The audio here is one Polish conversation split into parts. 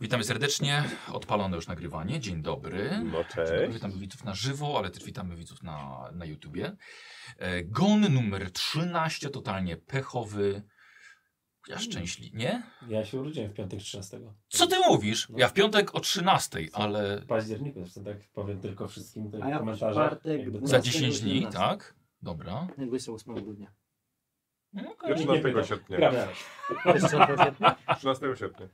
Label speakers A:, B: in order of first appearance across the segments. A: Witamy serdecznie. Odpalone już nagrywanie. Dzień dobry.
B: No
A: Dzień dobry.
B: cześć.
A: Witamy widzów na żywo, ale też witamy widzów na, na YouTubie. E, Gon numer 13, totalnie pechowy. Ja szczęśliwy. Nie?
C: Ja się urodziłem w piątek 13.
A: Co ty mówisz? Ja w piątek o 13, ale
C: W październiku, zresztą tak powiem tylko wszystkim
D: A ja
C: w
D: w
C: komentarzach.
D: czwartek
E: No,
C: jakby-
A: za
D: dwunastego.
A: 10 dni,
D: 18.
A: tak? Dobra.
D: 28 grudnia.
A: No, okej.
B: 13 sierpnia.
C: Prawda.
D: Wiesz, co to jest?
B: 13 sierpnia.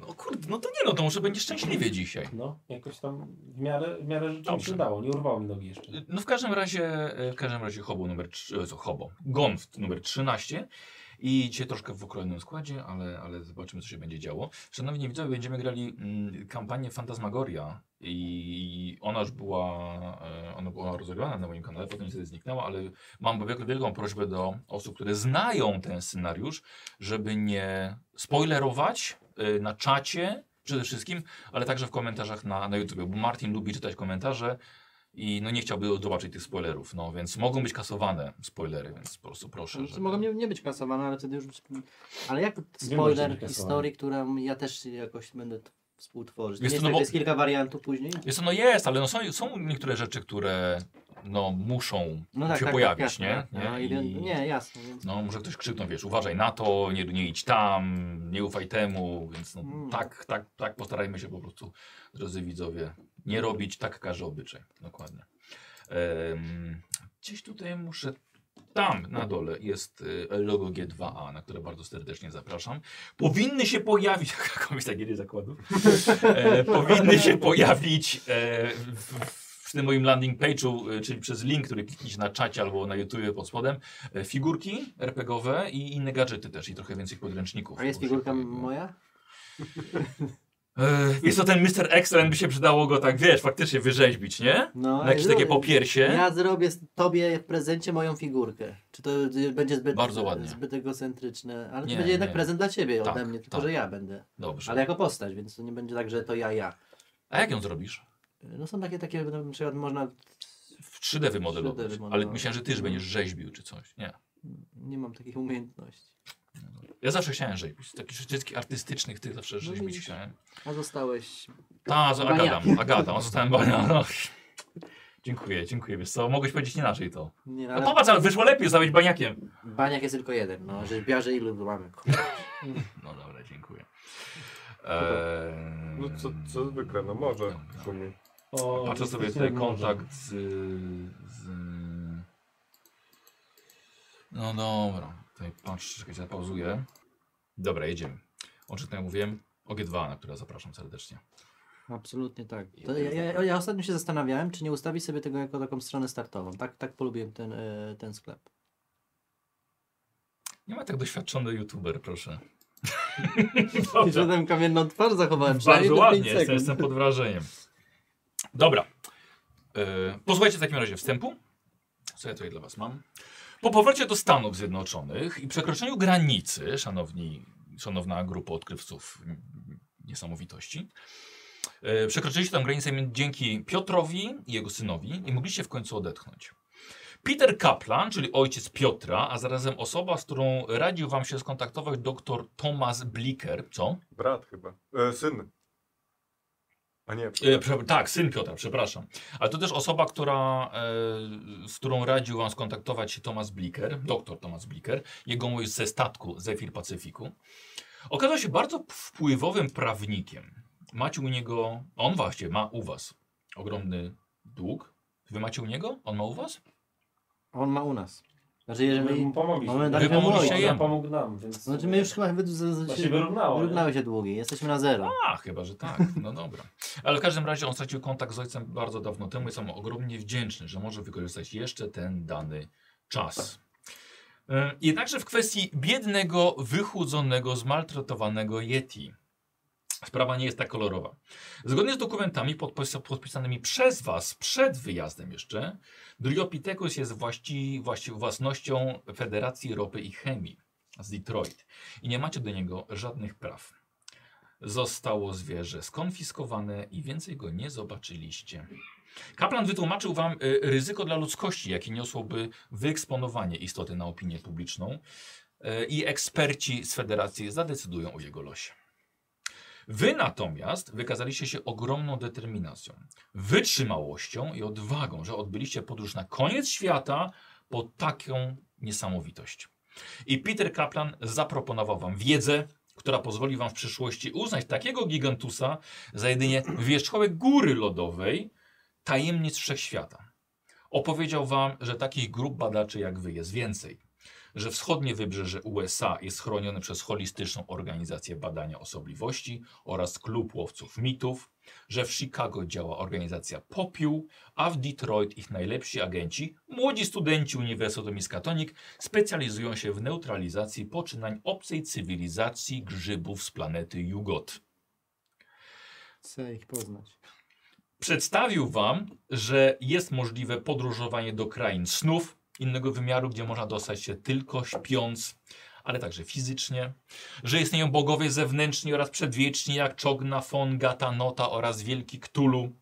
A: No kurde, no to nie no, to może będzie szczęśliwie dzisiaj.
C: No, jakoś tam w miarę, w miarę rzeczy mi
A: Dobrze.
C: się udało. Nie urwało mi nogi jeszcze.
A: No w każdym razie, e, w każdym razie hobo numer, trz- e, co hobo, gon w- numer 13 i dzisiaj troszkę w okrojonym składzie, ale, ale zobaczymy co się będzie działo. Szanowni widzowie, będziemy grali mm, kampanię Fantasmagoria i ona już była, e, ona była rozegrana na moim kanale, potem niestety zniknęła, ale mam wielką, wielką prośbę do osób, które znają ten scenariusz, żeby nie spoilerować e, na czacie przede wszystkim, ale także w komentarzach na, na YouTube, bo Martin lubi czytać komentarze, i no nie chciałby zobaczyć tych spoilerów, no więc mogą być kasowane spoilery, więc po prostu proszę.
D: Znaczy,
A: Żeby...
D: Mogą nie, nie być kasowane, ale wtedy już... Ale jak
C: może
D: spoiler
C: być kasowane.
D: historii, którą ja też jakoś będę t- współtworzyć.
A: Wiesz
D: Jest,
A: co,
D: jest,
A: no bo-
D: jest kilka wariantów później.
A: Jest, no jest, ale no są, są niektóre rzeczy, które no muszą
D: No tak,
A: się
D: tak,
A: pojawić,
D: tak, jasne.
A: nie?
D: No,
A: Nie?
D: i... wie- nie, jasne. Więc...
A: No może ktoś krzyknął, wiesz, uważaj na to, nie, nie idź tam, nie ufaj temu, więc no,
D: Mm.
A: tak, tak, tak postarajmy się po prostu, drodzy widzowie, nie robić, tak każe obyczaj, dokładnie. Em, gdzieś tutaj muszę, tam na dole jest e, logo G2A, na które bardzo serdecznie zapraszam. Powinny się pojawić, komisja gier zakładów, e, powinny się pojawić e, w, w, w tym moim landing page'u, e, czyli przez link, który klikniecie na czacie albo na YouTube pod spodem, E, figurki RPGowe i inne gadżety też i trochę więcej podręczników.
D: A jest
A: Bo się
D: figurka
A: pojawiło.
D: moja?
A: E, Jest to ten Mr. Excellent, by się przydało go tak, wiesz, faktycznie wyrzeźbić, nie?
D: No,
A: Na jakieś takie popiersie.
D: Ja zrobię z- tobie w prezencie moją figurkę. Czy to y, będzie zbyt,
A: Bardzo ładnie.
D: zbyt egocentryczne, ale
A: Nie,
D: to będzie jednak
A: nie.
D: prezent dla ciebie
A: Tak,
D: ode mnie, tylko
A: tak.
D: że ja będę.
A: Dobrze.
D: Ale jako postać, więc to nie będzie tak, że to ja, ja.
A: A jak ją zrobisz?
D: No są takie, takie, na przykład można,
A: W 3D wymodelować.
D: 3D wymodelować.
A: Ale myślałem, że ty już będziesz rzeźbił czy coś. Nie.
D: nie mam takich umiejętności.
A: Ja zawsze chciałem rzeźbić. Takich wszystkich artystycznych tych zawsze rzeźbić
D: No widzisz.
A: chciałem.
D: A zostałeś,
A: Ta, z
D: Bania.
A: Agadam, Agadam, zostałem bania. No. Dziękuję, dziękuję. Wiesz co, mogłeś powiedzieć inaczej to.
D: nie,
A: No
D: ale
A: popatrz, ale wyszło lepiej zostać baniakiem.
D: baniak jest tylko jeden, no, rzeźbiarze ilu mamy, kurwa.
A: No dobra, dziękuję. Eee...
B: No co, co zwykle, no może w sumie.
C: O,
A: Patrzę sobie
C: jesteście
A: tutaj
C: jak może.
A: kontakt z, z... No dobra, tutaj patrz, czekaj, zapauzuję. Dobra, jedziemy. Oczytnę mówiłem, OG2, na które zapraszam serdecznie.
D: Absolutnie tak. To ja, ja, ja ostatnio się zastanawiałem, czy nie ustawić sobie tego jako taką stronę startową. Tak, tak polubiłem ten, e, ten sklep.
A: Nie ma tak doświadczony youtuber, proszę.
D: I że tę kamienną twarz zachowałem
A: Bardzo
D: przynajmniej do
A: ładnie,
D: pięć
A: jestem,
D: sekund.
A: jestem pod wrażeniem. Dobra. E, posłuchajcie w takim razie wstępu. Co ja tutaj dla Was mam? Po powrocie do Stanów Zjednoczonych i przekroczeniu granicy, szanowni, szanowna grupa odkrywców m, niesamowitości, e, przekroczyliście tę granicę mi- dzięki Piotrowi i jego synowi i mogliście w końcu odetchnąć. Peter Kaplan, czyli ojciec Piotra, a zarazem osoba, z którą radził Wam się skontaktować dr Thomas Blicker, co?
B: Brat chyba. E, syn. A nie,
A: E,
B: przepraszam.
A: prze, tak, syn Piotra, przepraszam. Ale to też osoba, która, e, z którą radził wam skontaktować się Thomas Blicker, doktor Thomas Blicker, jego mój ze statku Zephyr Pacyfiku. Okazał się bardzo wpływowym prawnikiem. Macie u niego, on właśnie ma u was ogromny dług. Wy macie u niego? On ma u was?
D: On ma u nas. Znaczy, jeżeli
A: No
C: My mu
D: my,
C: pomogliśmy.
D: Mamy
A: Wy pomogliście
C: On
A: jemu.
C: pomógł nam, więc...
D: znaczy my już chyba wy, z,
C: To
D: z,
C: się
D: się,
C: wyrównało. nie?
D: wyrównały się długi, jesteśmy na zero.
A: A, chyba, że tak. No dobra. Ale w każdym razie on stracił kontakt z ojcem bardzo dawno temu i jest mu ogromnie wdzięczny, że może wykorzystać jeszcze ten dany czas. Ym, Jednakże w kwestii biednego, wychudzonego, zmaltretowanego Yeti sprawa nie jest tak kolorowa. Zgodnie z dokumentami podpis podpisanymi przez Was przed wyjazdem jeszcze, Driopithecus jest właści właści własnością Federacji Ropy i Chemii z Detroit i nie macie do niego żadnych praw. Zostało zwierzę skonfiskowane i więcej go nie zobaczyliście. Kaplan wytłumaczył wam y, ryzyko dla ludzkości, jakie niosłoby wyeksponowanie istoty na opinię publiczną y, i eksperci z federacji zadecydują o jego losie. Wy natomiast wykazaliście się ogromną determinacją, wytrzymałością i odwagą, że odbyliście podróż na koniec świata po taką niesamowitość. I Peter Kaplan zaproponował wam wiedzę, która pozwoli wam w przyszłości uznać takiego gigantusa za jedynie wierzchołek góry lodowej, tajemnic wszechświata. Opowiedział wam, że takich grup badaczy jak wy jest więcej że wschodnie wybrzeże USA jest chronione przez holistyczną organizację badania osobliwości oraz klub łowców mitów, że w Chicago działa organizacja Popiół, a w Detroit ich najlepsi agenci, młodzi studenci Uniwersytetu Miskatonic, specjalizują się w neutralizacji poczynań obcej cywilizacji grzybów z planety Jugot.
D: Chcę ich poznać.
A: Przedstawił wam, że jest możliwe podróżowanie do krain snów, innego wymiaru, gdzie można dostać się tylko śpiąc, ale także fizycznie, że istnieją bogowie zewnętrzni oraz przedwieczni jak Czogna, Fonga, Tanota oraz Wielki Ktulu,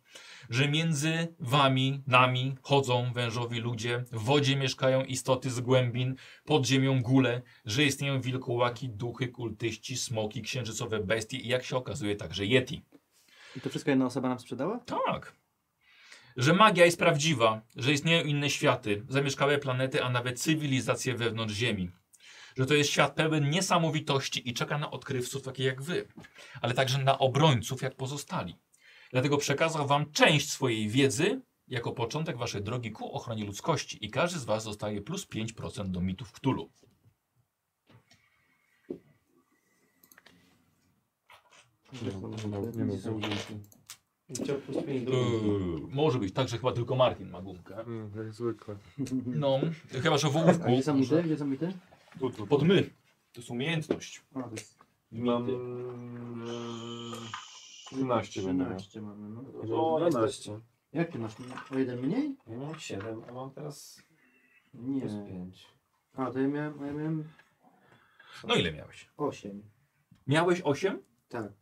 A: że między wami, nami chodzą wężowi ludzie, w wodzie mieszkają istoty z głębin, pod ziemią góle, że istnieją wilkołaki, duchy, kultyści, smoki, księżycowe bestie i jak się okazuje także yeti.
D: I to wszystko jedna osoba nam sprzedała?
A: Tak. Że magia jest prawdziwa, że istnieją inne światy, zamieszkałe planety, a nawet cywilizacje wewnątrz Ziemi. Że to jest świat pełen niesamowitości i czeka na odkrywców takich jak wy, ale także na obrońców jak pozostali. Dlatego przekazał wam część swojej wiedzy jako początek waszej drogi ku ochronie ludzkości i każdy z was dostaje plus 5% do mitów Cthulhu.
B: nie
C: Są wdzięczni. Chciał plus pięć do
A: Yy, może być tak, że chyba tylko Martin ma gumkę.
B: Mm, jak zwykle.
A: No, chyba że w
D: A gdzie
A: ołówku.
D: są mity? Gdzie są mity?
B: Tu, tu,
A: Pod my. To jest umiejętność.
D: A, to jest
B: Mam...
A: Mity.
B: 13 będę miał.
D: 13 mamy. No.
B: O, 12.
D: Jak ty masz? O jeden mniej?
C: Ja mam 7, a mam teraz
D: Nie.
C: plus 5.
D: A, to ja miałem, ja miałem
A: No ile miałeś?
D: 8.
A: Miałeś 8?
D: Tak.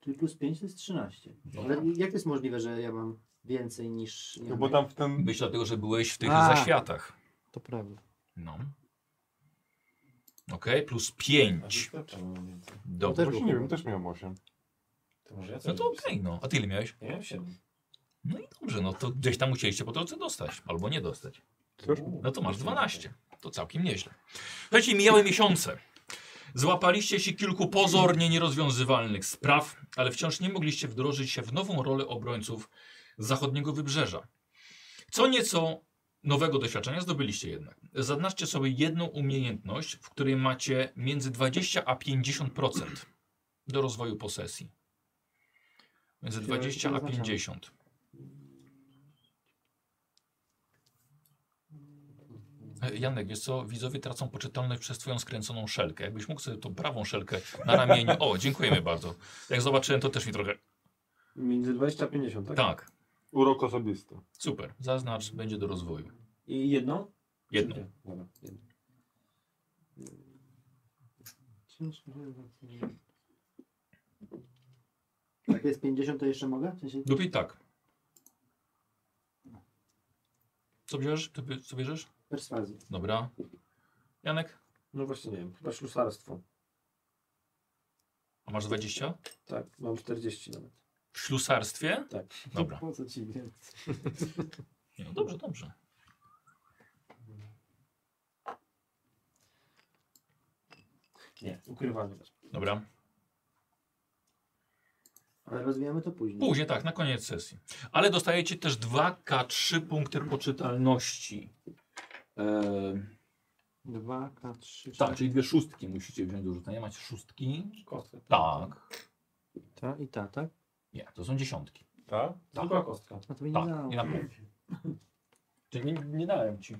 D: Czyli plus 5 to jest 13.
A: No.
D: Ale jak to jest możliwe, że ja mam więcej niż...
B: No bo tam w ten...
A: Być dlatego, że byłeś w tych
D: A.
A: zaświatach.
D: To prawda.
A: No. Okej, plus
C: A
A: 5.
C: to czemu mam więcej?
A: Dobra.
D: też
B: Właśnie nie wiem, też miałem 8.
C: To może ja coś
A: No to okej,
C: napisałem.
A: no. A ty ile miałeś?
C: Ja miałem 7.
A: No i dobrze, no to gdzieś tam musieliście po drodze dostać, albo nie dostać.
B: Cóż?
A: No to masz 12. To całkiem nieźle. Słuchajcie, mijały miesiące. Złapaliście się kilku pozornie nierozwiązywalnych spraw, ale wciąż nie mogliście wdrożyć się w nową rolę obrońców zachodniego wybrzeża. Co nieco nowego doświadczenia zdobyliście jednak. Zaznaczcie sobie jedną umiejętność, w której macie między 20 a 50% do rozwoju posesji. Między 20 a 50. E, Janek, wiesz co, widzowie tracą poczytalność przez twoją skręconą szelkę. Jakbyś mógł sobie tą prawą szelkę na ramieniu. O, dziękujemy bardzo. Jak zobaczyłem, to też mi trochę.
C: Między 20 a 50, tak?
A: Tak,
B: Urok osobisty.
A: super. Zaznacz, będzie do rozwoju.
C: I jedną?
A: Jedną.
C: Czy dwie? Dobra, jedną.
D: Ciężko. tak Jak Tak, jest 50, to jeszcze mogę? W sensie...
A: Lepiej tak. Co bierzesz? Ty bie- Co bierzesz?
D: Perswazji.
A: Dobra. Janek,
C: No właśnie nie wiem, chyba ślusarstwo.
A: a masz 20?
C: Tak, mam 40 nawet.
A: W ślusarstwie?
C: Tak.
A: Dobra.
D: Po co ci więcej?
A: Nie, No dobrze, dobrze.
C: Nie, ukrywanie.
A: Dobra.
D: Ale rozwijamy to później.
A: Później tak, na koniec sesji. Ale dostajecie też 2K3 punkty poczytalności. Eee,
D: 2, K, 3,
A: tak, czyli dwie szóstki musicie wziąć do rzucenia. Macie szóstki?
C: Kostka.
A: Tak.
D: ta i ta, tak?
A: Nie, to są dziesiątki.
B: Tak?
C: Zwykła kostka.
D: A to mi nie
A: Tak,
D: dało.
A: nie na pół. Ty nie, nie dałem ci.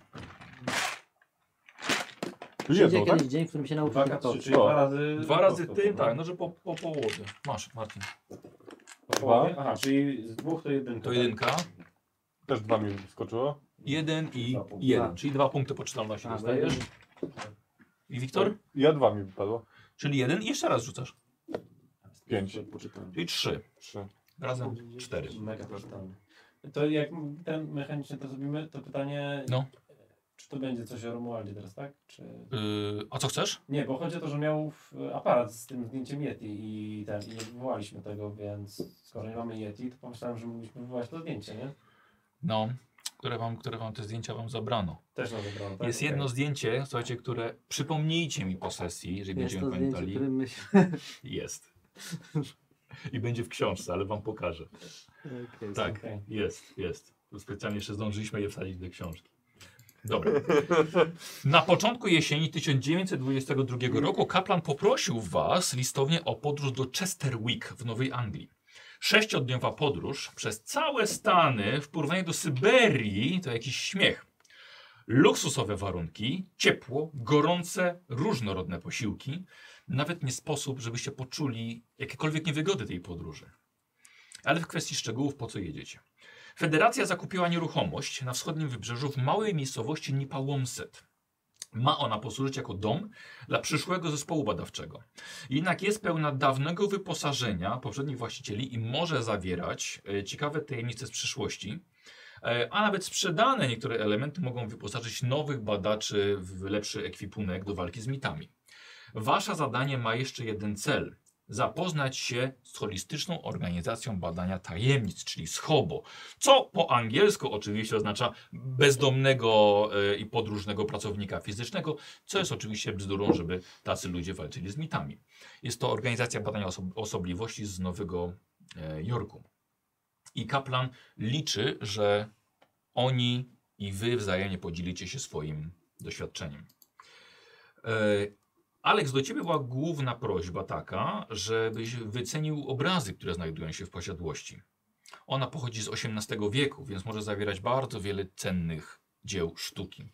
D: Przyjdzie
B: Jedną, tak?
D: kiedyś dzień, w którym się nauczy
C: 2
D: No, to.
C: k czyli dwa razy...
A: Dwa razy
C: kostką,
A: ty,
C: dobra?
A: tak, no że po, po połowie. Masz, Martin.
C: Po połowie? no. Aha, czyli z dwóch to jedynka.
A: To
C: tak?
A: jedynka.
B: tak? Też dwa mi wyskoczyło.
A: Jeden i
C: Dwa punkty.
A: jeden, czyli dwa punkty poczytalności
D: A,
A: dostajesz.
D: bo
A: I Wiktor?
B: Ja dwa mi wypadło.
A: Czyli jeden i jeszcze raz rzucasz.
B: Pięć.
C: Poczytałem.
A: Czyli trzy.
B: Trzy.
A: Razem cztery.
C: Mega poczytałem. To jak ten mechanicznie to zrobimy, to pytanie...
A: No.
C: Czy to będzie coś o Romualdzie teraz, tak? Czy...
A: Yy, a co chcesz?
C: Nie, bo chodzi o to, że miał w- aparat z tym zdjęciem Yeti i, ten, i nie wywołaliśmy tego, więc skoro nie mamy Yeti, to pomyślałem, że mogliśmy wywołać to zdjęcie, nie?
A: No, które wam, które wam te zdjęcia wam zabrano.
C: Też na wybrano, tak?
A: Jest
C: Okej.
A: jedno zdjęcie, słuchajcie, które przypomnijcie mi po sesji, jeżeli
D: Jest
A: będziemy
D: to zdjęcie,
A: pamiętali.
D: którym myślę.
A: Jest. I będzie w książce, ale wam pokażę.
D: Okej,
A: Tak.
C: Okej.
A: Jest, jest. Tu Specjalnie jeszcze zdążyliśmy je wsadzić do książki. Dobra. Na początku jesieni 1922 roku Kaplan poprosił was listownie o podróż do Chesterwick w Nowej Anglii. Sześciodniowa podróż przez całe Stany w porównaniu do Syberii to jakiś śmiech. Luksusowe warunki, ciepło, gorące, różnorodne posiłki. Nawet nie sposób, żebyście poczuli jakiekolwiek niewygody tej podróży. Ale w kwestii szczegółów, po co jedziecie? Federacja zakupiła nieruchomość na wschodnim wybrzeżu w małej miejscowości Nipawomset. Ma ona posłużyć jako dom dla przyszłego zespołu badawczego. Jednak jest pełna dawnego wyposażenia poprzednich właścicieli i może zawierać e, ciekawe tajemnice z przyszłości. E, A nawet sprzedane niektóre elementy mogą wyposażyć nowych badaczy w lepszy ekwipunek do walki z mitami. Wasze zadanie ma jeszcze jeden cel. Zapoznać się z holistyczną organizacją badania tajemnic, czyli SHOBO, co po angielsku oczywiście oznacza bezdomnego e, i podróżnego pracownika fizycznego, co jest oczywiście bzdurą, żeby tacy ludzie walczyli z mitami. Jest to organizacja badania oso osobliwości z Nowego e, Jorku. I Kaplan liczy, że oni i wy wzajemnie podzielicie się swoim doświadczeniem. E, Aleks, do ciebie była główna prośba taka, żebyś wycenił obrazy, które znajdują się w posiadłości. Ona pochodzi z XVIII wieku, więc może zawierać bardzo wiele cennych dzieł sztuki.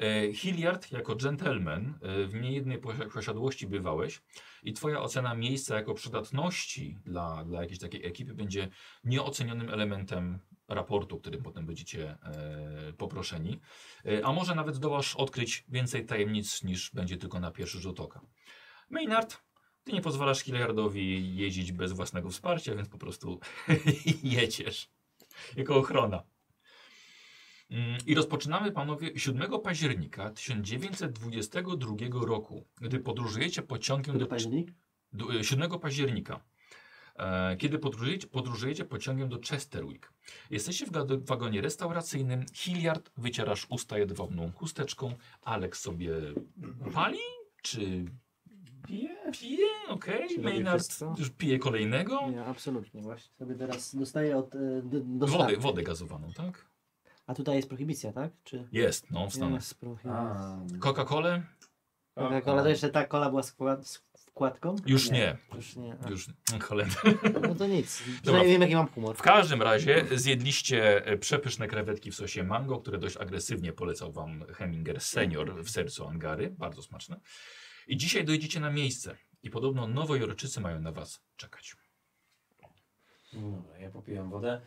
A: E, Hilliard, jako gentleman, e, w niejednej posi- posiadłości bywałeś i twoja ocena miejsca jako przydatności dla, dla jakiejś takiej ekipy będzie nieocenionym elementem raportu, którym potem będziecie e, poproszeni. E, a może nawet zdołasz odkryć więcej tajemnic niż będzie tylko na pierwszy rzut oka. Maynard, ty nie pozwalasz Hilliardowi jeździć bez własnego wsparcia, więc po prostu jedziesz. Jako ochrona. Mm, I rozpoczynamy, panowie, 7 października 1922 roku, gdy podróżujecie pociągiem
D: Który
A: do
D: październik?
A: do- e, 7 października, e, kiedy podróżujecie, podróżujecie pociągiem do Chesterwick. Jesteście w gado- wagonie restauracyjnym, Hilliard wycierasz usta jedwabną chusteczką, Alex sobie pali, czy
C: Pije?
A: pije, okej,
D: Czy robi
A: Maynard
D: wszystko?
A: już pije kolejnego,
D: Nie, absolutnie. Właśnie sobie teraz dostaję od y, d-
A: No wodę,
D: dostawki.
A: wodę gazowaną, tak?
D: A tutaj jest prohibicja, tak? Czy
A: Jest, no, w Stanach.
D: Jest prohibicja.
C: A,
A: Coca-Colę?
D: Coca-Cola to jeszcze ta kola była z wkład- z wkładką?
A: Już
C: Nie.
A: nie,
D: Już nie. A,
A: już, cholera.
D: no to nic. Przynajmniej wiem jaki mam humor.
A: W każdym razie zjedliście e, przepyszne krewetki w sosie mango, które dość agresywnie polecał wam Heminger senior w sercu Angary. Bardzo smaczne. I dzisiaj dojedziecie na miejsce. I podobno nowojorczycy mają na was czekać.
C: Dobra, no, ja popijam wodę.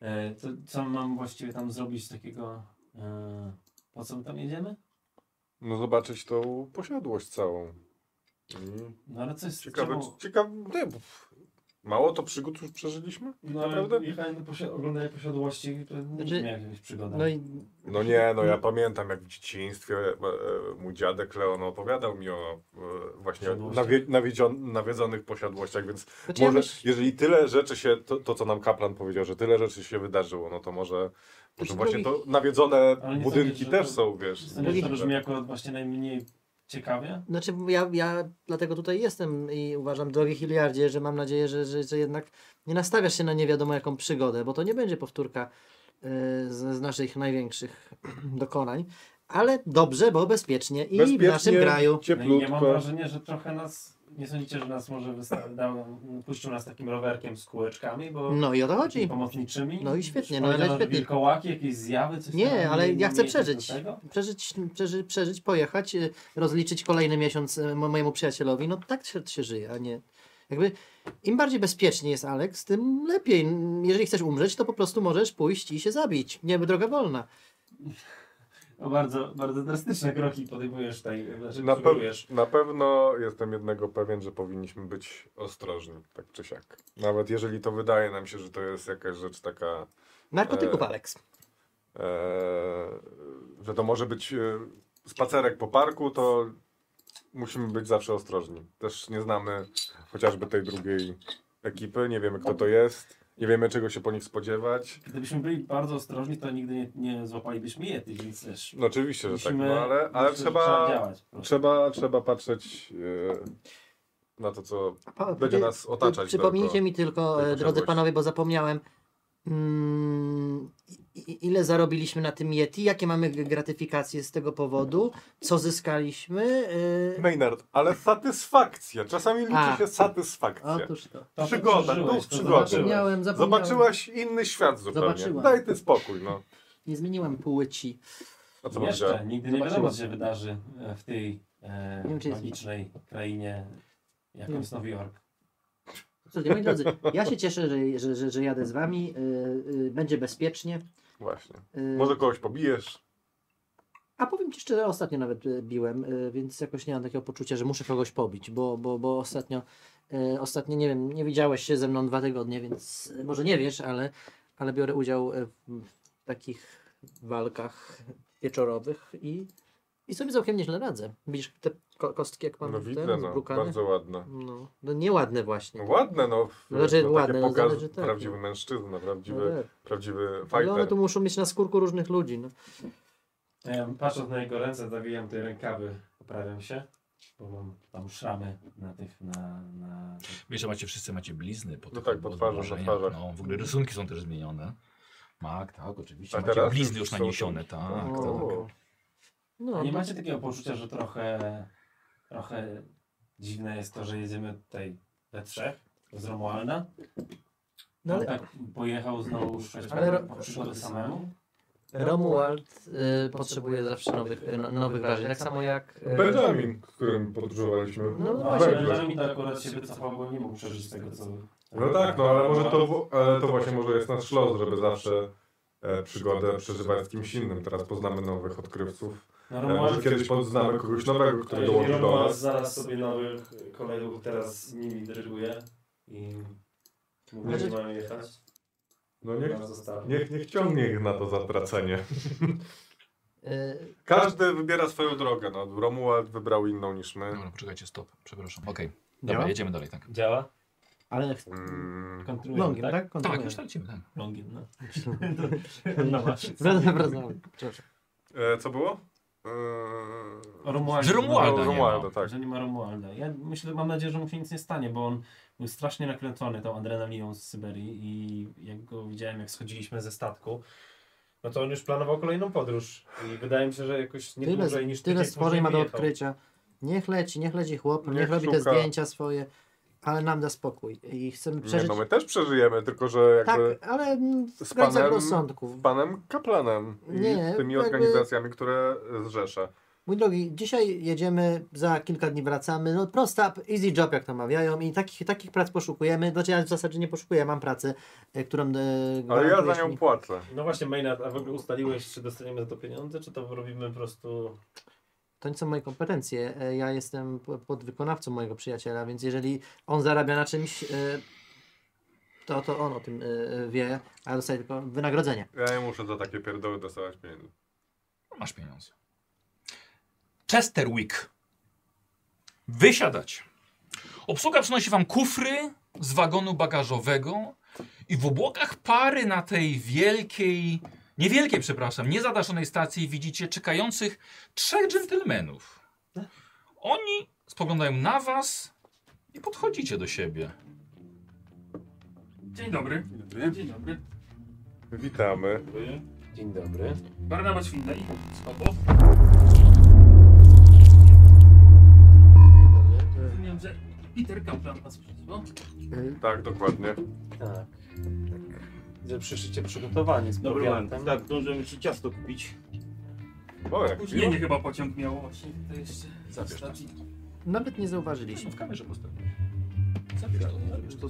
C: E, to co mam właściwie tam zrobić takiego... E, po co my tam jedziemy?
B: No zobaczyć tą posiadłość całą. Mm.
C: No ale coś...
B: Ciekawe,
C: czemu-
B: czy- ciekawe. nie, bo Mało to przygód już przeżyliśmy?
C: No ale
B: Naprawdę?
C: jechałem do posi- oglądania posiadłości, to nie
D: Znaczy-
C: miałem jakieś przygody.
D: No i
B: No nie, no ja pamiętam jak w dzieciństwie e, e, mój dziadek Leon opowiadał mi o e, właśnie
C: Posiadłościach.
B: nawie, nawiedzion- nawiedzonych posiadłościach, więc
D: znaczy ja
B: może
D: myślę,
B: jeżeli tyle rzeczy się, to, to co nam Kaplan powiedział, że tyle rzeczy się wydarzyło, no to może, może
D: Znaczy
B: właśnie
D: drugi-
B: to nawiedzone
C: Ale nie
B: budynki
C: sądzę, że
B: też
C: to-
B: są, wiesz.
C: To nie,
D: Drugi-
C: to brzmi jako właśnie najmniej ciekawie.
D: Znaczy ja, ja dlatego tutaj jestem i uważam, drogi Hilliardzie, że mam nadzieję, że, że, że jednak nie nastawiasz się na nie wiadomo jaką przygodę, bo to nie będzie powtórka e, z, z naszych największych dokonań, ale dobrze, bo bezpiecznie i
B: Bezpiecznie,
D: w naszym kraju.
C: No i ja mam
B: Cieplutko.
C: wrażenie, że trochę nas, nie sądzicie, że nas może wysta- dał, puścił nas takim rowerkiem z kółeczkami, bo
D: No i o to chodzi.
C: takimi pomocniczymi.
D: No i świetnie,
C: Już
D: no i
C: powiedziano, że
D: najświetniej.
C: Wilkołaki, jakieś zjawy, coś
D: Nie,
C: tam,
D: ale ja chcę
C: mieliśmy
D: przeżyć.
C: do tego?
D: Przeżyć, przeży, przeżyć, pojechać, y, rozliczyć kolejny miesiąc y, mo- mojemu przyjacielowi. No tak się, się żyje, a nie. Jakby im bardziej bezpiecznie jest Alex, tym lepiej. N- Jeżeli chcesz umrzeć, to po prostu możesz pójść i się zabić. Nie, droga wolna.
C: No bardzo, bardzo drastyczne kroki podejmujesz tutaj, znaczy
B: Na,
C: sugerujesz.
B: pew- na pewno jestem jednego pewien, że powinniśmy być ostrożni, tak czy siak. Nawet jeżeli to wydaje nam się, że to jest jakaś rzecz taka
D: Narkotyków
B: E,
D: Alex.
B: e, że to może być e, spacerek po parku, to musimy być zawsze ostrożni. Też nie znamy chociażby tej drugiej ekipy, nie wiemy kto to jest, nie wiemy czego się po nich spodziewać.
C: Gdybyśmy byli bardzo ostrożni, to nigdy nie, nie złapalibyśmy jety, więc też
B: No oczywiście, że tak,
C: musimy-
B: no, ale,
C: myślę,
B: ale
C: że trzeba
B: trzeba,
C: działać. po prostu.
B: trzeba, trzeba patrzeć e, na to, co
D: Pa-
B: będzie nas otaczać.
D: Przypomnijcie
B: dookoła.
D: mi tylko,
B: tej
D: e, drodzy
B: posiadłości.
D: panowie, bo zapomniałem, mm, i- i- ile zarobiliśmy na tym Yeti, jakie mamy g- gratyfikacje z tego powodu, co zyskaliśmy. e,
B: Maynard, ale satysfakcja. Czasami liczy
D: A.
B: się satysfakcja.
D: Otóż to.
C: To
B: przygoda,
C: przeżyłeś,
B: duch
C: to
B: przygody.
C: zobaczyłeś.
D: Zapomniałem, zapomniałem.
B: Zobaczyłaś inny świat zupełnie.
D: Zobaczyłam.
B: Daj ty spokój, no.
D: Nie zmieniłem płci.
B: A co powiedziała?
C: Jeszcze nigdy nie wiadomo,
D: Zobaczymy.
C: co się wydarzy e, w tej
D: Nie wiem,
C: e,
D: czy jest-
C: magicznej krainie, jaką
D: Nie.
C: jest Nowy Jork.
D: Słuchajcie, moi drodzy, ja się cieszę, że, że, że, że jadę z wami. e, e, będzie bezpiecznie.
B: Właśnie.
D: e,
B: Może kogoś pobijesz.
D: A powiem ci szczerze, ostatnio nawet e, biłem, e, więc jakoś nie mam takiego poczucia, że muszę kogoś pobić, bo, bo, bo ostatnio, e, ostatnio nie wiem, nie widziałeś się ze mną dwa tygodnie, więc e, może nie wiesz, ale, ale biorę udział e, w takich walkach wieczorowych i, i sobie całkiem nieźle radzę. Widzisz te ko kostki, jak mam
B: No
D: ten
B: widzę, no.
D: zbrukany?
B: Bardzo ładne.
D: No, no nieładne właśnie.
B: No, ładne, no.
D: No, znaczy,
B: no,
D: ładne,
B: takie
D: no,
B: pokaz,
D: zależy, tak,
B: prawdziwy
D: no.
B: mężczyzna,
D: No
B: prawdziwy,
D: tak.
B: prawdziwy
D: Ale one
B: fighter.
D: tu muszą mieć na skórku różnych ludzi. No.
C: E, patrząc na jego ręce, zawijam te rękawy, poprawiam się, bo mam tam szramy na tych, na... na...
A: Wiesz, że macie wszyscy macie blizny po
B: No
A: tych
B: tak, po twarzach, po
A: odmrożeniach,
B: twarzach.
A: No, w ogóle rysunki są też zmienione. Tak, tak, oczywiście.
B: A
A: Macie
B: teraz
A: blizny
B: już
A: już
B: są
A: naniesione,
B: tu-
A: tak.
B: O.
A: tak.
D: No,
C: Nie
D: no.
C: macie takiego poczucia, że trochę, trochę dziwne jest to, że jedziemy tutaj we trzech? Z Romualda?
D: No, ale-
C: On tak pojechał znowu szukać
D: Ale ro-
C: przygody samemu?
D: Romuald y, potrzebuje zawsze nowych, y, no- nowych wrażeń. Tak samo jak. y,
B: Benjamin, którym podróżowaliśmy.
D: No
C: No
D: właśnie,
C: właśnie,
B: Węgla.
C: że mi to akurat się wycofał, bo nie mógł przeżyć tego, co...
B: No tak, no ale może to, ale to właśnie może jest nasz szlos, żeby zawsze e, przygodę przeżywać z kimś innym. Teraz poznamy nowych odkrywców.
C: No,
B: E, może kiedyś poznamy kogoś nowego, który
E: Jeżeli
B: dołączy do
E: Romuald
B: nas.
E: znalazł sobie nowych kolegów, teraz nimi dryguje i mówi, że
D: Znaczy-
E: mają jechać.
B: No niech,
E: Nas zostawił.
B: niech, niech ciągnie ich na to zatracenie.
D: y,
B: Każdy wybiera swoją drogę. No, Romuald wybrał inną niż my.
A: Dobra, poczekajcie, stop, przepraszam. Okej, dobra,
D: ma?
A: jedziemy dalej, tak.
E: Działa?
D: no. Ale ch-
B: Mm,
C: Kontynuujemy,
D: longiem, tak? No
A: Tak,
D: Kontynuujemy.
A: już lecimy, tak.
E: Longin, no.
D: Zaraz wracamy. Proszę.
B: e, co było? E,
C: O Romualdzie.
A: Że Romualda
D: no.
B: o
A: nie ma.
B: Romualda, tak.
C: Że nie ma Romualda. Ja myślę, mam nadzieję, że mu się nic nie stanie, bo on był strasznie nakręcony tą adrenaliną z Syberii i jak go widziałem, jak schodziliśmy ze statku,
E: No to on już planował kolejną podróż i wydaje mi się, że jakoś nie
D: Tyle,
E: dłużej niż
D: tyle
E: tydzień
D: stworzeń ma do
E: później wyjechał.
D: odkrycia. Niech leci, niech leci chłop, niech,
B: Niech
D: robi te
B: szuka.
D: zdjęcia swoje, ale nam da spokój. I chcemy
B: Nie,
D: przeżyć.
B: no my też przeżyjemy, tylko że
D: tak,
B: jakby
D: ale mm,
B: z
D: w granicach
B: panem-
D: rozsądków.
B: z panem Kaplanem i
D: Nie,
B: z tymi
D: jakby-
B: organizacjami, które zrzesza.
D: Mój drogi, dzisiaj jedziemy, za kilka dni wracamy. No prosta, easy job jak to mawiają i takich, takich prac poszukujemy. Znaczy ja w zasadzie nie poszukuję, mam pracę, e, którą e,
B: Ale ja za
D: gwarantujesz
B: nią
D: mi.
B: płacę.
E: No właśnie, Maynard, a w ogóle ustaliłeś, czy dostaniemy za to pieniądze, czy to robimy po prostu...
D: To nie są moje kompetencje. E, Ja jestem p- podwykonawcą mojego przyjaciela, więc jeżeli on zarabia na czymś, e, to, to on o tym e, e, wie, a ja dostaję tylko wynagrodzenie.
B: Ja nie muszę za takie pierdoły dostawać pieniędzy.
A: No Masz pieniądze. Chesterwick. Wysiadać. Obsługa przynosi wam kufry z wagonu bagażowego i w obłokach pary na tej wielkiej, niewielkiej, przepraszam, niezadaszonej stacji widzicie czekających trzech dżentelmenów. Oni spoglądają na was i podchodzicie do siebie.
F: Dzień dobry. Dzień dobry. Dzień dobry.
B: Witamy.
E: Dzień dobry.
F: Barnabas Findlay z Obo. Rozumiem, że Peter Kaplan was przyzwał.
D: E,
B: Tak, dokładnie.
E: Tak. Że przyszliście przygotowani z
G: Dobry
E: prowiantem.
G: moment. Tak, dążyłem ci ciasto kupić.
B: O, jak miło.
F: Spóźnienie chyba pociąg miało właśnie. To jeszcze
A: Zabierz to.
F: stacji.
D: Nawet nie zauważyliśmy.
A: w kamerze postawiłeś. Zabierz to, nie zabierz to.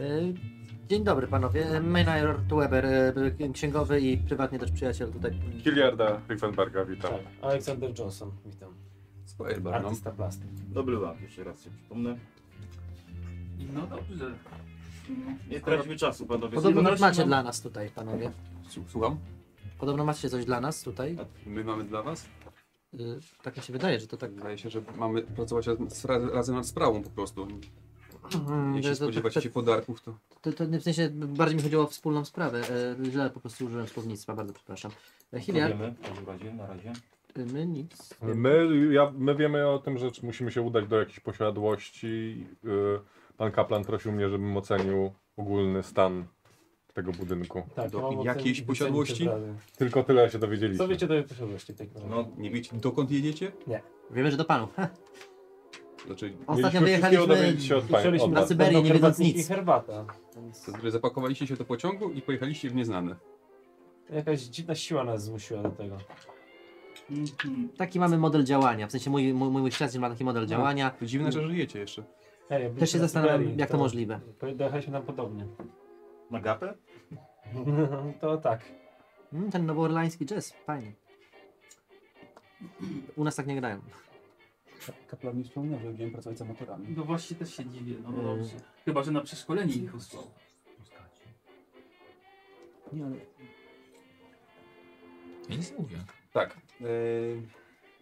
D: E, Dzień dobry panowie. E, Maynard Weber, e, b- księgowy i prywatnie też przyjaciel tutaj.
B: Hilliarda Riefenberga, witam.
E: Tak. Aleksander Johnson, witam.
A: Spiderman.
E: Artysta plastyk.
G: Dobry wam, jeszcze raz się przypomnę.
F: No dobrze.
G: Nie traćmy czasu, panowie.
D: Podobno
F: Zjedności
D: macie
F: mam-
D: dla nas tutaj, panowie.
H: Słucham?
D: Podobno macie coś dla nas tutaj.
H: A my mamy dla was?
D: Y, tak mi się wydaje, że to tak...
H: Wydaje się, że mamy pracować razem, z- razem nad sprawą po prostu.
D: Mm,
H: Jeśli
D: to- to- to-
H: spodziewacie się podarków, No, to...
D: To, to nie- w sensie bardziej mi chodziło o wspólną sprawę. E, źle po prostu użyłem słownictwa, bardzo przepraszam. E, Hiliard,
G: Wiemy, w każdym razie, na razie.
D: y, my nic.
B: My, ja, my wiemy o tym, że czy musimy się udać do jakichś posiadłości. Yy, Pan kaplan prosił mnie, żebym ocenił ogólny stan tego budynku.
E: Tak,
H: Do
E: mam ocen-
H: jakiejś
E: wycenić
H: posiadłości?
E: te sprawy.
B: Tylko tyle się dowiedzieliśmy.
E: Co wiecie do tej posiadłości w takim razie?
H: No, nie wiecie, dokąd jedziecie?
D: Wiemy, że do panu.
H: Znaczy,
D: Ostatnio
B: Mieliśmy wszystkiego
D: wyjechaliśmy...
B: dowiedzieć się od pani-
E: Słyszeliśmy
B: od
D: na
B: was.
D: Syberii, nie wiedząc
E: herbatniki
D: nic.
E: i herbata. Więc
H: to znaczy, zapakowaliście się do pociągu i pojechaliście w nieznane.
E: Jakaś dziwna siła nas zmusiła do tego.
F: Mhm.
D: Taki mamy model działania. W sensie mój, mój, mój świat ma taki model
G: No.
D: działania.
H: To dziwne, że żyjecie jeszcze.
E: Ej, ja byłem
D: Też się
E: na
D: zastanawiam,
E: Syberii,
D: jak to możliwe.
E: Dojechaliśmy nam podobnie.
G: Na gapę?
E: to tak.
D: Mm, ten nowoorlański jazz, fajnie. U nas tak nie grają.
H: Kaplan mi wspominał, że będziemy pracować z amatorami.
F: No właśnie też się dziwię, no
D: Mm.
F: dobrze. Chyba, że na przeszkolenie ich usłał.
H: Nie, ale...
A: Ja nic nie mówię.
H: Tak. Eee,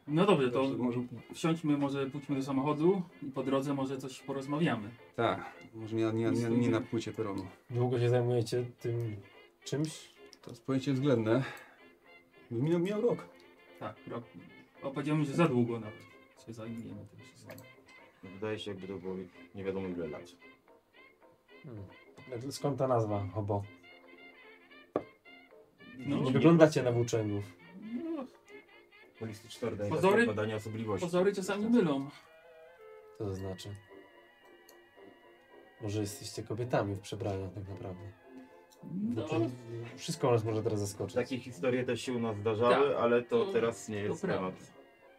F: No dobrze, to
H: dobrze, może...
F: wsiądźmy, może pójdźmy do samochodu i po drodze może coś porozmawiamy.
H: Tak, może nie, nie, nie, nie na płycie peronu.
E: Długo się zajmujecie tym czymś?
H: To jest pojęcie względne. Minął, minął rok.
F: Tak, rok. O, powiedziałem, że za długo nawet się zajmiemy tym wszystkim.
G: Wydaje się, jakby to było nie wiadomo ile lat.
E: Hmm. Skąd ta nazwa, hobo?
F: No.
E: Nie wyglądacie na włóczęgów.
F: No,
G: Holistyczne badania-
F: Pozory-
G: badania osobliwości.
F: pozory czasami mylą.
E: Co to znaczy? Może jesteście kobietami w przebraniu tak naprawdę. Bo
F: No,
E: to wszystko nas może teraz zaskoczyć.
G: Takie historie też się u nas zdarzały,
F: Tak.
G: ale to
F: To-
G: teraz nie jest
F: prawda.
G: temat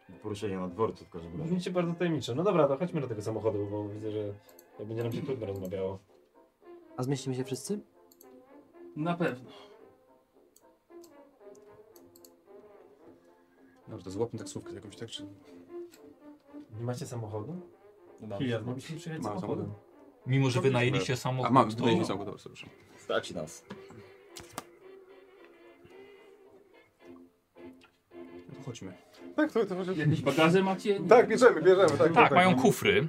G: do poruszenia na dworcu w każdym razie.
E: Brzmicie bardzo tajemniczo. No dobra, to chodźmy do tego samochodu, bo widzę, że będzie nam się trudno rozmawiało.
D: A zmieścimy się wszyscy?
F: na pewno.
H: Dobrze, to złapmy taksówkę jakąś, tak? Czy...
E: Nie macie samochodu?
G: Mam-
E: mogliśmy przyjechać
H: Mam
E: samochodem.
A: Mimo, że wynajęliście
H: A, mam,
A: samochód, to...
H: wydaje mi samochód, dobrze, przepraszam.
G: Stać nas.
H: No Chodźmy.
B: Tak, to, to może...
F: Jakieś bagaże macie? Nie.
B: Tak, bierzemy, bierzemy. Tak,
A: Tak, mają kufry.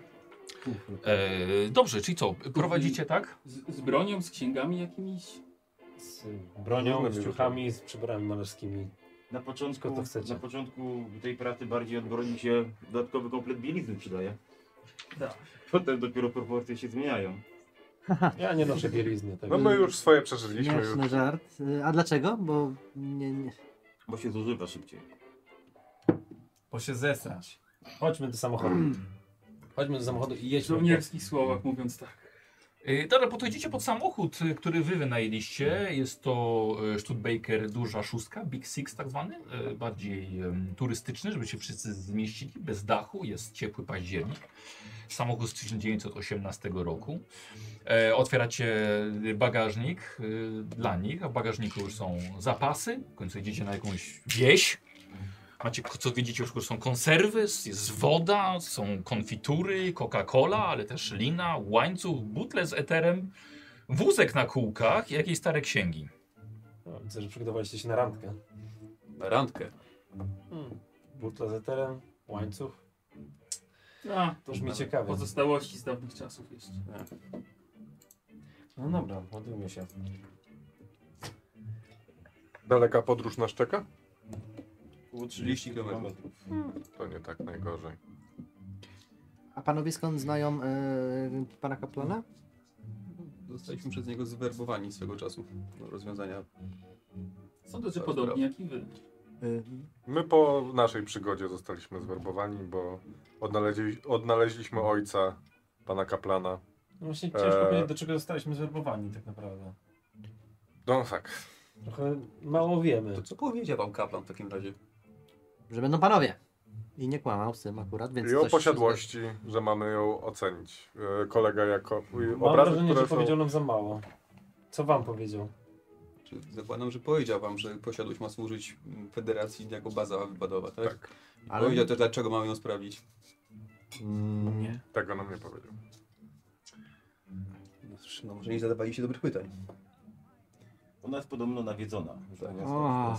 A: E, dobrze, czyli co, prowadzicie tak?
F: Z, z bronią, z księgami jakimiś?
E: Z bronią, z
B: Różnymi
E: ciuchami, z przebrami malarskimi.
G: Na początku,
E: Tylko to chcecie.
G: na początku tej pracy bardziej odbroni się dodatkowy komplet bielizny przydaje.
F: Tak.
G: Potem dopiero proporcje się zmieniają.
E: Ja nie noszę bielizny, tak?
B: No my już swoje przeżyliśmy. Już.
D: Jasny żart. Y, A dlaczego? Bo nie, nie.
G: Bo się zużywa szybciej.
I: Bo się zesrać.
E: Chodźmy do samochodu. Chodźmy do samochodu i
F: W
E: jedźmy.
F: żołnierskich słowach mówiąc tak.
A: E, dobra, bo to idziecie pod samochód, e, który wy wynajęliście. Jest to e, Studebaker duża szóstka, Big Six tak zwany, e, bardziej em, turystyczny, żeby się wszyscy zmieścili, bez dachu, jest ciepły październik. Samochód z 1918 roku. E, otwieracie bagażnik e, dla nich, a w bagażniku już są zapasy, w końcu idziecie na jakąś wieś. Macie, co widzicie, już są konserwy, jest woda, są konfitury, Coca-Cola, ale też lina, łańcuch, butle z eterem, wózek na kółkach i jakieś stare księgi.
E: O, Widzę, że przygotowaliście się na randkę.
H: Na randkę.
E: Hmm. Butla z eterem, łańcuch.
F: A,
E: To już mi ciekawe.
F: pozostałości z dawnych czasów jeszcze.
E: No dobra, ładujmy się.
B: Daleka podróż nas czeka?
G: Około
H: 30 kilometrów.
B: To nie tak najgorzej.
D: A panowie skąd znają y, pana kaplana?
H: Zostaliśmy przez niego zwerbowani swego czasu do rozwiązania.
F: Sądzę, że
H: Dobra.
F: podobnie jak i wy.
D: Y,
B: My po naszej przygodzie zostaliśmy zwerbowani, bo odnaleźli, odnaleźliśmy ojca pana kaplana.
E: No właśnie ciężko
B: Eee.
E: powiedzieć, do czego zostaliśmy zwerbowani tak naprawdę.
B: No tak.
E: Trochę mało wiemy.
H: To co powiedział wam kaplan w takim razie?
D: że będą panowie. I nie kłamał z tym akurat, więc
B: I o
D: coś-
B: posiadłości, że mamy ją ocenić. Yy, Kolega jako. i
E: Mam
B: obrazy,
E: wrażenie,
B: które
E: że
B: są-
E: powiedział nam za mało. Co wam powiedział?
H: Czy zakładam, że powiedział wam, że posiadłość ma służyć mm, federacji jako baza wypadowa, tak?
B: Tak.
H: Ale... Powiedział też, dlaczego mamy ją sprawdzić.
D: Mm, nie.
B: Tego nam nie powiedział.
H: Cóż, no może nie zadawaliście dobrych pytań.
G: Ona jest podobno nawiedzona.
D: O,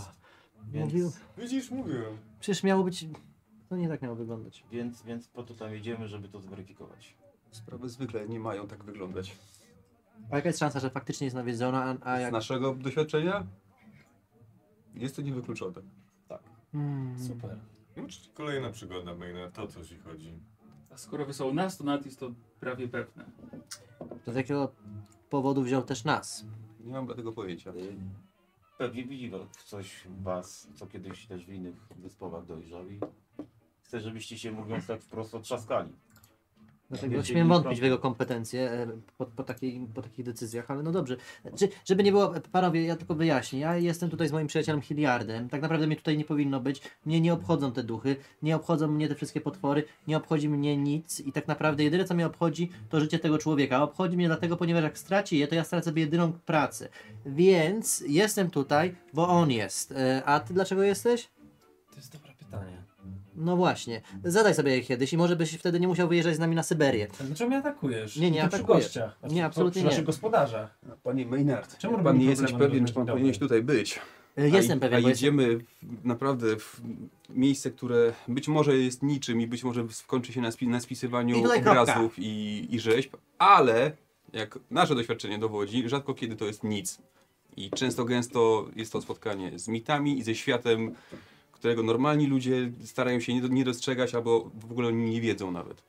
G: Więc,
D: mówił.
B: Widzisz, mówiłem.
D: Przecież miało być. To nie tak miało wyglądać.
G: więc, więc po to tam jedziemy, żeby to zweryfikować.
H: Sprawy zwykle nie mają tak wyglądać.
D: A jaka jest szansa, że faktycznie jest nawiedzona, a, a
H: Z
D: jak.
H: naszego doświadczenia jest to niewykluczone.
D: Hmm.
E: Super.
B: No, czyli kolejna przygoda, Maina, to o co ci chodzi.
F: A skoro wysłał nas, to nawet jest to prawie pewne.
D: To z jakiego powodu wziął też nas?
H: Nie mam tego pojęcia.
G: Y, Pewnie widzi w- w coś w was, co kiedyś też w innych wyspowach dojrzał i chce, żebyście się mówiąc tak wprost otrzaskali.
D: Dlatego
G: Wiecie,
D: śmiem
G: i
D: Znaczy, wątpić
G: proszę.
D: w jego kompetencje e, po, po, takiej, po takich decyzjach, ale no dobrze. Czy, żeby nie było, e, panowie, ja tylko wyjaśnię. Ja jestem tutaj z moim przyjacielem Hilliardem. Tak naprawdę mnie tutaj nie powinno być. Mnie nie obchodzą te duchy, nie obchodzą mnie te wszystkie potwory, nie obchodzi mnie nic i tak naprawdę jedyne, co mnie obchodzi, to życie tego człowieka. Obchodzi mnie dlatego, ponieważ jak straci je, to ja stracę jedyną pracę. Więc jestem tutaj, bo on jest. E, A ty dlaczego jesteś?
E: To jest dobre pytanie.
D: No właśnie. Zadaj sobie je kiedyś i może byś wtedy nie musiał wyjeżdżać z nami na Syberię.
E: A Dlaczego znaczy, mnie atakujesz?
D: Nie, nie
E: I to przy
D: atakuję.
E: gościach. znaczy
D: Nie, absolutnie
E: przy
D: nie.
E: naszych gospodarzach.
H: Panie Maynard,
E: Czemu
H: jak pan
E: robimy
H: nie jesteś
E: problemy
H: pewien,
E: różnych
H: czy pan
E: dobrych?
H: powinieneś tutaj być?
D: E, Jestem
H: a,
D: pewien,
H: A
D: bo jestem...
H: jedziemy w, naprawdę w miejsce, które być może jest niczym i być może skończy się na, spi- na
D: I
H: spisywaniu
D: tutaj kropka.
H: obrazów i, i rzeźb, ale jak nasze doświadczenie dowodzi, rzadko kiedy to jest nic. I często gęsto jest to spotkanie z mitami i ze światem, którego normalni ludzie starają się nie, do- nie dostrzegać albo w ogóle o nim nie wiedzą nawet.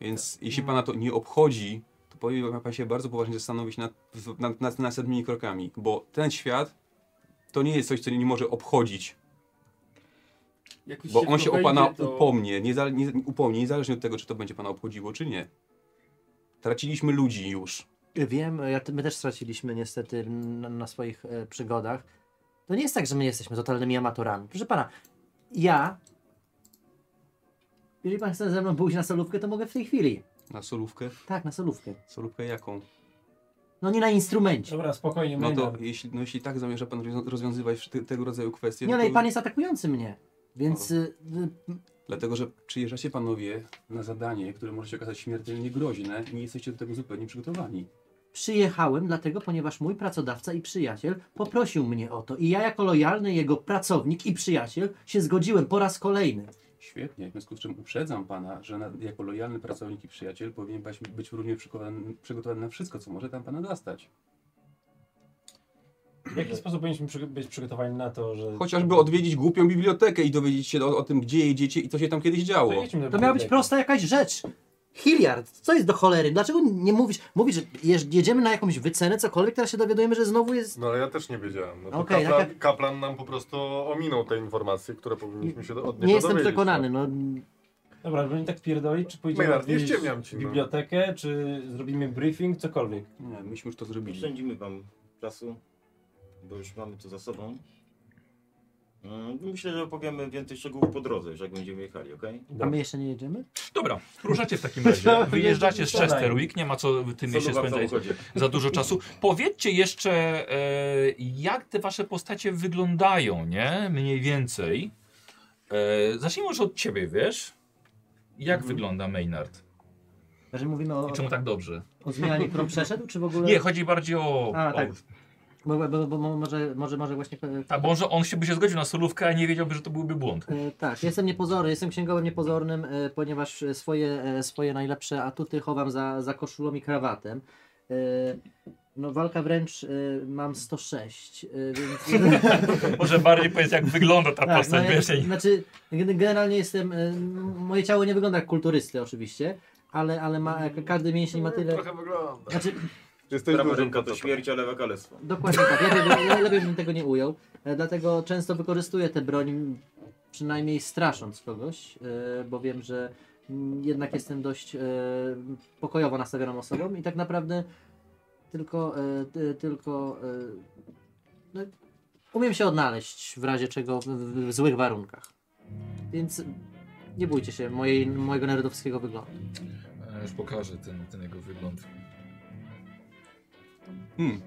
H: Więc
D: Tak.
H: jeśli
D: Mhm.
H: pana to nie obchodzi, to powinien pan się bardzo poważnie zastanowić nad, nad, nad następnymi krokami, bo ten świat to nie jest coś, co nie może obchodzić,
F: Jak już
H: bo on
F: w to
H: się o
F: wejdzie,
H: pana
F: to-
H: upomnie, niezale, nie, upomnie, niezależnie od tego, czy to będzie pana obchodziło, czy nie. Traciliśmy ludzi już.
D: Wiem, ja, my też straciliśmy niestety na, na swoich e, przygodach. To nie jest tak, że my jesteśmy totalnymi amatorami. Proszę pana, ja. Jeżeli pan chce ze mną pójść na solówkę, to mogę w tej chwili.
H: Na solówkę?
D: Tak, na solówkę.
H: Solówkę jaką?
D: No nie na instrumencie.
E: Dobra, spokojnie,
H: No to
E: Maynard.
H: jeśli, no jeśli tak zamierza pan rozwią- rozwiązywać te, tego rodzaju kwestie,
D: Nie,
H: no
D: ale
H: to,
D: pan jest atakujący mnie. Więc. y, y,
H: dlatego że przyjeżdżacie panowie na zadanie, które może się okazać śmiertelnie groźne i nie jesteście do tego zupełnie przygotowani.
D: Przyjechałem dlatego, ponieważ mój pracodawca i przyjaciel poprosił mnie o to. I ja, jako lojalny jego pracownik i przyjaciel, się zgodziłem po raz kolejny.
H: Świetnie, w związku z czym uprzedzam pana, że na, jako lojalny pracownik i przyjaciel powinien pan być równie przygotowany, przygotowany na wszystko, co może tam pana zastać.
E: W jaki sposób powinniśmy przygo- być przygotowani na to, że...
H: Chociażby odwiedzić głupią bibliotekę i dowiedzieć się o, o tym, gdzie jedziecie i co się tam kiedyś działo.
E: jedźmy do
D: To miała być
E: biblioteki.
D: prosta jakaś rzecz. Hilliard, co jest do cholery? Dlaczego nie mówisz? Mówisz, że jeż- jedziemy na jakąś wycenę, cokolwiek, teraz się dowiadujemy, że znowu jest.
B: No ale ja też nie wiedziałem. No to
D: Okej,
B: kaplan,
D: tak
B: kaplan nam po prostu ominął te informacje, które powinniśmy się do, od niego
D: Nie jestem
B: dowiedzieć. tak.
D: przekonany, no.
E: Dobra, żeby nie tak pierdolić, czy pójdziemy
B: Maynard, nie
E: odwiedzić
B: ściemniam ci, no.
E: bibliotekę, czy zrobimy briefing, cokolwiek.
H: Nie, myśmy już to
G: Nie
H: zrobili.
G: Oszczędzimy wam czasu, bo już mamy to za sobą. Mm, Myślę, że opowiemy więcej szczegółów po drodze, już jak będziemy jechali, okej?
B: Tak.
D: A my jeszcze nie jedziemy?
A: Dobra, ruszacie w takim razie. Wyjeżdżacie z Chesterwick, nie ma co w tym mieście
G: Sodowa w
A: spędzać
G: samochodzie.
A: za dużo czasu. Powiedzcie jeszcze, e, jak te wasze postacie wyglądają, nie? Mniej więcej. E, zacznijmy już od ciebie, wiesz? Jak
D: Mhm.
A: wygląda Maynard?
D: Że mówimy o,
A: I czemu tak dobrze?
D: o zmianie, którą przeszedł, czy w No, ogóle.
A: Nie, chodzi bardziej o...
D: A, tak.
A: o
D: Bo, bo, bo, bo może, może, może właśnie. e,
A: tak, bo może on się by się zgodził na solówkę, a nie wiedziałby, że to byłby błąd.
D: E, tak, jestem niepozorny, jestem księgowym niepozornym, e, ponieważ e, swoje, e, swoje najlepsze atuty chowam za, za koszulą i krawatem. E, no walka wręcz e, mam 106, e, więc...
A: Może bardziej powiedz, jak wygląda ta
D: Tak,
A: postać,
D: no ja-
A: wiesz? i-
D: Znaczy, gen- generalnie jestem. y, Moje ciało nie wygląda jak kulturysty, oczywiście, ale, ale ma, każdy mięsień ma tyle.
B: Trochę wygląda.
D: Znaczy,
B: no. Jesteś
G: Prawa
B: dużym
G: ręka to
B: facetem.
G: śmierć, a lewa kalectwo.
D: dokładnie tak. Lepiej, by- lepiej bym tego nie ujął. E, Dlatego często wykorzystuję tę broń, przynajmniej strasząc kogoś, e, bo wiem, że mm, jednak jestem dość e, pokojowo nastawioną osobą i tak naprawdę tylko. e, ty- tylko e, no, umiem się odnaleźć w razie czego w, w, w złych warunkach. Więc nie bójcie się mojej, mojego nerdowskiego wyglądu.
A: E, Już pokażę ten, ten jego wygląd.
H: Hmm.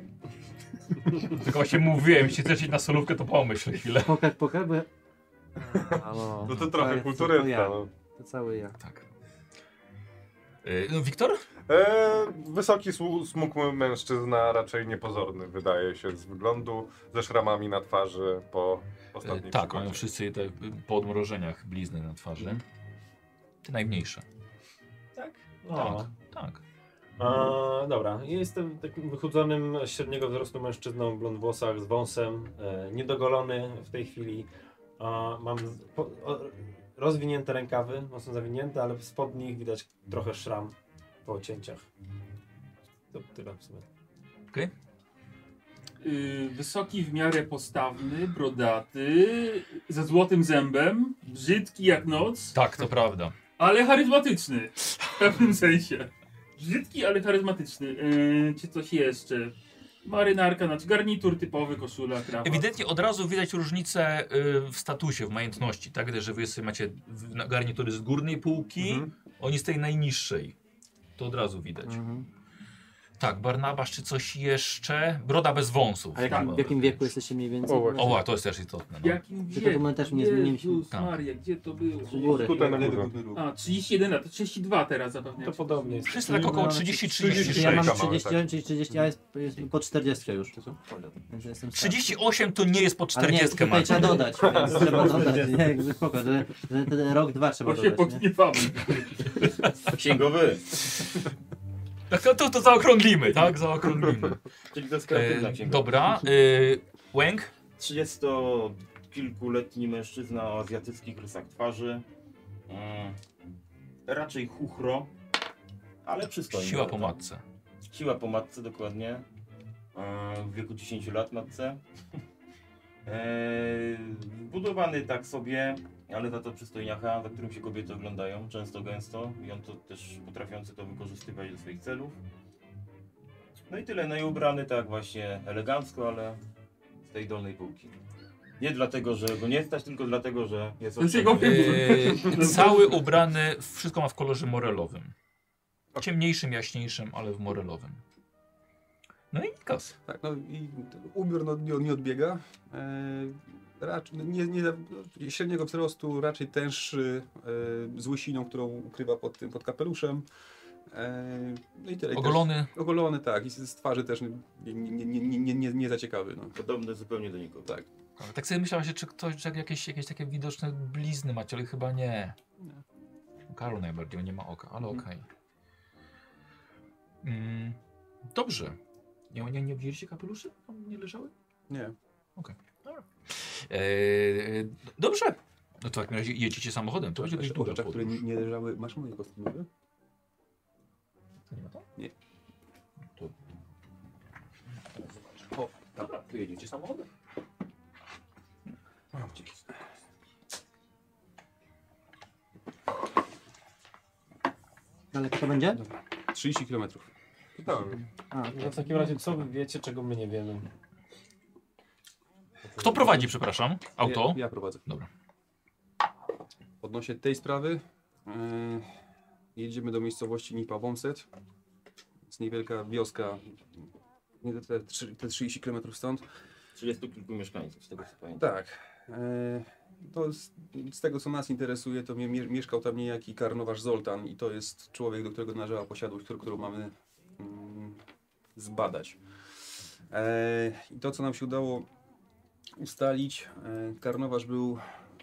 A: Tylko właśnie mówiłem, jeśli chcesz iść na solówkę, to pomyśl chwilę.
D: Pokaż, pokaż, bo ja... A,
B: No to trochę
D: jest-
B: kulturysta.
D: To, ja,
B: No.
D: to cały ja.
A: Tak. Y, Tak. No, Wiktor?
B: E, wysoki, słu- smukły mężczyzna, raczej niepozorny wydaje się z wyglądu, ze szramami na twarzy po
A: E,
B: ostatniej
A: tak,
B: przygodzie.
A: mają wszyscy te y, po odmrożeniach blizny na twarzy. Te najmniejsze.
E: Tak?
A: Tak, tak.
E: A, dobra, Ja jestem takim wychudzonym, średniego wzrostu mężczyzną, blond włosach, z wąsem, e, niedogolony w tej chwili. A, mam z- po, o, rozwinięte rękawy, mocno zawinięte, ale w spodnich widać trochę szram po cięciach. To tyle w sumie.
F: Yy, wysoki w miarę postawny, brodaty, ze złotym zębem, brzydki jak noc,
A: Tak, to prawda.
F: ale charyzmatyczny w pewnym sensie. Brzydki, ale charyzmatyczny. Yy, czy coś jeszcze? Marynarka, znaczy garnitur typowy, koszula, krawat.
A: Ewidentnie od razu widać różnicę y, w statusie, w majątności, tak? Że wy sobie macie w- na- garnitury z górnej półki,
D: Mhm.
A: oni z tej najniższej. To od razu widać.
D: Mhm.
A: Tak, Barnabasz czy coś jeszcze? Broda bez wąsów.
D: A jak,
A: Tak.
D: w jakim wieku jesteście mniej więcej?
B: O, właśnie.
A: O, a to jest też istotne. No.
F: Jakim
D: Tylko
F: wieku?
D: komentarz nie zmieniliśmy.
F: Jezus
A: Tak.
F: Maria, gdzie to było?
D: U góry.
B: Tutaj na
H: Lewy
B: górze.
H: górny róg.
F: A, 31 lat, to 32 teraz zapewne.
E: To podobnie jest.
A: Wszyscy tak około
D: Ja
A: 30-36.
D: mam
B: 36
D: 30,
B: mamy,
D: czyli 30, a jest, jest po 40 już.
H: To są?
D: Więc jestem starszy.
A: 38 to nie jest po
D: Ale nie,
A: 40
D: tutaj
A: Maciek.
D: trzeba dodać, więc trzeba dodać, nie, jakby spoko, że, że ten rok, dwa trzeba
F: Bo się
D: dodać, nie?
F: pogniewamy.
G: Księgowy,
A: Tak, to, to, to zaokrąglimy, tak? Zaokrąglimy.
G: czyli to jest kreatywna
A: E,
G: księgowa.
A: dobra. E, Łęk?
G: 30-kilkuletni mężczyzna o azjatyckich rysach twarzy. Mm, raczej chuchro, ale tak. przystojny.
A: Siła po matce.
G: Siła po matce, dokładnie. E, W wieku 10 lat matce. E, Budowany tak sobie, ale za to przystojniacha, za którym się kobiety oglądają, często gęsto. I on to też potrafiący to wykorzystywać do swoich celów. No i tyle, no i ubrany tak właśnie elegancko, ale z tej dolnej półki. Nie dlatego, że go nie stać, tylko dlatego, że jest
F: To jest jego
G: oszczędny.
A: E, cały ubrany, wszystko ma w kolorze morelowym. Ciemniejszym, jaśniejszym, ale w morelowym. No i Nikos.
H: Tak, no i ubiór no, nie, nie odbiega. E, racz, nie, nie, no, średniego wzrostu, raczej tęższy, e, z łysiną, którą ukrywa pod tym, pod kapeluszem. E, no i tyle. I też-
A: Ogolony.
H: Ogolony, tak. I z, z twarzy też nie, nie, nie, nie, nie, nie, nie za ciekawy. No.
G: Podobny zupełnie do nikogo.
H: Tak.
A: Tak sobie myślałem, że czy ktoś, czy jakieś, jakieś takie widoczne blizny macie, ale chyba nie. Karol najbardziej, on nie ma oka, ale okej. Mm, dobrze. Nie, nie, nie wzięliście kapeluszy? Tam Nie leżały?
H: Nie.
A: Eee, d- dobrze. No to w takim razie jedziecie samochodem, to będzie dość
H: Jeszcze o
A: długa
H: rzeczach, które
A: podróż.
H: nie, nie leżały. Masz moje kostiumy?
A: To nie ma to?
H: Nie.
A: To...
H: O,
A: Dobra, to jedziecie samochodem.
D: Daleko to będzie?
H: 30 km.
D: A,
E: No w takim razie, co wy wiecie, czego my nie wiemy?
A: Kto prowadzi, przepraszam, auto?
H: Ja, ja prowadzę.
A: Dobra.
H: Odnośnie tej sprawy yy, jedziemy do miejscowości Nipa Wąset. Jest niewielka wioska, nie te, te, trzy- te 30 km stąd.
G: 30 kilku mieszkańców, z tego co pamiętam.
H: Tak. E, to z, z tego, co nas interesuje, to mie, mie, mieszkał tam niejaki karnowasz Zoltan i to jest człowiek, do którego należała posiadłość, którą, którą mamy mm, zbadać. E, I to, co nam się udało ustalić, e, karnowasz był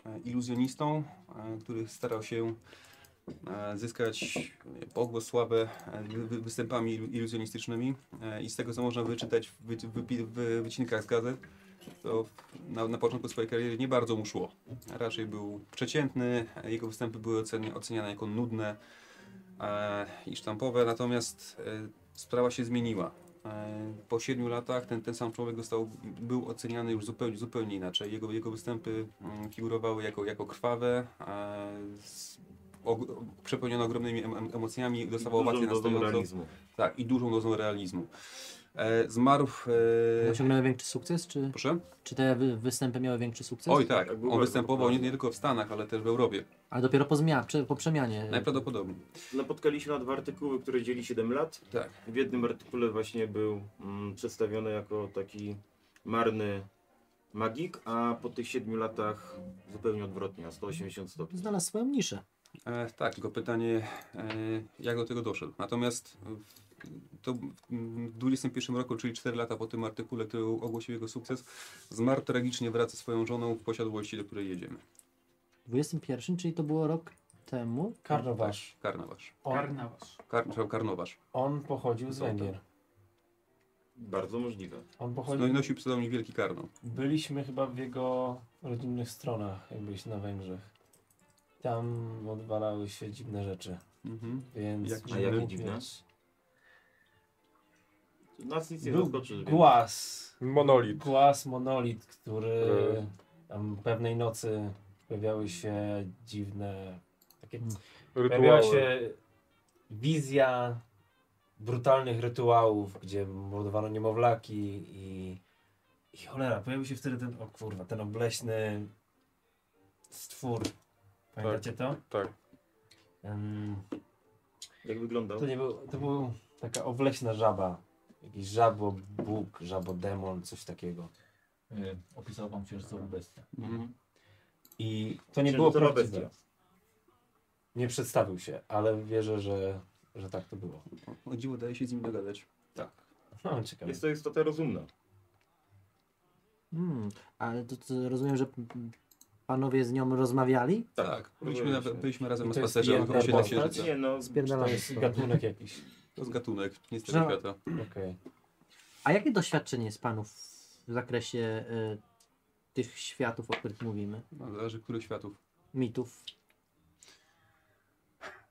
H: e, iluzjonistą, e, który starał się e, zyskać e, pogłosławę e, wy- wy- występami ilu- iluzjonistycznymi E, i z tego, co można wyczytać w, wy, wypi- w wycinkach z gazet, to na, na początku swojej kariery nie bardzo mu szło. Raczej był przeciętny, jego występy były oceni, oceniane jako nudne e, i sztampowe, natomiast e, sprawa się zmieniła. E, po siedmiu latach ten, ten sam człowiek został, był oceniany już zupełnie, zupełnie inaczej. Jego, jego występy mm, figurowały jako, jako krwawe, e, z, og, przepełnione ogromnymi em, em, emocjami, dostawał
G: Dużą
H: owację na
G: dozą
H: stojąco.
G: realizmu.
H: Tak, i dużą dozą realizmu. E, zmarł... E,
D: Osiągnęły większy sukces, czy,
H: proszę?
D: czy te wy- występy miały większy sukces?
H: Oj tak,
G: Tak, w
H: on
G: ogóle
H: występował nie,
G: popularny.
H: nie tylko w Stanach, ale też w Europie.
D: Ale dopiero po, zmia- prze- po
H: E,
D: przemianie.
H: Najprawdopodobniej.
G: Napotkaliśmy na dwa artykuły, które dzieli 7 lat.
H: Tak.
G: W jednym artykule właśnie był mm, przedstawiony jako taki marny magik, a po tych 7 latach zupełnie odwrotnie, o 180 stopni.
D: Znalazł swoją niszę.
H: E, tak, tylko pytanie, e, jak do tego doszedł. Natomiast e, to mm, w 21 roku, czyli 4 lata po tym artykule, który ogłosił jego sukces, zmarł tragicznie wraz ze swoją żoną w posiadłości, do której jedziemy.
D: W 21, czyli to było rok temu.
E: Karnowasz.
H: Karnawasz.
E: On,
F: Karnawasz.
H: Kar, przepraszam, karnowasz.
E: on pochodził z Węgier.
G: Bardzo możliwe.
E: On
H: No i
E: pochodził...
H: nosił pseudonim Wielki Karno.
E: Byliśmy chyba w jego rodzinnych stronach, jak byliśmy na Węgrzech. Tam odwalały się dziwne rzeczy,
H: Mhm.
E: więc...
H: Jak-
G: a jakie dziwne? Nas nic nie
E: Był
G: zaskoczy. więc-
E: Głaz.
B: Monolit.
E: Głaz, monolit, który
G: E.
B: Yy.
E: tam pewnej nocy pojawiały się dziwne takie... Pojawiła
B: Rytuały.
E: się wizja brutalnych rytuałów, gdzie mordowano niemowlaki i, i cholera, pojawił się wtedy ten, o kurwa, ten obleśny stwór. Pamiętacie to?
B: Tak.
E: Em,
G: Jak wyglądał?
E: to nie był, to był taka obleśna żaba. Jakiś żabo bóg, żabo demon, coś takiego.
A: Y, opisał wam księżycową bestię.
H: Mhm.
E: I to nie było
G: Księżycowa
E: prawdziwe.
G: bestia.
E: Nie przedstawił się, ale wierzę, że, że tak to było.
H: Mhm. O, O dziwo, daje się z nim dogadać.
E: No, ciekawe.
G: Jest to istota rozumna.
D: Hmm. Ale to, to rozumiem, że p- panowie z nią rozmawiali?
H: Tak, byliśmy, na, byliśmy razem na spacerze
E: jedna
H: około się
E: postać?
H: księżyca.
G: Nie no,
E: To
D: Spierdalamy.
E: jest gatunek jakiś.
H: To jest gatunek, nie z
D: No.
H: tego świata.
E: Okej.
D: A jakie doświadczenie jest panów w zakresie y, tych światów, o których mówimy?
H: No, zależy, których światów.
D: Mitów.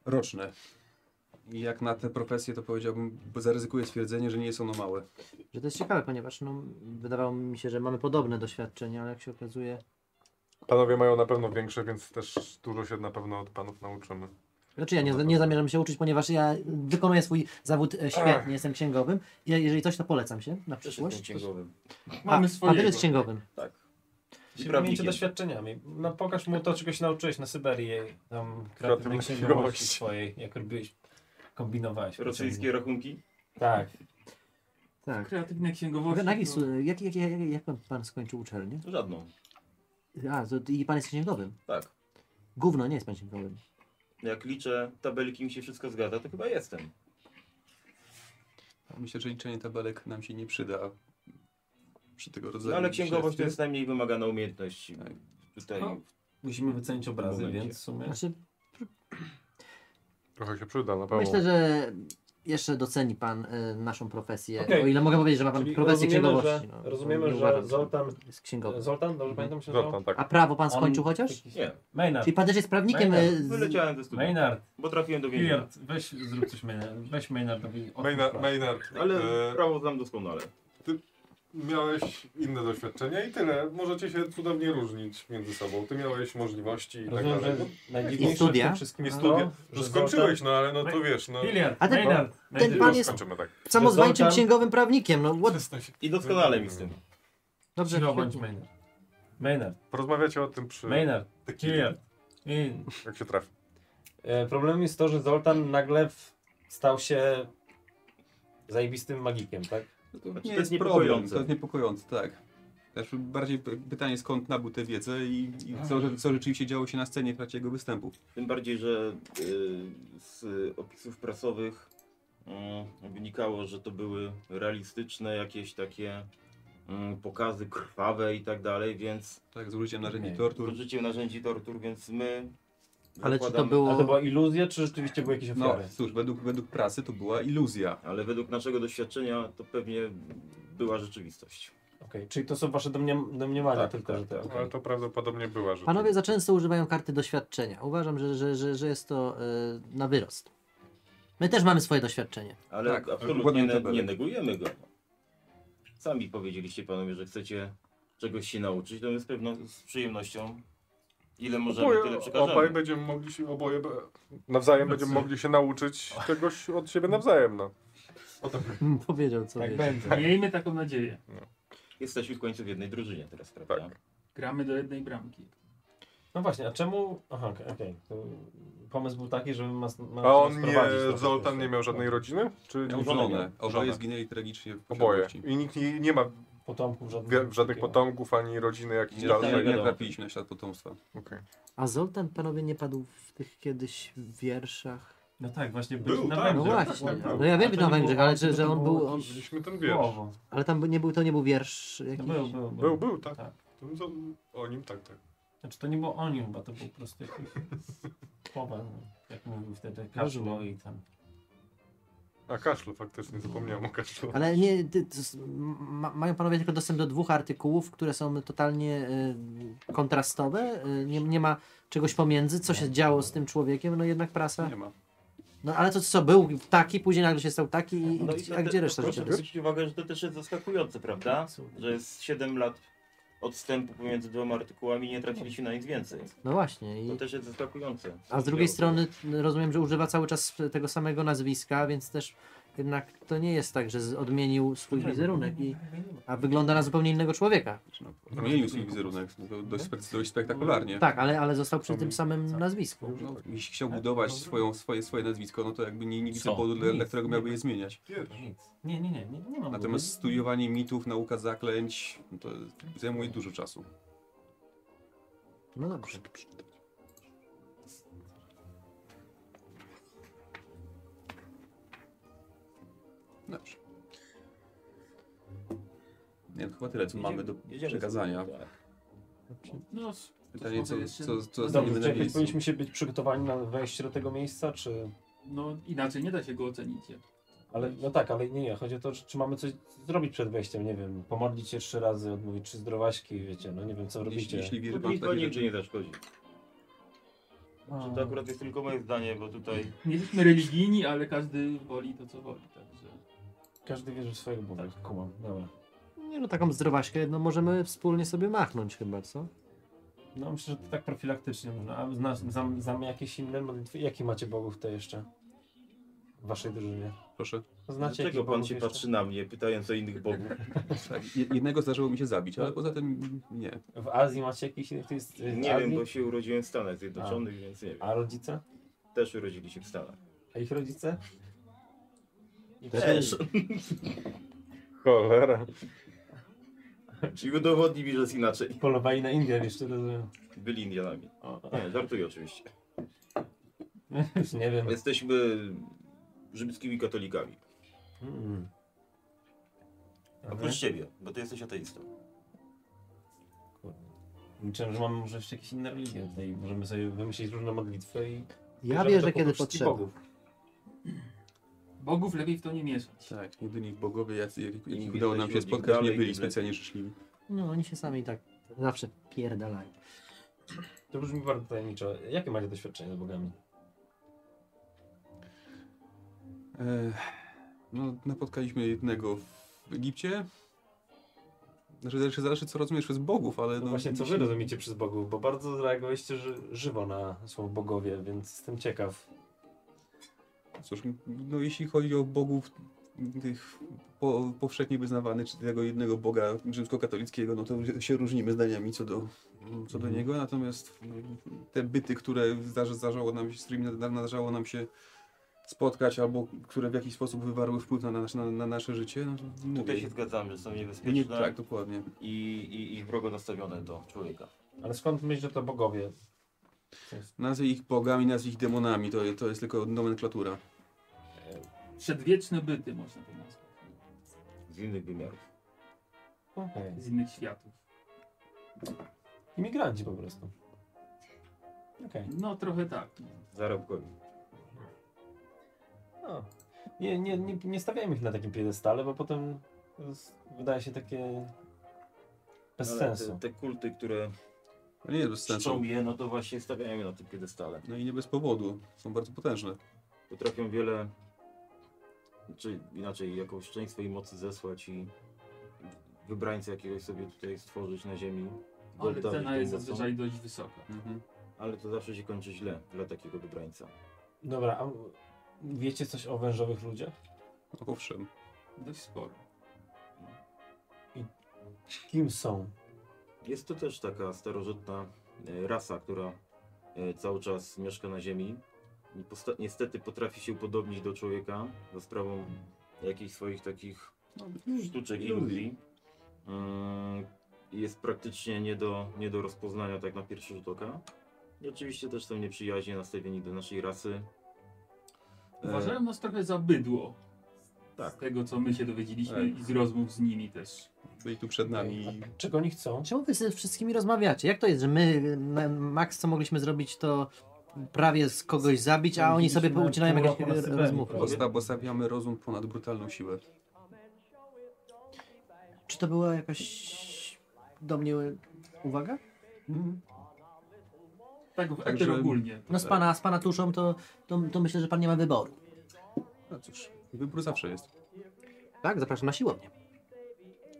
H: roczne. I jak na te profesje, to powiedziałbym, bo zaryzykuję stwierdzenie, że nie są ono małe.
D: Że to jest ciekawe, ponieważ no, wydawało mi się, że mamy podobne doświadczenia, ale jak się okazuje.
B: Panowie mają na pewno większe, więc też dużo się na pewno od panów nauczymy.
D: Znaczy ja nie, nie zamierzam się uczyć, ponieważ ja wykonuję swój zawód e, świetnie, jestem księgowym. I jeżeli coś, to polecam się na
G: też jestem
D: przyszłość.
G: księgowym.
F: Mamy
D: a, a
F: swojego.
D: ty jest księgowym.
G: Tak. I
E: Się wymienicie
G: prawnikiem.
E: doświadczeniami. No pokaż mu to, czego się nauczyłeś na Syberii, jej tam kreatywnej
B: Kreatywności.
E: księgowości swojej, jak robiłeś, kombinowałeś.
G: Rosyjskie rachunki?
E: Tak.
D: Tak.
F: Kreatywne księgowości. no.
D: Na jakiej,
F: to-
D: su- jak, jak, jak, jak pan- pan skończył uczelnię?
G: Żadną.
D: A, to, i pan jest księgowym.
G: Tak.
D: Gówno, nie jest pan księgowym.
G: Jak liczę tabelki, mi się wszystko zgadza, to chyba jestem.
H: Myślę, że liczenie tabelek nam się nie przyda przy tego rodzaju.
G: No ale księgowość to
H: śledztwie.
G: jest najmniej wymagana umiejętność.
H: Tak.
G: Tutaj
E: No. Musimy wycenić obrazy,
G: Momencie.
E: więc w sumie...
D: Znaczy,
B: Trochę się przyda, na pewno.
D: myślę, że jeszcze doceni pan e, naszą profesję.
E: Okej.
D: O ile mogę powiedzieć, że ma pan
E: Czyli
D: profesję
E: rozumiemy,
D: księgowości.
E: że-
D: no.
E: rozumiemy,
D: Nie
E: że
D: uważam,
E: Zoltan-
D: Jest księgowym.
E: Zoltan,
D: Mhm.
E: dobrze pamiętam się
B: Zoltan, tak.
D: A prawo pan
E: On- Tak.
D: skończył chociaż?
G: Nie,
E: Maynard.
D: Czyli pan też jest prawnikiem. e, z-
G: wyleciałem ze studiów,
E: Maynard.
G: bo trafiłem do więzienia.
E: Hilliard, weź zrób coś Maynard. Weź Maynardowi. odpuść
B: Maynard,
E: pracę.
B: Maynard
G: Ale
B: e,
G: prawo znam doskonale.
B: miałeś inne doświadczenia i tyle. Możecie się cudownie różnić między sobą. Ty miałeś możliwości i tak
E: Rozumiem,
B: dalej.
E: że najdziwniejsze
D: I studia.
E: w tym wszystkim
B: Nie
E: jest
B: studia.
E: to,
B: No, skończyłeś, no ale no to wiesz, no.
E: Hilliard,
D: A ten-
E: Maynard.
D: ten
B: No,
D: pan jest
B: skończymy tak.
D: samozwańczym
E: Zoltan-
D: księgowym prawnikiem. No, what?
G: I doskonale mi z tym.
D: Dobrze,
E: Cicho bądź
D: świetnie.
E: Maynard. Maynard,
B: Porozmawiacie o tym przy
E: Maynard,
B: tequili,
E: Hilliard. In.
B: jak się trafi.
E: E, Problemem jest to, że Zoltan nagle w- stał się zajebistym magikiem, tak?
H: No to,
G: Znaczy,
H: nie
G: to jest
H: jest problem.
G: niepokojące.
H: To jest niepokojące, tak. Znaczy, bardziej p- pytanie, skąd nabył tę wiedzę i, i co, że- co rzeczywiście działo się na scenie w trakcie jego występu.
G: Tym bardziej, że y, z y, opisów prasowych y, wynikało, że to były realistyczne jakieś takie y, pokazy krwawe i tak dalej, więc
H: Tak, z użyciem narzędzi
E: Okej.
H: tortur.
G: z użyciem narzędzi tortur, więc my
D: Ale czy to
G: zakładam-
D: było.
E: A to była iluzja, czy rzeczywiście były jakieś
H: No
E: ofiary?
H: cóż, według, według prasy to była iluzja.
G: Ale według naszego doświadczenia to pewnie była rzeczywistość.
E: Okej, Czyli to są wasze domniam domniemania
H: Tak,
E: tylko, że te... okej.
B: Ale to prawdopodobnie była rzecz.
D: Panowie za często używają karty doświadczenia. Uważam, że, że, że, że jest to e, na wyrost. My też mamy swoje doświadczenie.
G: Ale
H: Tak,
G: absolutnie
H: ładnie
G: ne,
H: tabelek.
G: nie negujemy go. Sami powiedzieliście panowie, że chcecie czegoś się nauczyć, to my z pewnością, z przyjemnością, ile możemy, tyle
B: obaj
G: przekażemy.
B: będziemy mogli się, oboje be- nawzajem będziemy mogli się nauczyć czegoś od siebie nawzajem, no.
D: Powiedział co
E: Tak
D: wie.
E: będzie.
F: Miejmy taką nadzieję.
G: Jesteśmy w końcu w jednej drużynie teraz, prawda?
B: Tak.
F: Gramy do jednej bramki.
E: No właśnie, a czemu... Aha, okej. okej. To Pomysł był taki, żeby mas... ma
B: A on nie,
E: sprowadzić trochę no. tak?
B: Zoltan
E: jeszcze.
B: nie miał żadnej rodziny? Czy
H: Miał
G: żonę
H: żonę.
G: miał.
H: Oboje
B: Żonę.
H: zginęli tragicznie w
B: Oboje.
H: posiadłości.
B: I nikt nie, nie ma
E: potomków żadnych.
B: Wi- żadnych potomków ani rodziny jakichś
G: Nie
B: dalej.
H: Nie,
G: wiadomo.
H: nie trafiliśmy na ślad potomstwa.
B: Okej.
D: A Zoltan panowie nie padł w tych kiedyś wierszach.
E: No tak, właśnie
I: Był,
E: był na
I: tak,
D: No
E: Węgrzech.
D: właśnie.
I: tak, tak.
D: No ja wiem,
E: Ale
D: że
E: to
D: na
E: nie
D: Węgrzech,
E: było-
D: ale czy,
E: to
D: że on
E: było
D: był. On,
E: jakieś-
B: Widzieliśmy ten wiersz.
E: Słowo.
D: ale tam by- nie był, to nie był wiersz
E: No
D: jakiś.
E: był, był,
B: Był,
E: był.
B: był, tak.
E: Tak.
B: To był za- O nim, tak, tak.
E: Znaczy to nie było o nim chyba, to był po prostu jakiś słowa, no, jak mówił wtedy Kaszlo i tam.
B: A kaszlu, faktycznie, zapomniałem o kaszlu.
D: Ale nie, ty, to s- ma, mają panowie tylko dostęp do dwóch artykułów, które są totalnie y, kontrastowe. Y, nie, nie ma czegoś pomiędzy, co się działo z tym człowiekiem, no jednak prasa.
H: Nie ma.
D: No ale to co, był taki, później nagle się stał taki, i,
G: No i
D: gdzie-
G: to
D: a
G: te-
D: gdzie
G: to
D: reszta
G: Proszę
D: życia?
G: zwrócić uwagę, że to też jest zaskakujące, prawda? Że jest 7 lat odstępu pomiędzy dwoma artykułami i nie traciliśmy na nic więcej.
D: No właśnie.
G: To
D: I,
G: też jest zaskakujące.
D: a z drugiej strony rozumiem, że używa cały czas tego samego nazwiska, więc też jednak to nie jest tak, że z- odmienił swój wizerunek, i, a wygląda na zupełnie innego człowieka.
H: Znaczy, no, Zmienił swój wizerunek. To dość, spek- dość spektakularnie.
D: Tak, ale, ale został przy tym
I: tak.
D: samym nazwisku.
H: No, jeśli chciał budować swoją, swoje, swoje nazwisko, no to jakby nie, nie widzę
A: Co?
H: powodu, dla, dla
E: Nic,
H: którego
E: nie
H: miałby
E: ma.
H: je zmieniać.
E: No Nic. Nie, nie, nie, nie, nie mam
H: Natomiast studiowanie mitów, nauka zaklęć, no to zajmuje dużo czasu.
D: No dobrze.
H: Dobrze. Nie, to chyba tyle, co mamy do
G: Jedziemy
H: przekazania.
G: sobie, tak.
F: No, s-
H: Pytanie,
F: może
H: co,
F: jeszcze-
H: co, co
E: No Dobrze,
H: zrobimy na
E: czekaj,
H: miejscu.
E: powinniśmy się być przygotowani na wejście do tego miejsca, czy...
F: No inaczej nie da się go ocenić. jak-
E: Ale, no tak, ale nie, nie, chodzi o to, czy, czy mamy coś zrobić przed wejściem, nie wiem, pomodlić się trzy razy, odmówić trzy zdrowaśki, wiecie, no nie wiem, co robicie.
H: Jeśli, jeśli wierzy pan w
G: Nikogo
H: takie
G: nigdy
H: rzeczy.
G: nie zaszkodzi.
E: A,
G: Że To akurat jest tylko moje zdanie, bo tutaj
F: Nie jesteśmy religijni, ale każdy woli to, co woli. Także
E: Każdy wierzy w swojego Boga, Tak, kumam, dobra.
D: Nie no, taką zdrowaśkę jedną możemy wspólnie sobie machnąć chyba, co?
E: No myślę, że to tak profilaktycznie można. A zna, znam, znamy jakieś inne modlitwy? Jakie macie bogów to jeszcze? W waszej drużynie.
H: Proszę.
E: Znacie
G: dlaczego
E: jakich
G: pan
E: bogów
G: się
E: jeszcze?
G: patrzy na mnie, pytając o innych bogów?
H: Tak, je- jednego zdarzyło mi się zabić, ale poza tym nie.
E: W Azji macie jakiś... To jest, w
G: Nie
E: Azji?
G: wiem, bo się urodziłem w Stanach Zjednoczonych, więc nie wiem.
E: A rodzice?
G: Też urodzili się w Stanach.
E: A ich rodzice? I
G: Też.
B: Cholera.
G: Czyli udowodni mi, że jest inaczej.
E: Polowali na Indian jeszcze, rozumiem.
G: Byli Indianami.
E: O,
G: Nie, żartuję oczywiście.
E: już nie wiem.
G: Jesteśmy rzymskimi katolikami.
E: Mm.
G: Oprócz ciebie, bo ty jesteś ateistą.
E: Liczę, że mamy może jeszcze jakieś inne religie tutaj. Możemy sobie wymyślić różne modlitwy i...
D: Ja
E: żeby
D: wierzę,
E: to
D: kiedy
E: podróż i
D: potrzeba.
E: bogów.
F: bogów lepiej w to nie mieszać.
H: Tak, jedyni bogowie, jacy- jakich
G: Nie
H: udało nam się
G: widać ludzi
H: spotkać, nie
G: dalej,
H: byli
G: nie
H: specjalnie życzliwi.
D: No, oni się sami tak zawsze pierdalają.
E: To brzmi bardzo tajemniczo. Jakie macie doświadczenie z bogami?
H: E, No, napotkaliśmy jednego w Egipcie. Znaczy, zależy, zależy co rozumiesz przez bogów, ale
E: No,
H: no...
E: właśnie, co wy
H: jeśli-
E: rozumiecie przez bogów? Bo bardzo zareagowaliście ży żywo na słowo bogowie, więc jestem ciekaw.
H: Cóż, no jeśli chodzi o bogów tych po, powszechnie wyznawanych, czy tego jednego boga rzymskokatolickiego, no to się różnimy zdaniami co do, co
G: Mhm.
H: do niego, natomiast mm, te byty, które zdarzy, zdarzało nam się, z którymi nadar- nadarzy nam się spotkać, albo które w jakiś sposób wywarły wpływ na, nasz, na, na nasze życie, no to
G: Tutaj się
H: mówię.
G: zgadzam, że są
H: Nie,
G: niebezpieczne
H: tak, dokładnie.
G: i, i, i wrogo nastawione do człowieka.
E: Ale skąd myśl, że to bogowie?
H: Nazwij ich bogami, nazwij ich demonami, to, to jest tylko nomenklatura.
F: Przedwieczne byty można to nazwać.
G: Z innych wymiarów.
E: Okej.
F: Z innych światów.
E: Imigranci po prostu. Okej.
F: No trochę tak.
G: Zarobkowi.
E: No. Nie, nie, nie, nie stawiajmy ich na takim piedestale, bo potem to jest- wydaje się takie bez
G: No Ale
E: sensu.
G: Te, te kulty, które
H: To nie jest bez
G: czczą
H: sensu.
G: je, no to właśnie stawiają je na tym piedestale.
H: No i nie bez powodu, są bardzo potężne.
G: Potrafią wiele, czy inaczej, jakąś część swojej mocy zesłać i wybrańca jakiegoś sobie tutaj stworzyć na ziemi.
F: Ale
G: Goddawić
F: cena
G: tą
F: jest
G: mocą.
F: zazwyczaj dość wysoka.
H: Mhm.
G: Ale to zawsze się kończy źle dla takiego wybrańca.
E: Dobra, a wiecie coś o wężowych ludziach?
H: No Owszem.
F: Dość sporo.
E: Kim są?
G: Jest to też taka starożytna e, rasa, która e, cały czas mieszka na Ziemi. I posta- niestety potrafi się upodobnić do
H: No,
G: człowieka za sprawą jakichś swoich takich sztuczek i
H: Iluzji.
G: iluzji. Mm, Jest praktycznie nie do, nie do rozpoznania tak na pierwszy rzut oka. I oczywiście też są nieprzyjaźnie nastawieni do naszej rasy. E,
F: Uważają nas trochę za bydło.
G: Tak.
F: Z tego, co my się dowiedzieliśmy
G: Tak.
F: i z rozmów z nimi też.
H: Byli tu przed nami.
E: Czego oni chcą?
D: Czemu wy ze wszystkimi rozmawiacie? Jak to jest, że my, na- max co mogliśmy zrobić, to prawie z kogoś zabić, a oni sobie
I: Widzieliśmy
D: ucinają
I: pół
D: jakieś
I: roku na
D: r-
I: Syberii,
D: rozmówki?
I: prawda?
H: Posta- Postawiamy rozum ponad brutalną siłę.
D: Czy to była jakaś do mnie uwaga?
F: Tak, w
H: Także-
F: Także... ogólnie.
D: No
G: tak.
D: z pana, z pana tuszą to, to, to myślę, że pan nie ma wyboru.
H: No cóż, wybór zawsze jest.
D: Tak, zapraszam na siłownię.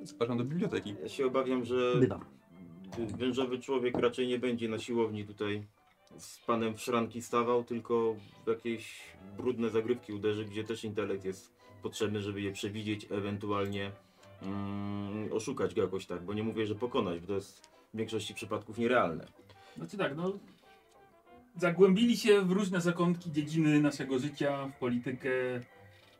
H: Zapraszam do biblioteki.
G: Ja się obawiam, że
D: Bywam.
G: wężowy człowiek raczej nie będzie na siłowni tutaj z panem w szranki stawał, tylko w jakieś brudne zagrywki uderzy, gdzie też intelekt jest potrzebny, żeby je przewidzieć, ewentualnie mm, oszukać go jakoś tak, bo nie mówię, że pokonać, bo to jest w większości przypadków nierealne.
F: Znaczy tak, no. Zagłębili się w różne zakątki, dziedziny naszego życia, w politykę,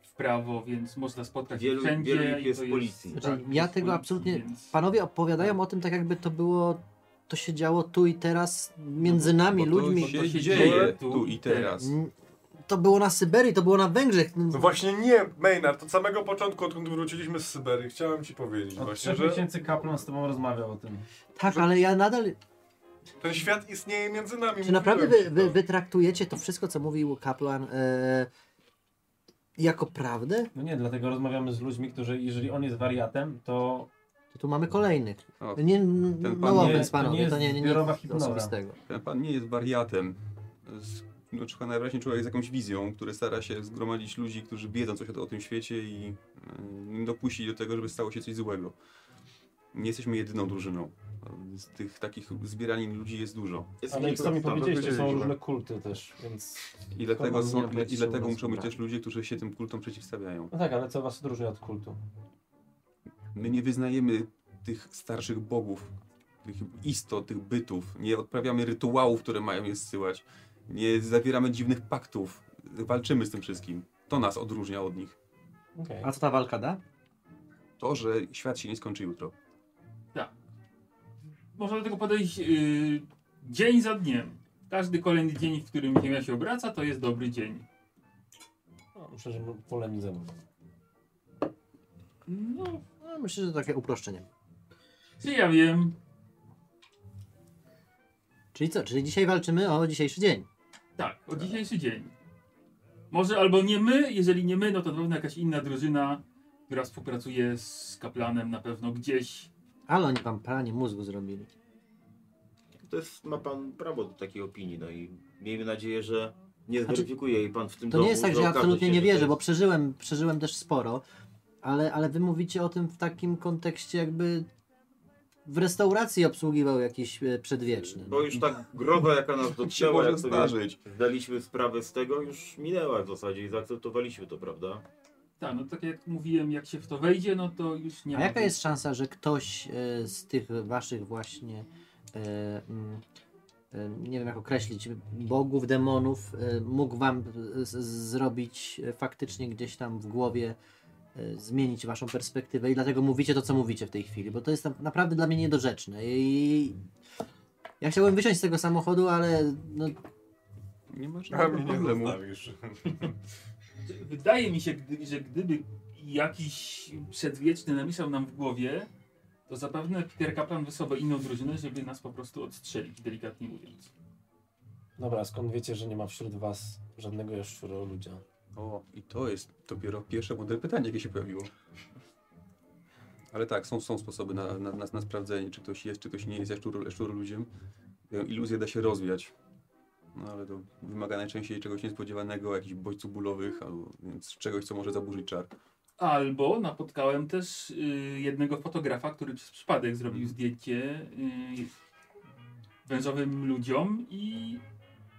F: w prawo, więc można spotkać
G: Wielu-
F: wszędzie.
G: wielu ich
F: i
G: jest
F: to
G: w policji.
D: Znaczy,
F: tak,
D: ja
F: jest w
D: tego absolutnie-
F: Więc...
D: Panowie opowiadają o tym tak, jakby to było, to się działo tu i teraz między
H: No Bo
D: nami,
H: to
D: ludźmi.
H: się dzieje tu i teraz.
D: Mm, To było na Syberii, to było na Węgrzech.
B: No właśnie nie, Maynard, od samego początku, odkąd wróciliśmy z Syberii, chciałem ci powiedzieć
I: Od
B: właśnie,
I: trzech
B: że
I: miesięcy kaplan z tobą rozmawiał o tym.
D: Tak, ale ja nadal
B: ten świat istnieje między nami.
D: Czy naprawdę wy,
B: mówiłem ci
D: wy,
B: to.
D: wy traktujecie to wszystko, co mówił kaplan, e, jako prawdę?
E: No nie, dlatego rozmawiamy z ludźmi, którzy, jeżeli on jest wariatem, to
D: To tu mamy kolejnych.
H: O,
D: Nie,
H: pan
D: no
H: nie-
D: offense
E: to nie
D: panowie,
E: jest
D: to nie, nie,
E: zbiorowa
D: nie
E: hipnoza.
D: osobistego.
H: Ten pan nie jest wariatem. Z- No, czy najwyraźniej człowiek z jakąś wizją, który stara się zgromadzić ludzi, którzy wiedzą coś o, o tym świecie i y, nie dopuścić do tego, żeby stało się coś złego. Nie jesteśmy jedyną drużyną. Z tych takich zbieranin ludzi jest dużo.
G: Jest
E: ale jak
G: kilka
E: sami
G: podstaw.
E: powiedzieliście, są
B: powiedzieliśmy.
E: różne kulty też, więc...
H: I dlatego,
E: Skąd
H: są,
E: mam wiedzieć,
H: i dlatego
E: co
H: muszą być
E: brać?
H: też ludzie, którzy się tym kultom przeciwstawiają.
E: No tak, ale co was odróżnia od kultu?
H: My nie wyznajemy tych starszych bogów, tych istot, tych bytów. Nie odprawiamy rytuałów, które mają je zsyłać. Nie zawieramy dziwnych paktów. Walczymy z tym wszystkim. To nas odróżnia od nich.
E: Okej.
D: A co ta walka da?
H: to, że świat się nie skończy jutro.
F: Można do tego podejść y, dzień za dniem. Każdy kolejny dzień, w którym Ziemia się obraca, to jest dobry dzień.
E: No, Myślę, że polemizował.
F: No,
D: No, myślę, że takie uproszczenie.
F: czy ja wiem.
D: Czyli co? Czyli dzisiaj walczymy o dzisiejszy dzień.
F: Tak, o dzisiejszy dzień. Może albo nie my, jeżeli nie my, no to na pewno jakaś inna drużyna, która współpracuje z kaplanem na pewno gdzieś.
D: Ale oni wam pranie mózgu zrobili.
G: To jest, ma pan prawo do takiej opinii, no i miejmy nadzieję, że nie
D: Znaczy,
G: zweryfikuje jej pan w tym
D: To
G: domu,
D: nie jest tak, że
G: okaże
D: ja absolutnie
G: się,
D: nie
G: że to
D: wierzę, bo
G: jest-
D: przeżyłem, przeżyłem też sporo, ale, ale wy mówicie o tym w takim kontekście jakby w restauracji obsługiwał jakiś e, przedwieczny.
G: Bo już tak growa, jaka nas
H: Się
G: dotknęła,
H: może
G: jak sobie
H: zdarzyć.
G: zdaliśmy sprawę z tego, już minęła w zasadzie i zaakceptowaliśmy to, prawda?
F: Tak, no tak jak mówiłem, jak się w to wejdzie, no to już nie
D: A
F: ma.
D: jaka jest szansa, że ktoś e, z tych waszych właśnie, e, mm, e, nie wiem jak określić, bogów, demonów, e, mógł wam z, z, zrobić e, faktycznie gdzieś tam w głowie, e, zmienić waszą perspektywę i dlatego mówicie to, co mówicie w tej chwili, bo to jest tam naprawdę dla mnie niedorzeczne i ja chciałbym wysiąść z tego samochodu, ale no,
H: Nie ma
B: A mnie
H: żadnego
B: nie
H: problemu.
B: zostawisz.
F: Wydaje mi się, gdy, że gdyby jakiś przedwieczny namieszał nam w głowie, to zapewne Peter Kaplan wysłałby inną drużynę, żeby nas po prostu odstrzelić, delikatnie mówiąc.
E: Dobra, skąd wiecie, że nie ma wśród was żadnego jaszczuro ludzia?
H: O, i to jest dopiero pierwsze mądre pytanie, jakie się pojawiło. Ale tak, są, są sposoby na, na, na, na sprawdzenie, czy ktoś jest, czy ktoś nie jest jaszczur, jaszczur ludziem. Tę Iluzję da się rozwiać. No ale to wymaga najczęściej czegoś niespodziewanego, jakichś bodźców bólowych, albo więc czegoś, co może zaburzyć czar.
F: Albo napotkałem też y, jednego fotografa, który przez przypadek zrobił zdjęcie y, wężowym ludziom i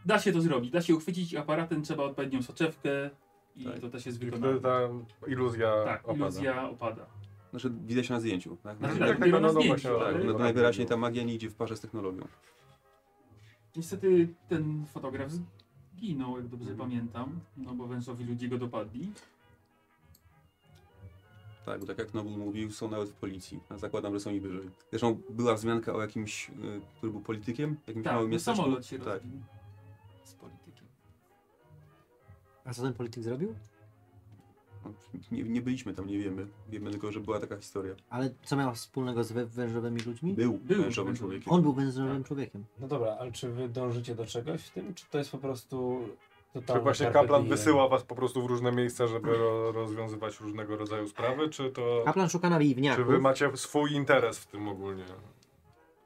F: da się to zrobić. Da się uchwycić aparatem, trzeba odpowiednią soczewkę i
H: Tak.
F: to też jest
B: I
F: wykonane.
B: wtedy ta iluzja
F: Tak,
B: opada.
F: iluzja opada.
H: Znaczy, widać na zdjęciu, tak?
F: Znaczy,
B: tak,
F: tak,
B: tak,
F: dopiero
B: no,
F: na
B: no,
F: zdjęciu,
B: właśnie,
F: ale
H: tak,
B: ale-
H: no, najwyraźniej ta magia nie idzie w parze z technologią.
F: niestety ten fotograf zginął, jak dobrze pamiętam, no bo wężowi ludzie go dopadli.
H: Tak, bo tak jak Nobul mówił, są nawet w policji. A zakładam, że są i wyżej. Zresztą była wzmianka o jakimś, y, który był politykiem, jakimś
F: Tak,
H: małym
F: no
H: miasteczku.
F: samolot się
H: tak.
F: rozbił. Z politykiem.
D: A co ten polityk zrobił?
H: Nie, nie byliśmy tam, nie wiemy. Wiemy tylko, że była taka historia.
D: Ale co miał wspólnego z wę- wężowymi ludźmi?
H: Był,
F: Był
H: mężowym
F: mężem.
H: człowiekiem.
D: On był wężowym
B: Tak.
D: człowiekiem.
E: No dobra, ale czy wy dążycie do czegoś w tym, czy to jest po prostu totalny
B: Czy właśnie
E: carpe
B: kaplan
E: diem?
B: wysyła was po prostu w różne miejsca, żeby ro rozwiązywać różnego rodzaju sprawy, czy to...
D: Kaplan szuka na
B: Czy
D: wiwniaków.
B: wy macie swój interes w tym ogólnie?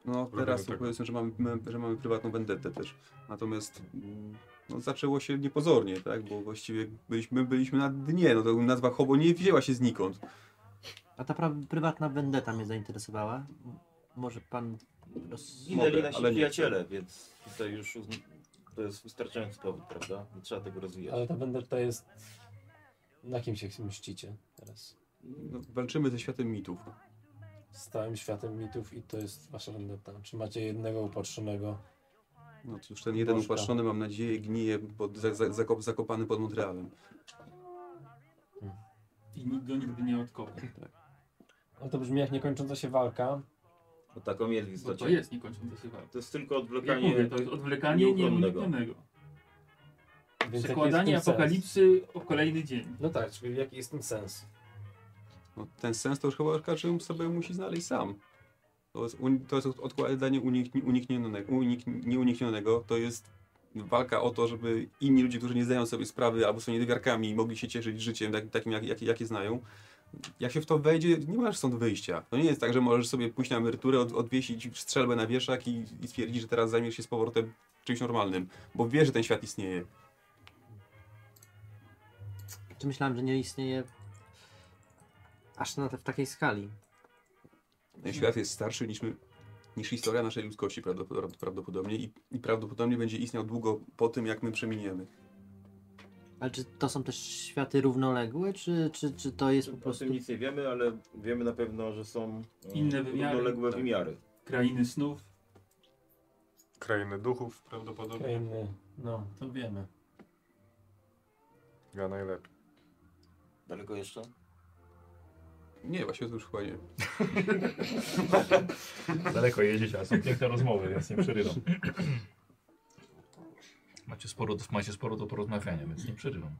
H: No
B: Robimy
H: teraz to
B: tak.
H: powiedzmy, że mamy, my- że mamy prywatną vendetę też. Natomiast mm, no, zaczęło się niepozornie, tak? Bo właściwie byliśmy, byliśmy na dnie, no to nazwa Hobo nie wzięła się znikąd.
D: A ta pra- prywatna vendetta mnie zainteresowała. M- Może pan... Roz...
H: Mogę,
G: Ginęli nasi
H: ale nie.
G: przyjaciele, więc tutaj już uzn- to jest wystarczający powód, prawda? Nie trzeba tego rozwijać.
E: Ale ta vendetta jest... Na kim się mścicie teraz?
H: No, walczymy ze światem mitów.
E: Z całym światem mitów i to jest wasza vendetta. Czy macie jednego upatrzonego?
H: No cóż, ten jeden
E: Bożka.
H: upatrzony mam nadzieję gnije pod, za, za, zakop, zakopany pod Montrealem.
F: I nikt go nigdy nie odkopał.
E: No to brzmi jak niekończąca się walka.
G: Bo taką jest w
F: Bo No to
G: istocie.
F: jest niekończąca się walka.
G: To jest tylko
F: Jak
G: odwlekanie.
F: mówię, to jest odwlekanie
G: nieuchronnego.
F: nieuniknionego.
E: Więc jaki
F: Przekładanie
E: jest w tym
F: apokalipsy o kolejny dzień.
E: Sens? No tak, czyli jaki jest ten sens?
H: No, ten sens to już chyba każdy sobie musi znaleźć sam. To jest, un, to jest od- odkładanie unikni- uniknionego, unik, nieuniknionego, to jest walka o to, żeby inni ludzie, którzy nie zdają sobie sprawy albo są niedowiarkami, mogli się cieszyć życiem tak, takim, jak, jak, jakie znają. Jak się w to wejdzie, nie masz stąd wyjścia. To nie jest tak, że możesz sobie pójść na emeryturę, od, odwiesić strzelbę na wieszak i, i stwierdzić, że teraz zajmiesz się z powrotem czymś normalnym, bo wiesz, że ten świat istnieje.
D: Czy myślałem, że nie istnieje aż na te, w takiej skali?
H: Ten świat jest starszy niż, my, niż historia naszej ludzkości prawdopod- prawdopodobnie i, i prawdopodobnie będzie istniał długo po tym, jak my przeminiemy.
D: Ale czy to są też światy równoległe, czy, czy, czy to jest po
G: O
D: prostu...
G: tym nic nie wiemy, ale wiemy na pewno, że są e,
F: Inne wymiary.
G: równoległe
H: Tak.
G: wymiary.
F: Krainy snów.
B: Krainy duchów prawdopodobnie?
E: Krainy. No, to wiemy.
B: Ja najlepiej.
G: Daleko jeszcze?
H: Nie, właśnie to już chyba nie.
A: Daleko jedziecie, a są piękne rozmowy, więc nie przerywam. Macie sporo, do- macie sporo do porozmawiania, więc nie przerywam.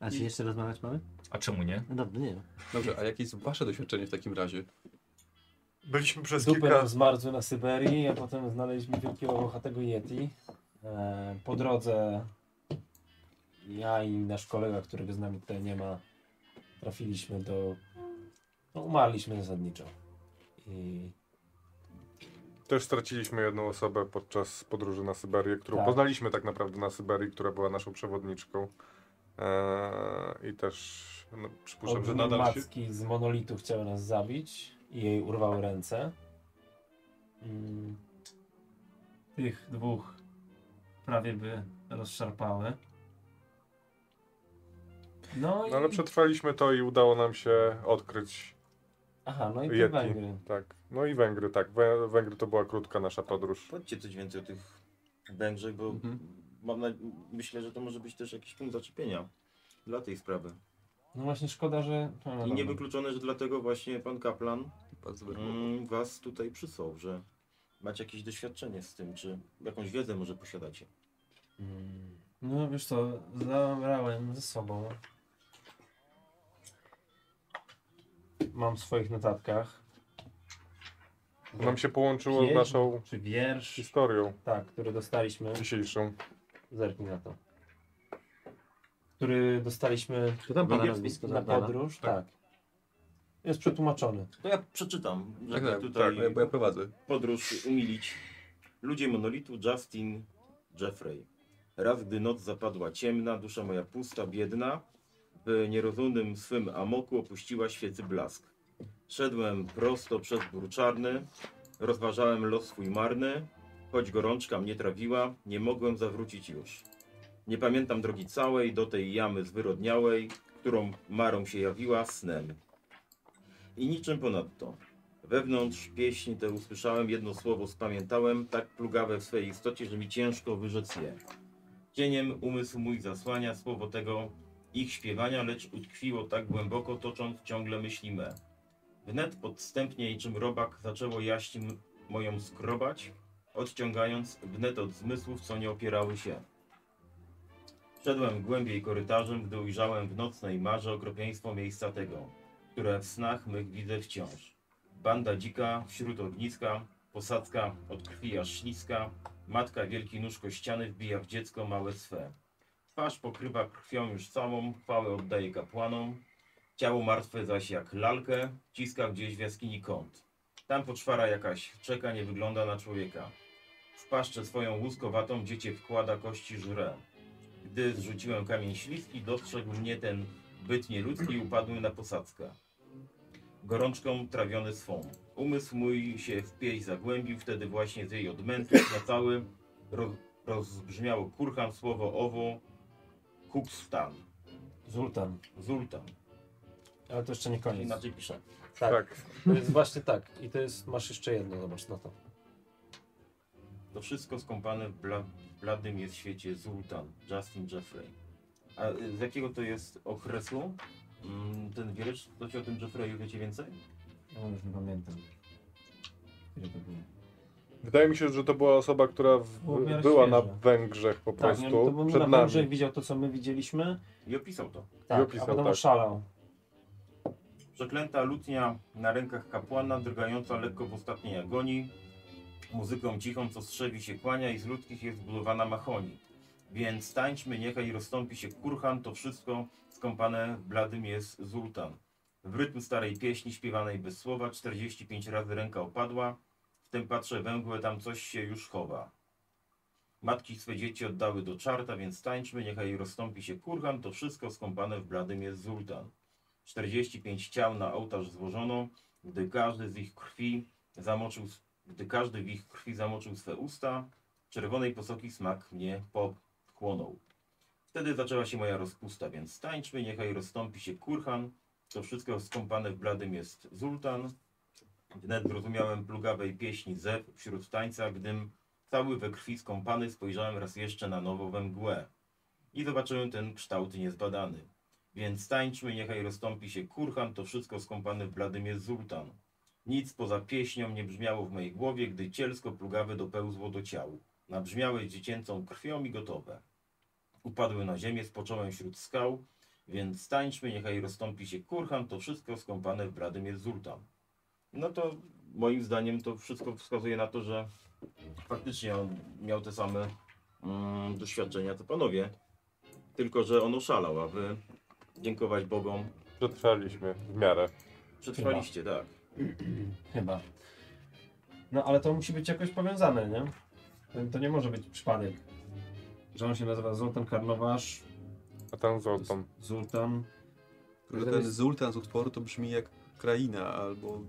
D: A czy jeszcze rozmawiać mamy?
A: A czemu nie?
D: No dobrze, nie wiem.
H: Dobrze, a jakie jest wasze doświadczenie w takim razie?
B: Byliśmy przez
E: Dupę
B: kilka...
E: nam zmarzły na Syberii, a potem znaleźliśmy wielkiego włochatego Yeti. E, po drodze ja i nasz kolega, którego z nami tutaj nie ma, trafiliśmy do... No, umarliśmy zasadniczo. I
B: Też straciliśmy jedną osobę podczas podróży na Syberię, którą
E: Tak.
B: poznaliśmy tak naprawdę na Syberii, która była naszą przewodniczką. Eee, I też no, przypuszczam, że
E: olbrzymie
B: nadal się...
E: macki z monolitu chciały nas zabić i jej urwały ręce. Mm,
J: Tych dwóch prawie by rozszarpały.
E: No i...
B: No ale przetrwaliśmy to i udało nam się odkryć
E: Aha, no i te
B: Yeti.
E: Węgry.
B: Tak. No i Węgry, tak. Wę- Węgry to była krótka nasza podróż.
G: Powiedzcie coś więcej o tych Węgrzech, bo
H: Mhm.
G: mam na... myślę, że to może być też jakiś punkt zaczepienia dla tej sprawy.
E: No właśnie szkoda, że... No, no
G: I
E: dobra.
G: niewykluczone, że dlatego właśnie pan kaplan
H: Bardzo dobre słowo.
G: mm, was tutaj przysłał, że macie jakieś doświadczenie z tym, czy jakąś wiedzę może posiadacie.
E: Mm. No wiesz co, zabrałem ze sobą. Mam w swoich notatkach.
B: Nam się połączyło z
E: Pieśń
B: naszą
E: Czy wiersz,
B: historią
E: tak, który dostaliśmy.
B: dzisiejszą.
E: Zerknij na to. Który dostaliśmy
D: To tam pada
E: na-
D: nazwisko
E: na
D: Zardana.
E: podróż. Tak. Jest przetłumaczony.
G: To ja przeczytam, żeby
H: Tak, tak,
G: tutaj
H: tak, bo ja, bo ja prowadzę.
G: podróż umilić. Ludzie monolitu Justin Jeffrey. Raz gdy noc zapadła ciemna, dusza moja pusta, biedna, w nierozumnym swym amoku opuściła świecy blask. Szedłem prosto przez bór czarny, rozważałem los swój marny, choć gorączka mnie trawiła, nie mogłem zawrócić już. Nie pamiętam drogi całej do tej jamy zwyrodniałej, którą marą się jawiła snem. I niczym ponadto. Wewnątrz pieśni te usłyszałem, jedno słowo spamiętałem, tak plugawe w swej istocie, że mi ciężko wyrzec je. Cieniem umysł mój zasłania słowo tego ich śpiewania, lecz utkwiło tak głęboko, tocząc ciągle myśli me. Wnet podstępnie, czym robak zaczęło jaść m- moją skrobać, odciągając wnet od zmysłów, co nie opierały się. Szedłem głębiej korytarzem, gdy ujrzałem w nocnej marze okropieństwo miejsca tego, które w snach mych widzę wciąż. Banda dzika, wśród ogniska, posadzka od krwi aż śliska, matka wielki nóż kościany wbija w dziecko małe swe. Twarz pokrywa krwią już całą, chwałę oddaje kapłanom. Ciało martwe zaś jak lalkę, ciska gdzieś w jaskini kąt. Tam poczwara jakaś, czeka, nie wygląda na człowieka. W paszczę swoją łuskowatą dziecię wkłada kości żre. Gdy zrzuciłem kamień śliski, dostrzegł mnie ten byt nieludzki i upadłem na posadzkę. Gorączką trawiony swą. Umysł mój się w pieśń zagłębił, wtedy właśnie z jej odmętów na cały roz, rozbrzmiało kurhan słowo owo, Hukstan,
C: Zultan.
G: Zultan.
C: Ale to jeszcze nie koniec.
G: Inaczej pisze.
C: Tak.
B: Tak.
C: To jest właśnie tak. I to jest, masz jeszcze jedno, zobacz na to.
G: To wszystko skąpane w bla, bladym jest świecie Zultan, Justin Jeffrey. A y, z jakiego to jest okresu? Mm, Ten wiersz, to ci o tym Jeffreyu wiecie więcej?
C: Ja już nie pamiętam. Ile to było?
B: Wydaje mi się, że to była osoba, która w,
C: Było w miarę
B: była na
C: świeże.
B: Węgrzech po
C: Tak,
B: prostu,
C: nie, no to był
B: przed
C: na
B: nami.
C: Węgrzech widział to, co my widzieliśmy.
G: I opisał to.
C: Tak,
B: opisał,
C: a potem
B: tak.
C: oszalał.
G: Przeklęta lutnia na rękach kapłana, drgająca lekko w ostatniej agonii, muzyką cichą, co strzewi się kłania i z ludzkich jest zbudowana machoni. Więc tańczmy, niechaj rozstąpi się kurhan, to wszystko skąpane w bladym jest zultan. W rytm starej pieśni śpiewanej bez słowa, 45 razy ręka opadła, wtem patrzę węgłe, tam coś się już chowa. Matki swe dzieci oddały do czarta, więc tańczmy, niechaj rozstąpi się kurhan, to wszystko skąpane w bladym jest zultan. 45 ciał na ołtarz złożono, gdy każdy z ich krwi zamoczył, gdy każdy w ich krwi zamoczył swe usta, czerwonej posoki smak mnie popchłonął. Wtedy zaczęła się moja rozpusta, więc tańczmy, niechaj rozstąpi się kurhan, to wszystko skąpane w bladym jest zultan. Wnet zrozumiałem plugawej pieśni zew wśród tańca, gdym cały we krwi skąpany spojrzałem raz jeszcze na nowo we mgłę i zobaczyłem ten kształt niezbadany. Więc tańczmy, niechaj rozstąpi się kurhan, to wszystko skąpane w bladym jest zultan. Nic poza pieśnią nie brzmiało w mojej głowie, gdy cielsko plugawe dopełzło do ciał. Nabrzmiałe dziecięcą krwią i gotowe. Upadły na ziemię, spocząłem wśród skał, więc tańczmy, niechaj rozstąpi się kurhan, to wszystko skąpane w bladym jest zultan. No to moim zdaniem to wszystko wskazuje na to, że faktycznie on miał te same mm, doświadczenia co panowie, tylko że on oszalał, a wy dziękować Bogom.
B: Przetrwaliśmy w miarę.
G: Przetrwaliście, tak.
C: Chyba. No ale to musi być jakoś powiązane, nie? To- To nie może być przypadek. Że on się nazywa Zoltan Karnowasz,
B: A tam złotą.
C: Zultan.
H: Tylko Ten zultan z utworu to brzmi jak kraina albo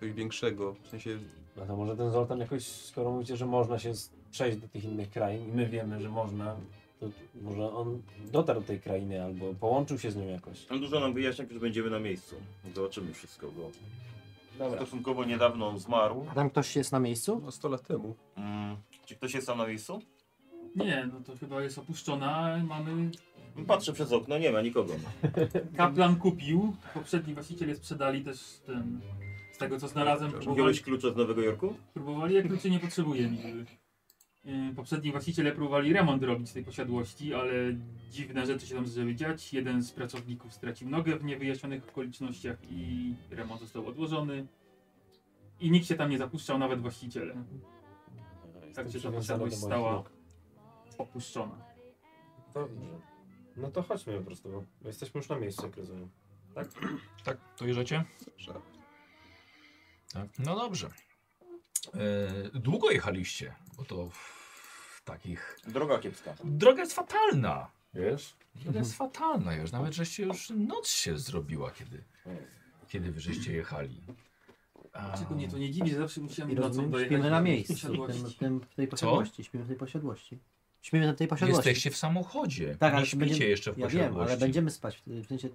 H: coś większego. W sensie
C: No to może ten Zoltan jakoś, skoro mówicie, że można się z- przejść do tych innych krain i my wiemy, że można, to t- może on dotarł do tej krainy albo połączył się z nią jakoś.
G: Tam dużo nam wyjaśnia, że będziemy na miejscu. Zobaczymy wszystko, bo
C: Dobra.
G: stosunkowo niedawno on zmarł.
D: A tam ktoś jest na miejscu?
H: no 100 lat temu.
G: Mm, czy ktoś jest tam na miejscu?
F: Nie, no to chyba jest opuszczona. Mamy.
G: Patrzę przez okno, nie ma nikogo.
F: Kaplan kupił. Poprzedni właściciele sprzedali też ten. Z tego co znalazłem, próbowali,
G: Wziąłeś klucze z Nowego Jorku?
F: próbowali, jak kluczy nie potrzebuje nigdy. Yy, Poprzedni właściciele próbowali remont robić tej posiadłości, ale dziwne rzeczy się tam zaczęły dziać. Jeden z pracowników stracił nogę w niewyjaśnionych okolicznościach i remont został odłożony. I nikt się tam nie zapuszczał, nawet właściciele. Tak czy ta posiadłość stała opuszczona.
C: Dobrze. No to chodźmy po prostu, bo jesteśmy już na miejscu, jak rozumiem.
A: Tak, to jeżdżecie?
H: Że-
A: Tak. No dobrze. E, długo jechaliście, bo to w, w takich...
G: Droga kiepska.
A: Droga jest fatalna.
B: Wiesz?
A: Droga jest fatalna już. Nawet żeście już noc się zrobiła, kiedy, kiedy wy żeście jechali. A,
F: Dlaczego mnie to nie dziwi, że zawsze
D: I
F: musiałem nocą
D: rozumiem,
F: dojechać
D: śpimy
F: do
D: na miejscu, w,
F: posiadłości.
D: tym, w, tym, w tej posiadłości. Śpimy w tej posiadłości. Śpimy w tej posiadłości.
A: jesteście w samochodzie.
D: Tak, ale
A: nie śpicie
D: będziemy-
A: jeszcze w
D: ja
A: posiadłości.
D: wiem, ale będziemy spać. W sensie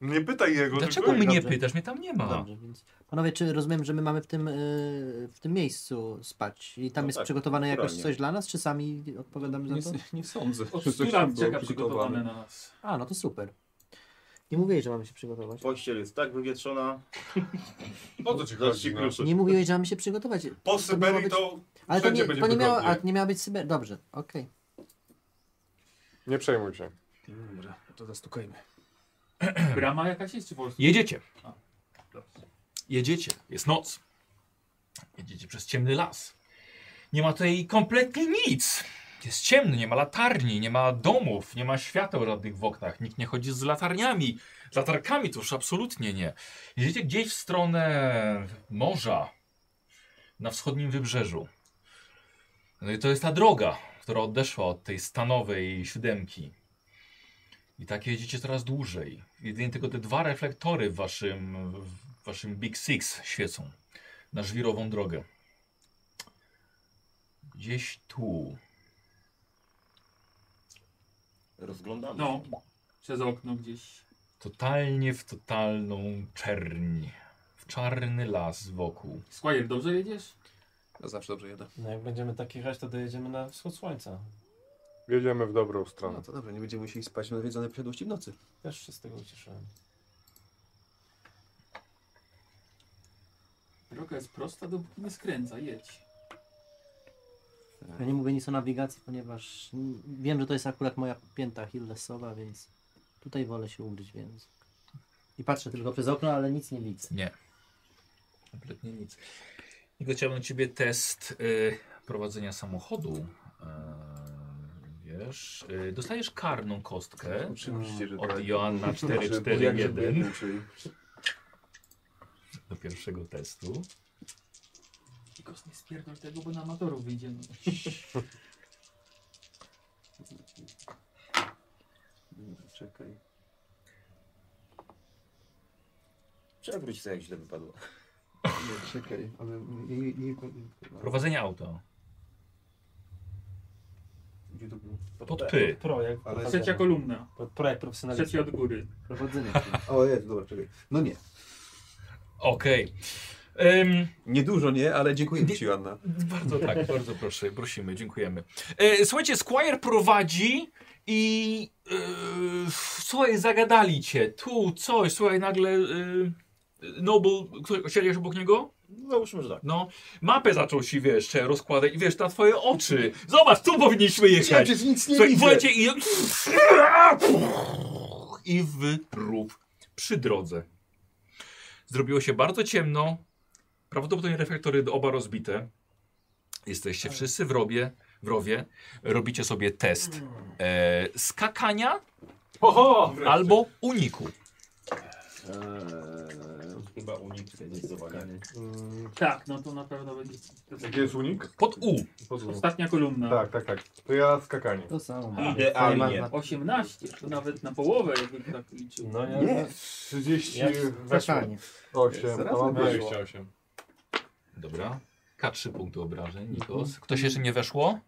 B: Nie pytaj jego.
A: Dlaczego
B: tylko-
A: mnie nie
D: Dobrze.
A: pytasz? Mnie tam nie ma.
D: Dobrze, więc panowie, czy rozumiem, że my mamy w tym, y, w tym miejscu spać i tam
G: No
D: jest
G: tak,
D: przygotowane jakoś
G: naturalnie.
D: coś dla nas, czy sami odpowiadamy
H: Nie,
D: za to?
H: nie sądzę,
F: Od
H: że
F: 100
H: coś
F: lat
H: tam było
F: czeka przygotowane
H: przygotowane.
F: na nas.
D: A, no to super. Nie mówiłeś, że mamy się przygotować.
G: Pościel jest tak wywietrzona.
B: Po co ci
G: Zaraz
B: chodzi?
G: ci
B: No?
G: kluczy.
D: Nie mówiłeś, że mamy się przygotować.
B: Po
D: To miało
B: Syberii
D: być-
B: to
D: Ale to
B: wszędzie
D: nie,
B: będzie
D: to nie miało, a
B: wygodnie.
D: nie miała być Syberia. Dobrze, okej.
B: nie przejmuj się.
I: Dobra, to zastukajmy.
F: Brama jakaś jest czy po prostu?
A: Jedziecie.
F: A, dobrze.
A: Jedziecie. Jest noc. Jedziecie przez ciemny las. Nie ma tutaj kompletnie nic. Jest ciemno, nie ma latarni, nie ma domów, nie ma świateł żadnych w oknach. Nikt nie chodzi z latarniami, z latarkami to już absolutnie nie. Jedziecie gdzieś w stronę morza, na wschodnim wybrzeżu. No i to jest ta droga, która odeszła od tej stanowej siódemki. I tak jedziecie coraz dłużej. Jedynie tylko te dwa reflektory w waszym, w waszym Big Six świecą na żwirową drogę. Gdzieś tu.
G: Rozglądamy.
F: No, przez okno gdzieś.
A: Totalnie w totalną czerń. W czarny las wokół.
F: Squire, dobrze jedziesz?
H: Ja zawsze dobrze jadę.
C: No jak będziemy tak jechać, to dojedziemy na wschód słońca.
B: Jedziemy w dobrą
H: No
B: stronę.
H: to dobrze, nie będziemy musieli spać na nawiedzonej posiadłości w nocy.
C: Też się z tego ucieszyłem.
F: Droga jest prosta, dopóki nie skręca, jedź.
D: Ja nie mówię nic o nawigacji, ponieważ mm, wiem, że to jest akurat moja pięta Hillesowa, więc tutaj wolę się ugryźć, więc... I patrzę tylko przez okno, ale nic nie widzę.
A: Nie. Kompletnie nic. Niko, chciałbym od ciebie test y, prowadzenia samochodu. Y, wiesz, y, dostajesz karną kostkę
B: Oczywiście, że
A: od Joanna 441. do pierwszego testu.
F: Tylko nie spierdol tego, bo na amatorów wyjdzie. No.
H: Czekaj.
G: Przewróć sobie, jak źle wypadło.
H: Nie, czekaj, ale nie, nie, nie,
A: Prowadzenie auta.
H: gdzie to było?
A: Pod
G: Tak.
A: py.
C: Projekt.
H: Ale-
C: prowadzenia.
F: Trzecia kolumna,
C: Pro- Projekt profesjonalistyczny.
F: trzecia od góry.
D: Prowodzenie.
H: O jest, dobra, czekaj. No nie.
A: Okej. Ym,
H: Niedużo nie, ale dziękuję ci Joanna.
A: bardzo tak, bardzo proszę, prosimy, dziękujemy. E, słuchajcie, Squire prowadzi i e, słuchaj, zagadali cię. Tu coś, słuchaj, nagle e, Noble, ktoś siedzisz obok niego?
G: Załóżmy, że tak.
A: No, mapę zaczął ci, wiesz, jeszcze rozkładać i wiesz, na twoje oczy. Zobacz, tu powinniśmy jechać.
H: przecież nic nie
A: Słuchaj,
H: widzę.
A: wlecie i... I w rób przy drodze. Zrobiło się bardzo ciemno. Prawdopodobnie reflektory oba rozbite. Jesteście wszyscy w robie, w rowie. Robicie sobie test e, skakania albo uniku.
G: Chyba unik zdecydowanie.
F: Tak, no to na pewno będzie.
B: Jaki jest unik?
A: Pod U.
F: Ostatnia kolumna.
B: Tak, tak, tak. To ja skakanie.
D: To samo.
G: Idealnie.
F: 18, to nawet na połowę, jakby tak liczył.
C: No ja...
H: Nie.
B: 38.
D: Totalnie.
B: a mam 28.
A: Dobra. K3 punkty obrażeń, Nikos. Ktoś jeszcze nie weszło?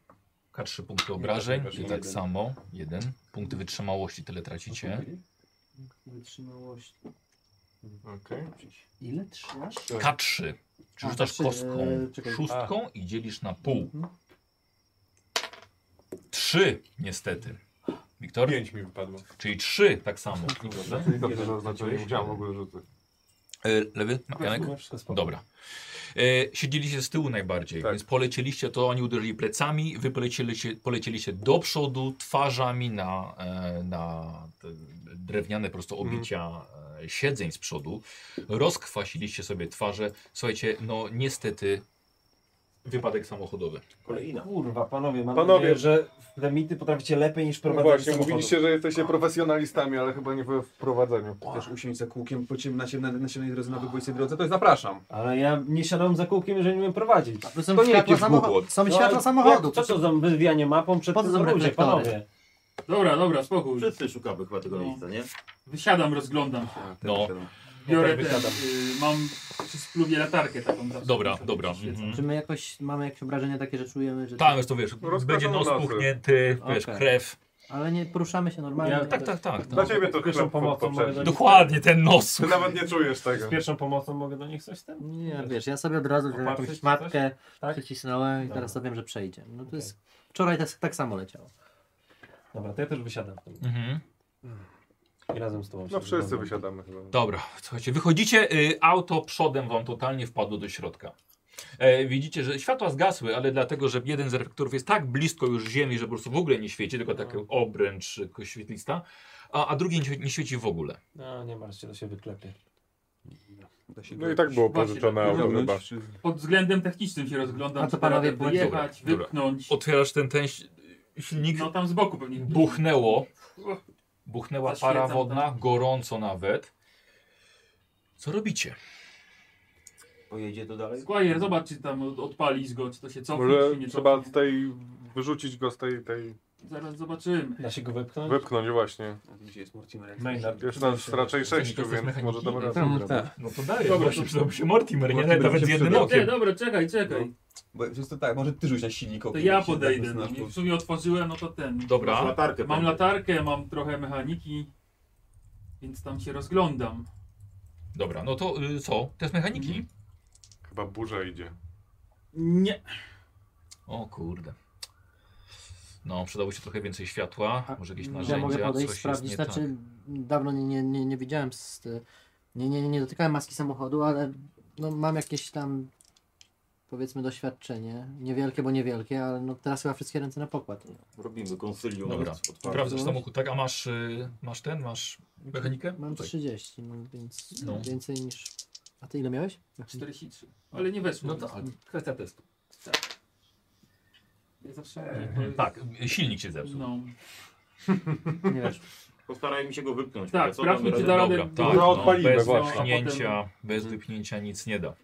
A: K3 punkty obrażeń
B: weszło.
A: i tak
B: Jeden.
A: samo. Jeden. Punkty wytrzymałości, tyle tracicie.
D: Wytrzymałość.
B: Okej.
D: Ile? Trzy?
A: K3. Czy
D: A,
A: rzucasz
D: K3,
A: kostką
D: e, czekaj. Mhm.
A: szóstką i dzielisz na pół. Trzy, niestety. Wiktor?
B: 5 mi wypadło.
A: Czyli trzy, tak samo. Dobrze.
B: Dobrze, że oznaczyłem. Nie musiałem w ogóle rzuty.
A: E, Lewy? Janek?
C: No, wszystko spoko.
A: Dobra. E, siedzieliście z tyłu najbardziej,
B: Tak.
A: więc polecieliście, to oni uderzyli plecami, wy polecieliście, polecieliście do przodu twarzami na, e, na te drewniane prosto
B: Mhm.
A: obicia e, siedzeń z przodu. Rozkwasiliście sobie twarze. Słuchajcie, no niestety wypadek samochodowy.
G: Kolejna.
C: Kurwa, panowie, mam
B: Panowie.
C: nadzieję, że lemity potraficie lepiej niż
B: No
C: prowadzenie
B: właśnie,
C: samochodu.
B: mówiliście, że jesteście profesjonalistami, ale chyba nie we wprowadzeniu.
H: Chcesz usiąść za kółkiem po ciem, na, ciem, na, na ciemnej drodze na wybójcy drodze, to zapraszam.
C: Ale ja nie siadałem za kółkiem, jeżeli nie umiem prowadzić.
D: To są
H: To nie
D: światła,
H: jakiś
D: samocho-
H: głupot.
D: są
C: No,
D: światła
C: ale
D: samochodu.
C: jak- Co to za wywijanie mapą przed
D: Po co są
C: tym ludzie,
D: reflektory?
C: panowie?
F: Dobra, dobra, spokój.
G: Wszyscy szukamy chyba tego
F: No.
G: miejsca, nie?
F: Wysiadam, rozglądam
H: Tak,
F: się.
A: No.
F: Biorę
C: Okej,
F: ten,
C: wysiadam.
F: y, mam przy spluwie latarkę taką zawsze.
A: Dobra,
F: Zawsze
A: dobra.
F: przyświeca.
A: Mhm.
D: Czy my jakoś mamy jakieś obrażenia takie, że czujemy, że...
A: Tak. Tam jest to wiesz,
B: Rozkazano
A: będzie nos
B: No, lasy.
A: puchnięty, wiesz,
D: Okej.
A: krew.
D: Ale nie poruszamy się normalnie.
C: Ja-
A: Tak, tak, tak.
B: Dla
A: No.
B: ciebie to
C: Pierwszą
B: chleb
C: pomocą mogę
B: poprzedni.
C: do nich,
A: Dokładnie, ten nos.
B: Ty nawet nie czujesz tego.
C: z pierwszą pomocą mogę do nich coś ten?
D: Nie, wiesz, ja sobie od razu wziąłem
C: Opatrzyć
D: jakąś matkę,
C: Tak?
D: przycisnąłem i
C: Dobra.
D: teraz to wiem, że przejdzie. No to
C: Okej.
D: jest... Wczoraj tak, tak samo leciało.
C: Dobra, to ja też wysiadam w tym.
A: Mhm.
C: I razem z tobą.
B: No
C: się
B: wszyscy
C: wyglądam.
B: wysiadamy chyba.
A: Dobra, słuchajcie, wychodzicie, y, auto przodem wam totalnie wpadło do środka. E, widzicie, że światła zgasły, ale dlatego, że jeden z reflektorów jest tak blisko już ziemi, że po prostu w ogóle nie świeci, tylko taki obręcz y, świetlista, a, a drugi nie, nie świeci w ogóle.
C: No nie martw się, to się wyklepie.
H: Da się
B: No
H: go
B: i tak było
F: Właśnie,
B: pożyczone
F: tak.
B: auto
H: wyciągnąć,
B: chyba.
H: czy-
F: Pod względem technicznym się rozglądam,
D: A to
F: czy da radę
D: panowie pójdą.
F: wyjechać,
A: Dobra, dobra.
F: wypchnąć.
A: Otwierasz ten, ten ś- silnik,
F: No tam z boku pewnie.
A: buchnęło, buchnęła
F: Zaświecam
A: para
F: tam.
A: wodna, gorąco nawet. Co robicie?
G: Pojedzie to dalej?
F: Squire, zobacz czy tam od- odpalisz go, czy to
A: No,
F: się cofnie,
B: Może
F: czy nie
B: trzeba
F: cofnie.
B: tutaj wyrzucić go z tej, tej
F: Zaraz zobaczymy.
C: Da się go
A: No.
C: wepchnąć?
B: wypchnąć właśnie.
I: A Gdzie jest Mortimer?
C: Maynard.
B: Jest nas raczej sześciu,
A: jesteś
B: więc może
A: mechanikiem?
B: damy razem.
H: Tam,
B: zrobić.
H: tak.
A: No to dajesz,
F: Dobra,
A: właśnie
F: to-
A: przydałby się Mortimer, nie?
H: Mortimer
A: Nawet
H: się
A: z jednym
H: przyda.
F: Nie, no.
A: okiem.
F: dobra, czekaj, czekaj.
H: Bo przez to tak, może ty rzuć na silnik
F: To
H: okiem,
F: ja
H: jeśli tak
F: podejdę.
H: znasz,
F: No, i
H: bo-
F: w sumie otworzyłem, no to ten.
A: Dobra.
G: Latarkę
F: Mam
G: pewnie.
F: latarkę, mam trochę mechaniki, więc tam się rozglądam.
A: Dobra, no to y, co? Test mechaniki?
B: Chyba burza idzie.
F: Nie.
A: O kurde. No, przydało się trochę więcej światła,
D: A
A: może jakieś
D: Ja
A: narzędzia,
D: mogę podejść,
A: coś
D: sprawdzić.
A: jest nie tak.
D: Znaczy, dawno nie, nie, nie, nie widziałem, z, nie, nie, nie dotykałem maski samochodu, ale no, mam jakieś tam powiedzmy doświadczenie. Niewielkie, bo niewielkie, ale no, teraz chyba wszystkie ręce na pokład.
G: Robimy konsylium.
A: Dobra.
G: od-
A: tak.
G: otwarte.
A: Sprawdzasz samochód, tak? A masz, y, masz ten, masz mechanikę?
D: Mam
A: Tutaj.
D: 30, no, więc
A: No.
D: więcej niż... A ty ile miałeś?
F: 43. Ale nie weszło.
A: No to ale kwestia testu.
F: Ja zawsze mówię, to
A: Tak, y, silnik się
F: jest-
A: zepsuł.
F: No.
D: Nie wiesz.
G: Postarajmy się go wypchnąć.
F: Tak,
G: Co tam
F: sprawdźmy, czy
G: razy-
F: da radę.
A: Dobra, tak,
B: No,
A: no,
B: odpalimy
A: bez
B: właśnie.
A: wypchnięcia, bez wypchnięcia nic nie da.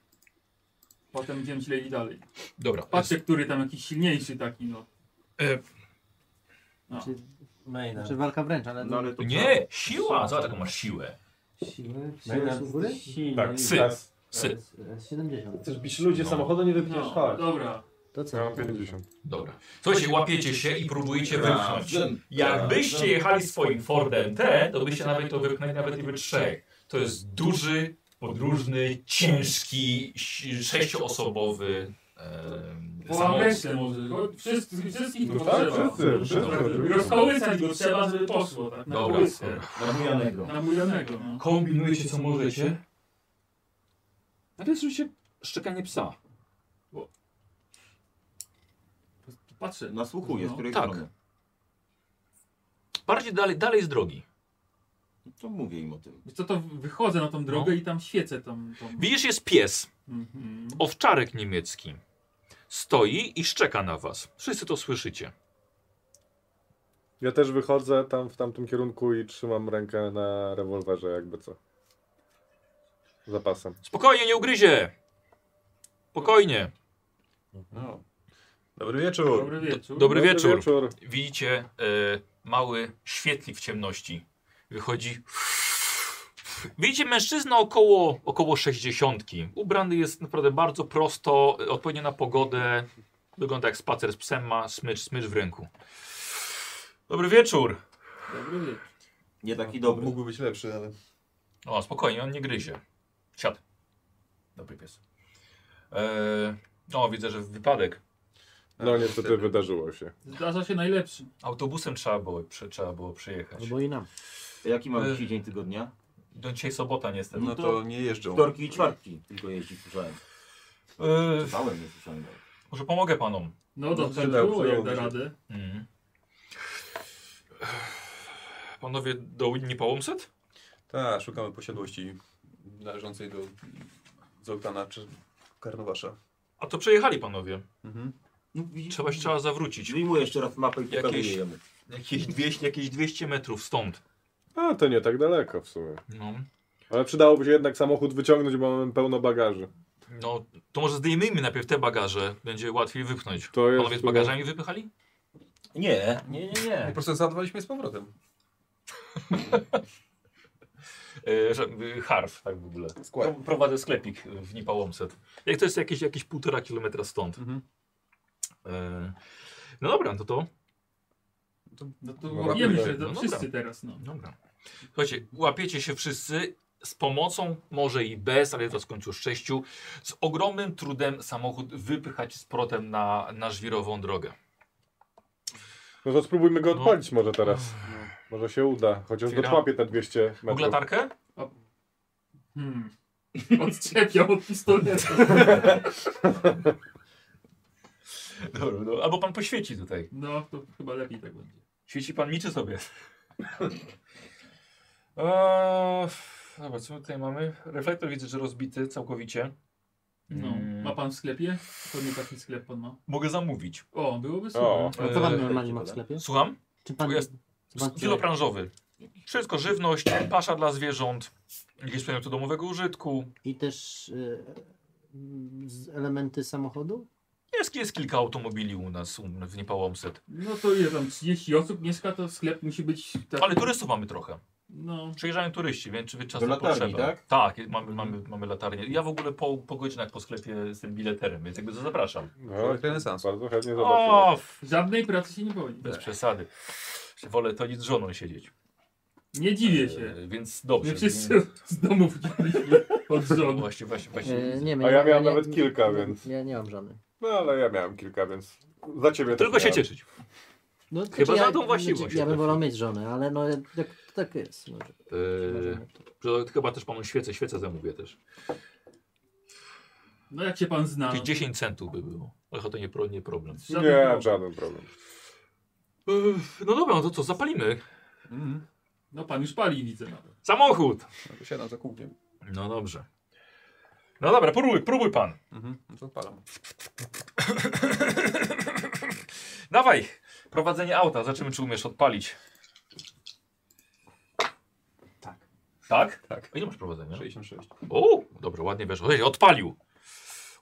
F: Potem będziemy źle dalej.
A: Dobra,
F: Patrzę, który tam jakiś silniejszy taki, no.
A: E,
F: No.
D: Czy,
C: Maynard.
D: czy walka wręcz, ale...
G: No, ale to
A: e, nie, siła! Zobacz, jaką masz siłę.
D: Siły, siły
C: Maynard
D: są w góry?
C: silny.
B: Tak,
A: sy.
C: Teraz
A: Sy.
D: 70.
C: Chcesz bić ludzi
A: No.
C: samochodu, nie wypniesz,
F: No,
C: chodź.
F: dobra.
D: To co?
B: Ja mam 50.
A: Dobra. Słuchajcie, łapiecie się i próbujecie
G: Tak.
A: wypchnąć.
G: Razem.
A: Jakbyście jechali swoim Fordem T, to byście nawet to wypchnęli nawet i wy trzech. To jest duży, podróżny, ciężki, si- sześcioosobowy em, samolot.
F: Łameczkę może. Chodź, Wszyscy, wszystkich
B: No
F: to
B: tak,
F: trzeba.
B: wszyscy, wszyscy.
F: Rozkołysać go trzeba, żeby poszło, tak? Na
A: Dobra.
F: kołyskę.
G: Nabójanego.
F: Na mujanego, no.
A: Kombinujecie co możecie. Najpierw Znaczy, się szczekanie psa.
F: Patrzę.
G: Nasłuchuje, z której
A: Tak.
G: strony.
A: Bardziej dalej, dalej z drogi.
G: To mówię im o tym.
F: Wiesz co, to wychodzę
A: No.
F: na tą drogę i tam świecę tam. tam.
A: Widzisz, jest pies,
F: Mhm.
A: owczarek niemiecki. Stoi i szczeka na was. Wszyscy to słyszycie.
B: Ja też wychodzę tam w tamtym kierunku i trzymam rękę na rewolwerze, jakby co. Zapasem.
A: Spokojnie, nie ugryzie! Spokojnie.
G: No.
H: Dobry wieczór.
F: Dobry wieczór.
A: Dobry wieczór. Widzicie e, mały świetlik w ciemności. Wychodzi. Widzicie mężczyznę około, około 60. Ubrany jest naprawdę bardzo prosto, e, odpowiednio na pogodę. Wygląda jak spacer z psem, ma smycz, smycz w ręku. Dobry wieczór.
F: Dobry wieczór.
G: Nie taki dobry.
H: Mógłby być lepszy, ale...
A: O, spokojnie, on nie gryzie. Siad. Dobry pies. E, o, widzę, że wypadek.
B: No niestety wydarzyło się.
F: Zdarza się najlepszy.
A: Autobusem trzeba było, prze, trzeba było przyjechać.
D: Albo i nam.
G: Jaki mamy
A: Y.
G: dzisiaj dzień tygodnia?
A: Do dzisiaj sobota niestety.
H: No to nie jeżdżą.
G: Wtorki i czwartki tylko jeździ, słyszałem.
A: E,
G: Czytałem, nie słyszałem. nawet.
A: Może pomogę panom.
F: No dobrze,
H: przydało-
F: było jak da
H: przydałoby się.
F: radę.
A: Mhm. Panowie do Winni Połomset?
H: Tak, szukamy posiadłości należącej do Zoltana czy Karnowasza.
A: A to przejechali panowie.
H: Mhm.
G: No, widzisz,
A: Trzeba się trzeba zawrócić.
G: Wyjmuję jeszcze raz mapę i
A: Jakieś-
G: pokazuję jemu.
A: Jakieś 200, jakieś 200 metrów stąd.
B: A to nie tak daleko w sumie.
A: No.
B: Ale przydałoby się jednak samochód wyciągnąć, bo mamy pełno bagaży.
A: no, to może zdejmijmy najpierw te bagaże. Będzie łatwiej wypchnąć.
B: To jest
A: Panowie z bagażami wypychali?
G: Nie, nie, nie,
H: Po
E: Tak.
G: nie.
H: prostu załadowaliśmy je z powrotem.
A: E, że, e, harf, tak w ogóle.
H: Skład.
A: Pro- Prowadzę sklepik w Nipałomset. Jak to jest jakieś, jakieś półtora Mhm. Y, kilometra stąd.
H: Mhm.
A: no E, no dobra, to to.
F: No to
B: No,
F: łapiemy
B: dobra.
F: się to
A: No,
F: wszyscy
A: dobra.
F: teraz, no.
A: Dobra. Słuchajcie, łapiecie się wszyscy z pomocą, może i bez, ale to skończył sześciu. Z ogromnym trudem samochód wypychać z protem na, na żwirową drogę.
B: No to spróbujmy go
A: No.
B: odpalić może teraz. Może się uda. Chociaż
A: Otwieram.
B: doczłapie te 200 metrów.
A: Mogę latarkę?
F: Hmm. Odczepiam od pistoletu.
A: Dobra, no, albo pan poświeci tutaj.
F: No, to chyba lepiej tak będzie.
A: Świeci pan mi czy sobie? Eee, Dobra, co my tutaj mamy? Reflektor widzę, że rozbity całkowicie.
F: No,
A: Mm.
F: ma pan w sklepie? Pewnie taki sklep pan ma.
A: Mogę zamówić.
F: O, byłoby
B: O.
F: super.
D: A co pan
A: Eee,
D: normalnie ma w sklepie?
A: Słucham?
D: Czy pan...
A: Tu jest-
D: co pan-
A: Kilo branżowy. Wszystko żywność, pasza dla zwierząt, jakieś przedmioty domowego użytku.
D: I też y, mm, z elementy samochodu?
A: Jest, jest kilka automobili u nas u- w Niepałomset.
F: No to ile tam, 30 osób mieszka, to sklep musi być tak,
A: Ale turystów mamy trochę.
F: no,
A: Przyjeżdżają turyści, więc czy czas
G: Do latarni, tak?
A: Tak, je- mamy, mamy, mamy latarnię. Ja w ogóle po, po godzinach po sklepie z tym bileterem, więc jakby to zapraszam.
B: No,
H: Renesans.
B: bardzo chętnie zobaczymy.
A: O, f-
F: żadnej pracy się nie boi.
A: bez przesady. Wolę to nic z żoną siedzieć.
F: Nie dziwię się.
A: E, Więc dobrze.
F: My wszyscy z domu wdzieliśmy od żony.
A: Właśnie, właśnie, właśnie.
D: E, nie,
B: A ja miałem
D: nie-
B: nawet kilka,
D: nie-
B: więc-
D: Ja nie mam żony.
B: No ale ja miałem kilka, więc za ciebie
A: Tylko
B: też
A: się
B: miałem.
A: cieszyć.
D: No,
A: Chyba
D: znaczy
A: za
D: ja-
A: tą właściwość
D: znaczy Ja bym
A: trafił.
D: wolał mieć żonę, ale no tak, tak jest. No, że-
A: E, że chyba też panu świecę, świecę zamówię też.
F: No jak się pan zna.
A: Jakieś 10 centów by było. Ale to nie, pro- nie problem.
F: żadnych
B: Nie,
F: problemów.
B: żaden problem.
A: Uff, No dobra, no to co, zapalimy.
H: Mhm.
F: No pan już pali, widzę nawet.
A: Samochód!
H: No, Siadam za kółkiem.
A: No dobrze. No dobra, próbuj, próbuj pan.
H: Mhm. No to odpalam.
A: Dawaj! Prowadzenie auta, zobaczymy czy umiesz odpalić.
H: Tak.
A: Tak?
H: Tak.
A: A ile masz prowadzenia?
H: 66.
A: O, dobrze, ładnie weszło. Ej, odpalił!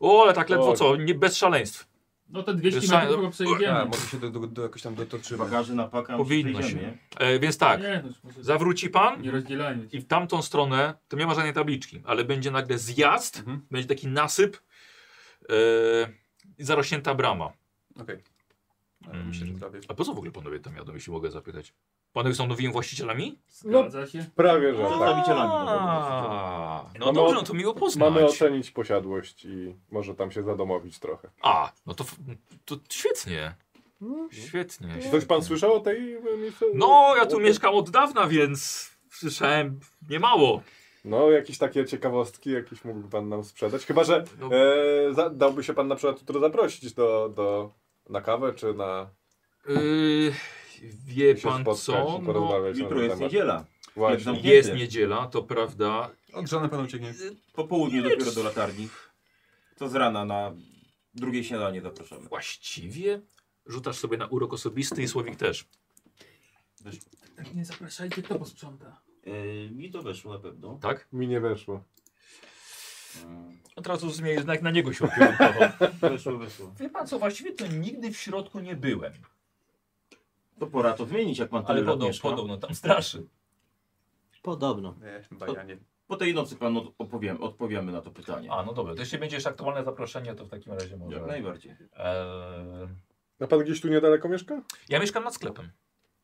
A: O, ale tak ledwo
B: O.
A: co, nie, bez szaleństw.
F: No te 200
A: Sza-
F: metrów chyba
H: A,
F: przejdziemy.
H: może się do, do, do jakoś tam dotoczymy.
G: Bagaży na paka
A: Powinno
G: przejdziemy,
A: się.
G: nie?
A: E, więc tak,
F: Nie, no, już może
A: zawróci pan
F: nie rozdzielajmy się.
A: i w tamtą stronę, to nie ma żadnej tabliczki, ale będzie nagle zjazd,
H: Mhm.
A: będzie taki nasyp e, i zarośnięta brama.
H: Okej. Ale
A: Mm.
H: Myślę, że trafię.
A: A po co w ogóle panowie tam jadą, jeśli mogę zapytać? Panowie są nowymi właścicielami?
F: Zgadza się.
B: Prawie, że tak.
G: Przedstawicielami. no,
A: A, no
B: Mamy
A: dobrze,
B: o-
A: no to miło poznać.
B: Mamy ocenić posiadłość i może tam się zadomowić trochę.
A: A, no to, f- to świetnie. Świetnie.
B: Czy coś pan słyszał o tej y, miejscu?
A: No, ja tu
B: o-
A: mieszkam od dawna, więc słyszałem niemało.
B: No, jakieś takie ciekawostki, jakieś mógłby pan nam sprzedać. Chyba, że
A: No,
B: e, za, dałby się pan na przykład jutro zaprosić do, do, na kawę czy na...
A: yy, wie
B: się
A: pan
B: spotkać
A: co?
B: i
A: No,
B: porozmawiać na
G: Jutro
B: ten
G: jest
B: temat.
G: niedziela.
B: Właśnie.
A: jest niedziela, to prawda.
H: Od żony pan ucieknie.
G: Po południu dopiero do latarni. To z rana na drugie śniadanie zapraszamy.
A: Właściwie rzucasz sobie na urok osobisty i Słowik też.
F: Tak nie zapraszajcie, kto posprząta.
G: Yy, mi to weszło na pewno.
A: Tak?
B: Mi nie weszło.
A: A teraz już zmienię, znak na niego się ukierunkował.
G: Yy, weszło, weszło.
A: Wie pan co, właściwie to nigdy w środku nie byłem.
G: To pora to zmienić, jak pan
A: Ale
G: tyle lat
A: podobno,
G: mieszka.
A: podobno tam straszy.
D: Podobno.
H: Nie, bajanie.
G: Po tej nocy panu odpowiemy, odpowiemy na to pytanie.
A: A, no dobra, to jeśli będzie jeszcze aktualne zaproszenie, to w takim razie może...
G: jak najbardziej.
A: Eee,
B: A pan gdzieś tu niedaleko mieszka?
A: ja mieszkam nad sklepem.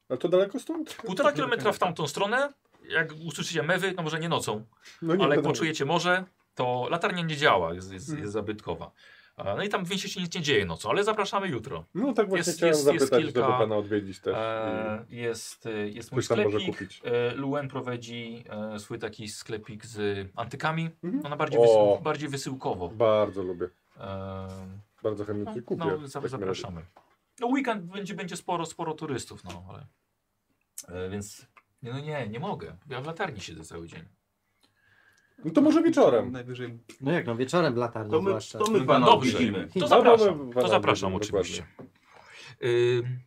B: A to daleko stąd?
A: Półtora kilometra w tamtą stronę. Jak usłyszycie mewy, no może nie nocą,
B: No
A: ale jak
B: wiadomo. Mhm.
A: poczujecie morze, to latarnia nie działa, jest, jest, jest zabytkowa. E, No i tam w mieście się nic nie dzieje nocą, ale zapraszamy jutro.
B: No tak właśnie
A: Jest-
B: chciałem
A: jest- jest
B: zapytać,
A: kilka-
B: żeby pana odwiedzić też. Mhm.
A: E, jest, e, jest mój
B: Coś tam może
A: sklepik.
B: kupić.
A: E, Luen prowadzi e, swój taki sklepik z antykami.
B: Mhm.
A: Ona bardziej,
B: O.
A: wysył, bardziej wysyłkowo.
B: Bardzo lubię.
A: E,
B: Bardzo chętnie
A: No,
B: ci kupię.
A: no
B: w
A: za-
B: takim razie.
A: zapraszamy. No weekend będzie, będzie sporo, sporo turystów, no ale. E, więc. Nie, no nie, nie mogę. Ja w latarni siedzę cały dzień.
B: No to może wieczorem.
H: Najwyżej.
D: No jak no, wieczorem latarnią
G: To my,
D: zwłaszcza. tak?
G: to my pana
A: Dobrze.
G: odwiedzimy.
A: To
B: Dobra,
A: zapraszam.
B: dobra,
A: To zapraszam
B: dobra,
A: oczywiście. Ym,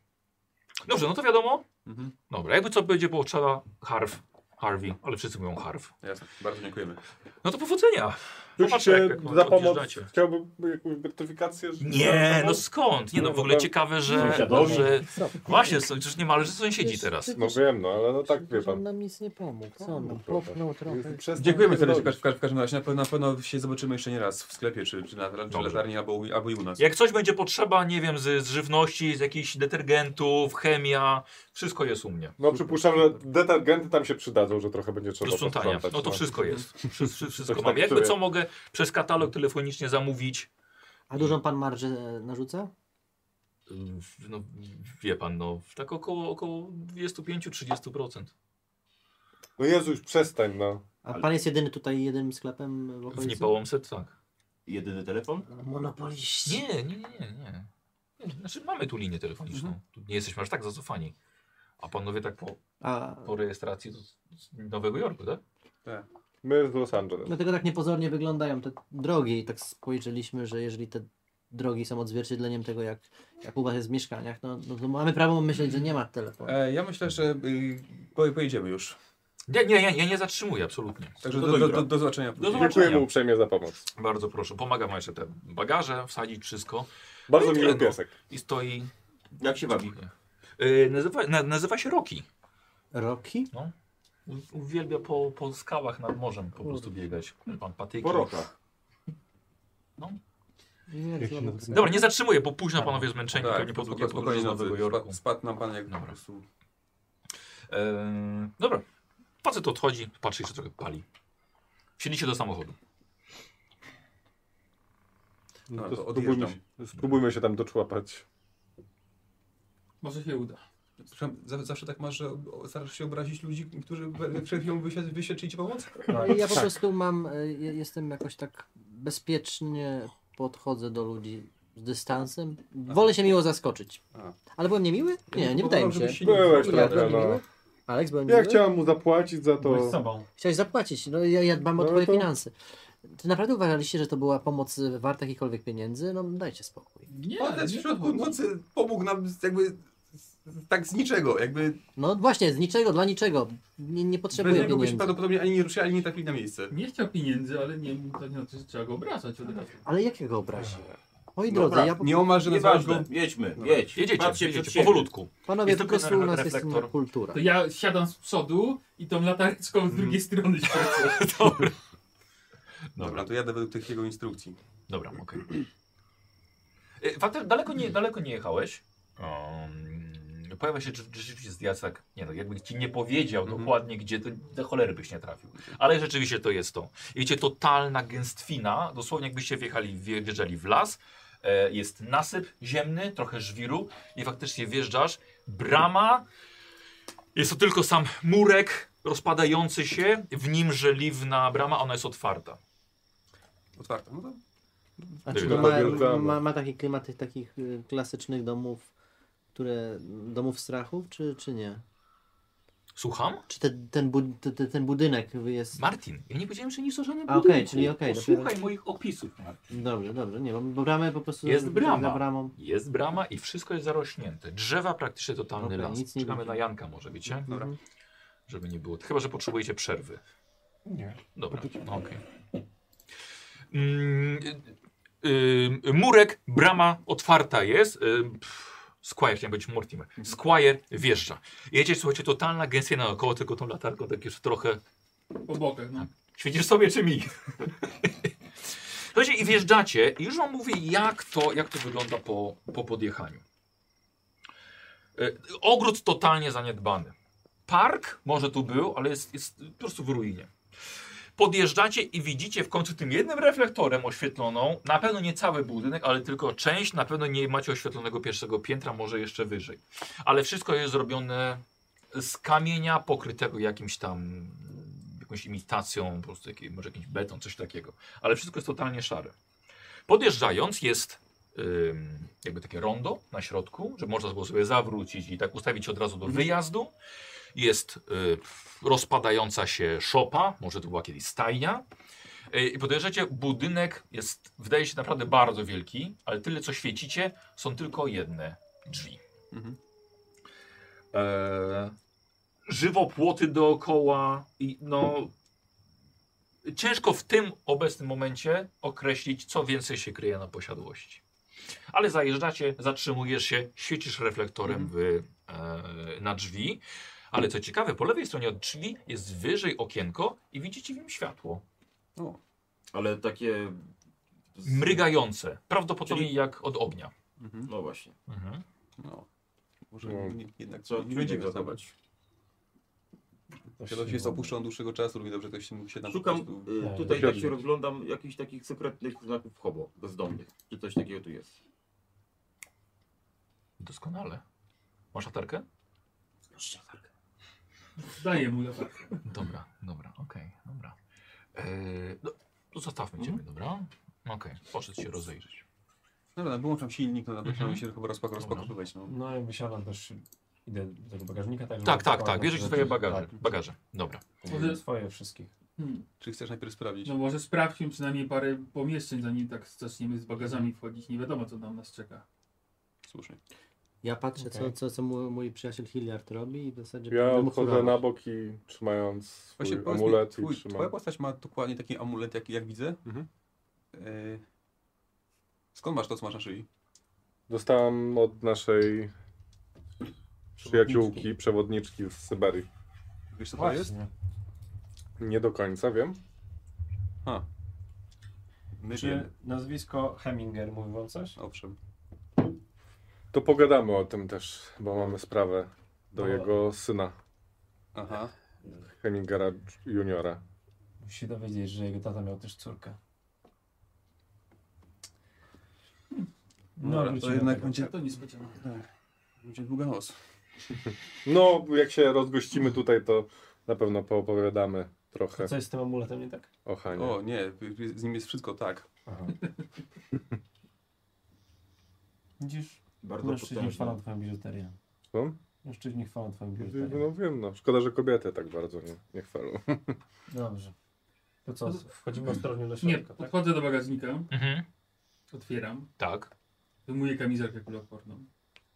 A: dobrze, no to wiadomo.
H: Mhm.
A: Dobra, jakby co będzie było trzeba harf, Harvey, ale wszyscy mówią harf.
H: Jasne. Bardzo dziękujemy.
A: No to powodzenia.
B: Już się
A: jak
B: za pomoc
A: odjeżdżacie.
B: chciałbym jakąś gratyfikację. że-
A: Nie, no skąd? Nie no, w ogóle ciekawe, że...
G: Sąsiadowi.
A: że właśnie, są- przecież niemalże sąsiedzi teraz.
B: No wiem, no ale no tak wie pan.
D: nam nic nie pomógł. tak? Co on
B: No,
D: nam
B: proszę.
D: popchnął trochę.
B: Przestań
H: Dziękujemy
B: mnie
H: serdecznie
B: robić.
H: w każdym- w każdym razie. Na pewno, na pewno się zobaczymy jeszcze nie raz w sklepie, czy, czy na czy
A: Dobrze.
H: latarni, albo, u- albo i u nas.
A: Jak coś będzie potrzeba, nie wiem, z, z żywności, z jakichś detergentów, chemia, wszystko jest u mnie.
B: No przypuszczam, że detergenty tam się przydadzą, że trochę będzie trzeba
A: Do sprzątania.
B: posprzątać,
A: No to wszystko jest. Wszy, wszy, wszystko
B: Coś
A: mam.
B: tak
A: Jakby
B: czuję.
A: co mogę przez katalog telefonicznie zamówić.
D: A dużą pan marżę e, narzuca?
A: w- No, wie pan, no tak około, około 25-30%.
B: No Jezu, już przestań, no.
D: A pan jest jedyny tutaj, jedynym sklepem w
A: W
D: okolicy?
A: Nipołomce tak.
G: Jedyny telefon?
D: Monopoliści.
A: Nie, nie, nie, nie, nie. Nie, Znaczy mamy tu linię telefoniczną. Tu nie jesteśmy aż tak zacofani. A panowie tak po,
D: A,
A: po rejestracji to z z Nowego Jorku, tak?
B: My z Los Angeles.
D: dlatego tak niepozornie wyglądają te drogi i tak spojrzeliśmy, że jeżeli te drogi są odzwierciedleniem tego, jak, jak u was jest w mieszkaniach, no, no to mamy prawo myśleć, że nie ma telefonu.
H: E, ja myślę, że y, po- pojedziemy już.
A: Nie, nie, ja, ja nie zatrzymuję absolutnie.
H: Także
G: Do
H: do, do,
G: jutra.
H: do, do zobaczenia.
A: No Do zobaczenia.
B: Dziękujemy uprzejmie za pomoc.
A: Bardzo proszę, pomagam wam jeszcze te bagaże, wsadzić wszystko
B: Bardzo
A: No i
B: miły
A: tyle, no.
B: piesek.
A: i stoi...
G: Jak się bawi?
A: Yy, nazywa, na, nazywa się Roki.
D: Roki?
A: No. Uwielbia po, po skałach nad morzem po prostu biegać. Pan patyki.
B: Po rokach.
D: Nie,
E: Jak się
D: znowu-
E: nazywa?
A: Dobra, nie zatrzymuję, bo późno panowie zmęczeni, tak, pewnie po długiej
H: spoko-
A: podróży
H: spokojnie
A: z Nowego
H: nowy.
A: Jorku.
H: Spadł, spadł nam pan jak
A: Dobra.
H: po prostu.
A: Eee, dobra, facet odchodzi, patrzy jeszcze trochę, pali. Wsiedlicie do samochodu.
H: No,
B: No
H: to
B: to spróbujmy,
H: odjeżdżam.
B: się- spróbujmy się tam doczłapać.
F: Może się uda.
H: Przepraszam, za- zawsze tak masz, że o- starasz się obrazić ludzi, którzy we- przed chwilą wysie- wyświadczyli ci pomoc?
D: No i ja po prostu mam, e, je- jestem jakoś tak bezpiecznie podchodzę do ludzi z dystansem. Wolę się miło zaskoczyć.
H: A.
D: Ale byłem niemiły? Nie, nie wydaje mi się.
H: Żebyś się nie-
B: Byłeś
D: Ja
B: trochę,
D: byłem
B: no.
D: niemiły? Alex, byłem
B: Ja
D: niemiły?
B: chciałem mu zapłacić za
E: Bądź
B: to.
E: sobą.
D: Chciałeś zapłacić, no ja, ja dbam o
B: No
D: twoje
B: to-
D: finanse. Czy naprawdę uważaliście, że to była pomoc e, warta jakichkolwiek pieniędzy? No dajcie spokój.
F: Nie,
H: Facet
F: nie
H: w środku
F: chodzi.
H: nocy pomógł nam z- jakby z- z- tak z niczego, jakby
D: No właśnie, z niczego, dla niczego. Nie, nie
H: bez
D: potrzebuję
H: niego byśmy
D: pieniędzy.
H: prawdopodobnie ani nie ruszyli, ani nie trafili na miejsce.
F: Nie chciał pieniędzy, ale nie, to nie znaczy, że trzeba go obracać od razu.
D: Ale jakiego obrazi? Moi
G: No
D: drodzy,
G: dobra,
D: ja po...
H: Nieomalże nazwałeś
G: Nieważne,
H: go...
G: jedźmy,
H: Dobra.
G: jedź.
A: Jedziecie,
G: Patrzcie przed
A: jedziecie
G: siebie.
A: powolutku.
D: panowie,
A: jest
D: po
A: tylko
D: prostu u nas jest
A: reflektor.
D: inna kultura.
F: To ja siadam z przodu i tą latareczką z drugiej strony świecę.
H: Dobra, to jadę według tych jego instrukcji.
A: Dobra, okej. Okay. Faktem, daleko nie, daleko nie jechałeś. Um, pojawia się rze- rzeczywiście zdjazd, tak, nie no, jakby ci nie powiedział
H: Mhm.
A: dokładnie gdzie, to do cholery byś nie trafił. Ale rzeczywiście to jest to. Wiecie, totalna gęstwina, dosłownie jakbyście wjechali, wje- wjeżdżali w las, e, jest nasyp ziemny, trochę żwiru i faktycznie wjeżdżasz, brama, jest to tylko sam murek rozpadający się, w nim żeliwna brama, ona jest otwarta.
H: Otwarta. No to
D: A czy
A: Tylko
D: ma,
B: nawiedzamy.
D: ma, ma taki klimat tych takich y, klasycznych domów, które domów strachów, czy, czy nie?
A: Słucham?
D: Czy te, ten, bud, te, te, ten budynek jest...
A: Martin, ja nie powiedziałem, że nie są żadne
D: A,
A: budynki.
D: okej, czyli okej,
A: Posłuchaj
D: dopiero-
A: moich opisów, Martin.
D: Dobrze, dobrze, nie, bo bramę po prostu...
A: Jest
D: za-
A: brama.
D: Za bramą.
A: Jest brama i wszystko jest zarośnięte. Drzewa praktycznie totalny
D: Okej,
A: las.
D: nic nie
A: Czekamy
D: widzę.
A: na Janka może, wiecie?
H: Dobra.
A: Żeby nie było. Chyba, że potrzebujecie przerwy. Nie. Dobra, no, okej. Mm, y, y, murek, brama otwarta jest. Y, pff, Squire, chciałem być Mortimer.
D: Mhm.
A: Squire wjeżdża. Jedziecie, słuchajcie, totalna gęstia naokoło, tylko tą latarką tak już trochę
F: Po bokach, no.
A: Świecisz sobie czy mi? Słuchajcie, i wjeżdżacie i już wam mówię, jak to, jak to wygląda po, po podjechaniu. E, Ogród totalnie zaniedbany. Park może tu był, ale jest, jest po prostu w ruinie. Podjeżdżacie i widzicie w końcu tym jednym reflektorem oświetloną, na pewno nie cały budynek, ale tylko część, na pewno nie macie oświetlonego pierwszego piętra, może jeszcze wyżej. Ale wszystko jest zrobione z kamienia pokrytego jakimś tam, jakąś imitacją, po prostu jakiej, może jakiś beton, coś takiego. Ale wszystko jest totalnie szare. Podjeżdżając jest ym, jakby takie rondo na środku, że można było sobie zawrócić i tak ustawić się od razu do wyjazdu. Jest y, rozpadająca się szopa, może to była kiedyś stajnia. Y, I podejrzecie, budynek jest, wydaje się naprawdę bardzo wielki, ale tyle co świecicie, są tylko jedne drzwi.
H: Mhm.
A: E, żywopłoty dookoła i no ciężko w tym obecnym momencie określić, co więcej się kryje na posiadłości. Ale zajeżdżacie, zatrzymujesz się, świecisz reflektorem w, e, na drzwi. Ale co ciekawe, po lewej stronie od drzwi jest wyżej okienko i widzicie w nim światło.
G: Ale takie... z-
A: Mrygające, prawdopodobnie
G: Czyli-
A: jak od ognia.
H: Mhm.
G: No właśnie.
H: No. Może
B: No.
H: nie- jednak
G: Co
H: nie będziemy
G: innego
H: zadawać. Świadomość jest opuszczona dłuższego czasu, lubi dobrze ktoś się nam
G: Szukam,
H: po prostu-
A: e,
G: y, tutaj tak się rozglądam, jakichś takich sekretnych znaków hobo, bezdomnych. Czy coś takiego tu jest?
A: Doskonale. Masz latarkę?
F: Daję mu latarkę.
A: Dobra, dobra, okej, dobra. Eee, no, to zostawmy ciebie, dobra? Okej, poszedł się rozejrzeć.
H: Dobra, wyłączam silnik, no nawet
A: Mhm.
H: mhm. się chyba rozpak rozpakowywać. No.
E: No ja wysiadam też, idę do tego bagażnika. Tak,
A: Tak, tak, tak, bierzecie swoje bagaże. Bagaże, dobra.
F: Może-
E: Swoje wszystkich.
F: Hmm.
H: Czy chcesz najpierw sprawdzić?
F: No może sprawdźmy przynajmniej parę pomieszczeń, zanim tak zaczniemy z bagażami wchodzić. Nie wiadomo, co tam nas czeka.
H: Słusznie.
D: Ja patrzę, co,
E: Okej.
D: co, co mój, mój przyjaciel Hilliard robi i w zasadzie
B: Ja
D: będę mu
B: odchodzę
D: kurował.
B: na bok i trzymając swój
H: Właśnie powiedz mi,
B: amulet i
H: twój,
B: trzymam.
H: twoja postać ma dokładnie taki amulet, jak, jak widzę.
B: Mhm.
H: Y, Skąd masz to, co masz na szyi?
B: Dostałem od naszej przyjaciółki, przewodniczki z Syberii.
H: Wiesz, co to jest?
E: Właśnie.
B: Nie do końca wiem.
H: My
E: Czy nazwisko Heminger mówi wam coś?
H: Owszem.
B: To pogadamy o tym też, bo mamy sprawę do
E: No.
B: jego syna,
H: Aha.
B: Hemingera Juniora.
E: Musi się dowiedzieć, że jego tata miał też córkę. No,
H: Dobra,
E: wrócimy
H: to
E: do
H: jednak
E: tego.
H: będzie, tak.
F: To niespodzianka.
H: będzie długa noc.
B: No, jak się rozgościmy tutaj, to na pewno poopowiadamy trochę
E: A Co jest z tym amuletem nie tak?
B: o Hanie.
H: O nie, z nim jest wszystko tak.
E: Widzisz,
G: Bardzo
E: mężczyźni chwalą
G: potężne.
E: twoją biżuterię.
B: Co?
E: Mężczyźni chwalą twoją biżuterię.
B: No wiem, no. Szkoda, że kobiety tak bardzo nie, nie chwalą.
E: Dobrze. To co, wchodzimy ostrożnie do
F: Nie,
E: środka, tak?
F: podchodzę do bagażnika,
A: Mhm.
F: otwieram,
A: Tak,
F: wyjmuję kamizelkę kuloodporną,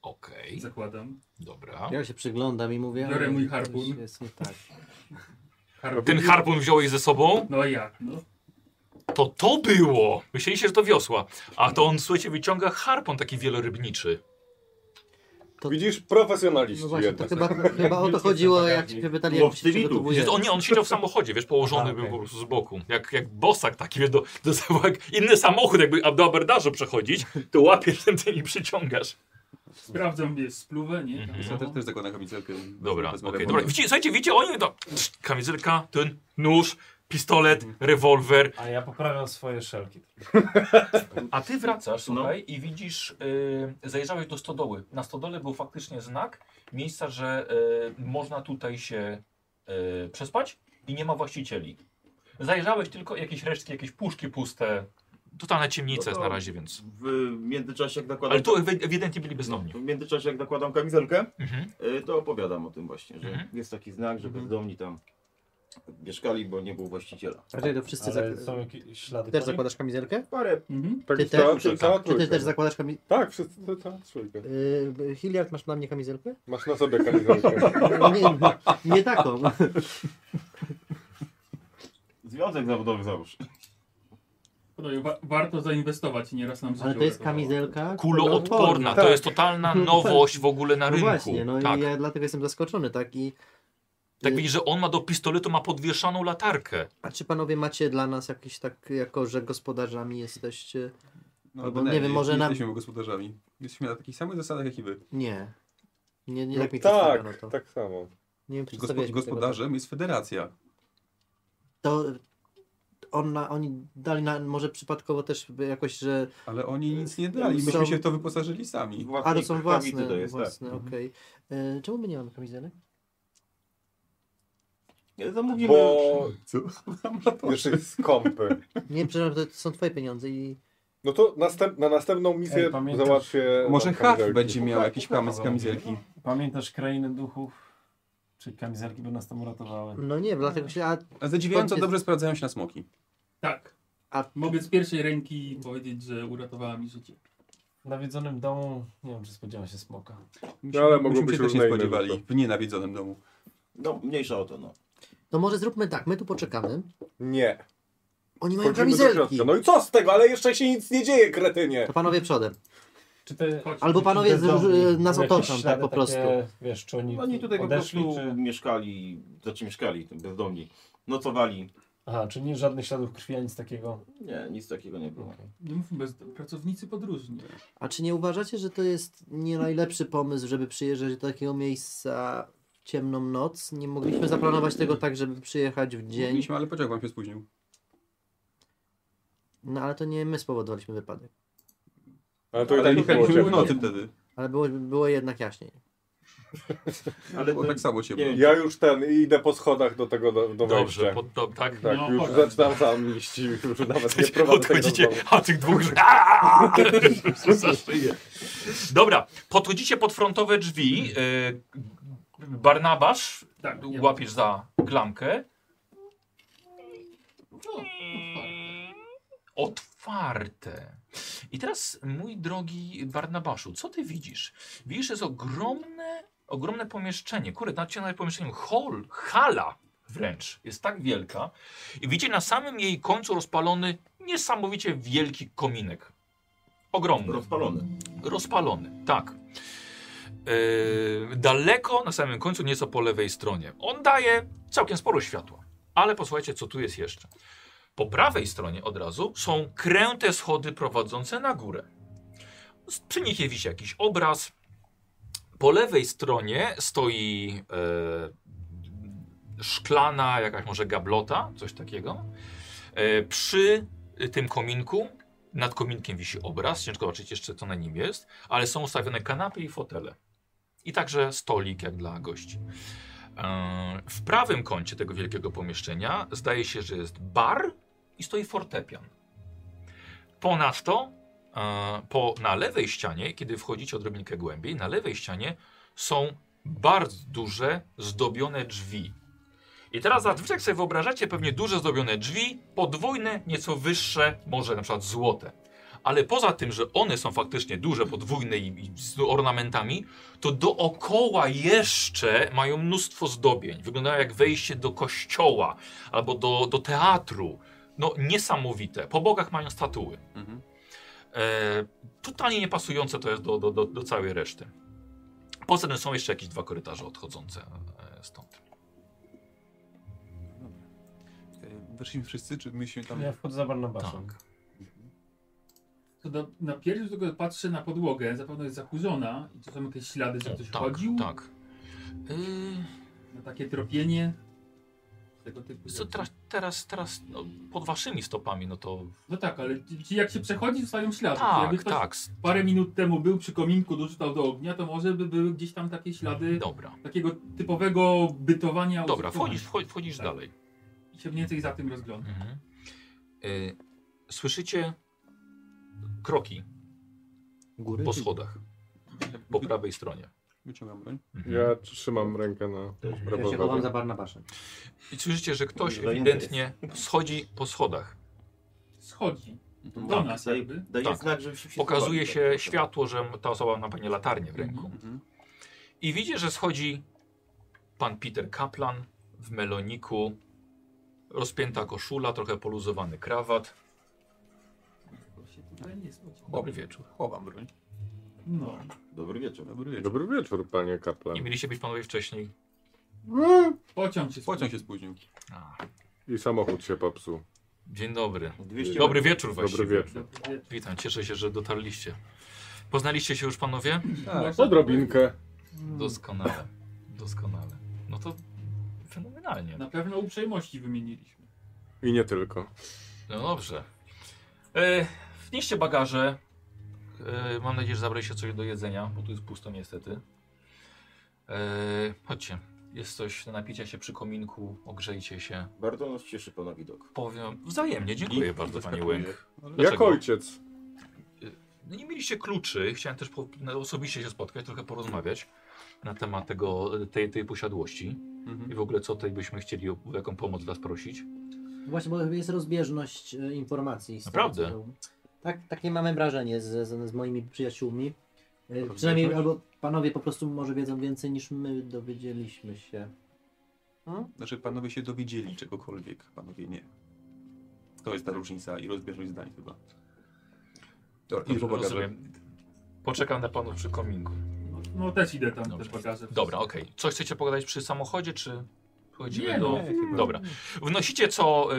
A: okej,
F: zakładam.
A: dobra.
D: Ja się przyglądam i mówię...
F: Biorę
D: ale
F: mój
D: coś
F: harpun.
D: Jest nie tak.
F: Harpun.
A: Ten harpun wziąłeś ze sobą?
F: No jak, no.
A: To to było! Myśleliście, że to wiosła. A to on, słuchajcie, wyciąga harpun taki wielorybniczy.
D: To-
B: Widzisz, profesjonaliści
D: No właśnie, to
B: jednak.
D: chyba, chyba o to chodziło, jak cię pytali, jak się
G: Łowcy widów.
D: przygotowuje.
A: Jest, on, nie, Tak, on siedział w samochodzie, wiesz, położony
E: A,
A: był
E: okej.
A: po prostu z boku. Jak, jak bosak taki, wiesz, do, do, jak inny samochód, jakby do abordażu przechodzić, to łapiesz ten ten i przyciągasz.
F: Sprawdzam, wiesz, spluwę, nie?
A: Mhm.
F: Tam
H: Ja
E: No.
F: samo.
H: też, też zakładam kamizelkę.
A: Dobra,
H: Wezmę
A: okej,
H: rewolwer.
A: dobra. Widzicie, słuchajcie, widzicie, oni to kamizelka, ten nóż, pistolet, rewolwer.
E: A ja poprawiam swoje szelki.
A: A ty wracasz,
G: No.
A: słuchaj, i widzisz, yy, zajrzałeś do stodoły. Na stodole był faktycznie znak miejsca, że y, można tutaj się y, przespać i nie ma właścicieli. Zajrzałeś tylko jakieś resztki, jakieś puszki puste. Totalna ciemnica
G: No
A: jest
G: to-
A: na razie, więc...
G: W międzyczasie, jak nakładam,
A: Ale tu ewi- ewidentnie byli bezdomni.
G: w międzyczasie, jak nakładam kamizelkę,
A: Mhm.
G: Y, No to opowiadam o tym właśnie, że
A: Mhm.
G: jest taki znak, że bezdomni tam mieszkali, bo nie było właściciela.
D: Raczej to wszyscy...
E: Ale
D: zak-
E: są jakieś ślady
D: Ty też
E: koni?
D: zakładasz kamizelkę?
G: Parę
F: Mhm.
B: Tak,
D: Ty
B: cała-
D: też?
B: cała- cała
D: Czy ty
B: trójka.
D: też zakładasz kamizelkę?
B: Tak, wszyscy, to cała trójka.
D: Yy, Hilliard, masz na mnie kamizelkę?
B: Masz na sobie kamizelkę.
D: No, nie, nie taką.
G: związek zawodowy załóż.
F: Podobnie, wa- warto zainwestować, nieraz nam
D: Ale
F: życie
D: to jest
F: uratowało.
D: kamizelka
A: Kuloodporna, to
D: tak.
A: jest totalna
D: No
A: nowość w ogóle na
D: No
A: rynku.
D: właśnie, no
A: tak.
D: i ja dlatego jestem zaskoczony, tak? I
A: tak widzisz, że on ma do pistoletu, ma podwieszaną latarkę.
D: A czy panowie macie dla nas jakieś tak, jako że gospodarzami jesteście?
H: No,
D: Albo
H: bynajmniej,
D: nie wiem, może
H: nie
D: nam-
H: Jesteśmy gospodarzami. Jesteśmy na takich samych zasadach, jak i wy.
D: Nie. Nie, nie
B: No
D: tak mi przedstawiono
B: tak,
D: to.
B: tak samo.
D: Nie wiem,
H: Gospod,
D: przedstawiałeś mi tego,
H: gospodarzem jest federacja.
D: To ona, oni dali na, może przypadkowo też by jakoś, że...
H: Ale oni nic nie dali.
D: Yy, Są-
H: Myśmy się w to wyposażyli sami.
D: A, to są
G: Własnik to
D: własne,
G: jest, tak.
D: własne, okej. Y, Czemu my nie mamy kamizelek?
G: Nie, Zamówimy.
B: Bo
H: Co?
B: jeszcze jest skąpy.
D: Nie, przepraszam, to są twoje pieniądze i...
B: No to następ, na następną misję
E: Ej, pamiętasz-
B: załatwię...
H: Może
B: nam
H: Harf
B: kamizelki.
H: będzie miał jakiś kamyk
B: Tak,
H: z kamizelki.
B: no.
E: Pamiętasz krainę duchów? Czy kamizelki by nas tam uratowały?
D: No nie, dlatego się... A,
H: A zadziwiająco dobrze sprawdzają się na
B: No,
H: smoki.
F: Tak.
D: A-
F: Mogę z pierwszej ręki powiedzieć, że uratowała mi życie.
E: W nawiedzonym domu, nie wiem czy spodziewam się smoka.
H: Myśmy-
B: ale mogą
H: myśmy
B: być
H: się też nie
B: różne inne
H: spodziewali
B: rzeczy.
H: w nienawiedzonym domu.
G: No, mniejsza o to, no.
D: no może zróbmy tak, my tu poczekamy.
B: Nie.
D: Oni mają
B: Wchodzimy do
D: kamizelki.
B: środka. No i co z tego, ale jeszcze się nic nie dzieje, kretynie.
D: To panowie przodem.
E: Czy te,
F: Chodź.
D: Albo panowie z, z, nas
E: jakieś
D: otoczą, tak
E: ślady
D: po prostu.
E: Takie, wiesz, czy oni
G: No, Oni tutaj po
E: odeszli,
G: prostu
E: czy...
G: mieszkali, znaczy mieszkali, tym bezdomni. Nocowali.
E: Aha, czy nie żadnych śladów krwi, ani nic takiego.
G: Nie, nic takiego nie było.
F: Nie mówmy bez... Pracownicy podróżni.
D: A czy nie uważacie, że to jest nie najlepszy pomysł, żeby przyjeżdżać do takiego miejsca w ciemną noc? Nie mogliśmy zaplanować tego tak, żeby przyjechać w dzień.
H: Mogliśmy, ale pociąg wam się spóźnił.
D: No ale to nie my spowodowaliśmy wypadek.
B: Ale to i tak
H: Ale nie
B: nie było
H: jechaliśmy w
B: ciemno.
H: nocy wtedy.
D: Ale było, było jednak jaśniej.
G: Ale
H: Było
G: to-
H: tak samo ciemno.
G: nie wiem.
B: Ja już ten, idę po schodach do tego, do, do
A: Dobrze,
B: wejścia.
A: pod, do, tak?
B: Tak,
F: No,
B: już
F: chodź.
B: zaczynam sam iść i już nawet nie prowadzę tego
A: Podchodzicie,
B: znowu.
A: a tych dwóch że- Aaaa! Za szyję. Dobra, podchodzicie pod frontowe drzwi. Yy, Barnabasz
F: Tak, nie.
A: łapiesz za klamkę.
F: No, otwarte.
A: Otwarte. I teraz, mój drogi Barnabaszu, co ty widzisz? Widzisz, jest ogromne, ogromne pomieszczenie. Kurde, nawet się nawet pomieszczeniu. Hol, hala wręcz. Jest tak wielka. I widzicie na samym jej końcu rozpalony niesamowicie wielki kominek. Ogromny.
G: Rozpalone.
A: Rozpalony, tak. Yy, daleko, na samym końcu, nieco po lewej stronie. On daje całkiem sporo światła. Ale posłuchajcie, co tu jest jeszcze. Po prawej stronie od razu są kręte schody prowadzące na górę. Z- Przy nich je wisi jakiś obraz. Po lewej stronie stoi e, szklana jakaś może gablota, coś takiego. E, przy tym kominku, nad kominkiem wisi obraz, ciężko zobaczyć jeszcze co na nim jest, ale są ustawione kanapy i fotele. I także stolik jak dla gości. E, W prawym kącie tego wielkiego pomieszczenia zdaje się, że jest bar i stoi fortepian. Ponadto e, po, na lewej ścianie, kiedy wchodzicie odrobinkę głębiej, na lewej ścianie są bardzo duże, zdobione drzwi. I teraz zazwyczaj jak sobie wyobrażacie pewnie duże zdobione drzwi, podwójne, nieco wyższe, może na przykład złote. Ale poza tym, że one są faktycznie duże, podwójne i, i z ornamentami, to dookoła jeszcze mają mnóstwo zdobień. Wyglądają jak wejście do kościoła albo do, do teatru. No niesamowite. Po bokach mają statuły.
H: Mhm.
A: E, totalnie niepasujące to jest do, do, do, do całej reszty. Poza tym są jeszcze jakieś dwa korytarze odchodzące e, stąd.
H: E, Weszliśmy wszyscy, czy my się tam...
E: No. Ja wchodzę za Barnabaszem.
A: Tak.
F: To do, na pierwszy tylko patrzę na podłogę, zapewne jest zakurzona i to są jakieś ślady, że
A: O,
F: ktoś
A: tak,
F: chodził
A: tak. Yy,
F: na takie tropienie. Tego typu.
A: co
F: rzeczy.
A: teraz, teraz, teraz no, pod waszymi stopami, no to
F: No tak, ale ci- ci jak się przechodzi, zostają ślady. Czyli jakby
A: tak,
F: ktoś
A: tak. s-
F: parę minut temu był przy kominku, dorzucał do ognia, to może by były gdzieś tam takie ślady
A: Dobra,
F: takiego typowego bytowania.
A: dobra,
F: użytkowania.
A: wchodzisz, wcho- wchodzisz
F: Tak.
A: dalej.
F: I się mniej więcej za tym rozgląda.
A: Mhm. Y, słyszycie kroki
D: Góry.
A: po schodach, po prawej stronie.
H: Wyciągam broń.
B: Ja trzymam rękę na
D: Ja się chowam za
B: rewolwerze.
D: Barnabaszem.
A: I słyszycie, że ktoś
G: Zajęty
A: ewidentnie schodzi po schodach.
F: Schodzi do
G: Tak,
F: nas
G: daje,
F: jakby.
G: daje
A: Tak.
G: znak, żeby się
A: Pokazuje
G: schowali, tak,
A: się
G: tak.
A: światło, że ta osoba ma pewnie latarnię w ręku.
H: Mhm.
A: I widzicie, że schodzi pan Peter Kaplan w meloniku. Rozpięta koszula, trochę poluzowany krawat.
F: Tylko się tutaj nie spodziewa.
A: Dobry wieczór.
H: Chowam broń.
F: No,
G: Dobry wieczór.
H: Dobry wieczór.
B: Dobry wieczór, panie Kaplan.
A: Nie mieliście być panowie wcześniej.
F: pociąg się
H: Pociąg się spóźnił.
A: A,
B: I samochód się popsuł.
A: dzień dobry.
G: 200
A: Dobry wieczór właściwie.
B: Dobry wieczór.
F: Dobry wieczór.
A: Witam, cieszę się, że dotarliście. Poznaliście się już panowie?
H: Tak.
B: Odrobinkę.
A: Doskonale. Doskonale. No to fenomenalnie.
F: Na pewno uprzejmości wymieniliśmy.
B: I nie tylko.
A: No dobrze. E, wnieście bagaże. E, mam nadzieję, że zabraliście coś do jedzenia, bo tu jest pusto niestety. E, chodźcie. Jest coś do napicia się przy kominku, ogrzejcie się.
G: Bardzo nas cieszy pana widok.
A: Powiem wzajemnie, dziękuję
H: I-
A: bardzo panie
H: zaskakuje.
A: Łęk.
B: Jak
A: Dlaczego?
B: ojciec.
A: No nie mieliście kluczy, chciałem też po, no, osobiście się spotkać, trochę porozmawiać na temat tego, tej, tej posiadłości
H: Mhm.
A: i w ogóle co tutaj byśmy chcieli, o jaką pomoc was prosić.
D: Właśnie, bo jest rozbieżność e, informacji. z tego,
A: Naprawdę?
D: co- Tak, takie mamy wrażenie z, z, z moimi przyjaciółmi. E, Przynajmniej albo panowie po prostu może wiedzą więcej niż my dowiedzieliśmy się.
H: Znaczy panowie się dowiedzieli czegokolwiek, panowie nie. To jest ta różnica i rozbieżność zdań chyba.
A: Dobra,
H: nie pomaga,
A: rozumiem. Poczekam na panów przy kominku.
F: No, no też idę tam,
A: Dobrze.
F: też pokażę.
A: Dobra, okej. Coś chcecie pogadać przy samochodzie, czy chodzimy
F: Nie,
A: do...
F: no,
A: Dobra. Wnosicie, co,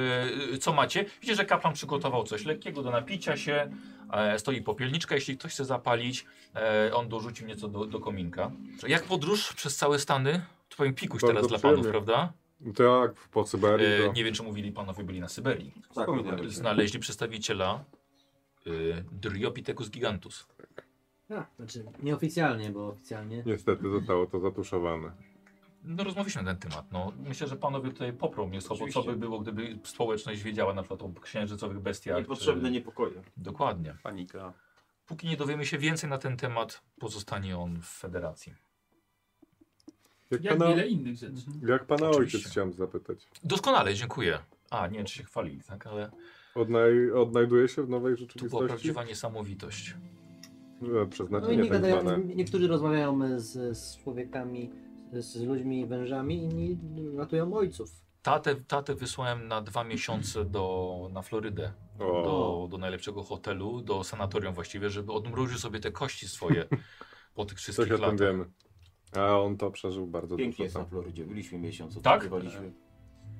A: y, co macie. Widzicie, że kapłan przygotował coś lekkiego do napicia się. E, stoi popielniczka, jeśli ktoś chce zapalić. E, on dorzucił nieco do, do kominka. Jak podróż przez całe Stany? To powiem pikuś
B: Bardzo
A: teraz dla panów,
B: przyjemnie.
A: prawda?
B: Tak, po Syberii.
A: E,
B: to-
A: nie wiem, czy mówili panowie, byli na Syberii.
G: Tak,
B: Tak.
H: Wspominałem.
A: Znaleźli przedstawiciela y, Dryopithecus gigantus.
D: A, znaczy nieoficjalnie, bo oficjalnie.
B: Niestety zostało to zatuszowane.
A: No rozmawialiśmy na ten temat. No, myślę, że panowie tutaj poprą mnie słowo, co by było, gdyby społeczność wiedziała na przykład o księżycowych bestiach. Tak,
G: Niepotrzebne niepokoje.
A: Dokładnie.
H: Panika.
A: Póki nie dowiemy się więcej na ten temat, pozostanie on w federacji.
B: Jak,
F: Jak
H: No.
B: pana,
F: wiele innych rzeczy.
H: Mhm.
B: jak pana
A: Oczywiście.
B: ojciec chciałem zapytać.
A: Doskonale, dziękuję. A, nie wiem, czy się chwalili, tak, ale
B: Odnaj, odnajduje się w nowej
A: to była
B: rzeczywistości?
A: prawdziwa niesamowitość.
B: E,
D: No i
B: Przeznaczenie
D: nie
B: tak
D: gadają,
B: zwane.
D: niektórzy rozmawiają e, z, z człowiekami, z, z ludźmi, wężami, inni ratują ojców.
A: Tatę, tatę wysłałem na dwa miesiące do, na Florydę,
B: O,
A: do, do najlepszego hotelu, do sanatorium właściwie, żeby odmroził sobie te kości swoje po tych
B: coś
A: wszystkich
B: o tym
A: latach.
B: wiemy. A on to przeżył bardzo
G: Pięknie jest
B: dużo.
G: na
B: Tam.
G: Florydzie. Byliśmy miesiąc,
A: Tak?
G: odbywaliśmy.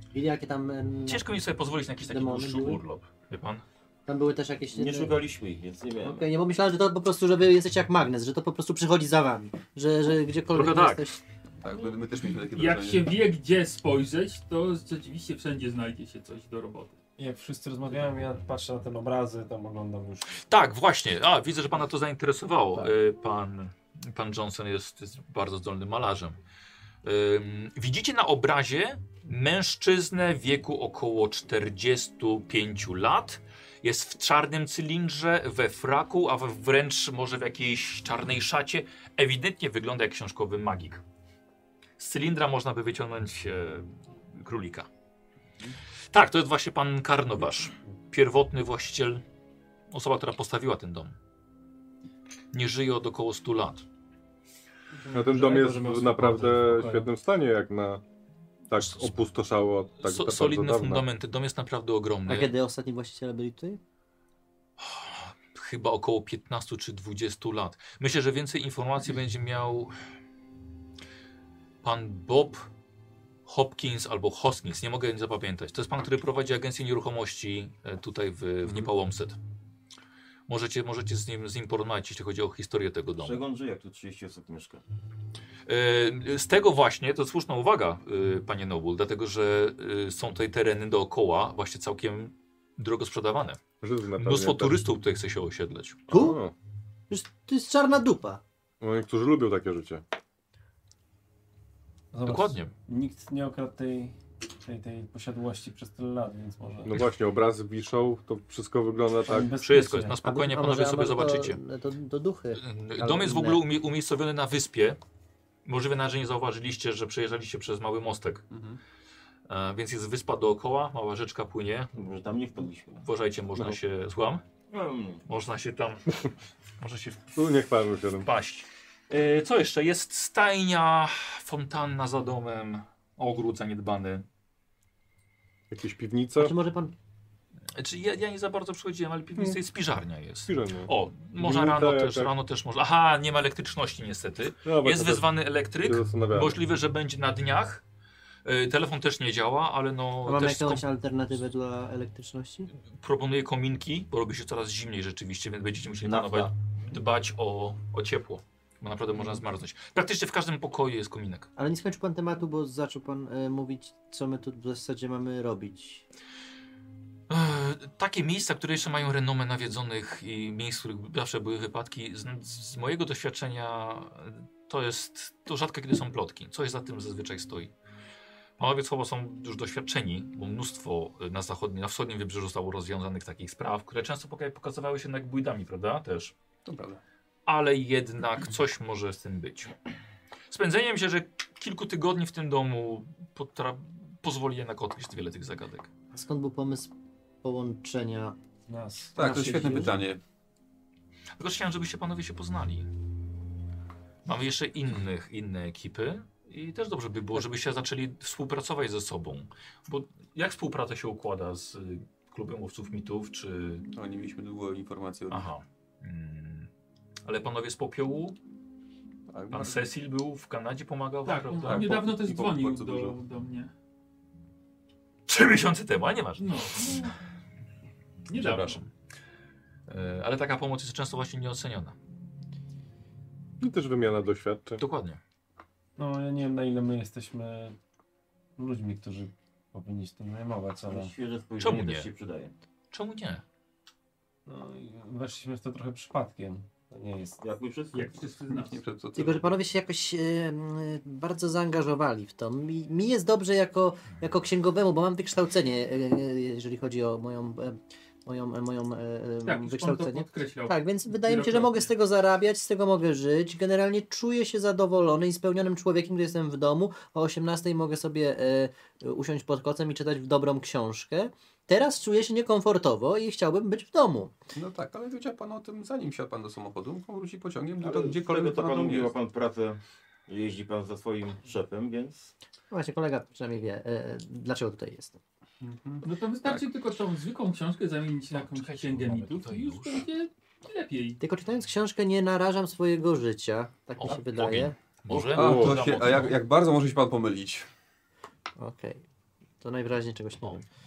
D: Widzieli jakie tam... em,
A: Ciężko mi sobie pozwolić na jakiś taki
D: Demony
A: dłuższy
D: były?
A: urlop, wie pan?
D: Tam były też jakieś...
G: Nie
D: te-
G: szukaliśmy ich, więc nie
D: Okej,
G: wiem.
D: nie, bo myślałem, że to po prostu, że wy jesteście jak magnes, że to po prostu przychodzi za wami. Że, że gdziekolwiek
A: Trochę tak.
D: jesteś...
H: Tak, my, my też mieliśmy takie
F: Jak
H: wrażenie.
F: się wie gdzie spojrzeć, to rzeczywiście wszędzie znajdzie się coś do roboty.
E: Jak wszyscy rozmawiają, ja patrzę na te obrazy, tam oglądam już.
A: Tak, właśnie. A, widzę, że pana to zainteresowało.
E: Tak.
A: Y, Pan, pan Johnson jest, jest bardzo zdolnym malarzem. Ym, Widzicie na obrazie mężczyznę w wieku około 45 lat. Jest w czarnym cylindrze, we fraku, a we- wręcz może w jakiejś czarnej szacie. Ewidentnie wygląda jak książkowy magik. Z cylindra można by wyciągnąć e, królika. Tak, to jest właśnie pan Karnowasz, pierwotny właściciel Osoba, która postawiła ten dom. Nie żyje od około 100 lat.
B: No ten dom
E: Że-
B: jest
E: że ma
B: w naprawdę
E: spokoju.
B: świetnym stanie, jak na tak opustoszało od tak
A: so,
B: bardzo
A: solidne
B: dawna.
A: fundamenty. Dom jest naprawdę
D: A
A: ogromny.
D: kiedy ostatni właściciele byli tutaj?
A: Chyba około 15 czy 20 lat. Myślę, że więcej informacji będzie miał pan Bob Hopkins albo Hoskins. Nie mogę zapamiętać. To jest pan, który prowadzi agencję nieruchomości e, tutaj w, w Nipałomset. Możecie, możecie z, nim, z nim porozmawiać, jeśli chodzi o historię tego domu.
G: Przegląd żyje, jak tu 30 osób mieszka.
A: E, Z tego właśnie, to słuszna uwaga, e, panie Noble, dlatego że e, są tutaj tereny dookoła właśnie całkiem drogo sprzedawane.
B: Żydzi na pewno
A: Mnóstwo
B: tak. No
A: turystów tutaj chce się osiedlać.
D: Tu?
B: O,
D: Przecież to jest czarna dupa.
B: no niektórzy lubią takie życie.
E: Zobacz,
A: Dokładnie.
E: Nikt nie okradł tej, tej, tej posiadłości przez tyle lat, więc może.
B: No właśnie, obrazy wiszą, to wszystko wygląda tak.
E: Bezpiecznie.
A: Wszystko jest, na
D: A
A: spokojnie
D: a
A: panowie
D: a
A: sobie
D: to-
A: zobaczycie.
D: To, to duchy.
A: E,
D: Ale
A: Dom jest w ogóle
D: inne.
A: umie- umiejscowiony na wyspie. Możliwe nawet, że nie zauważyliście, że przejeżdżaliście przez mały mostek.
H: Mhm.
A: E, Więc jest wyspa dookoła, mała rzeczka płynie.
G: Może tam nie wpadliśmy.
A: Uważajcie, można
B: No.
A: się... Słucham?
G: Mm.
A: Można się tam... można się
B: Tu nie chwalmy się tym.
A: paść. E, Co jeszcze? Jest stajnia, fontanna za domem, ogród zaniedbany.
B: Jakieś piwnice?
D: Czy może pan...
A: Znaczy, ja, ja nie za bardzo przychodziłem, ale
B: Hmm.
A: piwnica jest spiżarnia jest.
B: Piżemy.
A: O, może
B: Minuta
A: rano też,
B: jakaś.
A: rano też może. Aha, nie ma elektryczności niestety.
B: Hmm, tak, Dobra,
A: Jest
B: to tak
A: wezwany
B: się
A: elektryk,
B: zastanawiałem.
A: możliwe, że będzie na dniach. E, Telefon też nie działa, ale
D: A
A: no
D: mamy
A: też skom-
D: jakąś alternatywę dla elektryczności?
A: proponuję kominki, bo robi się coraz zimniej rzeczywiście, więc będziecie musieli
G: Nafta.
A: planować, dbać o, o ciepło, bo naprawdę można zmarznąć. Praktycznie w każdym pokoju jest kominek.
D: Ale nie skończył pan tematu, bo zaczął pan e, mówić, co my tu w zasadzie mamy robić.
A: Eee, Takie miejsca, które jeszcze mają renomę nawiedzonych i miejsc, w których zawsze były wypadki, z, z mojego doświadczenia e, to jest, to rzadko kiedy są plotki. Coś za tym zazwyczaj stoi. Panowie słowo są już doświadczeni, bo mnóstwo e, na zachodnim, na wschodnim wybrzeżu zostało rozwiązanych takich spraw, które często poka- pokazywały się jednak bójdami, prawda? Też.
I: To prawda.
A: Ale jednak coś może z tym być. Spędzenie mi się, że kilku tygodni w tym domu potra- pozwoli jednak odkryć wiele tych zagadek.
D: A skąd był pomysł połączenia?
E: Nas.
H: Tak, to
E: naszych
H: świetne
E: ludzi.
H: pytanie.
A: Tylko chciałem, żebyście panowie się poznali. Mamy jeszcze innych, inne ekipy i też dobrze by było, żebyście zaczęli współpracować ze sobą. Bo jak współpraca się układa z y, kluby mówców mitów, czy...
H: O, No, nie mieliśmy długo informacji o
A: Aha. Mm. Ale panowie z popiołu?
H: tak,
A: Pan Cecil był w Kanadzie, pomagał
F: Tak,
A: wam,
F: on
A: prawda?
F: niedawno
H: po-
F: też
H: po-
F: dzwonił
H: bardzo
F: do,
H: dużo.
F: do mnie.
A: Trzy miesiące temu, a nie masz.
F: No. no. Niedawno.
A: Przepraszam. E, Ale taka pomoc jest często właśnie nieoceniona.
B: I też wymiana doświadczeń.
A: Dokładnie.
E: No ja nie wiem na ile my jesteśmy ludźmi, którzy powinni się tym zajmować, ale
G: Świeże
A: Czemu
G: spojrzenie
A: nie?
G: też się przydaje.
A: Czemu nie?
E: no, i weszliśmy w to trochę przypadkiem. To nie jest.
G: Jak my wszyscy.
F: Jak wszyscy z nas.
H: Nie przed co
D: Tylko, że panowie się jakoś em, bardzo zaangażowali w to. Mi, mi jest dobrze jako, jako księgowemu, bo mam wykształcenie, e, e, jeżeli chodzi o moją, e, moją, e, moją e, e,
F: Tak, już pan to
D: wykształcenie.
F: podkreślał.
D: Tak, więc wydaje mi się, że
F: Wielokrotnie.
D: mogę z tego zarabiać, z tego mogę żyć. Generalnie czuję się zadowolony i spełnionym człowiekiem, gdy jestem w domu. O 18 mogę sobie e, usiąść pod kocem i czytać w dobrą książkę. Teraz czuję się niekomfortowo i chciałbym być w domu.
H: No tak, ale wiedział pan o tym, zanim siadł pan do samochodu, mógł wrócić pociągiem,
G: Ale
H: to
G: z
H: gdziekolwiek
G: tego,
H: pan
G: co pan
H: pan
G: mówił, ma
H: jest.
G: pan pracę, jeździ pan za swoim szefem, więc
D: No Właśnie kolega przynajmniej wie, e, e, dlaczego tutaj jestem.
H: Mhm.
F: No to wystarczy tylko tą zwykłą książkę zamienić na jakąś
A: Czekajcie,
F: księgę
A: bo mamy
F: mitów
A: tutaj
F: i już
A: nóż.
F: będzie lepiej.
D: Tylko czytając książkę nie narażam swojego życia, tak mi
A: O,
D: się wydaje.
A: Może?
H: A,
A: Było
H: to
A: za
H: się,
A: mocno.
H: a jak, jak bardzo może się pan pomylić?
D: Okej. To najwyraźniej czegoś nie
A: O,
D: wiem.
A: tak.
D: Ym,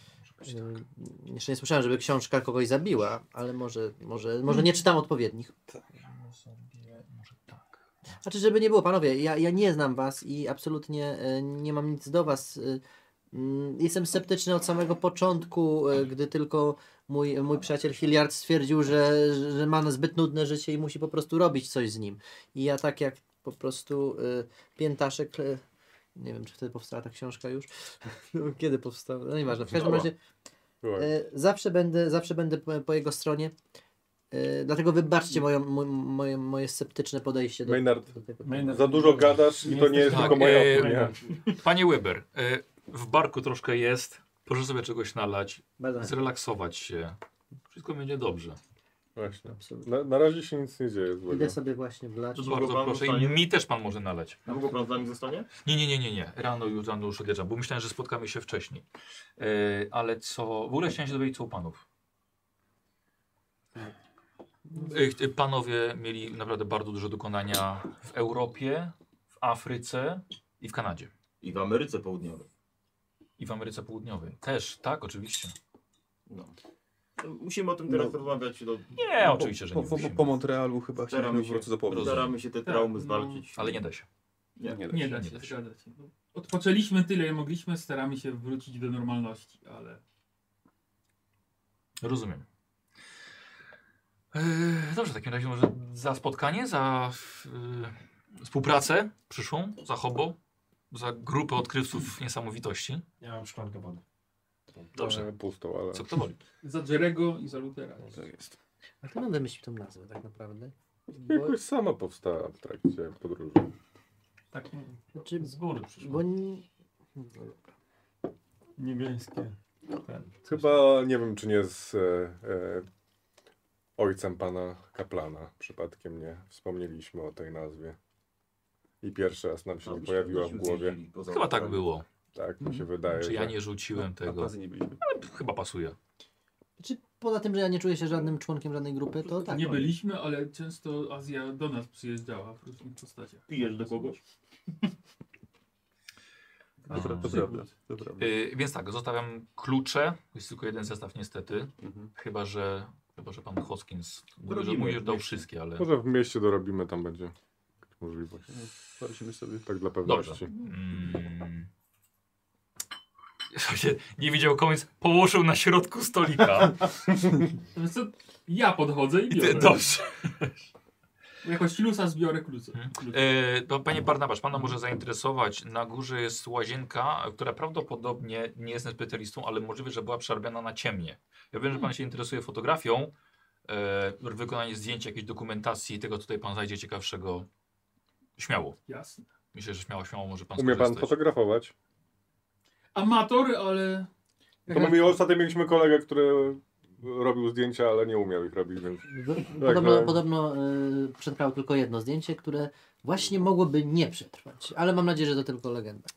D: Mm, Jeszcze nie słyszałem, żeby książka kogoś zabiła, ale może, może, może nie czytam odpowiednich.
A: Tak, Może tak.
D: Znaczy, żeby nie było, panowie, ja, ja nie znam was i absolutnie e, nie mam nic do was. e, mm, Jestem sceptyczny od samego początku, e, gdy tylko mój, mój przyjaciel Hilliard stwierdził, że, że ma zbyt nudne życie i musi po prostu robić coś z nim. I ja tak jak po prostu e, piętaszek, e, nie wiem czy wtedy powstała ta książka już, kiedy powstała, no nieważne, w każdym
B: Była.
D: razie
B: Była.
D: E, zawsze będę, zawsze będę po, po jego stronie. E, dlatego wybaczcie moją, mo- moje, moje sceptyczne podejście do,
B: Maynard.
D: do tego.
E: Maynard-
B: Za dużo gadasz i to nie jest
A: Tak,
B: tylko moja
A: e,
B: opinia.
A: Panie Weber, e, w barku troszkę jest. Proszę sobie czegoś nalać,
D: Bardzo
A: zrelaksować się. Wszystko będzie dobrze.
B: Właśnie.
D: absolutnie.
B: Na, na razie się nic nie dzieje złego.
D: Idę sobie właśnie wlać.
G: Długo
A: Bardzo
G: pan
A: proszę. I
G: zostanie?
A: mi też pan może nalać.
G: długo pan z nami zostanie?
A: Nie, nie, nie, nie, nie. Rano już, rano już odjeżdżam, bo myślałem, że spotkamy się wcześniej. E, ale co... W ogóle chciałem się dowiedzieć, co u panów. E, ch- panowie mieli naprawdę bardzo dużo dokonania w Europie, w Afryce i w Kanadzie.
G: I w Ameryce Południowej.
A: I w Ameryce Południowej. Też, tak, oczywiście.
G: No. Musimy o tym teraz rozmawiać. Do...
A: Nie, oczywiście, że nie.
H: no, Po, po, po,
A: musimy.
H: po Montrealu chyba się
G: Staramy
H: po
G: tak się,
H: prostu zapomnieć.
G: staramy się te
F: Tak,
G: traumy
F: no.
G: zwalczyć.
A: Ale nie da się.
G: Nie.
H: Nie da
F: Nie
H: się.
F: da
A: nie
F: się,
A: da się.
F: zgadza się. No, Odpoczęliśmy tyle, jak mogliśmy, staramy się wrócić do normalności, ale
A: Rozumiem. Yy, dobrze, w takim razie może za spotkanie, za yy, współpracę przyszłą, za hobo, za grupę odkrywców niesamowitości.
E: Ja mam szklankę wody.
A: Dobrze,
B: E, Pustą, ale...
A: co kto woli.
F: za Jerego i za Lutera.
H: Tak jest.
D: A kto nam wymyślił tą nazwę tak naprawdę?
B: Jakoś sama powstała w trakcie podróży.
F: Tak,
D: Znaczy,
F: z góry
D: bo nie...
E: Niebieskie.
B: Chyba nie wiem, czy nie z e, e, ojcem pana kaplana przypadkiem nie wspomnieliśmy o tej nazwie. I pierwszy raz nam się
G: No,
B: nie pojawiła w
G: myśmy
B: głowie.
G: zjeździli poza
A: Chyba tak
G: obszarem.
A: było.
B: Tak mi się wydaje.
A: Czy Mhm. Znaczy, ja
B: że-
A: nie rzuciłem
H: Na
A: tego?
H: plazy No, tak, nie byliśmy.
A: Chyba pasuje.
D: Znaczy, poza tym, że ja nie czuję się żadnym członkiem żadnej grupy, to tak.
F: nie byliśmy, ale często Azja do nas przyjeżdżała w różnych postaciach.
G: Pijesz do kogoś?
H: To pra- to
A: A.
H: prawda. To prawda.
A: Yy, więc tak, zostawiam klucze. Jest tylko jeden zestaw niestety.
H: Mhm.
A: Chyba, że, chyba, że pan Hoskins mówi, że
G: Dorobimy
A: mu już dał
G: jeszcze.
A: wszystkie, ale...
B: Może w mieście dorobimy, tam będzie jakaś możliwość.
A: No,
H: Patrzymy sobie.
B: Tak dla pewności.
A: Mm. Słuchajcie, nie widział koniec, położył na środku stolika.
F: Natomiast co, ja podchodzę i
A: I ty,
F: biorę.
A: dobrze.
F: Jakoś lusa zbiorę klucze. klucze.
A: E, to panie Barnabasz, pana może zainteresować. Na górze jest łazienka, która prawdopodobnie nie jest specjalistą, ale możliwe, że była przerabiana na ciemnie. Ja wiem, że pan się interesuje fotografią, e, wykonanie zdjęć, jakiejś dokumentacji, tego tutaj pan znajdzie ciekawszego. Śmiało.
F: Jasne.
A: Myślę, że śmiało, śmiało może pan
B: Umie pan
A: skorzystać.
B: fotografować?
F: Amator, ale
A: Tak,
B: To my ostatnio mieliśmy kolegę, który robił zdjęcia, ale nie umiał ich robić, więc
D: Podobno,
B: tak.
D: podobno y, przetrwało tylko jedno zdjęcie, które właśnie mogłoby nie przetrwać. Ale mam nadzieję, że to tylko legenda.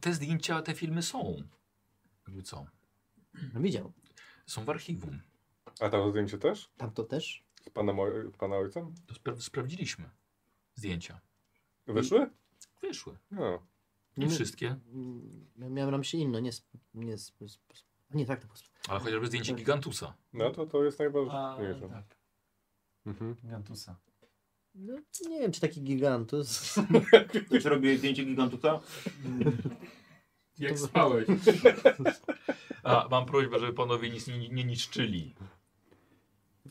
A: Te zdjęcia, te filmy są. Jakby co?
D: No Widział.
A: Są w archiwum.
B: A tam zdjęcie też?
D: Tam to też?
B: Z pana, moj- pana ojcem?
A: To spra sprawdziliśmy zdjęcia.
B: Wyszły?
A: Wyszły.
B: No.
A: Nie
D: My-
A: wszystkie,
D: Mm, ja Miałem na myśli inne, nie... Sp- nie sp- sp- nie tak, tak. sp-
A: ale chociażby zdjęcie Gigantusa.
B: No to to jest
E: A,
B: najważniejsze.
E: tak,
B: Mhm.
E: Gantusa.
D: No, nie wiem, czy taki gigantus.
G: Też robię zdjęcie gigantusa.
F: Jak spałeś.
A: A, mam prośbę, żeby panowie nic nie, nie niszczyli.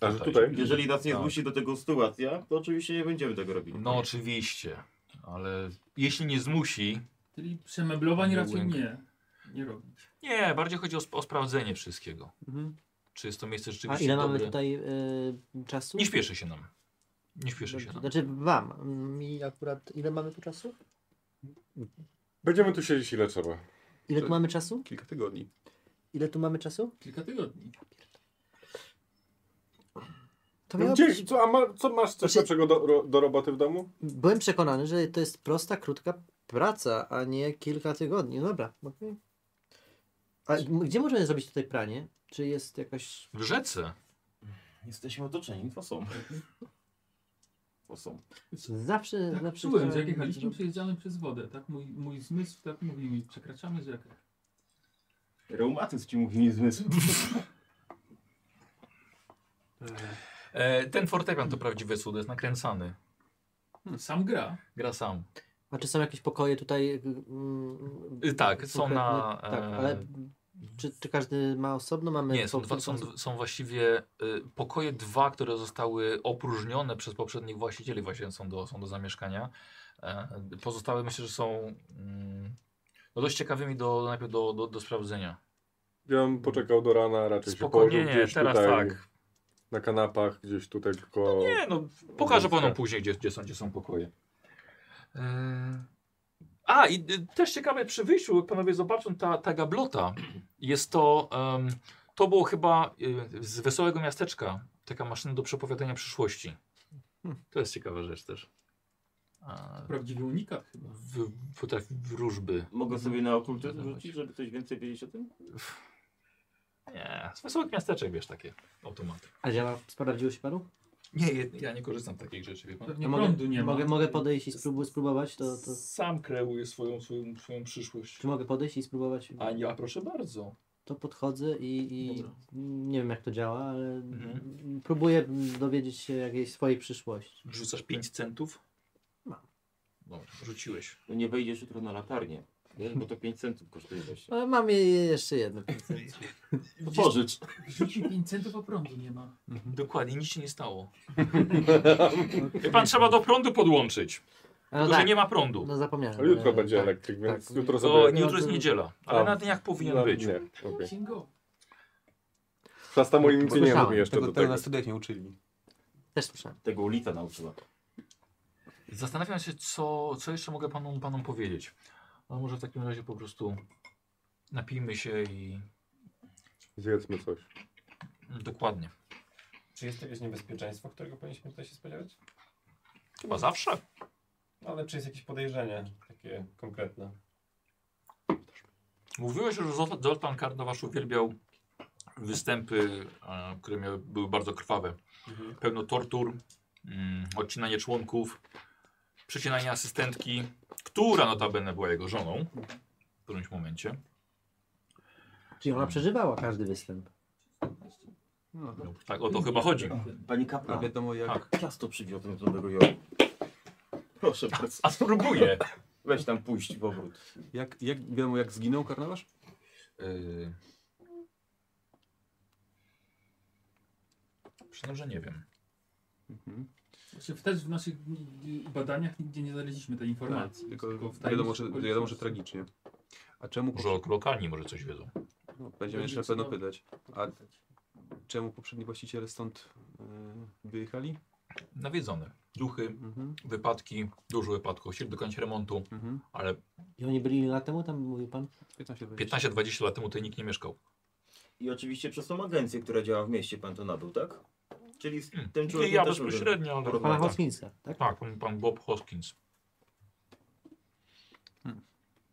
B: A że tutaj?
G: Jeżeli nas nie
A: Tak.
G: zmusi do tego sytuacja, to oczywiście nie będziemy tego robili.
A: No oczywiście, ale jeśli nie zmusi...
F: Czyli przemeblowań raczej
A: Łęk.
F: nie. Nie robić.
A: Nie, bardziej chodzi o, sp- o sprawdzenie wszystkiego. Czy jest to miejsce
D: Mhm. A
A: rzeczywiście
D: ile
A: dobre.
D: mamy tutaj y, czasu?
A: Nie śpieszy się nam. Nie śpieszy się no. nam.
D: Znaczy wam. Mi akurat ile mamy tu czasu?
B: Będziemy tu siedzieć ile trzeba.
D: Ile tu
H: Tak.
D: mamy czasu?
H: Kilka tygodni.
D: Ile tu mamy czasu?
F: Kilka tygodni.
D: To
B: No
D: miało
B: Gdzie,
D: być-
B: co, a ma, co masz coś
D: Znaczy-
B: lepszego do, ro, do roboty w domu?
D: Byłem przekonany, że to jest prosta, krótka praca, a nie kilka tygodni. No Dobra. okej. A m- gdzie możemy zrobić tutaj pranie? Czy jest jakaś...
A: W rzece.
G: Jesteśmy otoczeni fosą. Fosą.
D: Zawsze...
F: Tak
D: zawsze
F: czułem,
D: chciałem-
F: że jak jechaliśmy, przejeżdżamy przez wodę. Tak mój, mój zmysł tak mówi mi, przekraczamy rzekę.
G: Reumatyzm ci mówi nie zmysł.
A: E, ten fortepian to prawdziwe cudo, jest nakręcany.
F: Hmm, Sam gra.
A: Gra sam.
D: A czy są jakieś pokoje tutaj? y, mm,
A: Y, tak, są
D: konkretne?
A: na,
D: Tak,
A: e,
D: ale czy, czy każdy ma osobno? Mamy
A: Nie, są,
D: po-
A: dwa, są, są właściwie y, pokoje dwa, które zostały opróżnione przez poprzednich właścicieli, właśnie są do, są do zamieszkania. E, pozostałe myślę, że są mm, no dość ciekawymi do, najpierw do, do, do sprawdzenia.
B: Ja bym poczekał do rana, raczej się
A: Spokojnie,
B: położył
A: nie,
B: gdzieś
A: teraz
B: tutaj
A: tak.
B: na kanapach, gdzieś tutaj koło...
A: Nie, no pokażę panom później, gdzie, gdzie, są, gdzie są pokoje. Yy... A, i y, też ciekawe przy wyjściu, jak panowie zobaczą, ta, ta gablota jest to. em, to było chyba y, z wesołego miasteczka. Taka maszyna do przepowiadania przyszłości. To jest ciekawa rzecz też. A,
F: Prawdziwy unikat chyba.
A: w, potrafi wróżby.
G: Mogę sobie na okultyzm rzucić, żeby coś więcej wiedzieć o tym?
A: Nie, E, z wesołych miasteczek wiesz takie automaty.
D: A działa? Sprawdziło się panu?
A: Nie, ja nie korzystam z takich rzeczy, wie pan.
F: Pewnie
D: A mogę-
F: prądu nie ma.
D: Mogę, mogę podejść i sprób- spróbować? To, to...
A: Sam kreuję swoją, swoją, swoją przyszłość.
D: Czy mogę podejść i spróbować?
A: A ja proszę bardzo.
D: To podchodzę i, i
A: Dobra.
D: nie wiem jak to działa, ale
A: Mhm.
D: próbuję dowiedzieć się jakiejś swojej przyszłości.
A: Rzucasz 5 centów?
D: Mam.
A: Dobra, rzuciłeś.
G: No nie wejdziesz jutro na latarnię. Wiesz, bo to 5 centów kosztuje właśnie.
D: Ale No, mam je- jeszcze jedno.
G: To pożycz.
F: Rzucił 5 centów, a prądu nie ma.
A: Dokładnie, nic się nie stało. Wie pan, trzeba do prądu podłączyć.
D: No
A: Tylko,
D: tak,
A: że nie ma prądu.
D: no zapomniałem.
B: Ale jutro
D: E,
B: będzie
D: tak.
B: elektryk, więc
D: tak.
B: jutro sobie...
A: To nie, jutro jest
D: No,
A: niedziela, ale
B: A.
A: na dniach powinien
B: No,
A: być.
B: Nie, okej.
F: Księgo.
B: Szasta moim nic nie
D: Słyszałem.
B: mówi jeszcze
H: Tego,
B: do
H: tego
B: tego.
H: na studiach nie uczyli.
D: Też słyszałem.
G: Tego ulica nauczyła.
A: Zastanawiam się, co, co jeszcze mogę panom, panom powiedzieć. A może w takim razie po prostu napijmy się i
B: Zjedzmy coś.
A: dokładnie.
E: Czy jest jakieś niebezpieczeństwo, którego powinniśmy tutaj się spodziewać?
A: Chyba zawsze.
E: No, ale czy jest jakieś podejrzenie takie konkretne?
A: Mówiłeś, że Zol- Zoltan Karnowasz uwielbiał występy, e, które miały, były bardzo krwawe. Pełno tortur, mm, odcinanie członków, przecinanie asystentki, która notabene była jego żoną w którymś momencie.
D: Czyli ona przeżywała każdy występ.
H: No,
A: No, tak, o to chyba chodzi.
G: Pani
H: no
G: kapra,
H: wiadomo jak.
A: Tak.
G: ciasto przywiozłem z Nowego Jorku. Proszę bardzo.
A: A spróbuję.
G: Weź tam pójść w obrót.
H: Jak, jak wiadomo jak zginął karnawasz?
A: Yy... Przyznam, że nie wiem.
H: Mhm.
F: Właśnie też Znaczy, w naszych y, badaniach nigdzie nie znaleźliśmy tej informacji.
H: Tylko
F: w tajnych
H: wiadomo, że, wiadomo, że
F: okolicznościach.
H: tragicznie. A czemu
A: Może lo- lokalni może coś wiedzą.
H: no, będziemy jeszcze na pewno pytać? A czemu poprzedni właściciele stąd e, wyjechali?
A: Nawiedzone. Duchy,
H: Mhm.
A: wypadki, dużo wypadków, chcieli dokonać remontu,
H: Mhm.
A: ale
D: I oni byli lat temu, tam mówił pan?
H: 15, 20.
A: 15-20 lat temu tutaj nikt nie mieszkał.
G: I oczywiście przez tą agencję, która działa w mieście, pan to nabył, tak? Czyli z
A: Hmm.
G: tym
A: Nie
G: człowiekiem
A: ja
G: też
A: bezpośrednio, ale
G: Porozmawiamy.
D: Pana
A: tak,
D: Hoskińska, tak?
A: tak pan, pan Bob Hoskins.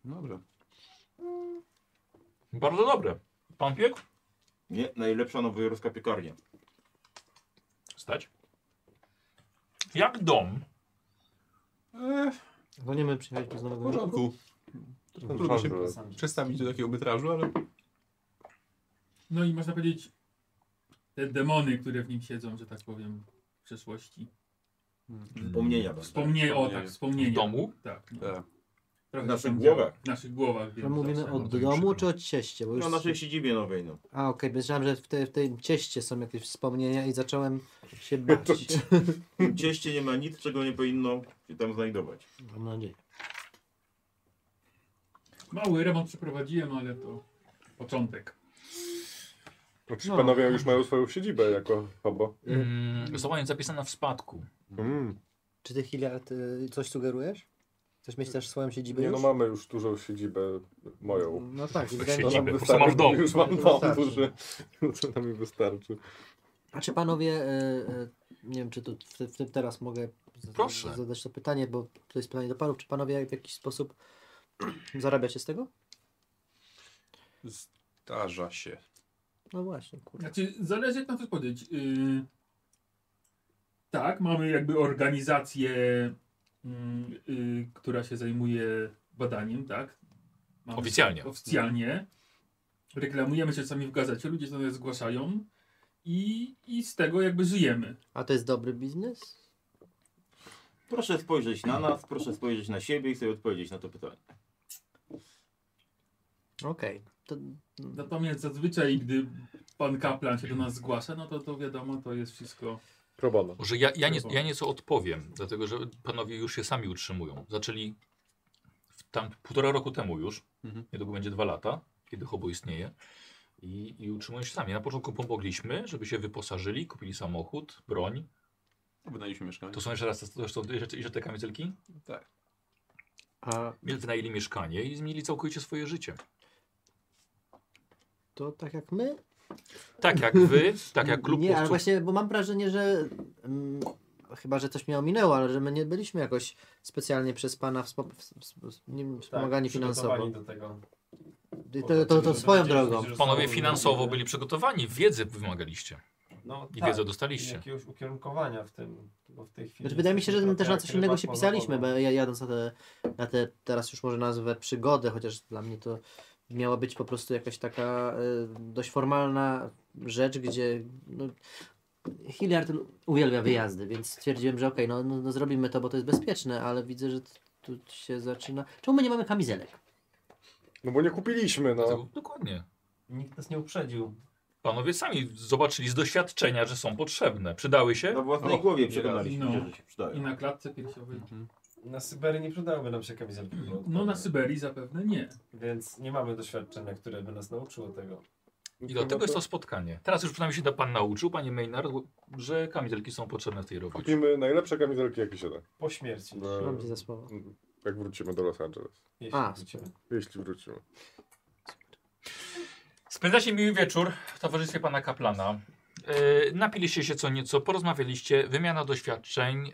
H: Dobrze.
A: Bardzo dobre. Pan piekł?
G: Nie, najlepsza nowojorska piekarnia.
A: Stać. Jak dom?
H: Eee,
D: No nie my przyjechaliśmy z
H: w
D: nowego roku.
H: porządku. Trudno się przestawić do takiego metrażu, ale
F: No i można powiedzieć, te demony, które w nim siedzą, że tak powiem, w przeszłości.
A: Hmm.
G: Wspomnienia. będą.
F: Wspomnienie, o tak,
H: No Wspomnienie.
A: W
F: wspomnienie.
A: domu?
F: Tak. no.
H: Tak.
F: Trochę
G: W naszych
F: się tam działo.
G: głowach.
F: W naszych głowach.
D: To
F: Więc
D: mówimy
F: zawsze.
D: o
A: no to już
D: domu
A: przykro.
D: czy o cieście? Bo już...
G: No, Na naszej siedzibie nowej, no.
D: A okej, myślałem, że w, te, w tym cieście są jakieś wspomnienia i zacząłem się bać.
G: W cieście nie ma nic, czego nie powinno się tam znajdować.
D: Mam nadzieję.
F: Mały remont przeprowadziłem, ale to początek.
B: No, ci panowie już mają swoją siedzibę jako hobo.
A: Mm, została nie zapisana w spadku.
B: Mm.
D: Czy ty, Hiliard, y, coś sugerujesz? Chcesz mieć też swoją siedzibę
B: Nie
D: już?
B: no, mamy już dużą siedzibę moją.
D: No tak, i
A: Siedzibę,
D: wydaje mi się,
A: po prostu mam w domu.
B: Już mam dom
D: Wystarczy.
B: duży. Co nam mi wystarczy.
D: A czy panowie, e, e, nie wiem, czy tu w, ty- w tym teraz mogę z-
A: Proszę.
D: z- zadać to pytanie, bo to jest pytanie do panów, czy panowie w jakiś sposób zarabiacie z tego?
H: zdarza się.
D: No właśnie, kurde.
F: Znaczy, zależy jak na to powiedzieć. Yy, tak, mamy jakby organizację, mm, yy, która się zajmuje badaniem, tak? Mamy
A: Oficjalnie.
F: Oficjalnie. Reklamujemy się sami w gazecie, ludzie do nas zgłaszają i, i z tego jakby żyjemy.
D: A to jest dobry biznes?
G: Proszę spojrzeć na nas, proszę spojrzeć na siebie i sobie odpowiedzieć na to pytanie.
D: Okej. To
F: Natomiast zazwyczaj, gdy pan kaplan się do nas zgłasza, no to, to wiadomo, to jest wszystko.
B: Pro bono.
A: Może ja, ja, nie, ja nieco odpowiem, dlatego że panowie już się sami utrzymują. Zaczęli w tam półtora roku temu już,
H: Mhm.
A: niedługo będzie dwa lata, kiedy hobo istnieje. I, I utrzymują się sami. Na początku pomogliśmy, żeby się wyposażyli, kupili samochód, broń.
H: Wynajęliśmy mieszkanie.
A: To są jeszcze raz, to są jeszcze, jeszcze te kamizelki?
H: Tak.
D: A
A: Wynajęli mieszkanie i zmienili całkowicie swoje życie.
D: to tak jak my?
A: Tak jak wy, tak jak klub
D: Nie, ale
A: łowców.
D: właśnie, bo mam wrażenie, że mm, chyba, że coś mnie ominęło, ale że my nie byliśmy jakoś specjalnie przez pana wspom- w- w- w- nie wiem,
E: Tak,
D: wspomagani finansowo.
E: Do tego.
D: I To, to, to swoją drogą.
A: Panowie finansowo byli przygotowani, wiedzy wymagaliście
E: No,
A: i
E: tak.
A: wiedzę
E: I
A: dostaliście.
E: jakiegoś ukierunkowania w tym, bo w tej chwili...
D: Znaczy, wydaje mi się, że my
E: jesteśmy
D: też na coś
E: trochę jak
D: innego
E: rybak
D: się
E: po
D: pisaliśmy, bo
E: wodzie.
D: ja jadąc na te, na te teraz już może nazwę przygodę, chociaż dla mnie to miała być po prostu jakaś taka y, dość formalna rzecz, gdzie no, Hilliard uwielbia wyjazdy, więc stwierdziłem, że okej, no, no, no zrobimy to, bo to jest bezpieczne, ale widzę, że t- tu się zaczyna... Czemu my nie mamy kamizelek?
B: No bo nie kupiliśmy, no.
A: Dlatego- Dokładnie.
E: Nikt nas nie uprzedził.
A: Panowie sami zobaczyli z doświadczenia, że są potrzebne. Przydały się?
G: Na własnej
H: O,
G: głowie
H: nie
G: przekonaliśmy
F: raz.
G: się,
F: No.
G: że się przydaje.
F: I na klatce piersiowej.
E: Na Syberii nie przydałyby nam się kamizelki.
F: No na Syberii zapewne nie.
E: Więc nie mamy doświadczenia, które by nas nauczyło tego.
A: I dlatego jest to spotkanie. Teraz już przynajmniej się da pan nauczył, panie Maynard, że kamizelki są potrzebne w tej robocie.
B: Kupimy najlepsze kamizelki, jakie się da.
E: Po śmierci.
B: No,
D: Mam cię za słowo.
B: jak wrócimy do Los Angeles.
E: Jeśli
D: A,
E: wrócimy.
B: Jeśli wrócimy.
A: Spędzacie miły wieczór w towarzystwie pana kaplana. Yy, napiliście się co nieco, porozmawialiście, wymiana doświadczeń.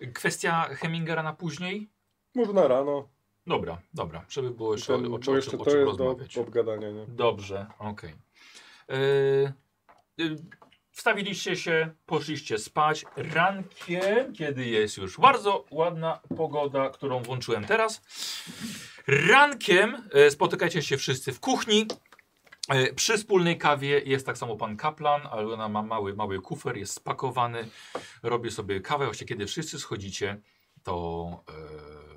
A: Yy, kwestia Hemingera na później?
B: Może na rano.
A: Dobra, dobra, żeby było jeszcze
B: Ten-
A: o, o,
B: bo
A: czym- o,
B: jeszcze
A: czym- o
B: to
A: czym
B: jest do
A: rozmawiać.
B: obgadania, nie?
A: Dobrze, okej. Yy, yy, wstawiliście się, poszliście spać. Rankiem, kiedy jest już bardzo ładna pogoda, którą włączyłem teraz. Rankiem yy, spotykacie się wszyscy w kuchni. Yy, Przy wspólnej kawie jest tak samo pan kaplan, ale ona ma mały, mały kufer, jest spakowany. Robię sobie kawę, właśnie kiedy wszyscy schodzicie, to, yy,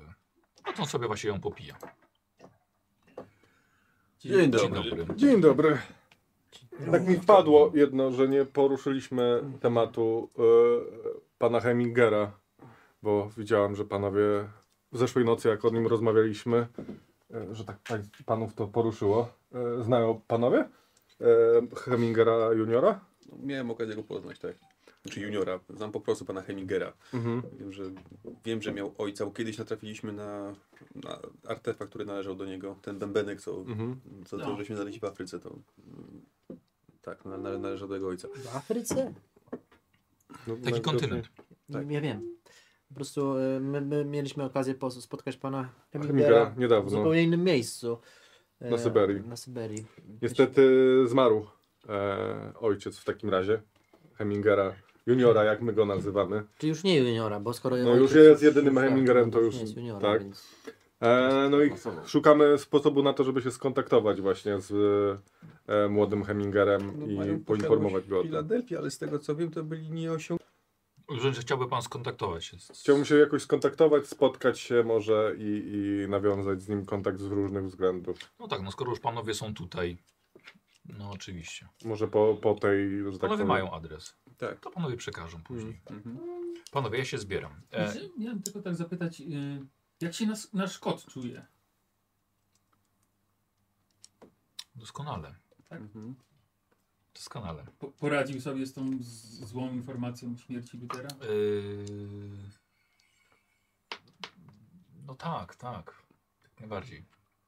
A: no to on sobie właśnie ją popija.
H: Dzień
A: Dzień
H: dobry.
A: dobry.
B: Dzień dobry. Tak mi wpadło jedno, że nie poruszyliśmy tematu e, pana Hemingera, bo widziałem, że panowie w zeszłej nocy, jak o nim rozmawialiśmy, e, że tak pań, panów to poruszyło. E, znają panowie e, Hemingera juniora?
H: No, miałem okazję go poznać, tak. Znaczy juniora. Znam po prostu pana Hemingera.
A: Mhm,
H: Wiem, że, wiem, że miał ojca, bo kiedyś natrafiliśmy na, na artefakt, który należał do niego. Ten bębenek, co,
B: Mhm.
H: co
F: No.
H: to, żeśmy znaleźli w Afryce, to... mm, Tak, na- na- należał do jego ojca.
D: W Afryce?
B: No,
A: Taki
B: najwidoczniej-
A: kontynent.
H: Tak.
D: Ja wiem. Po prostu e, y, my, my mieliśmy okazję po- spotkać pana Hemingera
B: Hemingera
D: w
B: niedawno.
D: zupełnie innym miejscu. e,
B: Na Syberii.
D: Na Syberii.
B: Niestety zmarł e, ojciec w takim razie Hemingera juniora, jak my go nazywamy.
D: Czy już nie juniora, bo skoro...
B: No już
D: ojciec
B: jest jedynym
D: tak,
B: Hemingerem, to
D: nie
B: już-
D: jest juniora,
B: tak.
D: więc...
B: E, no i szukamy sposobu na to, żeby się skontaktować właśnie z e, młodym
H: No,
B: Hemingerem i poinformować go o tym.
I: Filadelfii, ale z tego co wiem, to byli nieosiągalni.
A: Że że chciałby pan skontaktować się. z-
B: Chciałbym się jakoś skontaktować, spotkać się może i, i nawiązać z nim kontakt z różnych względów.
A: No tak, no skoro już panowie są tutaj. No oczywiście.
B: Może po, po tej, że tak
A: Panowie
B: powiem-
A: mają adres.
H: Tak.
A: To panowie przekażą później.
H: Mhm.
A: Panowie, ja się zbieram. E,
F: Znaczy, Miałem tylko tak zapytać, y, jak się nas, nasz kot czuje?
A: doskonale.
H: Mhm.
A: Doskonale.
F: Po, poradził sobie z tą z, złą informacją śmierci Lutera?
A: E, no tak, tak. Jak najbardziej.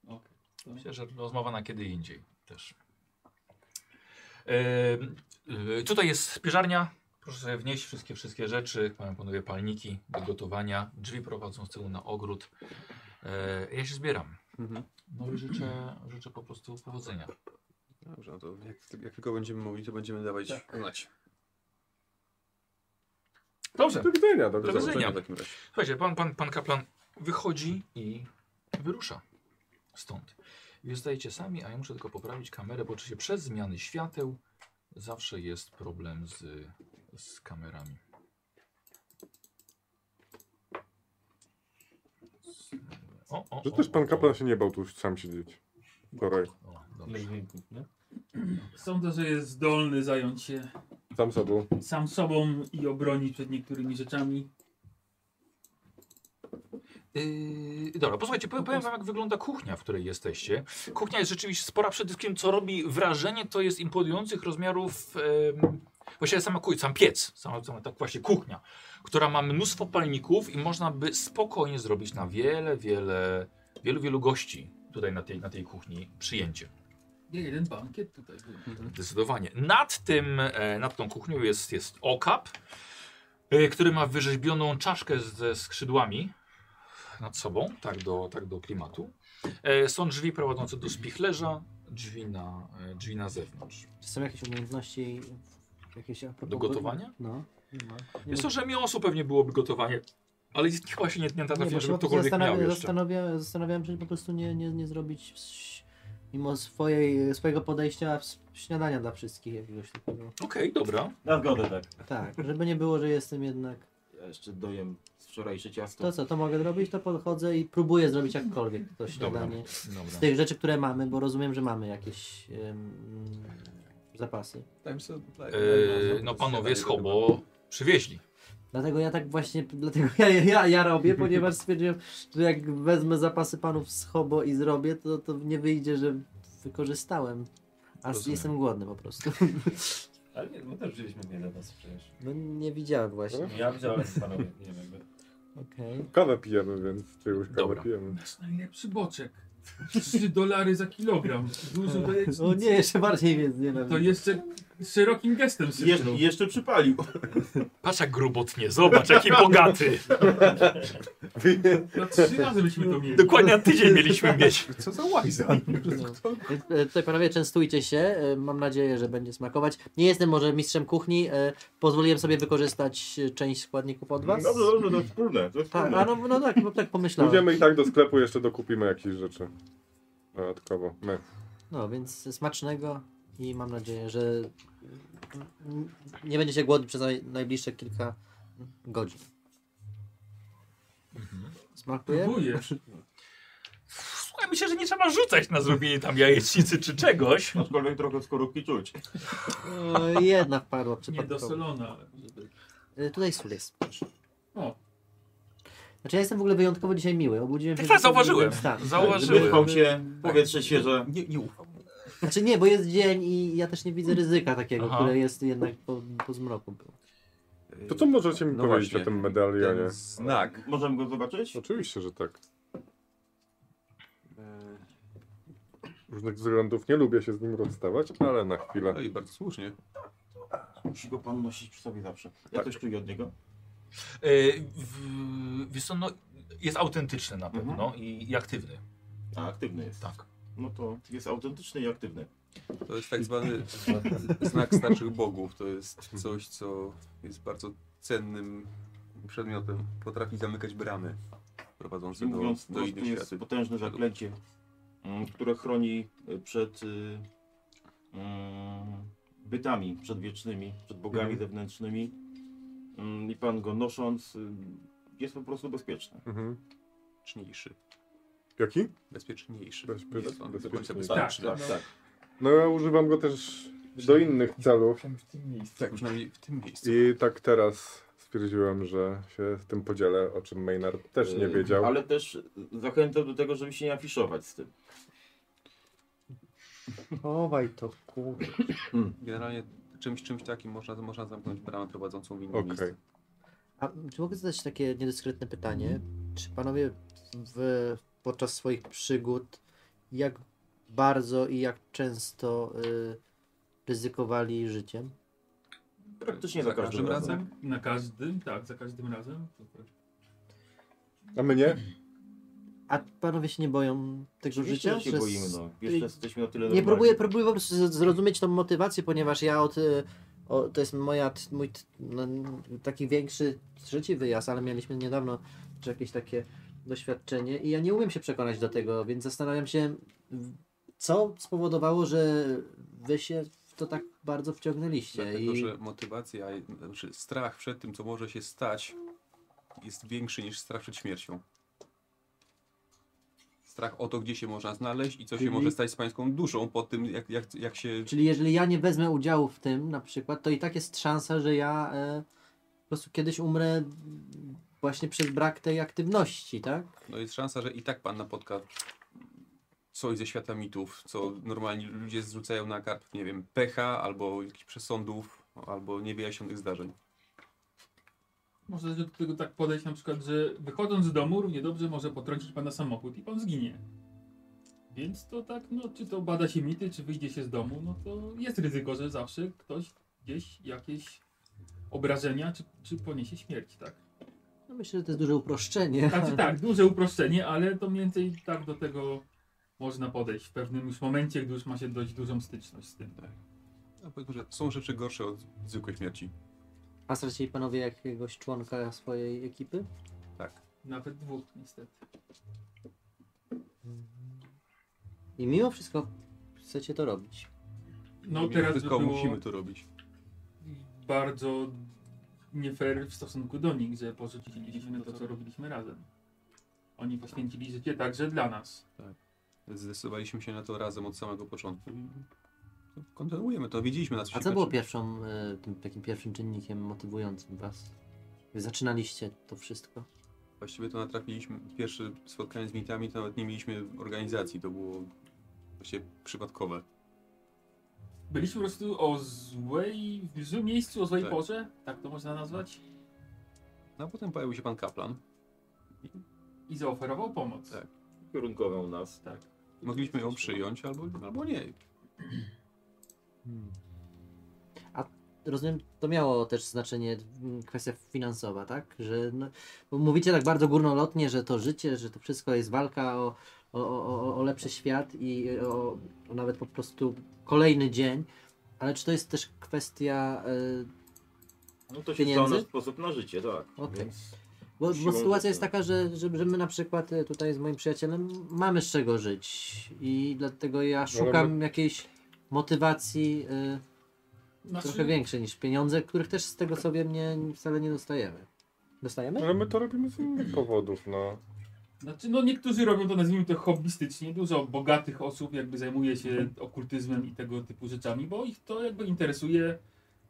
F: Okej.
A: Myślę, że rozmowa na kiedy indziej też. E, e, tutaj jest spieżarnia. Proszę sobie wnieść wszystkie, wszystkie rzeczy. Mają panowie palniki do gotowania. Drzwi prowadzą z tyłu na ogród. E, ja się zbieram.
H: Mhm.
A: No i życzę, życzę po prostu powodzenia.
H: Dobrze, no to jak, jak tylko będziemy mogli, to będziemy dawać
F: Tak.
H: znać.
A: Dobrze.
B: Do widzenia, do
A: Do
B: widzenia.
A: widzenia.
H: w takim razie.
A: Słuchajcie, pan, pan, pan kaplan wychodzi i wyrusza stąd. I zostajecie sami, a ja muszę tylko poprawić kamerę, bo oczywiście przez zmiany świateł zawsze jest problem z, z kamerami. O, o,
B: Że
A: o,
B: też
A: o,
B: pan
A: o.
B: kaplan się nie bał tu sam siedzieć. Wczoraj.
A: O,
G: Ile
A: dobrze.
G: dźwięków, nie?
F: Sądzę, że jest zdolny zająć się
B: Sam sobą.
F: sam sobą i obronić przed niektórymi rzeczami.
A: Yy, dobra, posłuchajcie, powiem, powiem wam jak wygląda kuchnia, w której jesteście. Kuchnia jest rzeczywiście spora, przede wszystkim co robi wrażenie to jest imponujących rozmiarów, em, właściwie sama kuj, sam piec, sama, sama tak właśnie kuchnia, która ma mnóstwo palników i można by spokojnie zrobić na wiele, wiele, wielu, wielu gości tutaj na tej, na tej kuchni przyjęcie.
F: Nie jeden bankiet tutaj był.
A: Zdecydowanie. Nad tym, e, nad tą kuchnią jest, jest okap, e, który ma wyrzeźbioną czaszkę ze skrzydłami nad sobą, tak do, tak do klimatu. E, Są drzwi prowadzące do spichlerza, drzwi na, e, drzwi na zewnątrz.
D: Czy są jakieś umiejętności, jakieś a propos
A: Do gotowania?
D: No. Nie ma. Nie
A: Jest
D: ma.
A: to rzemiosło pewnie byłoby gotowanie, ale jest- chyba się nie, nie
D: Nie,
A: natrafiłem,
D: bo
A: żeby
D: się po prostu
A: ktokolwiek miał
D: zastanawia,
A: jeszcze.
D: zastanawia, zastanawiałem się, czy po prostu nie, nie, nie zrobić ś- mimo swojej, swojego podejścia w- śniadania dla wszystkich jakiegoś takiego.
A: Okej, dobra.
G: Na zgodę tak.
D: Tak, żeby nie było, że jestem jednak...
G: Ja jeszcze dojem z wczorajsze ciasto.
D: To co, to mogę zrobić, to podchodzę i próbuję zrobić jakkolwiek to śniadanie z
A: Dobra.
D: tych rzeczy, które mamy, bo rozumiem, że mamy jakieś em, zapasy.
I: Dajmy sobie tutaj.
A: E, No panowie z Hobo przywieźli.
D: Dlatego ja tak właśnie, dlatego ja, ja, ja robię, ponieważ stwierdziłem, że jak wezmę zapasy panów z Hobo i zrobię, to, to nie wyjdzie, że wykorzystałem. A s-
A: Rozumiem.
D: jestem głodny po prostu.
G: Ale nie, my też wzięliśmy wiele was przecież.
D: No nie widziałem właśnie.
G: Ja wziąłem panowie, nie wiem. jakby.
D: Okej.
B: Kawę pijemy, więc ty już kawę
A: Dobra.
B: pijemy.
F: Nasz najlepszy boczek. 3 dolary za kilogram. Dużo to jest.
D: O nie, jeszcze bardziej więc nie
F: To jeszcze szerokim gestem
G: I jeszcze,
F: sypnął.
G: i jeszcze przypalił.
A: Patrz jak grubotnie, zobacz jaki bogaty.
F: Na trzy razy byśmy to mieli.
A: Dokładnie na tydzień mieliśmy mieć.
I: Co za łajza?
D: E, Tutaj panowie częstujcie się, e, mam nadzieję, że będzie smakować. Nie jestem może mistrzem kuchni, e, pozwoliłem sobie wykorzystać e, część składników od was.
G: Dobrze, dobrze, No, to wspólne. To
D: Tak,
G: wspólne.
D: a no, no tak, bo tak pomyślałem.
B: Pójdziemy i tak do sklepu, jeszcze dokupimy jakieś rzeczy. Dodatkowo. My.
D: No więc smacznego i mam nadzieję, że n- nie będziecie głodni przez naj- najbliższe kilka godzin.
A: Mhm.
D: Smakuje?
F: Próbujesz.
A: Słuchaj, myślę, że nie trzeba rzucać na zrobienie tam jajecznicy czy czegoś.
G: Aczkolwiek trochę skorupki czuć.
D: E, Jedna wpadła przypadkowo.
F: Niedosolona, ale może być.
D: E, Tutaj sól jest.
F: O,
D: Znaczy ja jestem w ogóle wyjątkowo dzisiaj miły, obudziłem się...
A: Tak, zauważyłem.
D: Tak.
A: Zauważyłem.
G: Wyspał się, powietrze świeże.
H: Nie, nie ufam.
D: Znaczy nie, bo jest dzień i ja też nie widzę ryzyka takiego,
A: Aha.
D: które jest jednak po, po zmroku było.
B: To co możecie mi
H: No
B: powiedzieć
H: właśnie.
B: o tym medalionie?
H: Ten znak.
G: Możemy go zobaczyć?
B: Oczywiście, że tak.
H: E,
B: Z różnych względów nie lubię się z nim rozstawać, ale na chwilę.
H: No i bardzo słusznie.
G: Musi go pan nosić przy sobie zawsze. Ja
B: Tak.
G: coś czuję od niego.
A: Yy, w- Wiesz co, no, jest autentyczny na pewno i, i aktywny.
G: A, aktywny jest.
A: Tak.
G: No to jest autentyczny i aktywny.
H: To jest tak zwany znak starszych bogów. To jest coś, co jest bardzo cennym przedmiotem. Potrafi zamykać bramy
G: I
H: prowadzące do,
G: mówiąc, po
H: do
G: prostu
H: innych
G: jest
H: światów.
G: potężne zaklęcie, mm, które chroni y, przed y, mm, bytami przedwiecznymi, przed bogami zewnętrznymi. Mm, I pan go nosząc y, jest po prostu bezpieczny.
B: Mhm.
H: Bezpieczniejszy.
B: Jaki?
H: Bezpieczniejszy.
B: Bez- bez-
H: Jest on do końca
B: bezpieczniejszy.
H: bezpieczny.
F: tak,
B: No
F: no.
B: ja używam go też do innych celów
I: Jestem w tym miejscu.
H: Tak, przynajmniej w tym miejscu.
B: i tak teraz stwierdziłem, że się z tym podzielę, o czym Maynard też nie
G: Y,
B: wiedział.
G: Ale też zachęcam do tego, żeby się nie afiszować z tym.
D: Chowaj to, kurde.
H: Generalnie czymś, czymś takim można, można zamknąć bramę prowadzącą w inne
B: Okej.
H: miejsce.
D: A czy mogę zadać takie niedyskretne pytanie? Czy panowie w, podczas swoich przygód jak bardzo i jak często y, ryzykowali życiem?
G: Praktycznie
H: Za
G: za, każdym,
H: każdym
G: razem.
H: razem?
F: Na każdym, tak, za każdym razem. tak.
B: A my nie?
D: A panowie się nie boją tego
G: Oczywiście,
D: życia?
G: że się
D: Że
G: boimy,
D: s-
G: no. Jeszcze jesteśmy na tyle
D: Nie
G: normalni.
D: próbuję, próbuję po prostu z- zrozumieć tą motywację, ponieważ ja od. y, O, to jest moja, t- mój t- no, n- taki większy trzeci wyjazd, ale mieliśmy niedawno też jakieś takie doświadczenie i ja nie umiem się przekonać do tego, więc zastanawiam się, w- co spowodowało, że wy się w to tak bardzo wciągnęliście.
H: Dlatego,
D: i...
H: Tak, no, że motywacja, znaczy strach przed tym, co może się stać, jest większy niż strach przed śmiercią. Strach o to, gdzie się można znaleźć i co się
D: Czyli-
G: Mhm.
H: może stać z pańską duszą po tym, jak, jak, jak się...
D: Czyli jeżeli ja nie wezmę udziału w tym na przykład, to i tak jest szansa, że ja e, po prostu kiedyś umrę właśnie przez brak tej aktywności, tak?
H: No jest szansa, że i tak pan napotka coś ze świata mitów, co normalni ludzie zrzucają na karp, nie wiem, pecha albo jakichś przesądów, albo niewyjaśnionych zdarzeń.
F: Można też do tego tak podejść na przykład, że wychodząc z domu równie dobrze może potrącić pana samochód i pan zginie. Więc to tak, no czy to bada się mity, czy wyjdzie się z domu, no to jest ryzyko, że zawsze ktoś gdzieś jakieś obrażenia, czy, czy poniesie śmierć, tak?
D: No myślę, że to jest duże uproszczenie.
F: Znaczy tak, duże uproszczenie, ale to mniej więcej tak do tego można podejść w pewnym już momencie, gdy już ma się dość dużą styczność z tym.
H: No powiedzmy, że są rzeczy gorsze od zwykłej śmierci.
D: A stracili panowie jakiegoś członka swojej ekipy?
F: Nawet dwóch niestety.
D: I mimo wszystko chcecie to robić.
F: No
H: Mimo
F: teraz by
H: wszystko
F: było...
H: musimy to robić.
F: bardzo nie fair w stosunku do nich, że porzuciliśmy to, co robiliśmy razem. Oni poświęcili życie także dla nas.
H: Zdecydowaliśmy się na to razem od samego początku. i Kontynuujemy to, widzieliśmy nas
D: A co było pierwszą, e, tym takim pierwszym czynnikiem motywującym was? Wy zaczynaliście to wszystko.
H: Właściwie to natrafiliśmy, pierwsze spotkanie z mitami to nawet nie mieliśmy organizacji, to było właściwie przypadkowe.
F: Byliśmy po prostu o złej, w złym miejscu, o złej
H: Tak.
F: porze, tak to można nazwać,
H: No a potem pojawił się pan Kaplan.
F: i zaoferował pomoc.
H: Tak.
G: Kierunkową nas.
F: tak.
H: Mogliśmy ją przyjąć albo, albo nie.
D: Rozumiem, to miało też znaczenie mm, kwestia finansowa, tak? Że no, bo mówicie tak bardzo górnolotnie, że to życie, że to wszystko jest walka o, o, o, o- o lepszy świat i e, o, o nawet po prostu kolejny dzień. Ale czy to jest też kwestia e,
G: No to się
D: Pieniędzy?
G: stał nasz sposób na życie, tak.
D: Okej.
G: Więc
D: Bo,
G: Siłą
D: bo sytuacja jest
G: rzeczy.
D: taka, że, że, że my na przykład y, tutaj z moim przyjacielem mamy z czego żyć i dlatego
G: No
D: ja szukam jakiejś motywacji y,
F: Znaczy,
D: trochę większej niż pieniądze, których też z tego sobie mnie wcale nie dostajemy. Dostajemy?
B: Ale my to robimy z innych powodów, no.
F: znaczy, no niektórzy robią to, nazwijmy to, hobbystycznie. Dużo bogatych osób jakby zajmuje się
H: Mhm.
F: okultyzmem i tego typu rzeczami, bo ich to jakby interesuje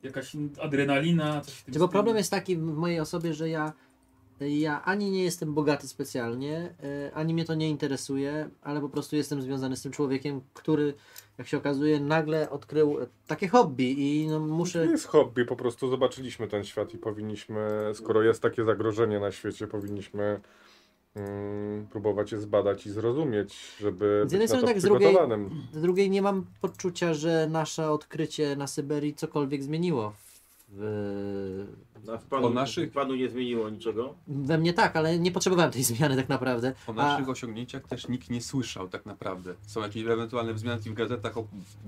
F: jakaś adrenalina, coś w tym
D: Czy Znaczy, bo
F: stylu.
D: problem jest taki w mojej osobie, że ja, ja ani nie jestem bogaty specjalnie, y, ani mnie to nie interesuje, ale po prostu jestem związany z tym człowiekiem, który, jak się okazuje, nagle odkrył e, takie hobby i no,
B: To
D: muszę...
B: jest hobby, po prostu zobaczyliśmy ten świat i powinniśmy, skoro jest takie zagrożenie na świecie, powinniśmy mm, próbować je zbadać i zrozumieć, żeby
D: Z
B: być
D: jednej
B: na
D: strony
B: to
D: tak, z drugiej-
B: przygotowanym.
D: Z drugiej nie mam poczucia, że nasze odkrycie na Syberii cokolwiek zmieniło w, w,
G: A w panu,
H: O naszych?
G: w panu nie zmieniło niczego?
D: we mnie tak, ale nie potrzebowałem tej zmiany tak naprawdę.
H: O naszych osiągnięciach też nikt nie słyszał tak naprawdę. Są jakieś ewentualne wzmianki w gazetach o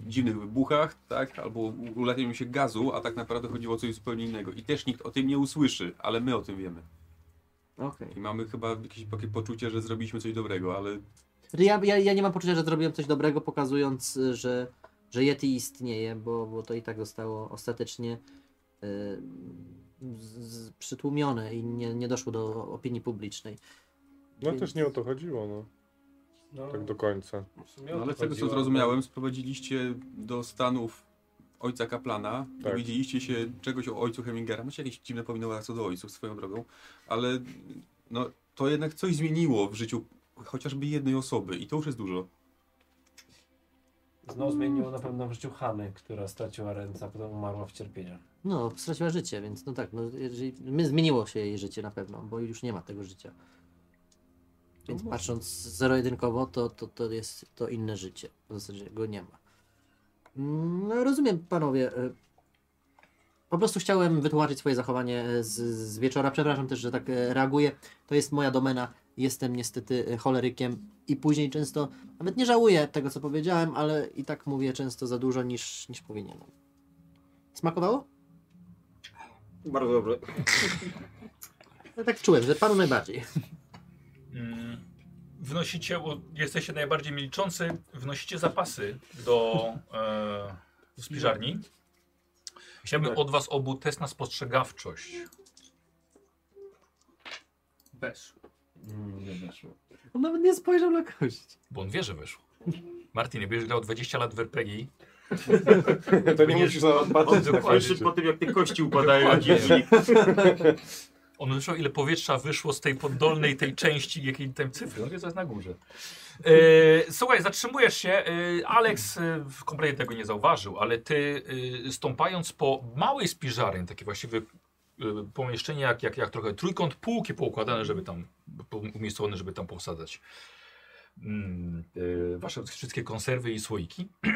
H: dziwnych wybuchach, tak? Albo ulatnieniu się gazu, a tak naprawdę chodziło o coś zupełnie innego. I też nikt o tym nie usłyszy, ale my o tym wiemy.
D: Okej.
H: I mamy chyba jakieś takie poczucie, że zrobiliśmy coś dobrego, ale
D: Ja, ja, ja nie mam poczucia, że zrobiłem coś dobrego, pokazując, y, że, że Yeti istnieje, bo, bo to i tak zostało ostatecznie y, z, z, przytłumione i nie, nie doszło do opinii publicznej.
B: No też nie o to chodziło, no.
E: No,
B: Tak do końca.
E: w sumie o
H: No,
E: to
H: ale z tego co
E: chodziło.
H: zrozumiałem, sprowadziliście do Stanów ojca kaplana,
B: Tak.
H: dowiedzieliście się czegoś o ojcu Hemingera. Macie jakieś dziwne powinowania co do ojców swoją drogą, ale no, to jednak coś zmieniło w życiu chociażby jednej osoby i to już jest dużo.
E: Znowu zmieniło na pewno w życiu Hany, która straciła ręce, a potem umarła w cierpieniu.
D: No, straciła życie, więc no tak, no, jeżeli, my zmieniło się jej życie na pewno, bo już nie ma tego życia. Więc
H: może.
D: patrząc zero-jedynkowo, to, to, to jest to inne życie. W zasadzie go nie ma. Mm, No, rozumiem, panowie. y, Po prostu chciałem wytłumaczyć swoje zachowanie y, z, z wieczora. Przepraszam też, że tak y, reaguję. To jest moja domena. Jestem niestety y, cholerykiem i później często, nawet nie żałuję tego, co powiedziałem, ale i tak mówię często za dużo niż, niż powinienem. Smakowało?
G: Bardzo dobrze.
D: Ja tak czułem, że panu najbardziej.
A: Mm, Wnosicie, bo jesteście najbardziej milczący, wnosicie zapasy do e, spiżarni. Chciałbym od was obu test na spostrzegawczość.
F: Weszł.
D: On nawet nie spojrzał na kość.
A: Bo on wie, że wyszło. Martin, jakbyś grał 20 lat w RPG,
B: To tak nie musisz nawet patrzeć na
A: Dokładnie.
G: Słyszy po tym, jak te kości upadają, jak
A: Dokładnie.
G: jeździ.
A: on słyszał ile powietrza wyszło z tej poddolnej tej części, jakiej tam cyfry, on wie co jest na górze. E, słuchaj, zatrzymujesz się, e, Alex e, kompletnie tego nie zauważył, ale ty e, stąpając po małej spiżarni, takie właściwie e, pomieszczenie jak, jak, jak trochę trójkąt, półki poukładane, żeby tam, po- umiejscowione, żeby tam posadzać mm, e, wasze wszystkie konserwy i słoiki.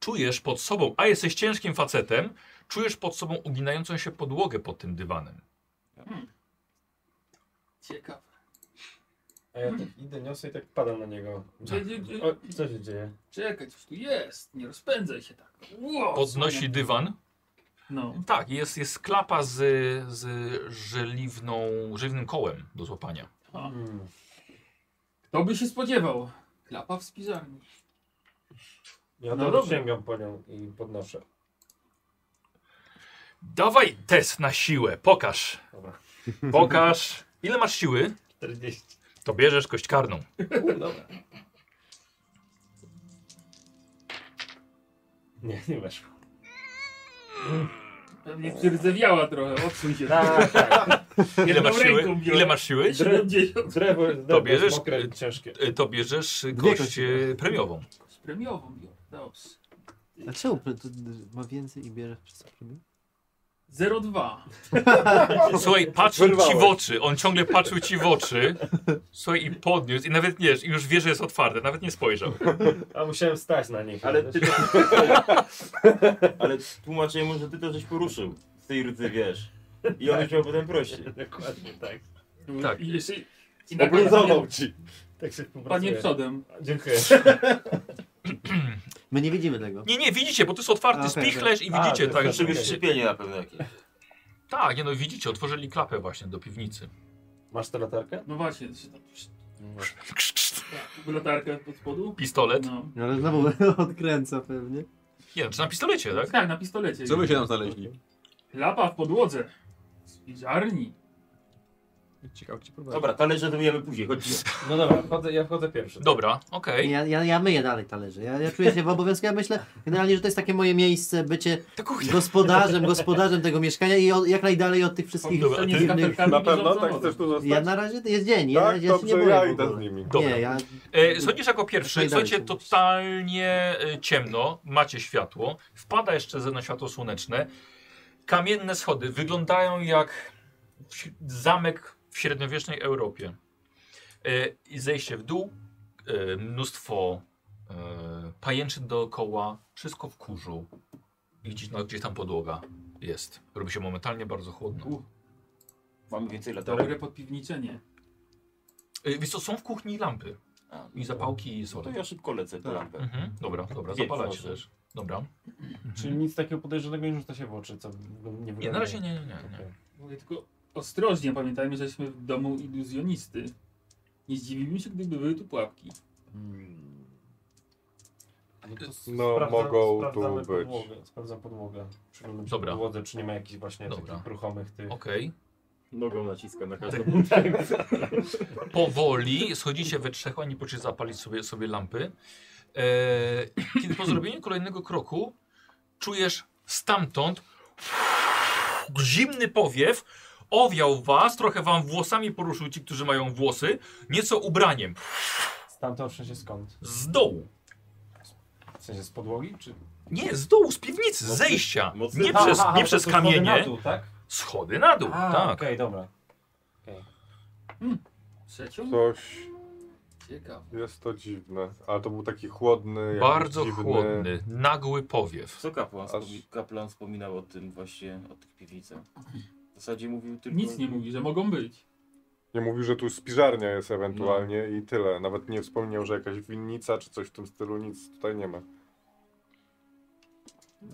A: czujesz pod sobą, a jesteś ciężkim facetem, czujesz pod sobą uginającą się podłogę pod tym dywanem.
F: Ciekawe.
E: A ja tak idę, niosę i tak padam na niego.
F: Dzie- dzie- dzie-
E: O, co się dzieje?
F: Czekaj, coś tu jest. Nie rozpędzaj się tak. Ło,
A: Podnosi dywan.
F: No.
A: Tak, jest, jest klapa z, z żeliwną, żeliwnym kołem do złapania.
F: A,
E: Mm.
F: kto by się spodziewał? Klapa w spiżarni.
E: Ja
F: No
E: no
F: dobra.
E: sięgam po nią i podnoszę.
A: Dawaj test na siłę, pokaż.
E: Dobra.
A: Pokaż. Ile masz siły,
E: 40.
A: to bierzesz kość karną.
E: No Dobra. Nie, nie weszło.
F: Pewnie przyrdzewiała trochę, odsuń się.
E: Tak, tak.
A: Ile masz siły?
F: No ręką biorę.
A: Ile masz siły?
F: 70.
E: Drewo, drewo
A: To bierzesz-
E: jest mokre i ciężkie.
A: Y, To bierzesz kość y, premiową.
F: Z premiową biorę, dobrze.
D: A czemu ma więcej i bierze przez
F: 0,2.
A: Słuchaj, patrzył ci w
B: Wyrwałeś.
A: oczy, on ciągle patrzył ci w oczy. Słuchaj, i podniósł, i nawet nie, i już wie, że jest otwarte, nawet nie spojrzał.
E: A musiałem stać na nich.
G: Ale ty to... Ale tłumaczę mu, że ty to żeś poruszył. Z tej rydzy, wiesz. I on już miał potem prościej.
E: Dokładnie, tak.
A: Tak.
F: I jeszcze... I na koniec
B: Obluzował ci.
E: Tak się
F: Padnie
E: poprawiłem.
F: przodem.
E: Dziękuję.
D: My nie widzimy tego.
A: Nie, nie, widzicie, bo to jest otwarty
D: A, okej,
A: spichlerz i
E: A,
A: widzicie,
E: to
A: tak,
E: jest
A: że...
G: Czegoś
E: Okej.
G: szczepienie na pewno jakieś.
A: Tak, nie no, widzicie, otworzyli klapę właśnie do piwnicy.
E: Masz tę latarkę?
F: No właśnie, się tam... Tak, latarkę pod spodu.
A: Pistolet.
F: No.
D: No ale znowu odkręca pewnie.
A: Nie, znaczy na pistolecie, tak?
F: Tak, na pistolecie.
H: Co by się tam znaleźli?
F: Lapa w podłodze. Z piżarni.
H: Ciekawe, czy prowadzi.
G: Dobra, talerze domujemy później, chodź.
E: No dobra, wchodzę, ja wchodzę pierwszy.
A: Dobra, okej.
D: Ja, ja, ja myję dalej talerze. Ja, ja czuję się w obowiązku. Ja myślę generalnie, że to jest takie moje miejsce, bycie
A: Ta Tak, kuchnia.
D: gospodarzem, gospodarzem tego mieszkania i od, jak najdalej od tych wszystkich
A: Dobra, a
F: To nie
A: ty-
F: z
D: dziwnych...
F: kafelkami,
B: Na
F: nie
B: pewno
F: rządzą
B: tak
F: wodą.
B: chcesz tu zostać?
D: Ja na razie to jest dzień. Ja,
B: tak,
D: ja się
B: dobrze,
D: nie boję
B: ja
D: w
B: idę z
D: ogóle.
B: nimi.
A: Dobra.
D: Nie, ja...
A: E, schodzisz jako pierwszy,
D: Jak najdalej
A: słuchajcie,
D: są.
A: totalnie e, ciemno, macie światło, wpada jeszcze ze- na światło słoneczne. Kamienne schody wyglądają jak w- zamek w średniowiecznej Europie. E, I zejście w dół, e, mnóstwo e, pajęczyn dookoła, wszystko w kurzu. I Gdzieś, no, gdzieś tam podłoga. Jest. Robi się momentalnie bardzo chłodno.
F: U,
G: Mamy więcej latarek.
F: dobre podpiwniczenie.
A: Y, Wiesz co, są w kuchni lampy.
G: A,
A: I zapałki i
G: To
A: solę.
G: ja szybko lecę po lampę.
A: Mhm. Dobra,
C: Tak,
A: dobra,
G: Wiem,
A: zapalacie
C: no,
G: proszę.
A: też. Dobra.
C: Czyli nic takiego podejrzanego nie rzuca się w oczy, co nie
A: Nie, na razie nie, nie, nie. nie.
F: Mówię tylko ostrożnie, pamiętajmy, żeśmy w domu iluzjonisty. Nie zdziwiłbym się, gdyby były tu pułapki.
B: No, mogą tu być.
C: Podłogę, sprawdzam podłogę. Przyglądam się
A: Dobra.
C: podłodze, czy nie ma jakichś właśnie
A: Dobra.
C: takich ruchomych tych...
A: Okej.
G: Nogą naciska na każdą.
A: Powoli schodzicie we trzech, oni poczęli zapalić sobie, sobie lampy. E, kiedy po zrobieniu kolejnego kroku czujesz stamtąd zimny powiew, owiał was, trochę wam włosami poruszył ci, którzy mają włosy, nieco ubraniem,
C: Stamtąd w sensie skąd?
A: z dołu.
C: W sensie z podłogi, czy...
A: Nie, z dołu, z piwnicy, z
G: Mocny-
A: zejścia.
G: mocny-
A: Nie przez,
C: Aha,
A: nie
C: to
A: przez
C: są schody na
A: kamienie,
C: dół, tak?
A: schody na dół,
C: A,
A: tak.
C: okej, dobra.
F: Trzecią?
B: Coś
F: Ciekawe.
B: jest to dziwne. Ale to był taki chłodny. jakiś
A: Bardzo
B: dziwny...
A: chłodny, nagły powiew.
G: Co kapłan,
B: Aż-
G: wspomi- kaplan wspominał o tym właśnie, o tych piwnicach? W zasadzie mówił tylko...
F: Nic nie mówi, że mogą być.
B: Nie mówił, że tu spiżarnia jest ewentualnie i tyle. Nawet nie wspomniał, że jakaś winnica czy coś w tym stylu, nic tutaj nie ma.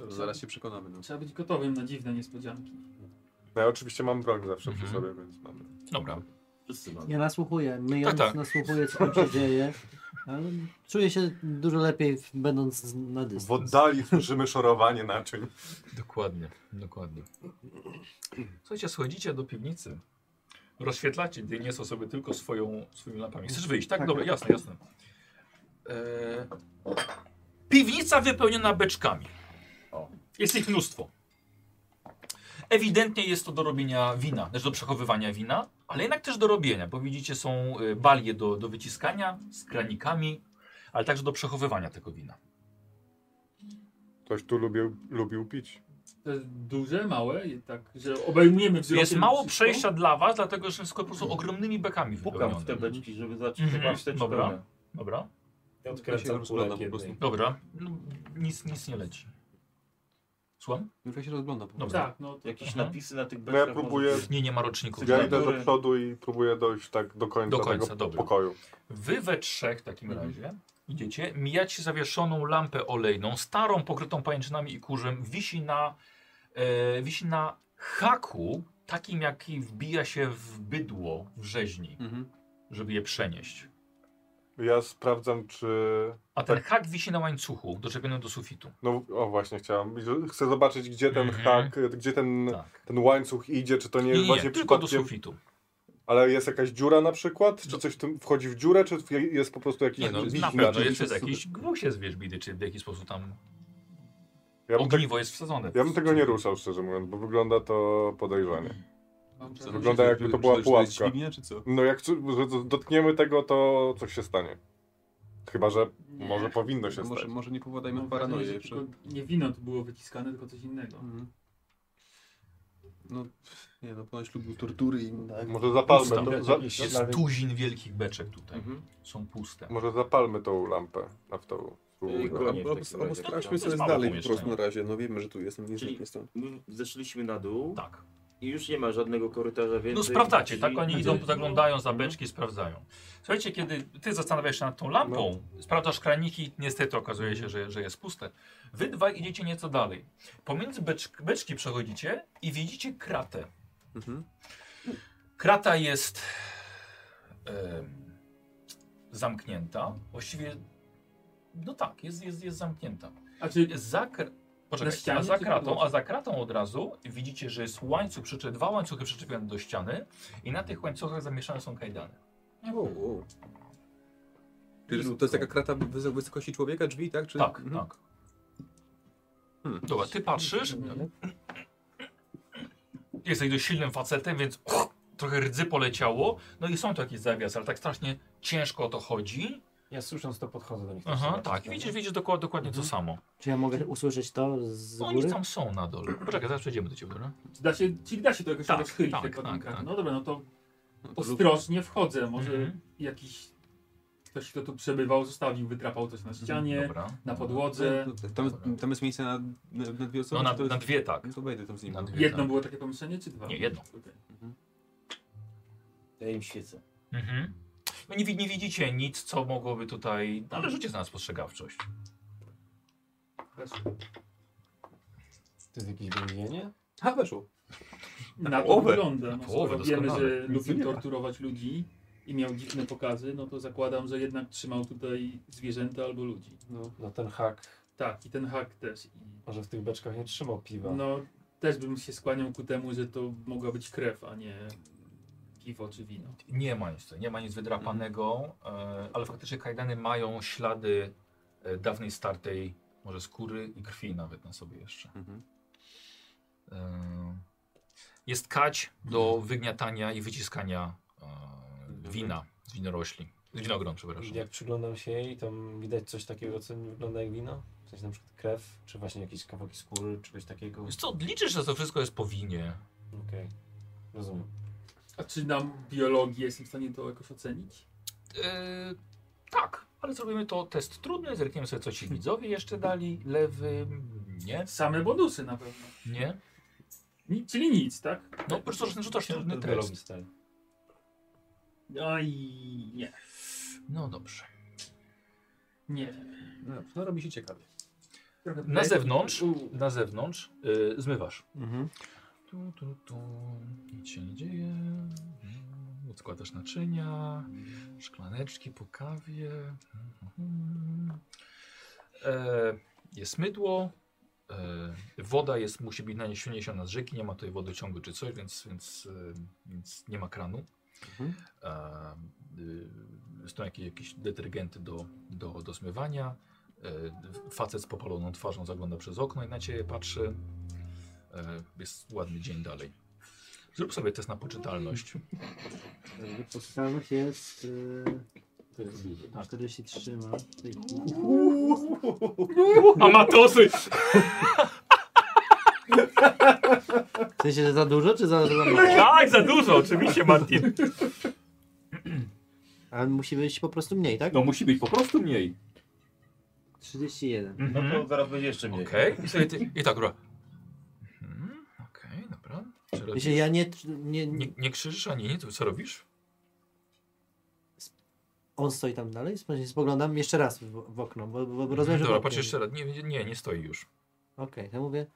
H: Zaraz się przekonamy. No.
F: Trzeba być gotowym na dziwne niespodzianki.
B: No ja oczywiście mam broń zawsze przy
A: Mhm.
B: sobie, więc mamy.
A: Dobra.
G: Wszyscy mamy.
D: Ja nasłuchuję, myjąc,
A: Tak, tak.
D: nasłuchuję co tam się dzieje. Ale czuję się dużo lepiej będąc na
B: W
D: dystans.
B: oddali słyszymy szorowanie naczyń.
A: Dokładnie, dokładnie. Słuchajcie, schodzicie do piwnicy. Rozświetlacie dynię są sobie tylko swoją, swoimi lampami. Chcesz wyjść, tak?
D: Tak.
A: Dobra, jasne, jasne. E... Piwnica wypełniona beczkami.
G: O.
A: Jest ich mnóstwo. Ewidentnie jest to do robienia wina, znaczy do przechowywania wina, ale jednak też do robienia, bo widzicie są y, balie do, do wyciskania z granikami, ale także do przechowywania tego wina.
B: Ktoś tu lubił, lubił pić.
F: To jest duże, małe, i tak, że obejmujemy wzrokiem.
A: Jest mało
F: wszystko.
A: przejścia dla was, dlatego że wszystko po prostu ogromnymi bekami
G: Pukam w te
A: wypełnione.
G: beczki, żeby zacząć
A: Mhm.
G: zobaczyć te
A: Dobra.
G: czerwone.
A: Dobra,
C: Ja
H: się
C: odkręcam kulę
H: rozglądam po
C: jednej.
H: prostu.
A: dobra. No, nic, nic nie leci. Słucham?
H: Jurka się rozgląda po prostu.
F: Tak, no to
G: Jakieś
A: Mhm.
G: napisy na tych
B: No ja
G: beczkach.
B: próbuję,
A: Nie, nie ma roczników.
B: ja idę do
G: Dobra.
B: przodu i próbuję dojść tak do końca,
A: Do końca,
B: tego
A: dobra.
B: pokoju.
A: Wy we trzech w takim
B: Mhm.
A: razie idziecie, mijacie zawieszoną lampę olejną, starą, pokrytą pajęczynami i kurzem, wisi na, e, wisi na haku, takim jaki wbija się w bydło w rzeźni,
H: Mhm.
A: żeby je przenieść.
B: Ja sprawdzam, czy...
A: A
B: Tak.
A: ten hak wisi na łańcuchu, doczepionym do sufitu.
B: No o właśnie, chciałam. Chcę zobaczyć, gdzie ten
A: Mhm.
B: hak, gdzie ten,
A: Tak.
B: ten łańcuch idzie, czy to nie
A: Nie,
B: jest
A: nie,
B: właśnie
A: nie tylko do
B: przypadkiem...
A: sufitu.
B: Ale jest jakaś dziura na przykład? Czy
A: No.
B: coś w tym wchodzi w dziurę, czy w- jest po prostu jakiś
A: Nie no,
B: wichra?
A: na pewno
H: czyli
A: jest
H: przez
A: jakiś gwóźdź z wierzbidy, czy w jakiś sposób tam
B: Ja bym, tak,
A: ogniwo jest wsadzone.
B: ja bym tego nie ruszał, szczerze mówiąc, bo wygląda to podejrzanie.
F: tak,
H: Zaraz
B: Wygląda
H: się-
B: jakby to była
H: czy- czy
B: pułapka.
H: dźwignia, czy co?
B: No jak cu- że d- dotkniemy tego, to coś się stanie. Chyba, że
F: Nie.
B: może powinno się
H: No Może,
B: stać.
H: może nie powołajmy
F: Mam
H: no,
F: wrażenie,
H: paranoję
F: że
H: jeszcze.
F: tylko Nie wino tu było wyciskane, tylko coś innego.
H: Mhm. No, pff, nie no, ponoć lubił tortury i...
B: Może zapalmy,
A: Pusta.
B: to, za,
A: Jest tuzin wielkich beczek
G: Tak.
A: tutaj.
H: Mhm.
A: Są puste.
B: może zapalmy tą lampę naftową.
G: Ej,
B: Spróbujmy.
G: go-
H: Albo, albo,
G: takim
H: albo
G: razie.
H: sprawdźmy
G: To
A: jest
H: sobie
A: mało
H: dalej po
A: pomieszczenia.
H: prostu na razie. No wiemy, że tu jestem, nie
G: Czyli-
H: zniknę stąd.
G: My zeszliśmy na dół
A: Tak.
G: i już nie ma żadnego korytarza więcej.
A: No sprawdzacie, tak? Oni
G: Czyli-
A: idą, zaglądają za beczki, sprawdzają. Słuchajcie, kiedy ty zastanawiasz się nad tą lampą,
B: No.
A: sprawdzasz kraniki, niestety okazuje się, że, że jest puste. Wy dwaj idziecie nieco dalej. Pomiędzy becz, beczki przechodzicie i widzicie kratę.
H: Mhm.
A: Krata jest em, zamknięta. Właściwie, no tak, jest, jest, jest zamknięta.
F: A czy
A: Za, kr...
F: Na
A: Poczekajcie,
F: ścianie
A: a za
F: czy
A: kratą,
F: podłodze?
A: a za kratą od razu widzicie, że jest łańcuch, przyczy... dwa łańcuchy przyczepione do ściany i na tych łańcuchach zamieszane są kajdany.
H: Wow, wow. Czyli to jest taka krata wys- wysokości człowieka, drzwi, tak? Czy...
A: Tak,
H: Mhm.
A: tak.
H: Hmm.
A: Dobra, ty patrzysz. Jesteś dość silnym facetem, więc trochę rdzy poleciało. No i są tu jakieś zawiasy, ale tak strasznie ciężko o to chodzi.
C: Ja słysząc to podchodzę do nich.
A: Aha,
C: zobaczyć,
A: tak. I widzisz, widzisz dokładnie, dokładnie
F: Mhm.
A: to samo.
D: Czy ja mogę usłyszeć to z
A: No, oni
D: góry?
A: tam są na dole. Poczekaj, zaraz przejdziemy do ciebie, no. dobra?
F: da się, czyli da się to jakoś
A: Tak,
F: rozchylić?
A: tak,
F: Tak, tak,
A: tak, tak.
F: No dobra, no to
H: No to lub-
F: ostrożnie wchodzę, może
A: Mhm.
F: jakiś Ktoś, kto tu przebywał, zostawił, wytrapał coś na ścianie,
A: Dobra.
F: na podłodze.
H: No, Tam, tam jest miejsce na, na, na dwie osoby?
A: No na,
H: czy to jest...
A: na dwie tak.
H: No to wejdę tam z nim.
A: Na dwie.
F: Jedno było takie pomieszczenie, czy dwa?
A: Nie, jedno.
F: Okej.
G: Ja im świecę.
A: Mhm. No nie, wi- nie widzicie nic, co mogłoby tutaj... No, ale rzucie na spostrzegawczość.
F: Weszło.
C: To jest jakieś więzienie?
H: Ha, weszło.
F: Na to
H: połowę.
F: wygląda. No,
A: połowę,
F: skoro wiemy,
A: doskonale.
F: że lubił torturować ludzi i miał dziwne pokazy, no to zakładam, że jednak trzymał tutaj zwierzęta albo ludzi.
C: No, no ten hak,
F: Tak, i ten hak też. I
C: może w tych beczkach nie trzymał piwa.
F: No, też bym się skłaniał ku temu, że to mogła być krew, a nie piwo czy wino.
A: Nie ma nic, nie ma nic wydrapanego, e, ale faktycznie kajdany mają ślady e, dawnej startej może skóry i krwi nawet na sobie jeszcze.
H: Mhm.
A: E, Jest kać do wygniatania i wyciskania e, wina z winorośli. Z winogron, przepraszam.
C: Jak przyglądam się jej, to widać coś takiego, co nie wygląda jak wino? W sensie na przykład krew, czy właśnie jakieś kawałki skóry, czy coś takiego.
A: Wiesz co, liczysz, że to wszystko jest po winie.
C: Okej, rozumiem.
F: A czy nam biologię jestem w stanie to jakoś ocenić?
A: E, tak, ale zrobimy to test trudny, zerkniemy sobie co ci widzowie jeszcze dali. Lewy, nie,
F: Same bonusy na pewno.
A: nie.
F: Ni czyli nic, tak?
A: No po prostu rzucasz trudny test.
C: Biologii stary.
F: Aj, nie.
A: No dobrze.
F: Nie wiem.
I: No, no robi się ciekawie.
F: Trochę
A: Na zewnątrz,
F: No U.
A: na zewnątrz y, zmywasz.
I: Mhm.
A: Tu, tu, tu, nic się nie dzieje. Mm, Odkładasz naczynia, szklaneczki po kawie. Mhm. E, jest mydło. E, woda jest, musi być na nie niesiona z rzeki, nie ma tutaj wodociągu czy coś, więc, więc, e, więc nie ma kranu.
H: Mhm.
A: E, y, są jakieś, jakieś detergenty do, do, do zmywania. E, facet z popaloną twarzą zagląda przez okno i na ciebie patrzy. E, jest ładny dzień dalej. Zrób sobie test na poczytalność.
D: Mm. Podstawach jest...
A: Tak.
D: Yy, 43 ma.
A: Amatosy!
D: W sensie, że za dużo, czy za, za
F: No
D: mało?
A: Tak, za dużo, oczywiście, Martin.
D: Ale musi być po prostu mniej, tak?
A: No musi być po prostu mniej.
D: 31.
G: No
A: Mhm.
G: to zaraz będzie jeszcze mniej.
A: Okej, i sobie ty- i tak, dobra. Mhm, Okej, dobra. Co
D: W
A: robisz?
D: sensie, ja nie,
A: Nie,
D: nie, nie...
A: nie krzyżysz ani nie, to co robisz?
D: On stoi tam dalej? W sensie Spoglądam jeszcze raz w, w okno, bo, bo, bo rozumiem, że...
A: Dobra,
D: w oknie.
A: patrz jeszcze raz. Nie, nie, nie stoi już.
D: Okej, to mówię.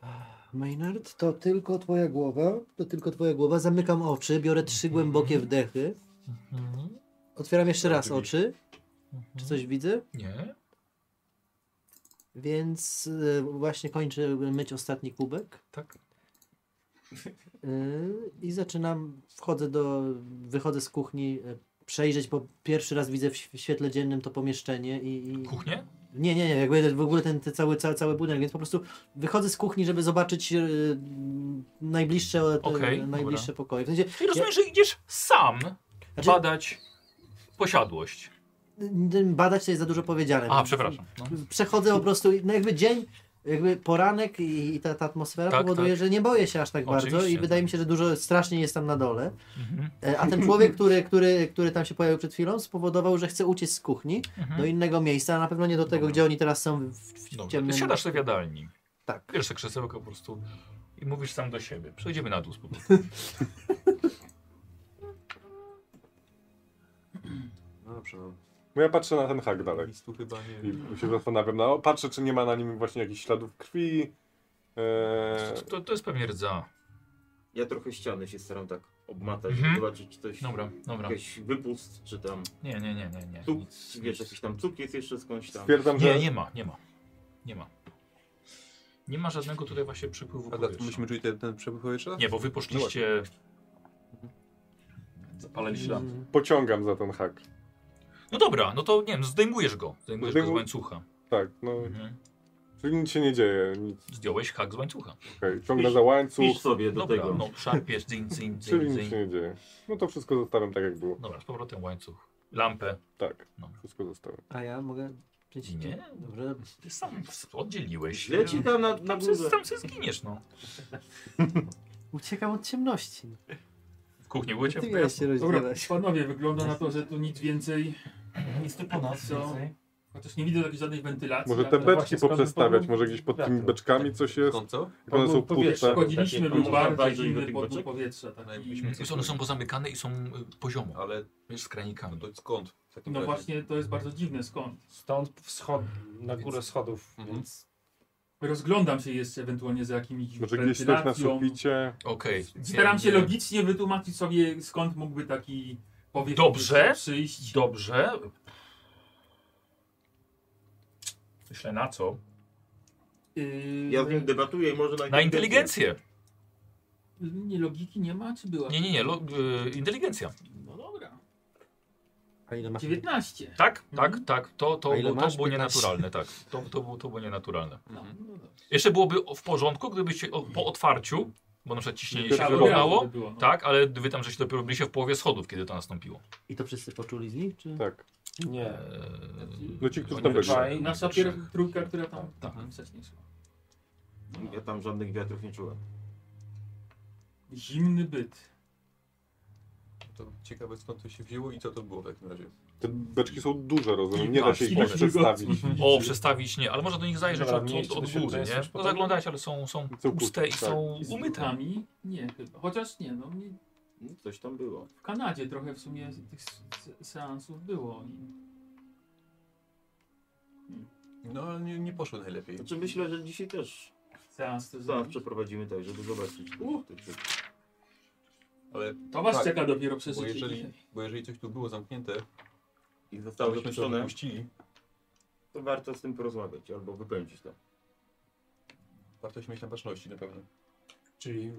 D: "Ach, Maynard, to tylko twoja głowa, to tylko twoja głowa. Zamykam oczy, biorę trzy głębokie wdechy. Mhm. Otwieram jeszcze raz oczy. Czy coś widzę?
A: Nie?
D: Więc y, właśnie kończę myć ostatni kubek
A: Tak?
D: y, i zaczynam, wchodzę do, wychodzę z kuchni, y, przejrzeć, bo pierwszy raz widzę w św- świetle dziennym to pomieszczenie i... i...
A: Kuchnię?
D: Nie, nie, nie, jakby w ogóle ten, ten cały, cały, cały budynek, więc po prostu wychodzę z kuchni, żeby zobaczyć yy, najbliższe, e, te,
A: Okej, dobra.
D: najbliższe pokoje. W sensie,
A: I rozumiem, że idziesz sam
D: znaczy,
A: badać posiadłość.
D: n- n- badać to jest za dużo powiedziane.
A: A,
D: więc
A: przepraszam. No.
D: Przechodzę po prostu, no jakby dzień, jakby poranek i, i ta, ta atmosfera
A: Tak,
D: powoduje,
A: tak.
D: że nie boję się aż tak bardzo i
A: Oczywiście,
D: wydaje
A: tak.
D: mi się, że dużo strasznie jest tam na dole.
A: Mhm.
D: E, A ten człowiek, który, który, który tam się pojawił przed chwilą, spowodował, że chce uciec z kuchni do
A: Mhm.
D: innego miejsca, a na pewno nie do tego,
A: Dobra.
D: gdzie oni teraz są w, w, w
A: Dobrze, ty
D: ciemnym...
A: siadasz sobie w jadalni.
D: Tak.
A: Bierzesz sobie krzesełko po prostu i mówisz sam do siebie. Przejdziemy na dół z powrotem.
H: No dobrze, no.
B: No ja patrzę na ten hak dalej.
H: Nic tu chyba nie...
B: I się zastanawiam, no, patrzę czy nie ma na nim właśnie jakichś śladów krwi. Eee,
A: To- To, to jest pewnie rdza.
G: Ja trochę ściany się staram tak obmatać,
A: Mhm.
G: żeby zobaczyć, czy coś...
A: Dobra, dobra.
G: Jakiś wypust, czy tam
A: Nie, nie, nie, nie, nie.
G: cuk,
A: Nic,
G: wiesz,
A: nic.
G: jakiś tam cuk jest jeszcze skądś tam.
B: stwierdzam, że...
A: Nie, nie ma, nie ma. Nie ma. Nie ma żadnego tutaj właśnie przepływu
H: A dlatego
A: powietrza.
H: myśmy czuli ten, ten przepływ powietrza?
A: Nie, bo wy poszliście... Zapaliliście lampę.
D: Mm,
B: Pociągam za ten hak.
A: No dobra, no to nie wiem, zdejmujesz go. Zdejmujesz go z
B: Zdejmu-
A: łańcucha.
B: Tak, no.
A: Mhm.
B: Czyli nic się nie dzieje. Nic,
A: Zdjąłeś hak z łańcucha.
B: okay. Ciągnę za łańcuch,
G: Pisz sobie do
A: Dobra,
G: tego.
A: no szarpiesz, dzyń, dzyń,
B: czyli
A: dzyń,
B: nic
A: dzyń.
B: się nie dzieje. No to wszystko zostawiam tak jak było.
A: Dobra, z powrotem łańcuch. Lampę.
B: Tak,
A: No.
B: wszystko zostawiam.
D: A ja mogę...
A: Nie.
D: Dobrze,
A: Ty sam oddzieliłeś.
G: Źle ci tam na, na
A: Sam se-
G: górze.
A: Sam się zginiesz, no.
D: Uciekam od ciemności.
A: Kuchnie było
D: Ty
A: ciepło.
D: miałeś się
F: Dobra,
D: rozdzielać.
F: panowie, wygląda na to, że tu nic więcej,
G: Nic tu po nas
F: Co?
G: więcej.
F: chociaż nie widzę takiej żadnej
H: Tak,
F: wentylacji. tak,
B: Może te
F: nawet.
B: beczki poprzestawiać, może gdzieś pod tymi beczkami coś jest,
H: Skąd co?
B: jak one są puste.
F: Wchodziliśmy,
G: Takie
F: był
G: podwór-
F: bardzo
G: bardzo do
F: zimny
G: tych
F: podwór
G: beczek.
F: powietrza.
H: No
F: Taki,
H: jakbyśmy
A: Wiesz, one są pozamykane i są y, poziomo,
H: Ale
A: wiesz, z kranikami.
H: to skąd? W takim
F: no
H: razie?
F: właśnie, to jest bardzo dziwne, skąd?
E: Stąd wschod, na górę schodów,
H: Mhm.
E: więc
F: Rozglądam się jeszcze ewentualnie za jakimiś
B: Może gdzieś coś na
F: wentylacją.
B: suficie.
A: Okej.
F: Staram się
A: nie.
F: logicznie wytłumaczyć sobie, skąd mógłby taki powiew
A: Dobrze.
F: przyjść.
A: Dobrze. Myślę na co?
F: Yy,
G: Ja z nim debatuję i może na
A: Na inteligencję.
F: Nie, logiki nie ma, czy była?
A: Nie, nie, nie. Lo, y, inteligencja.
F: No dobra.
D: A ile masz?
F: 19.
A: Tak, tak,
F: Mhm.
A: tak. To, to,
D: A ile
A: było- to
D: masz?
A: było
D: 15?
A: nienaturalne, tak. To, to, było, to było nienaturalne.
F: No, no dobra.
A: Jeszcze byłoby o- w porządku, gdybyście o, po otwarciu, bo na przykład ciśnienie się
B: Dopiero
A: wyrównało.
F: by było, no.
A: Tak, ale wy tam żeście dopiero byli się w połowie schodów, kiedy to nastąpiło.
D: I to wszyscy poczuli z nich? Czy...
B: Tak.
A: Eee,
E: nie.
B: No ci, którzy
A: oni
B: to byli.
A: trzej,
F: Nasza
A: oni trzech. Tak.
F: pierwsza trójka, która tam, tam wcześniej szła. No.
G: Ja tam żadnych wiatrów nie czułem.
F: Zimny byt.
H: To ciekawe skąd to się wzięło i co to było w takim razie.
B: Te beczki są duże, rozumiem.
A: I
B: Nie da
A: patrz,
B: się ich
A: ile
B: tak
A: się
B: przestawić.
A: O, przestawić nie, ale można do nich zajrzeć
E: Dobra,
A: od, od,
E: mniejsze
A: od góry,
E: doświadczenie
A: nie?
E: już
A: No
E: podobno.
A: zaglądać, ale są, są puste
B: Są puste,
A: i
B: tak.
A: są
F: Z
A: umyte.
F: butami? Nie chyba. Chociaż nie, no mnie
G: No, Coś tam było.
F: w Kanadzie trochę w sumie
A: Mm.
F: z- tych s- s- seansów było. I
H: No ale nie, nie poszło najlepiej.
G: Znaczy myślę, że dzisiaj też
F: seans to
G: zaraz
F: zrobić.
G: przeprowadzimy tak, żeby zobaczyć.
F: U.
H: Ale
F: To was
H: Tak.
F: czeka dopiero
H: bo
F: przeżycie.
H: jeżeli, bo jeżeli coś tu było zamknięte,
G: I
H: to
G: zostało
H: byśmy to
G: wypuszczone,
H: wypuścili.
G: to warto z tym porozmawiać albo wypędzić to.
H: Warto się mieć na baczności na pewno.
E: Czyli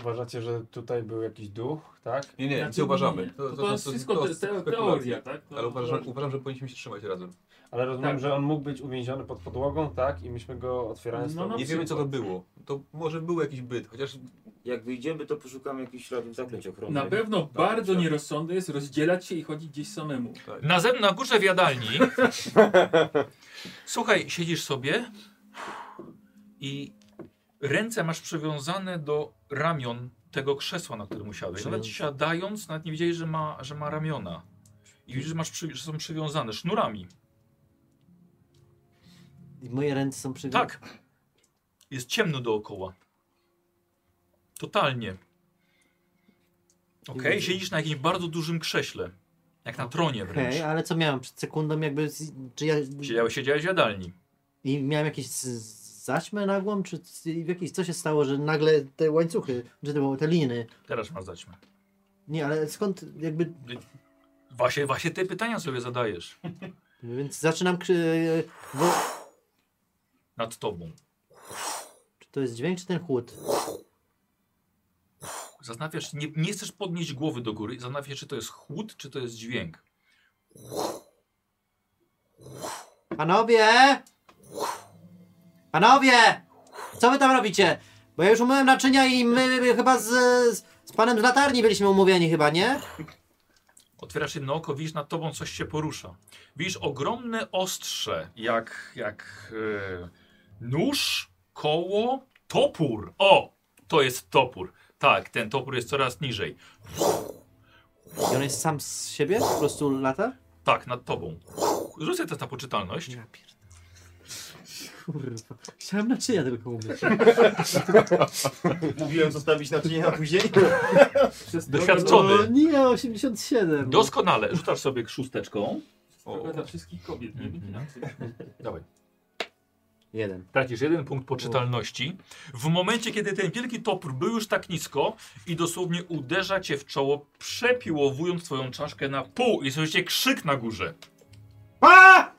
E: uważacie, że tutaj był jakiś duch, tak?
H: Nie, nie,
F: Znaczy,
H: nie uważamy.
F: nie. To, to, jest wszystko te, te, teoria, tak? To,
H: Ale uważam,
F: to-
H: uważam, że powinniśmy się trzymać razem.
E: Ale rozumiem,
F: Tak.
E: że on mógł być uwięziony pod podłogą, tak? I myśmy go otwierając
F: No,
E: to-
F: no.
H: Nie wiemy co to było. To może był jakiś byt, chociaż
G: Jak wyjdziemy, to poszukamy jakichś śladów zaklęć ochronnych.
F: Na pewno
G: Tak,
F: bardzo
G: tak.
F: nierozsądne jest rozdzielać się i chodzić gdzieś samemu.
H: Tak.
A: Na, ze- na górze w jadalni. Słuchaj, siedzisz sobie i ręce masz przywiązane do ramion tego krzesła, na którym usiadłeś. Nawet siadając, nawet nie widziałeś, że ma, że ma ramiona. I widzisz, że, masz przy, że są przywiązane sznurami.
D: I moje ręce są przy...
A: Tak. Jest ciemno dookoła. Totalnie. Okej, siedzisz na jakimś bardzo dużym krześle. Jak na tronie wręcz.
D: Okej, ale co miałem przed sekundą jakby... z- Czy ja...
A: Siedziałeś, siedziałeś w jadalni.
D: I miałem jakieś z- zaćmę nagłą, czy c- jakieś... Co się stało, że nagle te łańcuchy, że to były te liny...
A: Teraz masz zaćmę.
D: Nie, ale skąd jakby...
A: Właśnie, właśnie te pytania sobie zadajesz
D: Więc zaczynam krzy... Wo...
A: nad tobą.
D: Czy to jest dźwięk, czy ten chłód?
A: Zastanawiasz, nie, nie chcesz podnieść głowy do góry i zastanawiasz, się, czy to jest chłód, czy to jest dźwięk.
D: Panowie! Panowie! Co wy tam robicie? Bo ja już umyłem naczynia i my, my chyba z, z, z panem z latarni byliśmy umówieni chyba, nie?
A: Otwierasz jedno oko, widzisz, nad tobą coś się porusza. Widzisz ogromne ostrze, jak, jak e, nóż, koło, topór. O, to jest topór. Tak, ten topór jest coraz niżej.
D: I on jest sam z siebie? Po prostu lata?
A: Tak, nad tobą. Rzucę test na poczytalność.
D: Ja pierdolę. Kurwa. Chciałem naczynia tylko umyć.
G: Mówiłem zostawić naczynia na później.
F: Przez
A: Doświadczony.
D: O No nie, 87.
A: Doskonale. Rzucasz sobie szósteczką.
F: Trochę dla wszystkich kobiet, nie
A: Mhm.
F: będzie inaczej.
A: Dawaj.
D: Jeden.
A: Tracisz jeden punkt poczytalności. W momencie, kiedy ten wielki topór był już tak nisko i dosłownie uderza cię w czoło, przepiłowując twoją czaszkę na pół i słyszycie krzyk na górze.
D: A!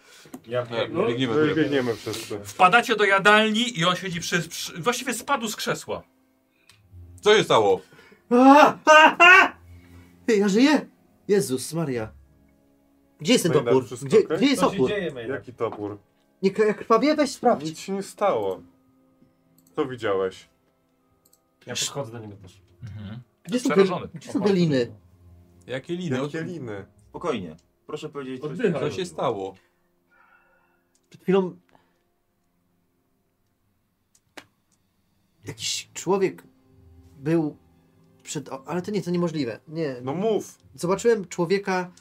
E: Ja
H: no, biegniemy
B: No i
H: no,
B: biegniemy wszyscy.
A: Wpadacie do jadalni i on siedzi przy... przy właściwie spadł z krzesła.
H: Co się stało?
D: A! A! A! Ej, ja żyję! Jezus Maria. Gdzie jest ten
B: Maynard,
D: topór?
B: wszystko
D: Gdzie,
B: okej?
D: gdzie jest
E: Co się
D: opór?
E: dzieje, Maynard?
B: Jaki topór?
D: Nie k- jak krwawie, weź sprawdź.
B: Nic się nie stało. Co widziałeś?
E: Ja podchodzę do niego też.
D: Gdzie są, te,
A: Przerażony.
D: gdzie są te liny?
H: Jakie liny?
B: Jakie liny?
G: Spokojnie. Proszę powiedzieć coś
F: Oddychaj.
H: Co się stało?
D: Przed chwilą... Jakiś człowiek był przed... o, Ale to nie, to niemożliwe. Nie.
B: No mów!
D: Zobaczyłem człowieka...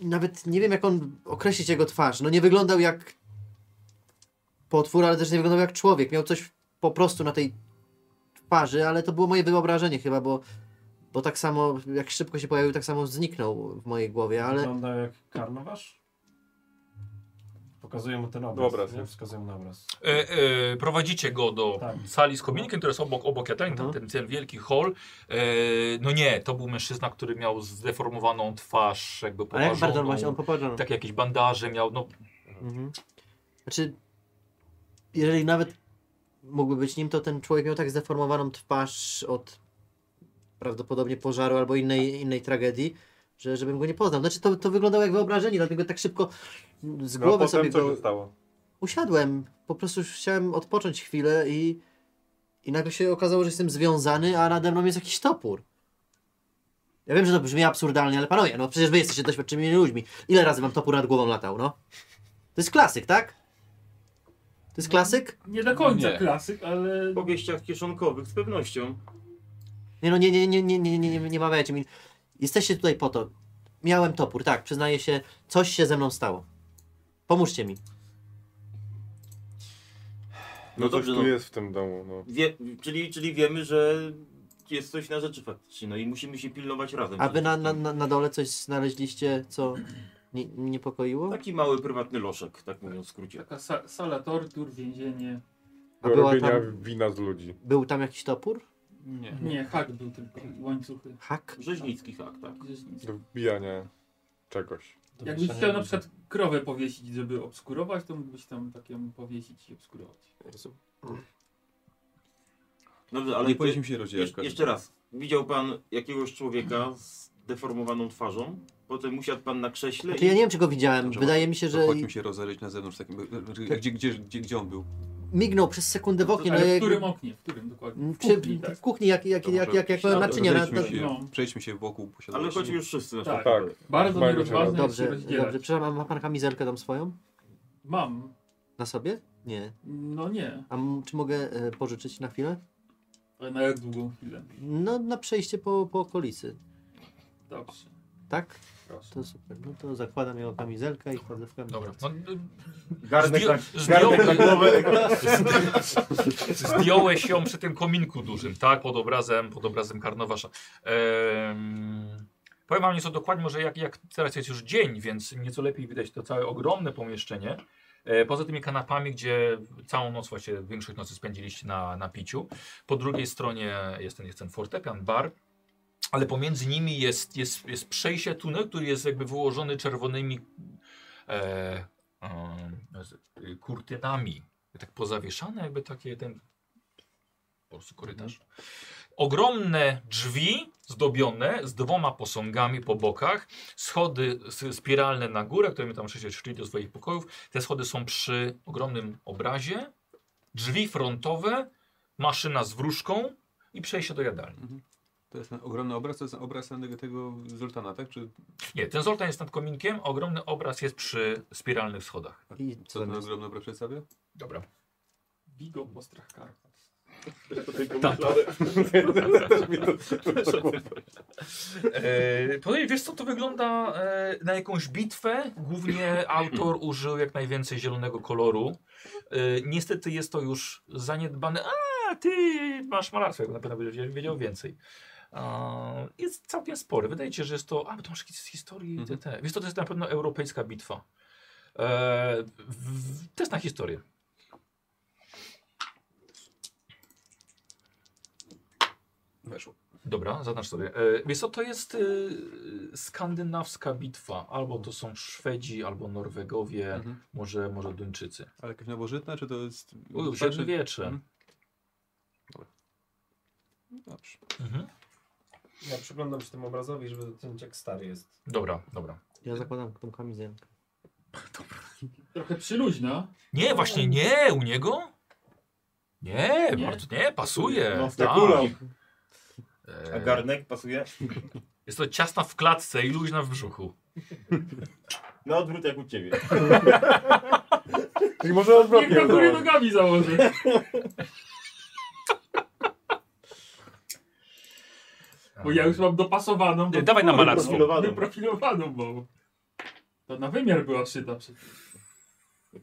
D: Nawet nie wiem, jak on określić jego twarz. No nie wyglądał jak potwór, ale też nie wyglądał jak człowiek. Miał coś po prostu na tej twarzy, ale to było moje wyobrażenie chyba, bo, bo tak samo, jak szybko się pojawił, tak samo zniknął w mojej głowie, ale...
E: Wygląda jak karnowasz? Pokazuję mu ten obraz,
B: Dobra,
E: nie?
B: tak.
E: Wskazuję mu na obraz.
A: E, e, prowadzicie go do
E: Tak.
A: sali z kominkiem, która jest obok, obok jadalni, tam
D: Mhm.
A: ten, ten wielki hol. E, no nie, to był mężczyzna, który miał zdeformowaną twarz, jakby
D: Ale jak bardzo
A: poparzoną.
D: właśnie on poparzony.
A: Tak jakieś bandaże miał, no
D: Mhm. Znaczy, jeżeli nawet mógłby być nim, to ten człowiek miał tak zdeformowaną twarz od prawdopodobnie pożaru albo innej, innej tragedii, że żebym go nie poznał. Znaczy, to, to wyglądało jak wyobrażenie, dlatego tak szybko z
B: No
D: głowy
B: potem
D: sobie
B: co
D: go...
B: się stało?
D: Usiadłem, po prostu chciałem odpocząć chwilę i... I nagle się okazało, że jestem związany, a nade mną jest jakiś topór. Ja wiem, że to brzmi absurdalnie, ale panowie, no przecież wy jesteście doświadczonymi ludźmi. Ile razy wam topór nad głową latał, no? To jest klasyk, tak? To jest klasyk?
F: Nie do końca
H: Nie.
F: klasyk, ale
G: Po wieściach kieszonkowych z pewnością.
B: No
D: Nie no, nie, nie, nie, nie, nie, nie, nie, nie mawiajcie mi. Jesteście tutaj po to. Miałem topór, tak, przyznaję się, coś się ze mną stało. Pomóżcie mi.
B: No coś
G: dobrze,
B: tu
G: no.
B: jest w tym domu, no.
G: Wie, czyli, czyli wiemy, że jest coś na rzeczy faktycznie, no i musimy się pilnować razem.
D: A wy na, na, na na dole coś znaleźliście, co nie, niepokoiło?
G: Taki mały prywatny loszek, tak mówiąc w skrócie.
F: taka sa sala tortur, więzienie.
D: A
B: Do
D: była
B: robienia
D: tam-
B: wina z ludzi.
D: Był tam jakiś topór?
H: Nie.
F: Nie, hak był tylko i łańcuchy.
D: Hak?
G: Rzeźnicki hak, tak.
F: Gdzieś-
B: Do wbijania czegoś.
F: Jakbyś chciał na przykład krowę powiesić, żeby obskurować, to mógłbyś tam taką powiesić i obskurować.
G: Dobrze, ale
H: Ale nie
G: nie
H: powinniśmy się rozdzielać.
G: jeszcze, jeszcze raz. Widział pan jakiegoś człowieka z deformowaną twarzą? Potem usiadł pan na krześle
D: Znaczy ja nie wiem, czy go widziałem.
H: Dobrze,
D: Wydaje mi się,
H: że...
D: że
H: Chodźmy się rozejrzeć na zewnątrz. Takim,
B: Tak.
H: gdzie, gdzie, gdzie, gdzie on był?
D: mignął przez sekundę w oknie. No,
F: Ale w
D: jak,
F: którym oknie? W którym dokładnie? W
D: czy,
F: kuchni, tak.
D: w kuchni, jak, jak,
H: To
D: jak,
H: może
D: jak, jak
H: się-
D: miałem naczynia. Na,
H: Przejdźmy
D: na,
H: się,
F: No.
H: przejdźmy się wokół posiadania.
G: Ale chodźmy już wszyscy na
F: Tak.
B: Tak. Bardzo
F: Bardzo nierozważne jest się
D: dobrze,
F: rozdzielać.
D: dobrze. Przepraszam, a ma pan kamizelkę tam swoją?
F: Mam.
D: Na sobie? Nie.
F: No nie.
D: A m- czy mogę e, pożyczyć na chwilę?
F: Ale na jak długą chwilę?
D: No, na przejście po, po okolicy.
F: Dobrze.
D: Tak?
F: Proszę.
D: To super. No to zakładam jego kamizelkę i wchodzę w kamizelkę.
A: dobra. No, y,
G: Garnek
A: zdjął-
G: na,
A: zdjął-
G: garnek na głowę.
A: Zdjąłeś ją przy tym kominku dużym, tak? Pod obrazem, pod obrazem Karnowasza. Ehm, powiem wam nieco dokładnie, może jak, jak teraz jest już dzień, więc nieco lepiej widać to całe ogromne pomieszczenie. E, poza tymi kanapami, gdzie całą noc, właśnie większość nocy spędziliście na, na piciu. Po drugiej stronie jest ten, jest ten fortepian, bar. Ale pomiędzy nimi jest, jest, jest przejście, tunel, który jest jakby wyłożony czerwonymi e, e, z- y, kurtynami tak pozawieszane, jakby takie ten po prostu korytarz. Ogromne drzwi zdobione z dwoma posągami po bokach, schody s- spiralne na górę, które my tam oczywiście szli do swoich pokojów. Te schody są przy ogromnym obrazie, drzwi frontowe, maszyna z wróżką i przejście do jadalni.
H: To jest ten ogromny obraz, to jest obraz tego, tego Zoltana, tak? Czy
A: Nie, ten Zoltan jest nad kominkiem, a ogromny obraz jest przy spiralnych schodach.
D: I
H: co
D: co tam
H: ten
D: jest?
H: ogromny obraz przedstawia?
A: Dobra.
F: Bigo po strach Karpat.
A: E, to wiesz co, to wygląda e, na jakąś bitwę. Głównie autor użył jak najwięcej zielonego koloru. E, niestety jest to już zaniedbane. A, ty masz malarstwo, jakby na pewno będziesz wiedział więcej. E, jest całkiem spory. Wydaje ci się, że jest to... A, bo to masz jakieś z historii. Te, te. Wiesz co, to jest na pewno europejska bitwa. E, w, w, test na historię.
H: Weszło.
A: Dobra, zaznacz sobie. E, Wiesz co, to jest e, skandynawska bitwa. Albo to są Szwedzi, albo Norwegowie,
H: Mhm.
A: może, może Duńczycy.
H: Ale jakaś nowożytna, czy to jest...
A: U,
H: czy-
A: Średnie wiecze.
H: Mhm. Dobrze.
A: Mhm.
E: Ja przyglądam się temu obrazowi, żeby docenić jak stary jest.
A: Dobra, dobra.
D: Ja zakładam tą kamizelkę.
F: Trochę przyluźna.
A: Nie, właśnie nie, u niego? Nie,
F: Nie?
A: bardzo nie, pasuje.
G: No, w
A: tak.
G: kulą. A
A: E,
G: garnek pasuje?
A: Jest to ciasna w klatce i luźna w brzuchu.
G: Na odwrót jak u ciebie.
B: Czyli może
F: Niech
B: odwrotnie
F: na góry
B: założyć.
F: nogami założy. Bo ja już mam dopasowaną.
A: Nie, dawaj na malarstwo.
F: Wyprofilowaną. Wyprofilowaną, bo. To na wymiar była szyta przecież.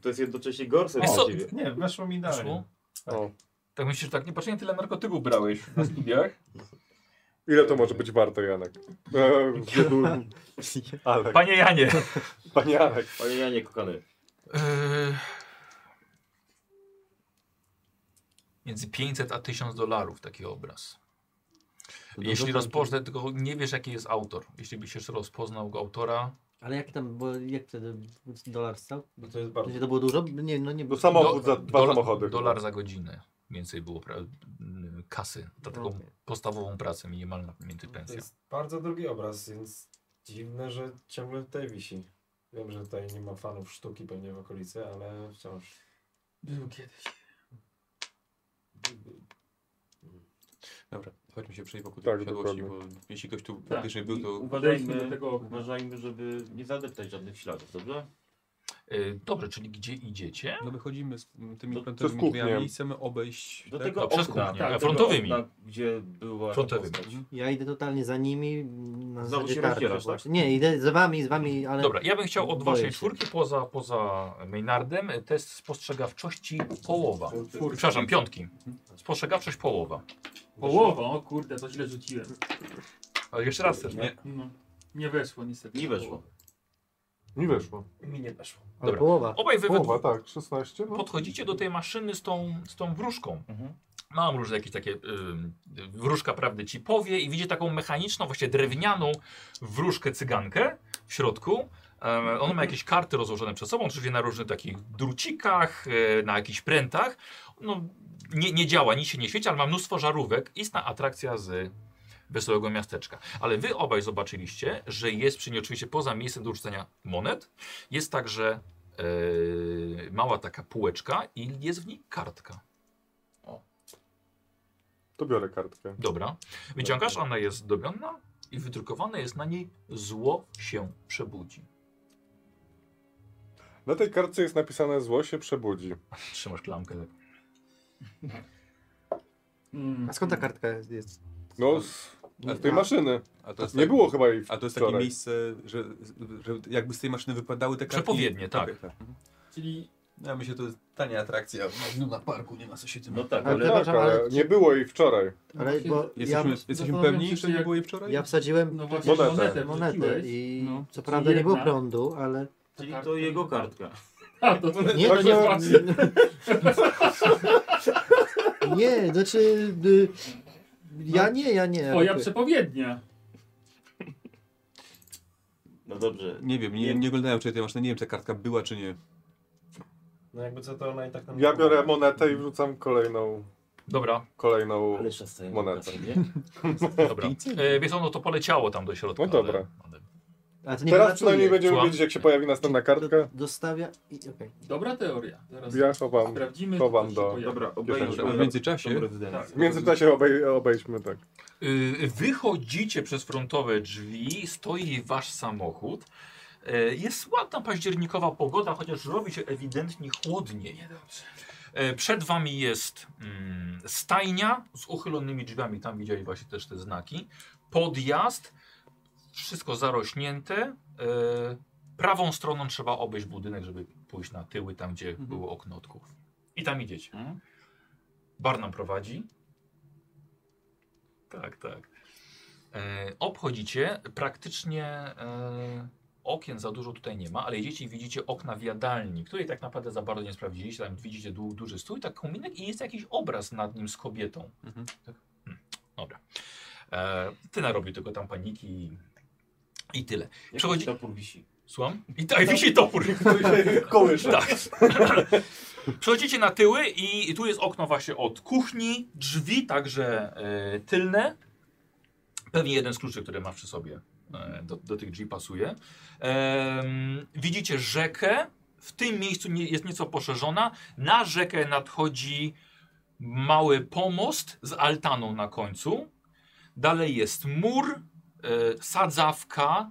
G: To jest jednocześnie gorsze
A: Wiesz
G: niż
A: co?
G: ciebie.
E: Nie, weszło mi dalej.
A: Weszło?
B: O.
A: Tak myślisz, że tak niepotrzebnie tyle narkotyków brałeś na studiach.
B: Ile to może być warte, Janek? E, Biedu... Alek.
A: Panie Janie.
B: Panie Alek.
G: Panie Janie, kochany.
A: Yy, Między 500 a 1000 dolarów taki obraz.
D: No
A: Jeśli rozpocznę, tylko nie wiesz jaki jest autor. Jeśli byś jeszcze rozpoznał go autora,
D: Ale jak tam, bo jak wtedy dolar stał?
E: Bo to jest
D: W
E: bardzo...
D: sensie to było dużo? Nie, no nie
B: No
D: było.
B: samochód za dwa
A: dola-
B: samochody.
A: dolar za godzinę. Więcej było pra- m, kasy. Za taką
D: Okej.
A: podstawową pracę, minimalna między
E: To
A: pensja.
E: jest bardzo drogi obraz, więc dziwne, że ciągle tutaj wisi. Wiem, że tutaj nie ma fanów sztuki pewnie w okolicy, ale wciąż.
F: Był kiedyś.
H: Dobra, chodźmy się przejść wokół
B: Tak,
H: tej posiadłości, bo
B: dokładnie.
H: jeśli ktoś tu
F: Tak.
H: faktycznie był, to
F: Dojdźmy do
G: Uważajmy,
F: tego okna.
G: uważajmy, żeby nie zadeptać żadnych śladów, dobrze?
A: Yy, Dobrze, czyli gdzie idziecie?
H: no wychodzimy z tymi
G: To- to
B: z
H: frontowymi
B: kuchnią.
H: drzwiami i chcemy obejść...
G: Do
H: tak?
G: tego
A: No, przez
G: okna,
A: kuchnię,
G: tak,
A: a
G: do tego
A: frontowymi.
G: okna, gdzie była
A: Frontowymi.
G: postać.
D: Ja idę totalnie za nimi. Na
G: Znowu
D: zasadzie
G: się
D: tarczy
G: rozdzielasz, tak?
D: właśnie. Nie, idę za wami, z wami, ale...
A: Dobra, ja bym chciał od
D: Boję
A: waszej
D: się.
A: czwórki poza, poza Maynardem y, test spostrzegawczości połowa.
F: Czwórki.
A: Przepraszam, piątki. Spostrzegawczość połowa.
F: Połowa, o kurde, to źle rzuciłem.
A: Ale jeszcze raz też, nie?
H: Nie.
F: No. Nie weszło niestety.
G: Nie weszło.
B: Mi weszło.
E: Mi nie weszło.
D: Ale
A: Dobra.
D: połowa.
A: Obaj wy we
B: Połowa,
A: dwóch
B: tak, 16. No.
A: podchodzicie do tej maszyny z tą, z tą wróżką.
G: Mhm.
A: Mam różne jakieś takie ym, wróżka, prawdy ci powie i widzi taką mechaniczną, właśnie drewnianą wróżkę cygankę w środku. Em, On ma jakieś karty rozłożone przed sobą, oczywiście na różnych takich drucikach, e, na jakichś prętach. No, nie, nie działa, nic się nie świeci, ale ma mnóstwo żarówek. Istna atrakcja z wesołego miasteczka. Ale wy obaj zobaczyliście, że jest przy niej oczywiście poza miejscem do rzucenia monet, jest także e, mała taka półeczka i jest w niej kartka.
B: To biorę kartkę.
A: Dobra. Wyciągasz, ona jest dobiona i wydrukowane jest na niej zło się przebudzi.
B: Na tej kartce jest napisane zło się przebudzi.
A: Trzymasz klamkę. tak.
F: Mm.
D: A skąd ta kartka jest? jest?
B: No, z,
H: A
B: z tej maszyny.
H: a to jest
B: Nie
H: tak-
B: było chyba jej
H: A to jest takie
B: wczoraj.
H: miejsce, że, że jakby z tej maszyny wypadały te kartki.
A: Przepowiednie, tak.
H: Okej, Mhm.
F: Czyli
H: Ja myślę, to jest tania atrakcja. No na parku nie ma co się tym...
G: No tak,
D: Ale
G: ale...
D: to-
B: Tak,
D: Przepraszam, ale-
B: ale nie było jej wczoraj.
D: Ale bo ja,
H: Jesteśmy, jesteśmy
F: Zastanawiam się,
H: pewni,
F: czy
H: że nie
F: jak-
H: było jej wczoraj?
D: ja wsadziłem
F: no właśnie
B: Monetę.
F: monetę,
D: monetę i
F: No.
D: co
F: Czyli
D: prawda nie było
F: jedna.
D: prądu, ale...
G: Czyli to jego kartka.
F: A, to, to,
D: Nie, to
B: Tak,
D: nie...
B: no.
D: Nie, znaczy... y, Ja nie, ja nie.
F: Twoja przepowiednia.
G: No dobrze.
H: Nie wiem, nie, nie oglądałem wczoraj tej maszyny, nie wiem, czy ta kartka była, czy nie.
E: No jakby co to ona i tak nam...
B: Ja biorę monetę i wrzucam kolejną,
A: Dobra,
B: kolejną.
G: Ale szasta
B: Monetę.
A: dobra. E, więc ono to poleciało tam do środka.
B: No dobra.
A: Ale, ale...
D: A to nie
B: Teraz
D: wylatuje.
B: przynajmniej będziemy
A: Słucham?
B: wiedzieć, jak się pojawi następna kartka.
D: Do, dostawia i okej.
F: Dobra teoria. Zaraz
B: Ja chowam.
F: sprawdzimy.
B: to
F: czy
B: wam
F: coś
B: do-
F: się pojawi.
G: Dobra,
H: A
G: obejrzyjmy.
H: w międzyczasie,
F: Tak.
B: W międzyczasie obej obejdźmy, tak.
A: Y, wychodzicie przez frontowe drzwi, stoi wasz samochód. E, jest ładna październikowa pogoda, chociaż robi się ewidentnie chłodniej.
F: Niedobrze.
A: E, Przed wami jest mm, stajnia z uchylonymi drzwiami, tam widzieli właśnie też te znaki. Podjazd, wszystko zarośnięte. E, Prawą stroną trzeba obejść budynek, żeby pójść na tyły, tam gdzie było okno od kuchni. I tam idziecie.
G: Mhm.
A: Barnum prowadzi. Tak, tak. E, obchodzicie, praktycznie e, okien za dużo tutaj nie ma, ale jedziecie i widzicie okna w jadalni, której tak naprawdę za bardzo nie sprawdziliście. Tam widzicie du duży stół, i tak kominek i jest jakiś obraz nad nim z kobietą.
H: Mhm.
A: Tak? Hmm, dobra. E, ty narobił tylko tam paniki i, i tyle. Przechodzi-
G: Przechodzi... Topór wisi.
A: Słucham? I tak, wisi topór.
G: Kołysz.
A: Tak. Przechodzicie na tyły i tu jest okno właśnie od kuchni, drzwi także e, tylne. Pewnie jeden z kluczy, który masz przy sobie e, do, do tych drzwi pasuje. Em, widzicie rzekę, w tym miejscu nie, jest nieco poszerzona. Na rzekę nadchodzi mały pomost z altaną na końcu. Dalej jest mur, e, sadzawka,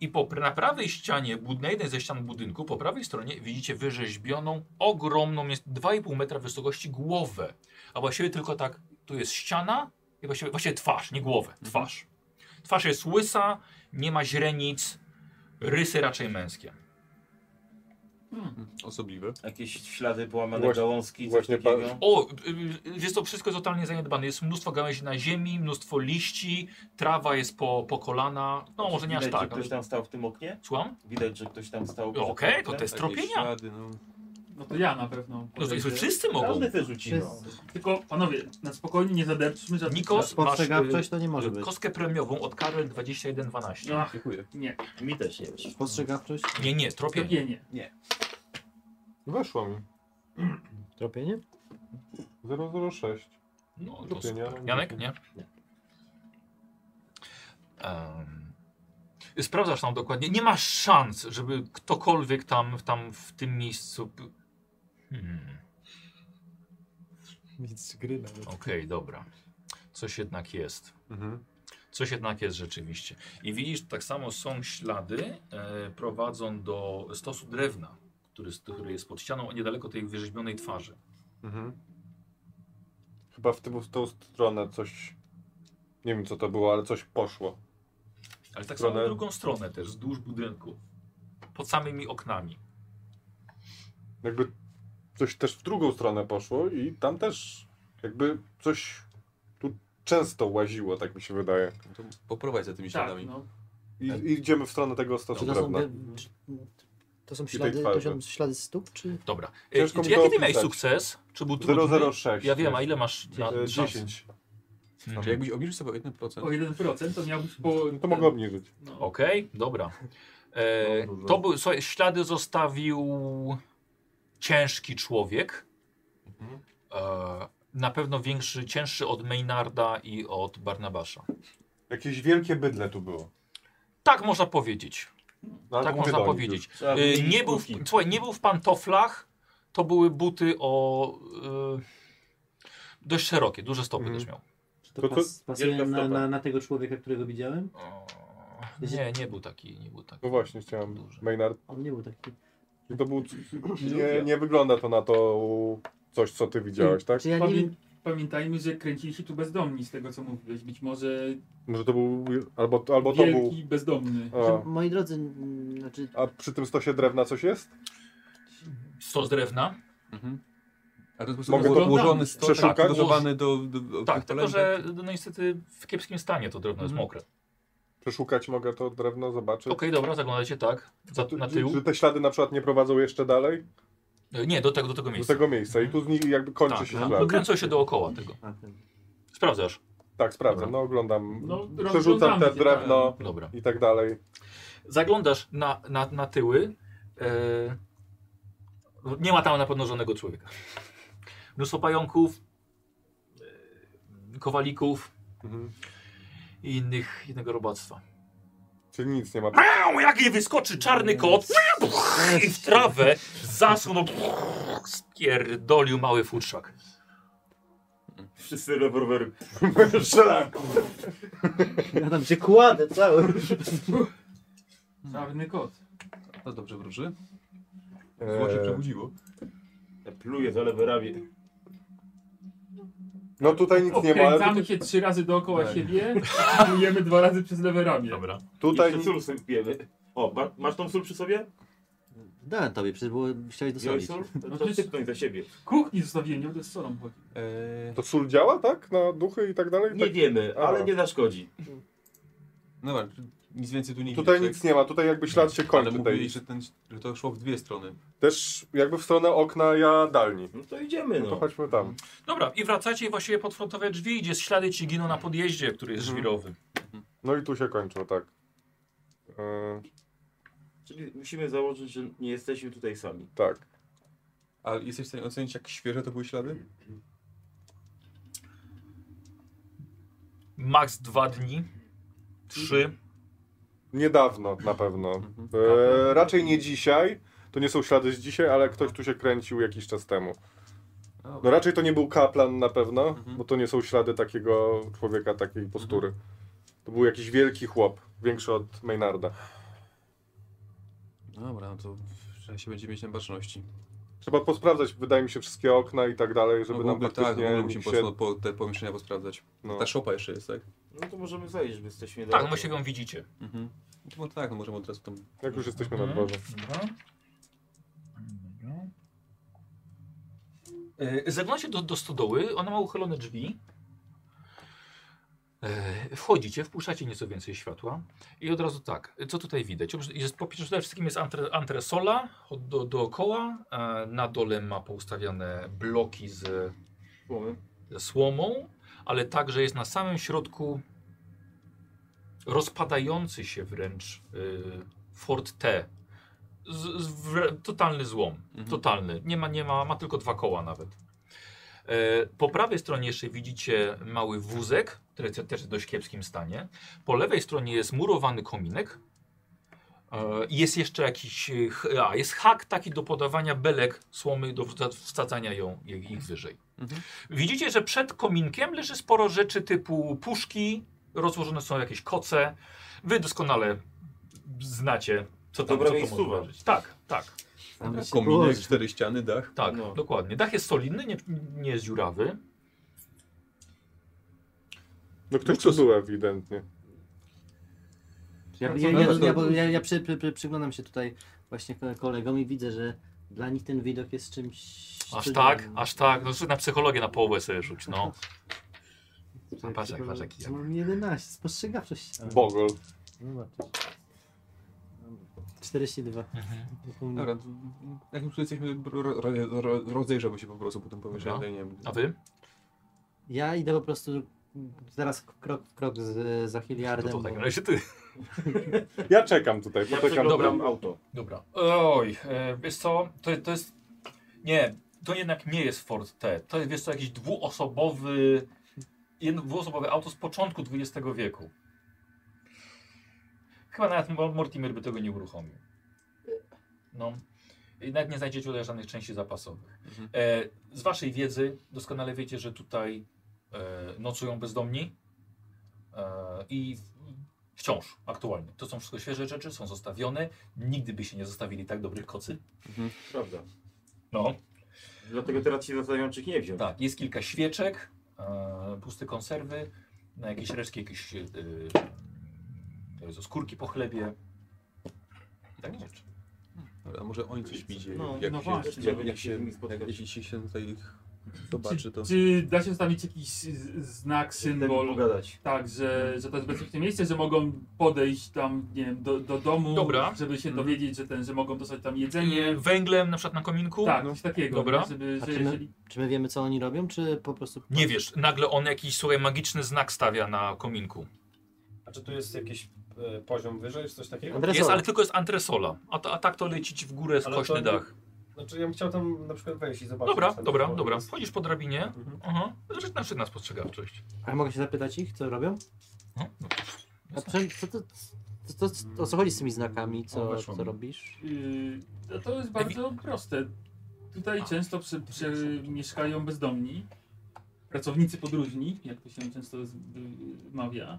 A: i po, na prawej ścianie, bud- na jednej ze ścian budynku, po prawej stronie widzicie wyrzeźbioną, ogromną, jest 2,5 metra wysokości głowę. A właściwie tylko tak, tu jest ściana, I właściwie, właściwie twarz, nie głowę,
G: Mhm.
A: twarz. Twarz jest łysa, nie ma źrenic, rysy raczej męskie.
H: Osobliwe.
G: Jakieś ślady połamane
B: Właśnie-
G: gałązki, coś
B: właśnie pa-
G: takiego.
A: O, y, y, jest to wszystko jest totalnie zaniedbane. Jest mnóstwo gałęzi na ziemi, mnóstwo liści, trawa jest po, po kolana. No, może nie aż
G: Widać,
A: tak.
G: że ktoś
A: ale-
G: tam stał w tym oknie?
A: Słucham?
G: Widać, że ktoś tam stał.
A: Okej, to te
H: Takie
A: stropienia.
H: ślady, no.
F: No to ja na pewno.
A: No to
F: podejdę.
A: wszyscy mogą.
G: Każdy też rzuci. no.
F: Tylko panowie, na spokojnie, nie zaderczmy żadnych
A: Nikos, masz
D: Spostrzegawczość to nie może
A: y,
D: być.
A: kostkę premiową od Karel 2112.
F: Ach,
H: Dziękuję.
F: nie,
G: Mi też nie wiesz.
D: Spostrzegawczość?
A: Nie, nie, tropienie.
F: tropienie.
B: Weszło mi.
D: Tropienie?
B: 006.
A: No, to
B: Tropienie,
A: super.
B: ale-
A: Janek, nie? Em, sprawdzasz tam dokładnie. Nie masz szans, żeby ktokolwiek tam, tam w tym miejscu... Hmm.
I: Nic z gry nawet.
A: Okej, dobra. Coś jednak jest.
B: Mhm.
A: Coś jednak jest rzeczywiście. I widzisz, tak samo są ślady e, prowadzą do stosu drewna, który, który jest pod ścianą, a niedaleko tej wyrzeźbionej twarzy.
B: Mhm. Chyba w, tym, w tą stronę coś. Nie wiem co to było, ale coś poszło.
A: Ale tak
B: Stronę-
A: samo w drugą stronę też, wzdłuż budynku. Pod samymi oknami.
B: Jakby coś też w drugą stronę poszło i tam też jakby coś tu często łaziło, tak mi się wydaje.
H: No to poprowadź za tymi
F: Tak,
H: śladami.
F: no.
B: I,
A: E,
B: i idziemy w stronę tego stosu
D: Czy to są,
B: drewna.
D: wy- czy- to są ślady, to
B: twarzy.
D: są ślady stóp, czy...
A: Dobra. E,
B: Ciężko mi to
A: jaki ty miałeś
B: opisać.
A: sukces? Czy był trudny?
B: 006.
A: Ja wiem, a ile masz na
B: E,
A: szans?
B: 10. Tak.
A: Mhm.
H: Czy jakbyś obniżył sobie o
F: O
H: 1%?
F: 1% to miałbyś po...
B: To mogę obniżyć.
F: No.
A: Okej, dobra.
B: No,
A: E, to był, słuchaj, ślady zostawił ciężki człowiek.
B: Mhm.
A: E, na pewno większy, cięższy od Maynarda i od Barnabasza.
B: Jakieś wielkie bydle tu było.
A: Tak można powiedzieć.
B: No, ale
A: tak
B: to mówię
A: można
B: do nich
A: powiedzieć.
B: już.
G: Trzeba
A: E,
G: wymienić
A: nie, był w,
G: kółki.
A: słuchaj, nie był w pantoflach. To były buty o. e, dość szerokie, duże stopy
B: Mhm.
A: też miał.
C: Czy to,
B: To co?
C: pas, pasuje
G: Wielka
C: na,
G: stopa.
C: na, na tego człowieka, którego widziałem?
A: O, nie, nie był taki, nie był taki.
B: No właśnie, chciałem.
A: Duże.
B: Maynard.
C: On nie był taki.
B: To był, nie, nie wygląda to na to coś, co ty widziałeś, tak?
D: Czy ja nie
F: Pamię...
D: wiem,
F: Pamiętajmy, że kręcili się tu bezdomni z tego co mówiłeś. Być może
B: Może to był. Albo, albo to był.
F: wielki bezdomny.
B: A,
D: czy, moi drodzy, mm, znaczy,
B: a przy tym stosie drewna coś jest?
A: Stos drewna.
H: Mhm. A to jest po
B: Mogę
H: prostu
B: to
H: ułożony stos,
B: przeszukać?
H: tak, dodawany do, do, do
A: Tak,
H: do
A: tylko że no niestety w kiepskim stanie to drewno jest
H: Mhm.
A: mokre.
B: Przeszukać mogę to drewno, zobaczyć.
A: Okej, dobra, zaglądajcie tak, za, na tył.
B: Czy te ślady na przykład nie prowadzą jeszcze dalej?
A: E, Nie, do tego, do tego miejsca.
B: Do tego miejsca. I tu z nich jakby kończy
A: tak,
B: się
A: no,
B: ślad.
A: kręcą się dookoła tego. Sprawdzasz.
B: Tak, sprawdzam. No oglądam.
F: No,
B: Przerzucam
F: rozglądamy
B: te
F: się,
B: drewno
A: Dobra.
B: i tak dalej.
A: Zaglądasz na, na, na tyły. E, no, nie ma tam na pewno żadnego człowieka. Mnóstwo pająków, e, kowalików
B: Mhm.
A: i innych, innego robactwa.
B: Czyli nic nie ma.
A: Miau, jak jej wyskoczy czarny kot miau, i w trawę zasunął, spierdolił mały futrzak.
G: Wszyscy rewolwery.
B: Szlak!
D: ja tam się kładę cały.
F: Czarny kot.
H: To dobrze wróży. Zło się
B: Eee,
H: przebudziło.
G: Pluje za lewe ramię.
B: no tutaj nic nie ma, ale
F: Okręcamy się trzy razy dookoła
H: Tak.
F: siebie, plujemy dwa razy przez lewe ramię.
A: Dobra.
B: tutaj
G: Jeszcze sól sobie pijemy. O, ma, masz tą sól przy sobie?
D: Dałem tobie, przecież było, chciałeś
G: Wziąłeś
D: dosolić.
G: sól?
F: No
G: To,
F: to
G: to
F: jest-
G: sypnąć za siebie.
F: Kuchni zostawiłem, nie będę z solą chodził.
H: Eee,
B: To sól działa, tak? Na duchy i tak dalej?
G: Nie
B: tak?
G: wiemy,
B: A.
G: ale nie zaszkodzi.
H: no dobra, nic więcej tu nie
B: Tutaj
H: widać,
B: nic nie ma, tutaj jakby ślad się
H: Ale
B: kończy. Tej.
H: mówili, że, ten, że to szło w dwie strony.
B: Też jakby w stronę okna jadalni.
G: No to idziemy
B: No to
G: no.
B: chodźmy tam.
A: Dobra, i wracacie i właściwie pod frontowe drzwi idzie ślady ci giną na podjeździe, który jest
B: Mhm.
A: żwirowy.
B: No i tu się kończą, tak. Yy,
G: Czyli musimy założyć, że nie jesteśmy tutaj sami.
B: tak.
H: A jesteś w stanie ocenić, jak świeże to były ślady?
A: Max dwa dni, trzy.
B: Niedawno na pewno.
H: Mhm.
B: E, raczej nie dzisiaj. To nie są ślady z dzisiaj, ale ktoś tu się kręcił jakiś czas temu. No raczej to nie był kaplan na pewno,
H: Mhm.
B: bo to nie są ślady takiego człowieka, takiej postury. To był jakiś wielki chłop, większy od Maynarda.
H: no Dobra, no to trzeba się będzie mieć na baczności.
B: Trzeba posprawdzać, wydaje mi się, wszystkie okna i tak dalej, żeby
H: no, w
B: nam
H: ogóle, tak, w
B: praktycznie
H: ogóle
B: nikt
H: musimy po
B: się...
H: prostu po, te pomieszczenia posprawdzać.
B: no.
H: Ta szopa jeszcze jest, tak?
G: No to możemy zajść, bo jesteśmy
A: Tak, no się ją widzicie.
H: Mhm. No tak, no możemy od razu tam...
B: Jak już jesteśmy na
H: Mhm.
B: dworze.
A: Dobra. E, Zaglądacie do, do stodoły, ona ma uchylone drzwi. E, Wchodzicie, wpuszczacie nieco więcej światła i od razu tak, co tutaj widać? Obrz- Jest, po pierwsze przede wszystkim jest antre, antresola od- do, dookoła, e, na dole ma poustawiane bloki z, ze słomą, ale także jest na samym środku rozpadający się wręcz y, Ford T. Z, z, wr- totalny złom,
H: Mhm.
A: totalny. Nie ma, nie ma, ma tylko dwa koła nawet. E, po prawej stronie jeszcze widzicie mały wózek, który te- też jest w dość kiepskim stanie. Po lewej stronie jest murowany kominek. E, jest jeszcze jakiś, e, ch- a jest hak taki do podawania belek słomy, do wca- wsadzania ją, ich ich wyżej.
H: Mhm.
A: Widzicie, że przed kominkiem leży sporo rzeczy typu puszki, rozłożone są jakieś koce. Wy doskonale znacie, co tam,
G: Dobra
A: co to może
G: miejscówa.
A: ważyć. Tak, tak.
H: Kominek, cztery ściany, dach.
A: Tak,
G: No.
A: dokładnie. Dach jest solidny, nie, nie jest dziurawy.
B: No ktoś tu był ewidentnie.
D: Ja, ja, ja, ja, bo ja, ja przy, przy, przy, przyglądam się tutaj właśnie ko- kolegom i widzę, że dla nich ten widok jest czymś...
A: Aż
D: cudownym.
A: tak, aż tak. No na psychologię na połowę sobie rzuć, no.
D: Tutaj
A: Patrz jak,
D: przypomnę-
A: patrz jaki jak.
D: Mam 11, spostrzegawczość.
B: Bogol.
D: Zobaczysz. 42.
H: Dobra, to jak już tu jesteśmy, ro, ro, ro, rozejrzemy się po prostu po tym pomieszczeniu,
A: Dobra.
H: nie wiem.
A: A wy?
D: Ja idę po prostu zaraz krok w krok z, za
A: No
D: Hiliardem.
A: to w
D: bo-
A: takim razie ty.
B: Ja czekam tutaj,
G: Ja
B: poczekam.
G: przeglądam auto.
A: Dobra. Oj, e, wiesz co, to, to jest... Nie, to jednak nie jest Ford T. To jest, wiesz co, jakiś dwuosobowy... Jedno, dwuosobowe auto z początku XX wieku. Chyba nawet Mor- Mortimer by tego nie uruchomił. No. I nawet nie znajdziecie tutaj żadnych części zapasowych.
H: Mhm.
A: E, z waszej wiedzy doskonale wiecie, że tutaj e, nocują bezdomni e, i w- wciąż aktualnie. To są wszystko świeże rzeczy, są zostawione. Nigdy by się nie zostawili tak dobrych kocy.
G: Prawda.
A: No.
G: Dlatego teraz się zastanawiam, czy ich nie wziąć.
A: Tak, jest kilka świeczek, e, puste konserwy, na jakieś resztki jakieś e, e, ze skórki po chlebie. Takie rzeczy.
H: Dobra, może oni coś widzieli.
G: No,
H: jak
F: no
H: się,
F: właśnie.
H: Jak, jak się, jak, jeśli się tutaj ich zobaczy, to...
F: Czy da się zostawić jakiś z- znak,
G: Symbol.
F: symbol,
G: pogadać.
F: tak,
A: Mhm.
F: że, że to jest bezpieczne miejsce, że mogą podejść tam, nie wiem, do, do domu,
A: Dobra. Mhm. Y,
F: żeby się dowiedzieć, że ten, że mogą dostać tam
A: Nie,
F: jedzenie.
A: węglem na przykład na kominku?
F: Tak, coś takiego.
A: No. Dobra.
F: nie? Żeby,
D: A
F: że
D: czy my-
F: jeżeli...
D: Czy my wiemy, co oni robią, czy po prostu...
A: Nie wiesz, nagle on jakiś słuchaj magiczny znak stawia na kominku.
E: A czy tu jest jakiś e, poziom wyżej, czy coś takiego?
D: Adresowo.
A: Jest, ale tylko jest antresola, a, to, a tak to leci ci w górę w
E: Ale
A: kośny
E: to-
A: dach.
E: Znaczy ja bym chciał tam na przykład wejść i zobaczyć.
A: Dobra,
E: co tam
A: dobra,
E: jest.
A: dobra. Wchodzisz po drabinie. Aha. Rzecz na przykład na spostrzegawczość.
D: A mogę się zapytać ich, co robią?
A: No, no.
D: A przynajmniej, co to... Co, co, o co chodzi z tymi znakami?
A: O,
D: Co,
A: weszło
D: co
A: mi.
D: robisz?
F: Yy, no to jest bardzo proste. Tutaj często przy, przy mieszkają bezdomni, pracownicy podróżni, jak to się często z- y, mawia.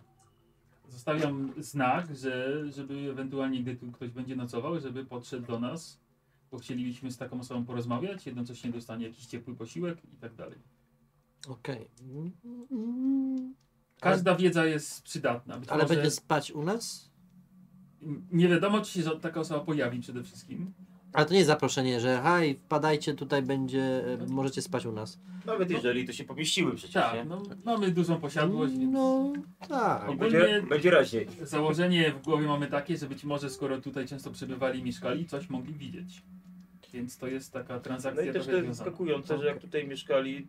F: Zostawiam znak, że, żeby ewentualnie, gdy tu ktoś będzie nocował, żeby podszedł do nas, bo chcielibyśmy z taką osobą porozmawiać, jednocześnie dostanie jakiś ciepły posiłek i tak dalej.
D: Okej. Mm,
F: Każda wiedza jest przydatna. Być
D: Ale
F: może
D: będzie spać u nas?
F: Nie wiadomo, czy się za- taka osoba pojawi przede wszystkim.
D: Ale to nie jest zaproszenie, że haj, wpadajcie, tutaj będzie, e, możecie spać u nas.
G: Nawet jeżeli to się pomieściły przecież, nie?
F: Tak, no, mamy dużą posiadłość, więc...
D: No, tak.
G: Będzie, będzie raźniej.
F: Założenie w głowie mamy takie, że być może skoro tutaj często przebywali i mieszkali, coś mogli widzieć. Więc to jest taka
G: No
F: transakcja
G: i też to
F: trochę
G: jest
F: związana.
G: zaskakujące, że
F: No.
G: jak tutaj mieszkali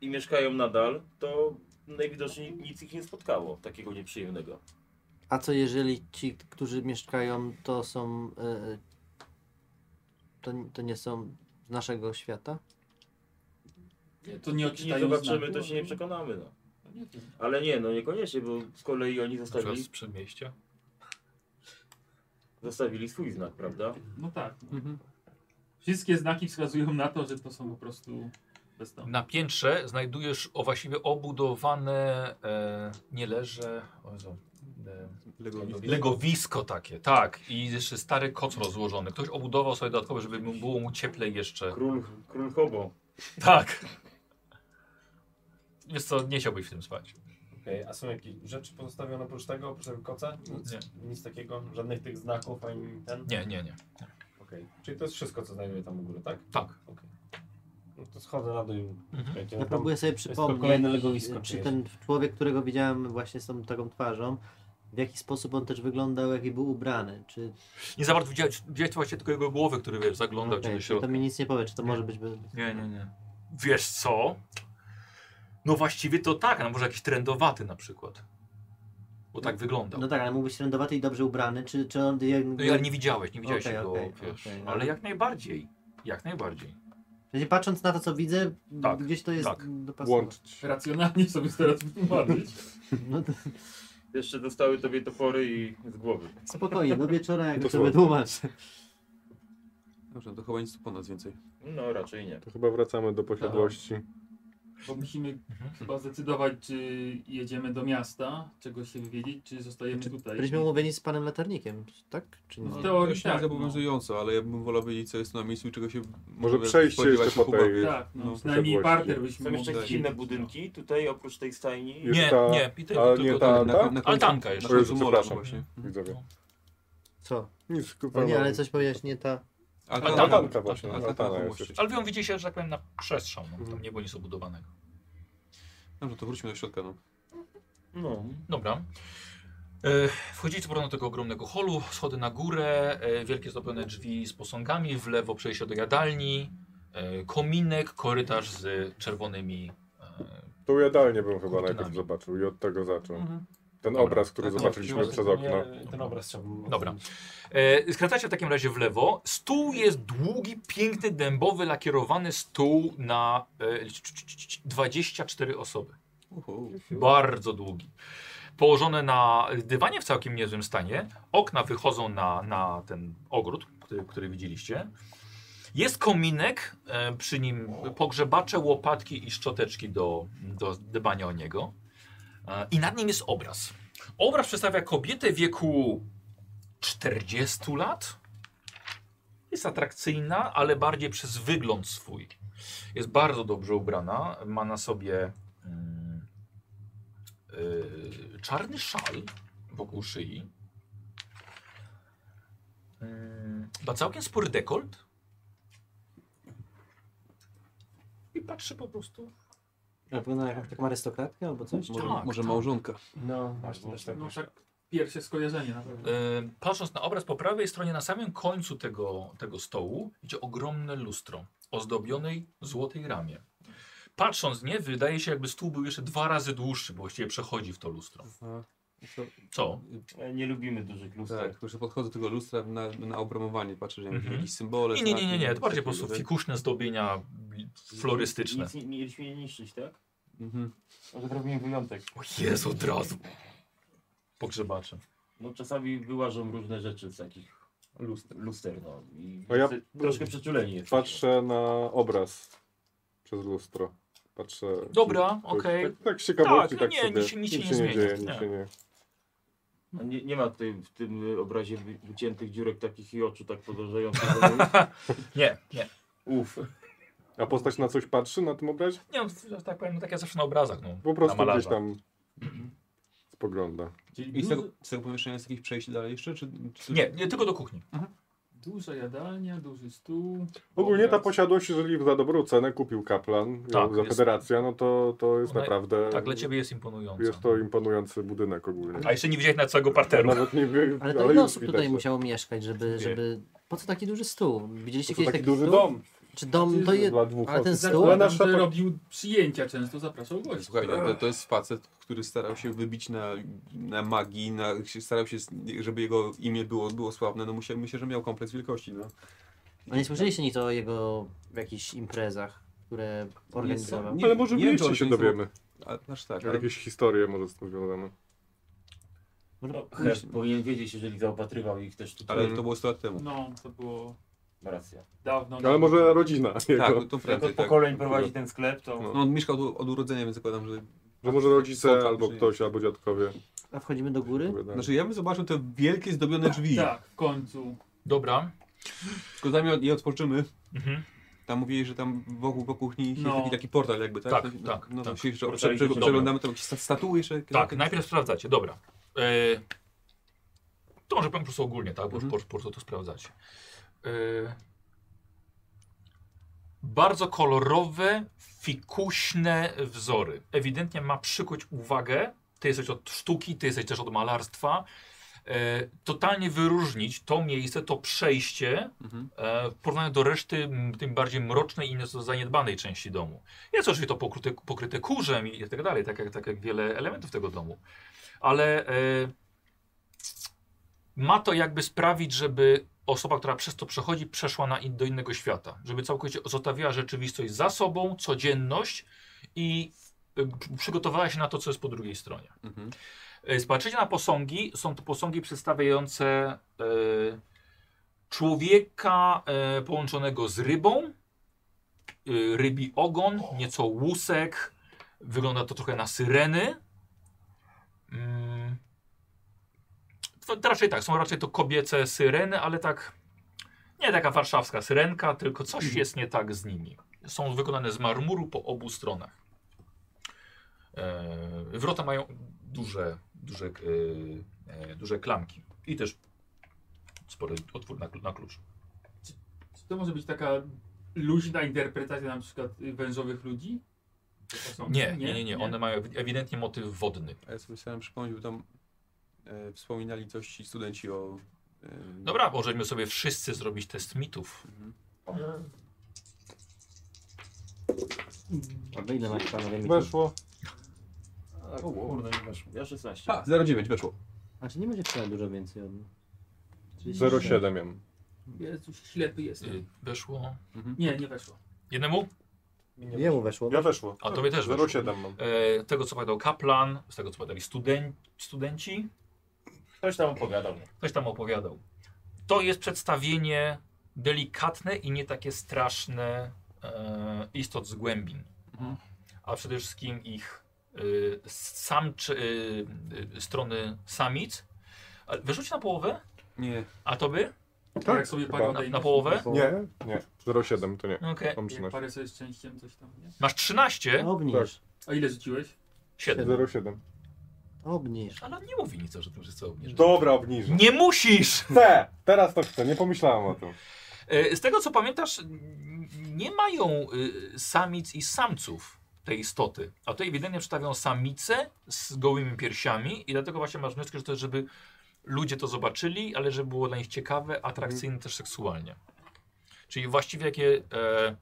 G: i mieszkają nadal, to najwidoczniej nic ich nie spotkało takiego nieprzyjemnego.
D: A co jeżeli ci, którzy mieszkają, to są. e, To, to nie są z naszego świata?
F: Nie, To nie
G: Jeśli nie
F: odczytają
G: zobaczymy,
F: znaku,
G: to się nie
F: no.
G: przekonamy. No.
F: No nie wiem.
G: Ale nie, no niekoniecznie, bo z kolei oni
A: Na przykład
G: zostawili,
A: z przedmieścia.
G: zostawili swój znak, prawda?
F: No tak. No.
D: Mhm.
F: Wszystkie znaki wskazują na to, że to są po prostu bezdomni.
A: No. Na piętrze znajdujesz o właściwie obudowane e, nie leże, o Jezu, e,
H: Legowisko.
A: legowisko takie, tak. I jeszcze stary koc rozłożony. Ktoś obudował sobie dodatkowo, żeby mu było mu cieplej
F: No.
A: jeszcze.
G: Król, król Hobo.
A: Tak. Wiesz co, nie chciałbyś w tym spać.
E: Okej, a są jakieś rzeczy pozostawione oprócz tego, oprócz tego koca? Nic, nic takiego, żadnych tych znaków ani ten?
A: Nie, nie, nie.
E: Okej, czyli to jest wszystko, co znajduję tam u góry, tak?
A: Tak.
E: No to schodzę na dół.
A: Mhm.
E: Słuchajcie,
D: Ja
E: no tam-
D: próbuję sobie
E: to kolejne legowisko
D: przypomnieć, czy
E: czyjeś.
D: ten człowiek, którego widziałem właśnie z tą taką twarzą, w jaki sposób on też wyglądał, jaki był ubrany, czy
A: Nie za bardzo widziałeś, widziałeś właśnie tylko jego głowy, który wiesz, zaglądał ci
D: Okej,
A: do
D: czyli to
A: środka.
D: mi nic nie powie, czy No, tak, to może być... By...
A: Nie, nie, nie. Wiesz co? No właściwie to tak, no może jakiś trendowaty na przykład. Bo tak wyglądał.
D: No tak, ale mógł być trendowaty i dobrze ubrany, czy, czy on... jakby-
A: No i ale nie widziałeś, nie widziałeś
D: Okej,
A: jego,
D: okej,
A: wiesz.
D: okej, no.
A: ale jak najbardziej. Jak najbardziej.
D: W sensie patrząc na to, co widzę,
A: Tak,
D: gdzieś to jest
A: tak.
D: dopasowane.
B: Łączyć.
F: Racjonalnie sobie teraz wytłumaczyć.
D: No to
G: Jeszcze dostały tobie topory i z głowy.
D: spokojnie, do wieczora jak
B: To
D: sobie
B: słabo.
D: tłumacz.
H: Dobrze, to chyba nic po nas więcej.
G: No raczej nie.
B: To chyba wracamy do posiadłości.
F: Bo musimy
A: Mhm.
F: chyba zdecydować, czy jedziemy do miasta, czego się wywiedzieć, czy zostajemy tutaj.
D: Byliśmy umówieni z panem latarnikiem, tak? Czy nie?
F: No,
H: To
F: teorii
H: się tak,
F: tak,
H: zobowiązująco, ale ja bym wolał wiedzieć, co jest na miejscu i czego się...
B: Może
H: możemy
B: przejście
H: spodziewać
B: jeszcze po
H: w Kubawie.
F: no,
B: tej.
F: tak, no,
H: No,
F: przynajmniej
B: właśnie.
F: parter byśmy
G: Są jeszcze
F: mogli no.
G: jakieś inne
F: zjeść,
G: budynki tutaj oprócz tej stajni?
B: Jest
A: Nie,
B: ta-
A: nie, i tylko
B: ale nie
A: to-
B: ta-
H: Na,
B: Tak?
H: na, na końcu,
A: Altanka
H: na
A: jeszcze.
B: O Jezu,
H: końcu mola
B: przepraszam.
H: właśnie.
B: Widzowie.
D: Co?
B: Nic,
D: No
B: kurwa.
D: nie, ale coś powiedziałeś, nie ta...
A: Altanka.
B: Altanka właśnie,
H: Altanka
B: Altana
H: na
B: jest
H: moście.
B: jeszcze.
A: Ale wy ją widzicie, że tak powiem, na przestrzał. No, tam nie było nic obudowanego.
H: Dobrze, to wróćmy do środka. No.
G: No.
A: Dobra. E, Wchodzicie po do tego ogromnego holu, schody na górę, e, wielkie zdobione drzwi z posągami, w lewo przejście do jadalni, e, kominek, korytarz z czerwonymi. e,
B: Tą jadalnię bym chyba
A: Kurtynami.
B: najpierw zobaczył i od tego zaczął.
A: Mhm.
B: Ten
A: Dobra.
B: obraz, który
H: Tak, no,
B: zobaczyliśmy
H: właśnie
B: przez
E: ten-
B: okno.
E: nie, Ten obraz chciałbym...
A: Dobra. E, Skręcacie w takim razie w lewo. Stół jest długi, piękny, dębowy, lakierowany stół na e, c- c- c- c- 24 osoby.
H: Uhu.
A: Bardzo długi. Położone na dywanie w całkiem niezłym stanie. Okna wychodzą na, na ten ogród, który, który widzieliście. Jest kominek, e, przy nim pogrzebacze, łopatki i szczoteczki do, do dbania o niego. E, I nad nim jest obraz. Obraz przedstawia kobietę wieku 40 lat. Jest atrakcyjna, ale bardziej przez wygląd swój. Jest bardzo dobrze ubrana. Ma na sobie mm, yy, czarny szal wokół szyi. Yy, ma całkiem spory dekolt. I patrzy po prostu.
D: Ja Wygląda jak taką arystokratkę albo coś?
H: Może,
A: Tak,
H: może
A: tak.
H: małżonka.
E: No, właśnie też tak.
F: No tak, pierwsze skojarzenie na pewno.
A: Yy, patrząc na obraz po prawej stronie, na samym końcu tego, tego stołu, idzie ogromne lustro ozdobionej złotej ramie. Patrząc z nie, wydaje się, jakby stół był jeszcze dwa razy dłuższy, bo właściwie przechodzi w to lustro. Co?
G: E, Nie lubimy dużych luster.
H: Tak, tylko że podchodzę do tego lustra na, na obramowanie, patrzę, że
A: Mhm.
H: jakieś tak. symbole.
A: Nie, nie, nie, nie,
H: znaki,
A: nie. To bardziej po
H: coś
A: prostu
H: takiego.
A: fikuśne zdobienia florystyczne.
G: tak? Nic nie mieliśmy nie niszczyć, tak?
H: Mhm.
G: Ale zrobimy wyjątek.
A: O Jezu, od razu. Pogrzebacze.
G: No czasami wyłażą różne rzeczy z takich luster, luster no. I
B: No ja-
G: troszkę przeczuleni jest.
B: Patrzę na obraz przez lustro. Patrzę.
A: Dobra,
B: Coś-
A: okej.
B: Tak, tak z ciekawości,
A: Tak, no
B: tak
A: nie,
B: sobie.
A: nic się- nic się nie
B: się nie
A: zmienia,
B: dzieje,
A: nie.
B: nic się nie.
G: A Nie, nie ma tutaj w tym obrazie wy- wyciętych dziurek takich i oczu tak podążających.
A: Nie, nie.
G: Uff.
B: A postać na coś patrzy na tym obrazie?
A: Nie, no, tak powiem, no, tak jak zawsze na obrazach. No,
B: Po
A: na
B: prostu
A: malarza.
B: gdzieś tam
A: Mhm.
B: spogląda.
H: I z tego, z tego pomieszczenia jest jakieś przejście dalej jeszcze? Czy, czy...
A: Nie, nie, tylko do kuchni.
F: Duża jadalnia, duży stół.
B: Ogólnie ta
F: obraz.
B: posiadłość, jeżeli za dobrą cenę kupił kaplan ją
A: Tak,
B: za
A: jest-
B: federację, no to, to jest
A: Ona-
B: naprawdę.
A: Tak, dla ciebie jest imponująca.
B: Jest to imponujący budynek ogólnie.
A: A jeszcze nie widziałeś na całego parteru.
B: Nawet nie wie,
D: Ale to ile
B: No, już
D: osób
B: widać,
D: tutaj
B: że-
D: musiało mieszkać, żeby, żeby... Po co taki duży stół? Widzieliście
B: To taki,
D: kiedyś
B: taki
D: taki
B: duży
D: stół?
B: dom
D: Czy dom to jest...
B: dla dwóch
D: Ale ten
B: osób. Ale
D: stół?
F: Zakładam,
B: nasza
F: że
B: po-
F: robił przyjęcia często, zapraszał gości.
H: Słuchaj, no, to, to jest facet, który starał się wybić na, na magii, na, się- starał się, żeby jego imię było, było sławne, no musiał, myślę, że miał kompleks wielkości, no.
D: A nie słyszeliście nic o jego w jakichś imprezach, które organizował?
H: nie-
B: Ale może
H: nie
B: w
H: wiem, czy
B: mieście
H: one
B: się
H: są-
B: dowiemy.
H: A, aż tak, ale
B: Jakieś historie może z tym związane.
G: No, Herz powinien wiedzieć, jeżeli zaopatrywał ich też tutaj.
H: Ale to było 100 lat temu.
F: No, to było
G: Ma rację.
F: dawno.
B: Ale może rodzina jego.
H: Tak, to
G: Jak
H: Francja,
G: od
H: tak.
G: pokoleń prowadzi ten sklep, to...
H: No, on mieszkał od, od urodzenia, więc zakładam, że
B: Że może rodzice,
H: Spotkał
B: albo
H: się.
B: ktoś, albo dziadkowie.
D: A wchodzimy do góry?
B: opowiadają.
H: Znaczy ja bym zobaczył te wielkie zdobione drzwi.
F: Tak, w końcu.
A: Dobra.
H: Tylko zanim od- je otworzymy,
A: Mhm.
H: tam mówili, że tam wokół, wokół kuchni jest
F: No.
H: taki, taki portal jakby, tak?
A: Tak,
H: no,
A: tak,
H: No,
A: tak.
H: no, się jeszcze
G: Portal
H: prze,
G: jakiś
H: prze,
G: dobry.
H: przeglądamy tam jakieś sta- statuły jeszcze.
A: Tak, najpierw sprawdzacie, dobra. E, to może pan po prostu ogólnie, tak? Bo już
H: Mhm.
A: po, po prostu to sprawdzacie. E, bardzo kolorowe, fikuśne wzory. Ewidentnie ma przykuć uwagę. Ty jesteś od sztuki, ty jesteś też od malarstwa. E, totalnie wyróżnić to miejsce, to przejście
H: Mhm.
A: e, w porównaniu do reszty m, tym bardziej mrocznej i nieco zaniedbanej części domu. Jest oczywiście to pokryte, pokryte kurzem i tak dalej, tak jak, tak jak wiele elementów tego domu. Ale e, ma to jakby sprawić, żeby osoba, która przez to przechodzi, przeszła na in, do innego świata. Żeby całkowicie zostawiła rzeczywistość za sobą, codzienność i e, p- przygotowała się na to, co jest po drugiej stronie.
H: Mhm.
A: E, Spatrzycie na posągi. Są to posągi przedstawiające e, człowieka e, połączonego z rybą, e, rybi ogon, nieco łusek. Wygląda to trochę na syreny. Mm. To Raczej tak, są raczej to kobiece syreny, ale tak nie taka warszawska syrenka, tylko coś jest nie tak z nimi. Są wykonane z marmuru po obu stronach. E, Wrota mają duże, duże, e, e, duże klamki i też spory otwór na, klu- na klucz.
F: Czy to może być taka luźna interpretacja na przykład y, wężowych ludzi? To są-
A: Nie, nie, nie, nie. One mają ewi- ewidentnie motyw wodny.
H: A ja sobie chciałem przypomnieć, bo tam e, wspominali coś ci studenci o... E,
A: Dobra, możemy sobie wszyscy zrobić test mitów.
D: Albo ile masz panowie? mi-
B: Weszło.
C: Kurde, nie weszło.
G: Ja 16.
H: A, 09 weszło.
D: A czy nie będzie trzeba dużo więcej od mnie?
B: 0,7 jem.
F: Jezus, ślepy jestem.
A: Y, Weszło.
F: Nie, nie weszło.
A: Jednemu?
D: Jemu weszło.
B: Ja weszło.
A: A tobie też weszło.
B: 0,7 mam.
A: E, tego co powiedział kaplan, z tego co powiedzieli studen studenci,
G: Ktoś tam opowiadał.
A: ktoś tam opowiadał. To jest przedstawienie delikatne i nie takie straszne e, istot z głębin.
H: Mhm.
A: A przede wszystkim ich y, sam czy, y, y, strony samic. A Wyrzuć na połowę,
H: Nie.
A: a tobie?
B: Tak,
F: Jak sobie
B: chyba.
F: parę
A: Na,
F: odejmiesz.
A: na połowę?
B: Nie, nie. 0,7 to nie.
A: No Okej.
B: Mam
F: Jak
B: 13.
F: parę sobie szczęściem coś tam, nie?
A: Masz 13,
B: Tak.
D: Obniż.
F: A ile rzuciłeś?
A: 7.
B: 0,7.
D: Obniż.
A: Ale on nie mówi nic o tym, że chce obniżyć.
B: Dobra, obniżę.
A: Nie musisz!
B: Chcę! Teraz to chcę, nie pomyślałem o tym.
A: E, Z tego co pamiętasz, n- nie mają y, samic i samców tej istoty. A tutaj ewidentnie przedstawiają samice z gołymi piersiami i dlatego właśnie masz wniosek, że to jest, żeby ludzie to zobaczyli, ale żeby było dla nich ciekawe, atrakcyjne też seksualnie. Czyli właściwie jakie... E,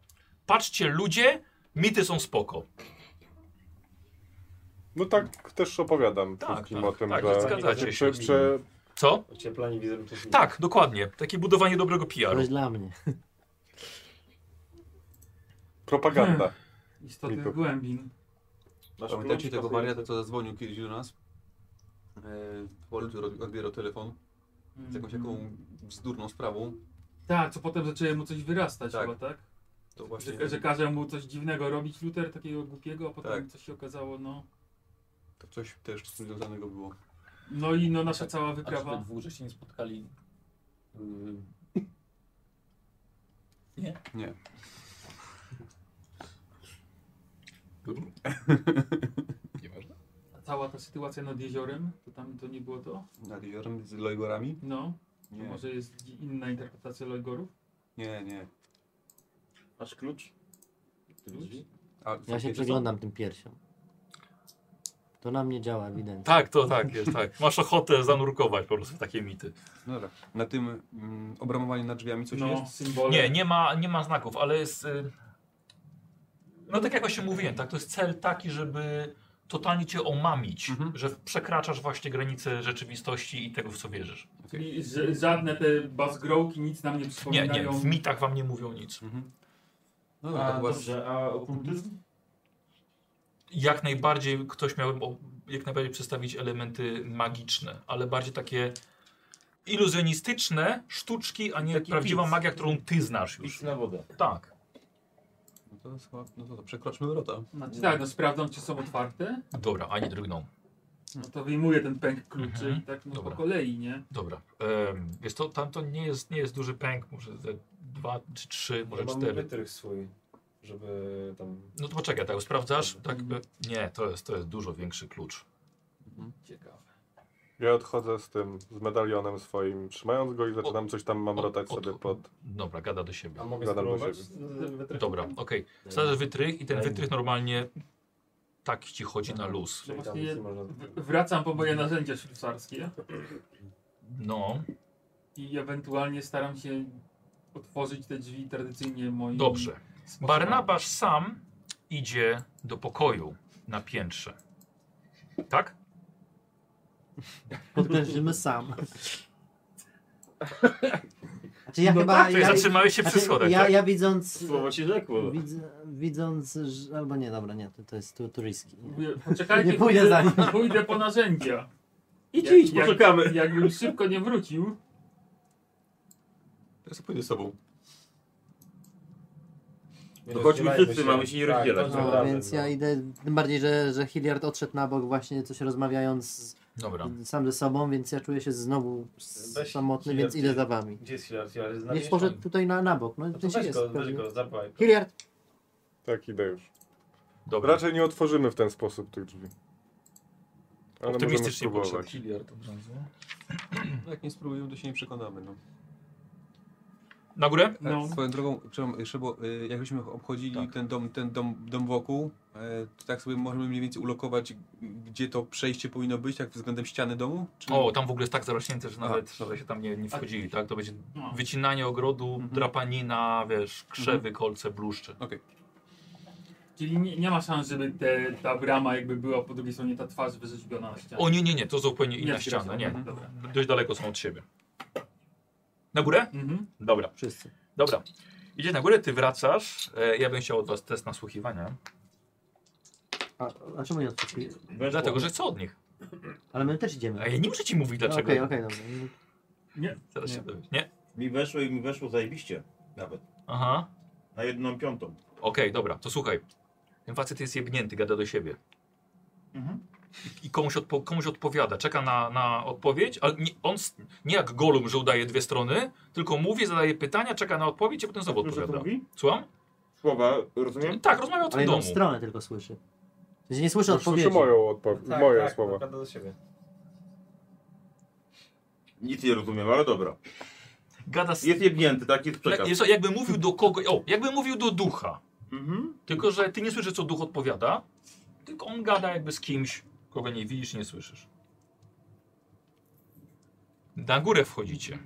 A: patrzcie ludzie, mity są spoko.
B: No tak też opowiadam
A: Tak,
B: wszystkim
A: tak,
B: o tym,
A: tak,
B: że,
A: zgadzacie
B: że,
A: się.
B: że, że
A: Co?
C: Ocieplanie wizerunkowi.
A: Tak, dokładnie. Takie budowanie dobrego
D: To
A: PR-u.
D: jest dla mnie.
B: propaganda.
F: Istoty
B: Mitów.
F: głębin.
H: Pamiętacie tego wariata, co zadzwonił kiedyś do nas? E, bo ludzie rob- odbierał telefon z jakąś taką bzdurną sprawą.
F: Mm. Tak, co potem zaczęło mu coś wyrastać
H: Tak.
F: chyba, tak?
H: To właśnie...
F: Że, że każe mu coś dziwnego robić Luther, takiego głupiego, a potem
H: Tak.
F: coś się okazało, no...
H: To coś też z tym związanego było.
F: No i no
H: Tak.
F: nasza cała
E: A czy we
F: wyprawa.
E: dwóch żeście nie spotkali? Yy,
H: Nie.
F: A cała ta sytuacja nad jeziorem, to tam to nie było to?
H: Nad jeziorem z Lojgorami?
F: No, to
H: Nie.
F: może jest inna interpretacja Logorów?
H: Nie, nie.
G: Masz klucz?
H: A,
D: Ja się
H: wiecie co?
D: przeglądam tym piersią. To na mnie działa ewidentnie.
A: Tak, to tak, jest tak. Masz ochotę zanurkować po prostu w takie mity.
H: No dobra. Na tym mm, obramowaniu nad drzwiami coś
F: no,
H: jest?
F: symbole.
A: Nie, nie ma, nie ma znaków, ale jest. y, No tak jak właśnie mówiłem, tak, to jest cel taki, żeby totalnie cię omamić,
H: Mhm.
A: że przekraczasz właśnie granice rzeczywistości i tego, w co wierzysz.
F: Czyli ż- żadne te bazgrołki nic nam nie
A: Nie, nie,
F: przypominają.
A: w mitach wam nie mówią nic.
H: Mhm. No
G: A,
H: dobra, to była
G: dobrze, a okultyzm?
A: Jak najbardziej ktoś miał o- jak najbardziej przedstawić elementy magiczne, ale bardziej takie iluzjonistyczne sztuczki, a nie
G: Taki
A: prawdziwa
G: pic.
A: magia, którą ty znasz już.
G: Pić na wodę.
A: Tak.
I: to, chyba- no to, to przekroczmy wrota.
F: Znaczy, tak, no sprawdzam, czy są otwarte.
A: Dobra, ani drgną.
F: No to wyjmuję ten pęk kluczy
A: Mhm.
F: i tak no, po
A: Dobra.
F: kolei, nie?
A: Dobra. Um, jest to, tam to nie jest, nie jest duży pęk, może ze dwa czy trzy, może
C: Ja mam
A: cztery.
C: wytrych swój, żeby tam...
A: No to poczekaj, tak sprawdzasz? Tak, by... Nie, to jest, to jest dużo większy klucz.
F: Ciekawe.
B: Ja odchodzę z tym, z medalionem swoim, trzymając go i zaczynam coś tam mamrotać
A: Od- od-
B: sobie pod...
A: Dobra, gada do siebie.
C: A mogę
B: Gadam do
C: spróbować?
B: siebie.
C: z- z wytrychem?
A: Dobra, okej. Wsadzasz wytrych i ten
C: Daj mi.
A: wytrych normalnie tak ci chodzi na luz.
C: Czyli tam
F: Właśnie-
C: nic nie można-
G: No
F: W- Wracam po moje narzędzia szwajcarskie
A: No,
F: i ewentualnie staram się otworzyć te drzwi tradycyjnie moim
A: dobrze.
F: sposobem.
A: Barnabasz sam idzie do pokoju na piętrze. Tak?
D: Podkreślimy sam. Znaczy ja
F: No
D: chyba...
F: tak,
A: Czyli
D: ja,
A: zatrzymałeś się przy
D: znaczy,
A: schodach,
D: ja,
A: tak?
D: ja widząc...
G: Słowo ci rzekło.
D: Widz, widząc, że, albo nie, dobra, nie, to, to jest tu, tu riski.
F: Mówię, Poczekajcie,
D: Nie pójdę za nim.
F: Pójdę po narzędzia.
G: Idź,
F: Jak-
G: idź,
F: jak-
G: poczekamy.
F: Jakbym szybko nie wrócił,
H: Teraz pójdę z sobą.
C: Nie
G: No chodźmy
C: rozdzielajmy
G: wszyscy, mamy się nie
C: Tak,
G: rozdzielać.
C: chodźmy
D: No,
C: razem,
D: więc
C: no.
D: ja idę, tym bardziej, że, że Hilliard odszedł na bok właśnie coś rozmawiając z,
A: Dobra.
D: sam ze sobą, więc ja czuję się znowu s-
E: Weź
D: samotny,
E: Hilliard,
D: więc idę za wami.
E: Gdzie jest Hilary? Hilary
D: Nie poszedł tutaj na, na bok, no
E: No to
D: gdzieś
E: weź
D: jest.
E: go, weź
D: pewnie.
E: go, zapłaj.
D: Hilliard,
B: Tak, idę już.
A: Dobra.
B: Raczej nie otworzymy w ten sposób tych drzwi. Ale możemy
A: Optymistycznie
B: spróbować.
A: podszedł Hilliard od razu.
H: No Jak nie spróbujemy, to się nie przekonamy. No. Tak,
A: Na górę?
F: no,
H: Swoją drogą, przepraszam, jeszcze, bo y, jakbyśmy obchodzili
A: Tak.
H: ten, dom, ten dom, dom wokół, y, to tak sobie możemy mniej więcej ulokować, gdzie to przejście powinno być, tak względem ściany domu? Czy...
A: O, tam w ogóle jest tak zarośnięte, że
H: A.
A: nawet że się tam nie, nie wchodzili, tak? To będzie
F: no.
A: wycinanie ogrodu,
H: Mhm.
A: drapanina, wiesz, krzewy, kolce, bluszcze.
F: czyli nie, nie ma szans, żeby te, ta brama jakby była po drugiej stronie ta twarz wyrzeźbiona na ścianie.
A: O nie, nie, nie, to zupełnie inna
F: Nie,
A: ściana, nie.
F: mhm, dobra.
A: Dość daleko są od siebie. Na górę?
F: Mhm.
A: Dobra.
D: wszyscy.
A: Dobra. Idzie na górę, ty wracasz. E, ja bym chciał od was test nasłuchiwania.
D: A, a czemu nie odpuścili?
G: Weszło.
A: Dlatego, że co od nich?
D: Ale my też idziemy.
A: A ja nie muszę ci mówić
D: No,
A: dlaczego.
D: Okej, okej, dobra.
A: Zaraz się
F: Nie.
A: dowiesz. Nie?
G: Mi weszło i mi weszło zajebiście. Nawet.
A: Aha.
G: Na jedną piątą.
A: Okej, dobra, to słuchaj. Ten facet jest jebnięty, gada do siebie.
F: Mhm.
A: I komuś, odpo komuś odpowiada, czeka na, na odpowiedź, ale nie, on s- nie jak Golum, że udaje dwie strony, tylko mówi, zadaje pytania, czeka na odpowiedź i potem znowu
F: Dużo
A: odpowiada.
F: mówi?
A: Słucham?
G: Słowa, rozumiem?
A: Tak, rozmawia o
D: Ale no
A: tym
D: jedną
A: domu.
D: stronę tylko słyszy. W sensie nie słyszy odpowiedzi.
B: Słyszę moją odpowiedź,
E: Tak,
B: moje
E: tak,
B: słowa.
E: naprawdę do siebie.
G: Nic nie rozumiem, ale dobra.
A: Gada z...
G: Jest jebnięty, tak jest
A: Jak-
G: przekaz.
A: jest- jakby mówił do kogo, o, jakby mówił do ducha.
G: Mhm.
A: Tylko, że ty nie słyszysz, co duch odpowiada, tylko on gada jakby z kimś, kogo nie widzisz, nie słyszysz. Na górę wchodzicie.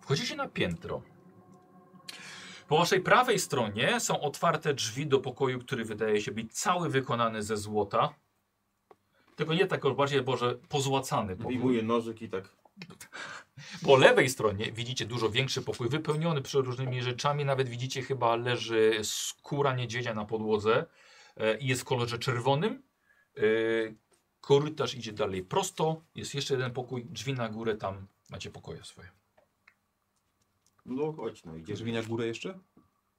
A: Wchodzicie na piętro. Po waszej prawej stronie są otwarte drzwi do pokoju, który wydaje się być cały wykonany ze złota. Tylko nie tak bardziej, Boże, pozłacany. pokój.
G: Wyjmuję nożyk i tak.
A: Po lewej stronie widzicie dużo większy pokój, wypełniony przeróżnymi rzeczami. Nawet widzicie, chyba leży skóra niedźwiedzia na podłodze e, i jest w kolorze czerwonym. E, Korytarz idzie dalej prosto. Jest jeszcze jeden pokój, drzwi na górę, tam macie pokoje swoje.
G: No chodź, no idziesz.
H: Drzwi na górę jeszcze?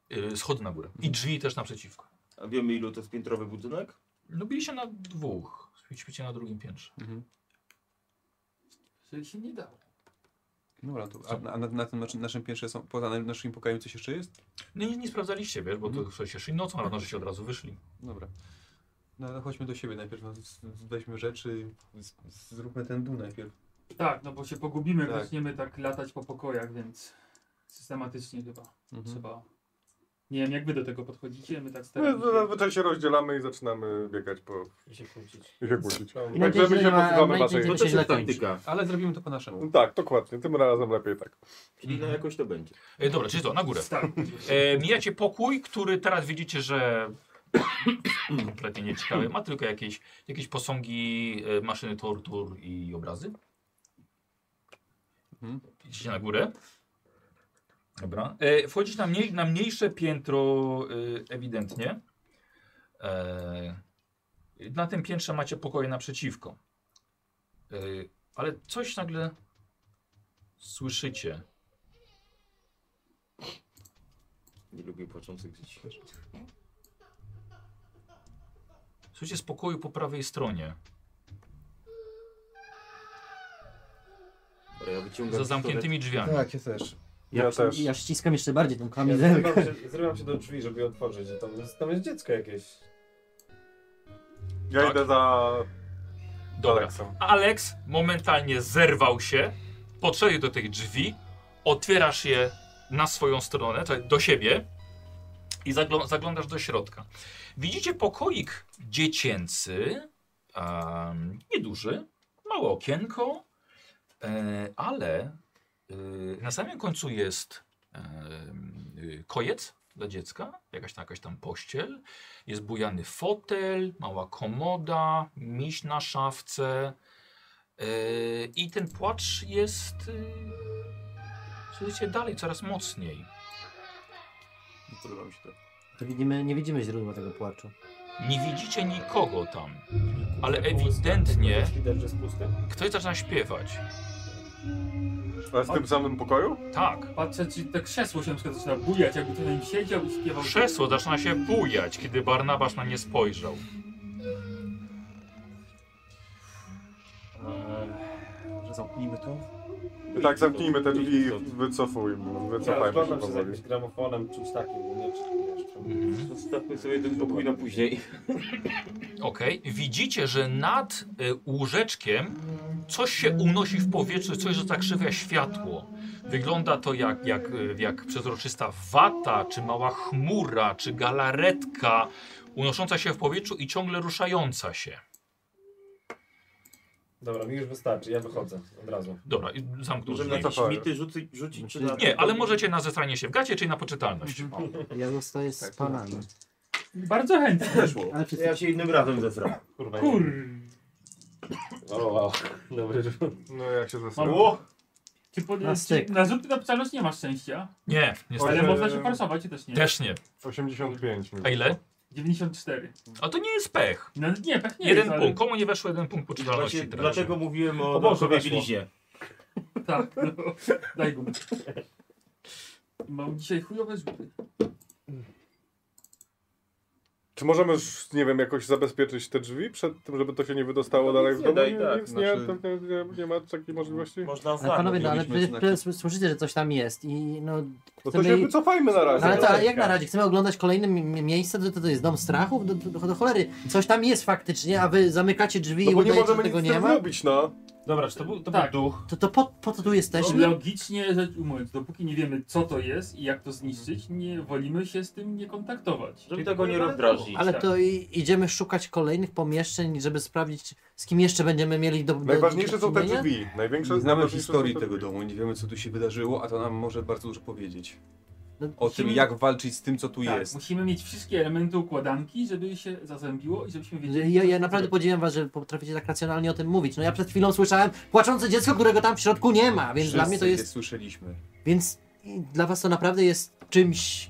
A: E, Schody na górę. I drzwi też naprzeciwko.
G: A wiemy ilu to jest piętrowy budynek?
A: No byliście na dwóch. Śpicie na drugim piętrze.
F: Czyli się nie dało.
H: No Dobra, to, a a na, na tym naszym, naszym pierwszym, są, poza na- naszym pokojem coś jeszcze jest?
A: No i nie sprawdzaliście, wiesz, bo to
H: Mhm.
A: w sensie szli nocą, ale może się od razu wyszli.
H: Dobra. No ale chodźmy do siebie najpierw, no, z- z- weźmy rzeczy, z, z- zróbmy ten dół najpierw.
F: Tak, no bo się pogubimy, jak
H: Tak.
F: zaczniemy tak latać po pokojach, więc systematycznie chyba
H: Mhm.
F: trzeba. Nie wiem, jak wy do tego podchodzicie, my tak
B: My
E: No,
F: staramy się.
B: zazwyczaj się rozdzielamy i zaczynamy biegać po...
E: I się kłócić.
B: i się kłócić.
E: No,
B: Także my się
D: I najczęściej ma-
B: posłuchamy
D: najczęściej
B: waszej...
D: To się źle kończy.
H: Ale zrobimy to po naszemu.
B: Tak, dokładnie, tym razem lepiej tak.
G: Czyli
A: Mhm.
G: no jakoś to będzie.
A: E, Dobra, czyli to, na górę.
F: Tak.
A: E, mijacie pokój, który teraz widzicie, że no, kompletnie nieciekawy. Ma tylko jakieś, jakieś posągi, e, maszyny tortur i obrazy.
H: Mhm.
A: Idziecie na górę. Dobra. E, wchodzicie na, mniej, na mniejsze piętro e, ewidentnie. E, na tym piętrze macie pokoje naprzeciwko. E, ale coś nagle słyszycie.
G: Nie lubię płaczących dzieci.
A: Słuchajcie, z pokoju po prawej stronie,
G: Ale ja wyciągam
A: za
G: pistolet.
A: zamkniętymi drzwiami.
I: Tak, ja też.
B: Ja też.
D: Ja ściskam jeszcze bardziej tą
E: Ja
D: kamizelkę.
E: zrywam, się, zrywam się do drzwi, żeby je otworzyć. a Tam jest, tam jest dziecko jakieś.
B: Ja
A: Tak.
B: idę za
A: Dobra.
B: Aleksem.
A: Alex momentalnie zerwał się, podszedł do tych drzwi, otwierasz je na swoją stronę, to do siebie i zaglą zaglądasz do środka. Widzicie pokoik dziecięcy, em, nieduży, małe okienko, e, ale e, na samym końcu jest em, y, kojec dla dziecka, jakaś, tam- jakaś tam pościel, jest bujany fotel, mała komoda, miś na szafce. Yy, I ten płacz jest. Yy, słuchajcie, dalej, coraz mocniej.
H: Nie podoba mi się
G: tak.
H: to.
D: To widzimy, nie widzimy źródła tego płaczu.
A: Nie widzicie nikogo tam, ale ewidentnie
E: Widać, że jest puste.
A: ktoś zaczyna śpiewać.
B: Ale w tym samym pokoju?
A: Tak.
F: Patrzę, czy to krzesło się na przykład zaczyna bujać, jakby to na nim siedział i śpiewał.
A: Krzesło zaczyna się bujać, kiedy Barnabasz na nie spojrzał.
H: Może zamknijmy to?
B: Tak, zamknijmy te drzwi i wycofujmy.
E: Ja
B: Wycofajmy się
E: rozglądam się z
B: powoli.
E: jakimś gramofonem, czymś takim. bo Nie, czy, wiesz, czemu-
G: Zostawmy sobie ten pokój na później.
A: Okej, widzicie, że nad y, łóżeczkiem coś się unosi w powietrzu, coś zakrzywia światło. Wygląda to jak, jak, y, jak przezroczysta wata, czy mała chmura, czy galaretka unosząca się w powietrzu i ciągle ruszająca się.
E: Dobra, mi już wystarczy, ja wychodzę od razu.
A: Dobra, i zamknął
G: Możemy
A: drzwi.
G: na jakieś
B: Cofamy.
G: mity rzucić, rzucić czy na...
A: Nie, ale możecie na zestranie się w gacie, czyli na poczytalność.
G: Mhm.
D: Ja zostaję z panami.
F: Bardzo chętnie.
D: Ale wszyscy...
G: Ja się innym razem zesram.
E: Kurwa. nie.
F: Kur...
E: O, wow. Dobry rzut.
B: No jak się
F: Mam...
B: zastanawiam.
F: O! Czy po...
D: Na
F: na,
D: styk.
F: na rzut na psalność nie masz szczęścia,
A: Nie, niestety.
F: ale
B: Ojej.
F: można się forsować, czy też nie?
A: Też nie.
B: 85 mi.
A: A ile?
F: 94.
A: A to nie jest pech.
F: No nie, pewnie
A: Jeden
F: jest, ale-
A: punkt. Komu nie weszło jeden punkt
G: Właśnie,
A: poczytalności? teraz?
G: dlatego mówiłem o,
E: O
G: o
E: Boże,
G: Boże,
E: weszło.
G: bieliźnie.
F: Tak, no. Daj gumę. Mam dzisiaj chujowe rzuty.
B: Czy możemy już, nie wiem, jakoś zabezpieczyć te drzwi przed tym, żeby to się nie wydostało
G: No,
B: dalej
G: nic
B: w
G: nie
B: domu?
G: daj,
B: Nie,
G: tak,
B: nic nie,
H: znaczy-
B: to nie, nie, nie ma takiej możliwości?
G: Można
D: Ale panowie, no, ale
H: Moglibyśmy
D: przecież-
H: znaki.
D: przecież słyszycie, że coś tam jest i no...
B: No to
D: chcemy
B: się
D: i-
B: wycofajmy na
D: No ale
B: razie.
D: to, ale jak na razie? Chcemy oglądać kolejne mi- mi- miejsce? To, to, to jest dom strachów? Do, do, do cholery. Coś tam jest faktycznie, a wy zamykacie drzwi
B: No
D: i
B: bo nie
D: udajecie, że
B: możemy nic
D: tego
B: z
D: nie
B: tym
D: ma?
B: zrobić, no.
E: Dobra, czy to był, to
F: Tak.
E: był duch?
D: To, to po, po co tu jesteśmy?
F: Logicznie rzecz ujmując, dopóki nie wiemy co to jest i jak to zniszczyć, nie wolimy się z tym nie kontaktować.
G: Żeby tego nie rozdrażnić.
D: Ale
G: tak.
D: to i, idziemy szukać kolejnych pomieszczeń, żeby sprawdzić, z kim jeszcze będziemy mieli do, do
B: Najważniejsze
D: do
B: są te
D: czynienia?
B: drzwi. Największe
H: Nie znamy
B: najważniejsze są
H: historii
B: te
H: tego
B: drzwi.
H: domu, nie wiemy co tu się wydarzyło, a to nam może bardzo dużo powiedzieć.
D: No,
H: O tym,
F: musimy-
H: jak walczyć z tym, co tu
F: Tak,
H: jest.
F: musimy mieć wszystkie elementy układanki, żeby się zazębiło i żebyśmy wiedzieli...
D: Ja,
F: co
D: ja
F: to
D: naprawdę
F: jest.
D: podziwiam was, że potraficie tak racjonalnie o tym mówić. No ja przed chwilą słyszałem płaczące dziecko, którego tam w środku nie ma, więc dla mnie to
H: Wszyscy
D: jest...
H: je słyszeliśmy.
D: Więc i dla was to naprawdę jest czymś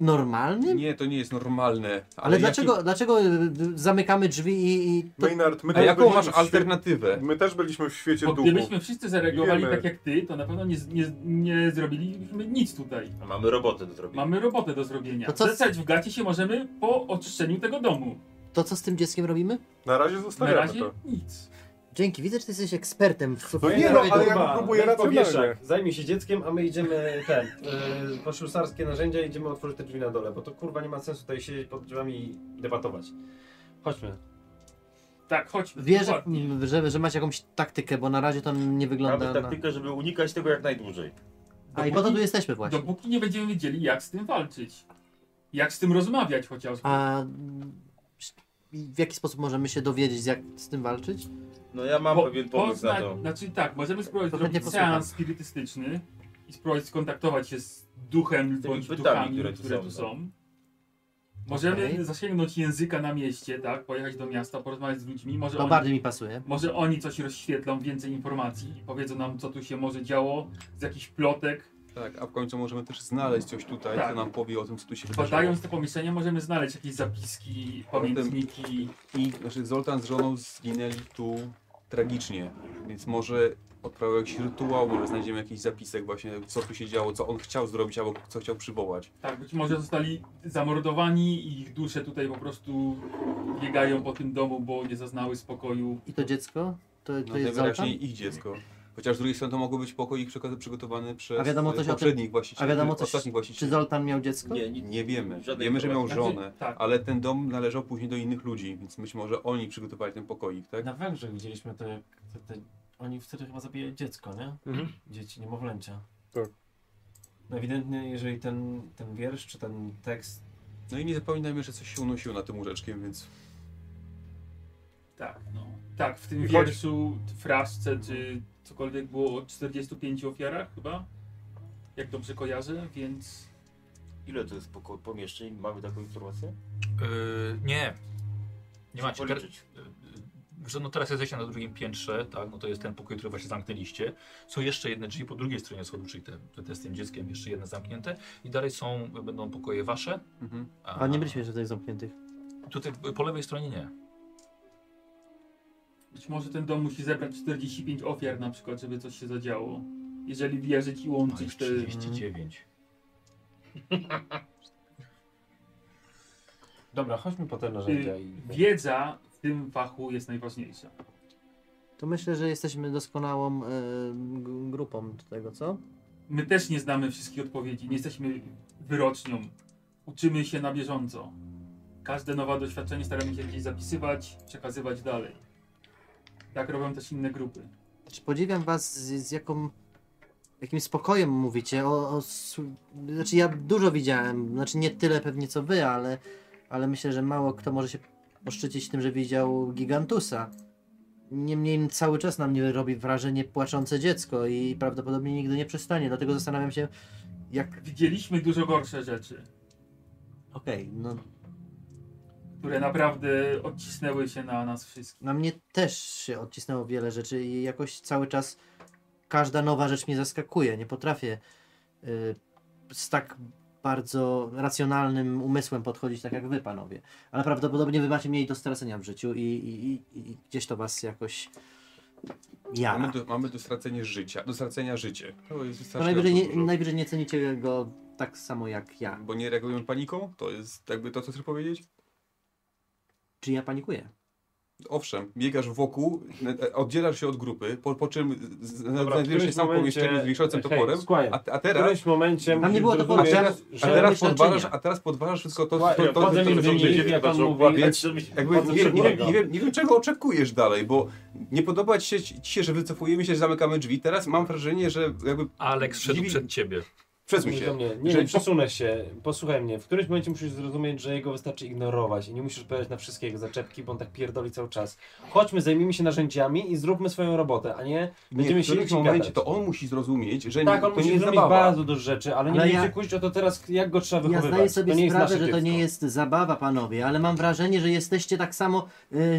D: normalnym?
H: Nie, to nie jest normalne. Ale,
D: Ale
H: jaki-
D: dlaczego, dlaczego y, zamykamy drzwi i, i to,
B: Maynard, my
H: A
B: też
H: jaką
B: byliśmy
H: masz
B: w świe-
H: alternatywę?
B: My też byliśmy w świecie
F: Bo
B: duchów.
F: gdybyśmy wszyscy zareagowali
B: Wiemy.
F: tak jak ty, to na pewno nie, z- nie, z- nie zrobilibyśmy nic tutaj.
G: A Mamy robotę do zrobienia.
F: Mamy robotę do zrobienia.
D: To co-
F: Zostać w gacie się możemy po oczyszczeniu tego domu.
D: to, co z tym dzieckiem robimy?
B: Na razie
F: Na
B: zostawiamy
F: razie
B: no to.
F: nic.
D: Dzięki, widzę, że ty jesteś ekspertem w w-
B: No nie,
D: w-
B: no,
D: w-
B: ale ja
E: Kurwa,
B: próbuję
E: weź
B: racjonalnie.
E: powieszak, Zajmij się dzieckiem, a my idziemy ten, yy, po ślusarskie narzędzia i idziemy otworzyć te drzwi na dole, bo to kurwa nie ma sensu tutaj siedzieć pod drzwiami i debatować. Chodźmy.
F: Tak, chodźmy.
D: Wierzę,
F: dokładnie.
D: m, że, że macie jakąś taktykę, bo na razie to nie wygląda
G: Mamy
D: na...
G: taktykę, żeby unikać tego jak najdłużej.
D: A i po to tu jesteśmy właśnie.
F: Dopóki nie będziemy wiedzieli, jak z tym walczyć. Jak z tym rozmawiać chociażby.
D: A mm, w jaki sposób możemy się dowiedzieć, jak z tym walczyć?
G: No ja mam
F: Po-
G: pewien pomysł na
F: pozna-
G: to.
F: Znaczy tak, możemy spróbować
D: To
F: zrobić
D: chętnie posłucham.
F: seans spirytystyczny i spróbować skontaktować się z duchem
G: tymi
F: bądź
G: bytami,
F: duchami, które
G: które
F: tu,
G: tu są,
F: są.
G: tak.
F: Możemy
D: Okej.
F: zasięgnąć języka na mieście, tak? Pojechać do miasta, porozmawiać z ludźmi. Może,
D: To
F: oni,
D: No bardziej mi pasuje.
F: może oni coś rozświetlą, więcej informacji i powiedzą nam, co tu się może działo, z jakichś plotek.
H: Tak, a w końcu możemy też znaleźć coś tutaj,
F: Tak.
H: co nam powie o tym, co tu się wydarzyło.
F: Badając te pomieszczenia możemy znaleźć jakieś zapiski, pamiętniki.
H: I znaczy Zoltan z żoną zginęli tu tragicznie. Więc może odprawił jakiś rytuał, może znajdziemy jakiś zapisek właśnie, co tu się działo, co on chciał zrobić albo co chciał przywołać.
F: Tak, być może zostali zamordowani i ich dusze tutaj po prostu biegają po tym domu, bo nie zaznały spokoju.
D: I to dziecko? To, to
H: No
D: jest Zoltan?
H: najwyraźniej ich dziecko. Chociaż z drugiej strony to mogło być pokój ich przeka- przygotowany przez
D: A wiadomo
H: e,
D: coś o tym-
H: poprzednich właścicieli,
D: A wiadomo coś,
H: ostatnich
D: czy
H: właścicieli.
D: Zoltan miał dziecko?
G: Nie, nie,
H: Nie wiemy.
G: Żadnej
H: Wiemy, że miał
G: informacji.
H: żonę,
F: Tak.
H: ale ten dom należał później do innych ludzi, więc być może oni przygotowali ten pokoik, tak?
D: No.
C: Na Węgrzech widzieliśmy to, jak te, te, oni wtedy chyba zabijali dziecko, nie?
B: Mhm.
C: Dzieci, niemowlęcia.
B: Tak.
C: No ewidentnie, jeżeli ten, ten wiersz, czy ten tekst...
H: No i nie zapominajmy, że coś się unosiło na tym łóżeczkiem, więc
F: Tak, no. Tak, w tym
B: I choć-
F: wierszu, frasce czy cokolwiek było o 45 ofiarach chyba, jak dobrze kojarzę, więc...
G: Ile to jest poko- pomieszczeń? Mamy taką informację?
A: Yy, nie. Nie macie. Ter,
G: Policzyć.
A: yy, że no teraz jesteście na drugim piętrze, tak? No to jest ten pokój, który właśnie zamknęliście. Są jeszcze jedne drzwi po drugiej stronie schodów, czyli te, te, te z tym dzieckiem, jeszcze jedne zamknięte. I dalej są, będą pokoje wasze.
H: mhm.
D: A nie byliśmy jeszcze tutaj zamkniętych.
A: Tutaj po lewej stronie nie.
F: Być może ten dom musi zebrać 45 ofiar na przykład, żeby coś się zadziało. Jeżeli wierzyć i łączyć te...
A: 39.
C: Dobra, chodźmy po te narzędzia
F: y,
C: i...
F: Wiedza w tym fachu jest najważniejsza.
D: To myślę, że jesteśmy doskonałą e, g- grupą do tego, co?
F: My też nie znamy wszystkich odpowiedzi, nie jesteśmy wyrocznią. Uczymy się na bieżąco. Każde nowe doświadczenie staramy się gdzieś zapisywać, przekazywać dalej. Tak robią też inne grupy.
D: Znaczy, podziwiam was z, z jaką, jakim spokojem mówicie. O, o, s- znaczy ja dużo widziałem, znaczy nie tyle pewnie co wy, ale, ale myślę, że mało kto może się poszczycić tym, że widział Gigantusa. Niemniej cały czas na mnie robi wrażenie płaczące dziecko i prawdopodobnie nigdy nie przestanie, dlatego zastanawiam się jak...
F: Widzieliśmy dużo gorsze rzeczy,
D: Okej, no
F: które naprawdę odcisnęły się na nas wszystkich.
D: na mnie też się odcisnęło wiele rzeczy i jakoś cały czas każda nowa rzecz mnie zaskakuje. Nie potrafię y, z tak bardzo racjonalnym umysłem podchodzić, tak jak wy, panowie. Ale prawdopodobnie wy macie mniej do stracenia w życiu i, i, i, i gdzieś to was jakoś
H: mamy,
D: jara.
H: do, mamy do stracenia życia. Do stracenia życie. To jest
D: To
H: strasznie
D: najwyżej nie,
H: dużo.
D: najwyżej nie cenicie go tak samo jak ja.
H: Bo nie reagujemy paniką? To jest jakby to, co chcesz powiedzieć?
D: Czy ja panikuję?
H: Owszem, biegasz wokół, e, oddzielasz się od grupy, po, po czym z- z- znajdujesz się
E: którymś
H: sam w pomieszczeniu
E: momencie-
H: z wiszącym
E: hej,
H: toporem,
E: Squire,
H: a, a
E: W
H: teraz...
E: którymś momencie
D: Tam nie
E: musisz
D: było toporu,
H: A
E: zrozumieć,
H: teraz, a
E: że...
H: teraz,
D: myślę, że
H: podważasz,
D: nie.
H: a teraz podważasz wszystko to, to,
E: Słuchaj,
H: to, to,
E: wchodzę
H: to, to,
E: między
H: to,
E: nimi.
H: to,
E: jak on mówi-
H: więc jakby
E: Wchodzę
H: nie,
E: przed
H: nie, wiem,
E: niego.
H: nie, wiem, nie wiem, czego oczekujesz dalej, bo nie podoba ci się, ci się, że wycofujemy się, że zamykamy drzwi. Teraz mam wrażenie, że jakby
A: Alex wszedł
H: Dziwi-
A: przed ciebie.
H: przesuń
E: Mówisz do
H: się.
E: mnie, nie,
H: że-
E: nie, przesunę się, posłuchaj mnie. W którymś momencie musisz zrozumieć, że jego wystarczy ignorować i nie musisz odpowiadać na wszystkie jego zaczepki, bo on tak pierdoli cały czas. Chodźmy, zajmijmy się narzędziami i zróbmy swoją robotę, a nie
H: Nie,
E: będziemy
H: w
E: się
H: którymś
E: liczyć
H: momencie
E: gadać.
H: to znaczy on musi zrozumieć, że
E: Tak,
H: nie,
E: on
H: to nie
E: musi
H: jest
E: zrobić
H: zabawa.
E: bardzo dużo rzeczy, ale nie
D: Ale
E: będziecie
D: ja-
E: kłócić o to teraz, jak go trzeba
D: Ja
E: wychowywać.
D: zdaję sobie
E: to nie jest
D: sprawę,
E: nasze
D: że to
E: dziecko.
D: nie jest zabawa, panowie, ale mam wrażenie, że jesteście tak samo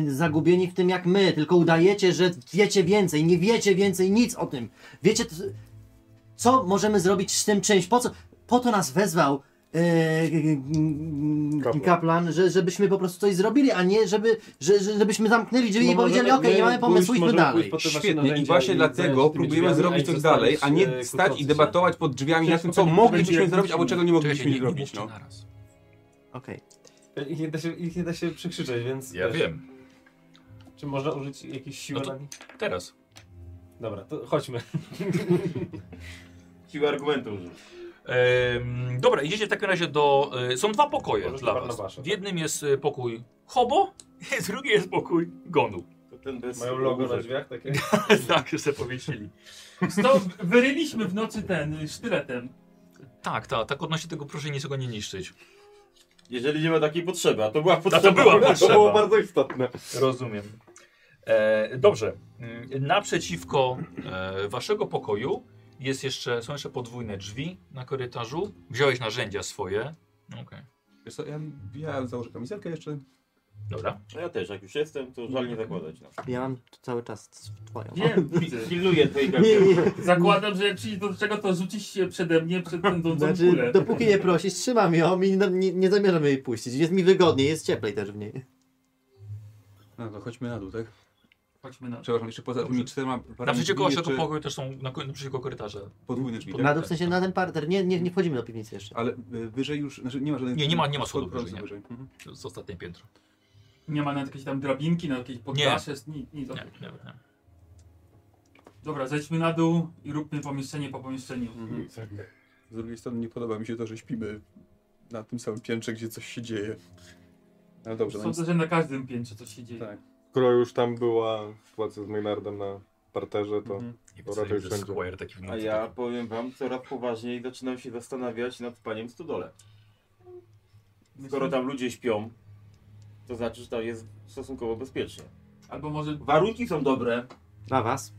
D: y, zagubieni w tym jak my, tylko udajecie, że wiecie więcej, nie wiecie więcej nic o tym. Wiecie, t- co możemy zrobić z tym czymś? Po co? Po to nas wezwał y,
B: Kaplan.
D: kaplan, kaplan że, żebyśmy po prostu coś zrobili, a nie żeby, że, że- żebyśmy zamknęli drzwi
E: Bo
D: i powiedzieli,
E: No możemy-
D: okej, nie mamy
E: pójść-
D: pomysłu, idźmy
E: możemy
D: dalej.
E: pójść po te wasze
H: Świetnie i
E: narzędzia
H: właśnie
E: i
H: dlatego
E: zająć się tymi
H: próbujemy
E: drzwiami,
H: zrobić
E: a nie
H: coś dalej, a
E: zostawić,
H: nie
E: e,
H: stać
E: kłócących
H: i
E: się.
H: debatować pod drzwiami
F: Przecież
H: na tym,
F: to
H: co
F: będzie
H: moglibyśmy
F: jak
H: zrobić, albo
F: musimy.
H: czego nie mogliśmy
A: nie
H: zrobić.
A: mówcie
H: No.
A: naraz.
D: Okej.
E: Ich nie da się, ich nie da się przekrzyczeć, więc
A: Ja
E: wiesz,
A: wiem.
E: czy można użyć jakiejś siły
A: No to-
E: na nich?
A: Teraz.
E: Dobra, to chodźmy.
G: Siły argumentu użyć.
A: Em, dobra, idziecie w takim razie do. y, są dwa pokoje
E: Możesz
A: dla
E: do
A: was.
E: Barnabasza,
A: w
E: tak.
A: jednym jest y, pokój Hobo, drugi jest pokój Gonu.
G: To ten bez...
E: Mają logo na drzwiach takie?
A: tak, już sobie powiesili.
F: Sto wyryliśmy w nocy ten y, sztyletem.
A: Tak, tak, tak odnośnie tego proszę niczego nie niszczyć.
G: Jeżeli nie ma takiej potrzeby, a to była
A: to
G: potrzeba.
A: była
B: To tak.
A: potrzeba.
B: było bardzo istotne.
A: Rozumiem. E, dobrze. Mm, Naprzeciwko e, waszego pokoju jest jeszcze, są jeszcze podwójne drzwi na korytarzu. Wziąłeś narzędzia swoje. Okej.
H: Wiesz co, ja, ja założę kamizelkę jeszcze.
A: Dobra.
G: No Ja też, jak już jestem, to żal nie zakładać. No.
D: Ja mam tu cały czas twoją.
F: Wiem, widzę.
G: Pilnuję twojej
D: Nie,
G: karty.
D: nie,
F: Zakładam, że jak przyjdzie do czego, to rzucisz się przede mnie, przed pędzącą kulę.
D: znaczy, dopóki nie prosisz, trzymam ją i no, nie, nie zamierzam jej puścić. Jest mi wygodniej, jest cieplej też w niej.
H: No to chodźmy na dół, tak?
F: Chodźmy na
H: Przepraszam, jeszcze poza tymi czterema parami
A: Naprzeciwko
H: drzwi
A: naszego
H: jeszcze
A: pokoju też są na, ko- naprzeciwko korytarza.
H: podwójne drzwi. tak?
D: Na dół, No, w sensie na ten parter. Nie, nie, nie wchodzimy do piwnicy jeszcze.
H: Ale y, wyżej już, znaczy nie ma żadnych...
A: Nie, nie ma- nie ma
H: schodów
A: schodów wyżej, nie.
H: wyżej. Mhm.
A: To jest ostatnie piętro.
F: Nie ma nawet jakiejś tam drabinki, na jakieś poddasze, nic, nic.
A: Nie, nie, nie.
F: Dobra, zejdźmy na dół i róbmy pomieszczenie po pomieszczeniu.
H: Mhm. Z drugiej strony nie podoba mi się to, że śpimy na tym samym piętrze, gdzie coś się dzieje. Ale dobrze, no
F: Sądzę,
H: nic.
F: że na każdym piętrze coś się dzieje.
H: Tak.
B: Skoro już tam była sytuacja z Maynardem na parterze, to
H: Mhm.
A: Nie
B: Dobra, to
A: wiem,
B: już
A: że
B: będzie.
A: Squire taki w
G: A
A: nocy.
G: ja powiem wam, coraz poważniej zaczynam się zastanawiać nad paniem Studole. Skoro
F: Mhm.
H: tak-
G: tam ludzie śpią, to znaczy, że tam jest stosunkowo bezpiecznie.
F: Albo może
G: Warunki są dobre,
D: Dla was.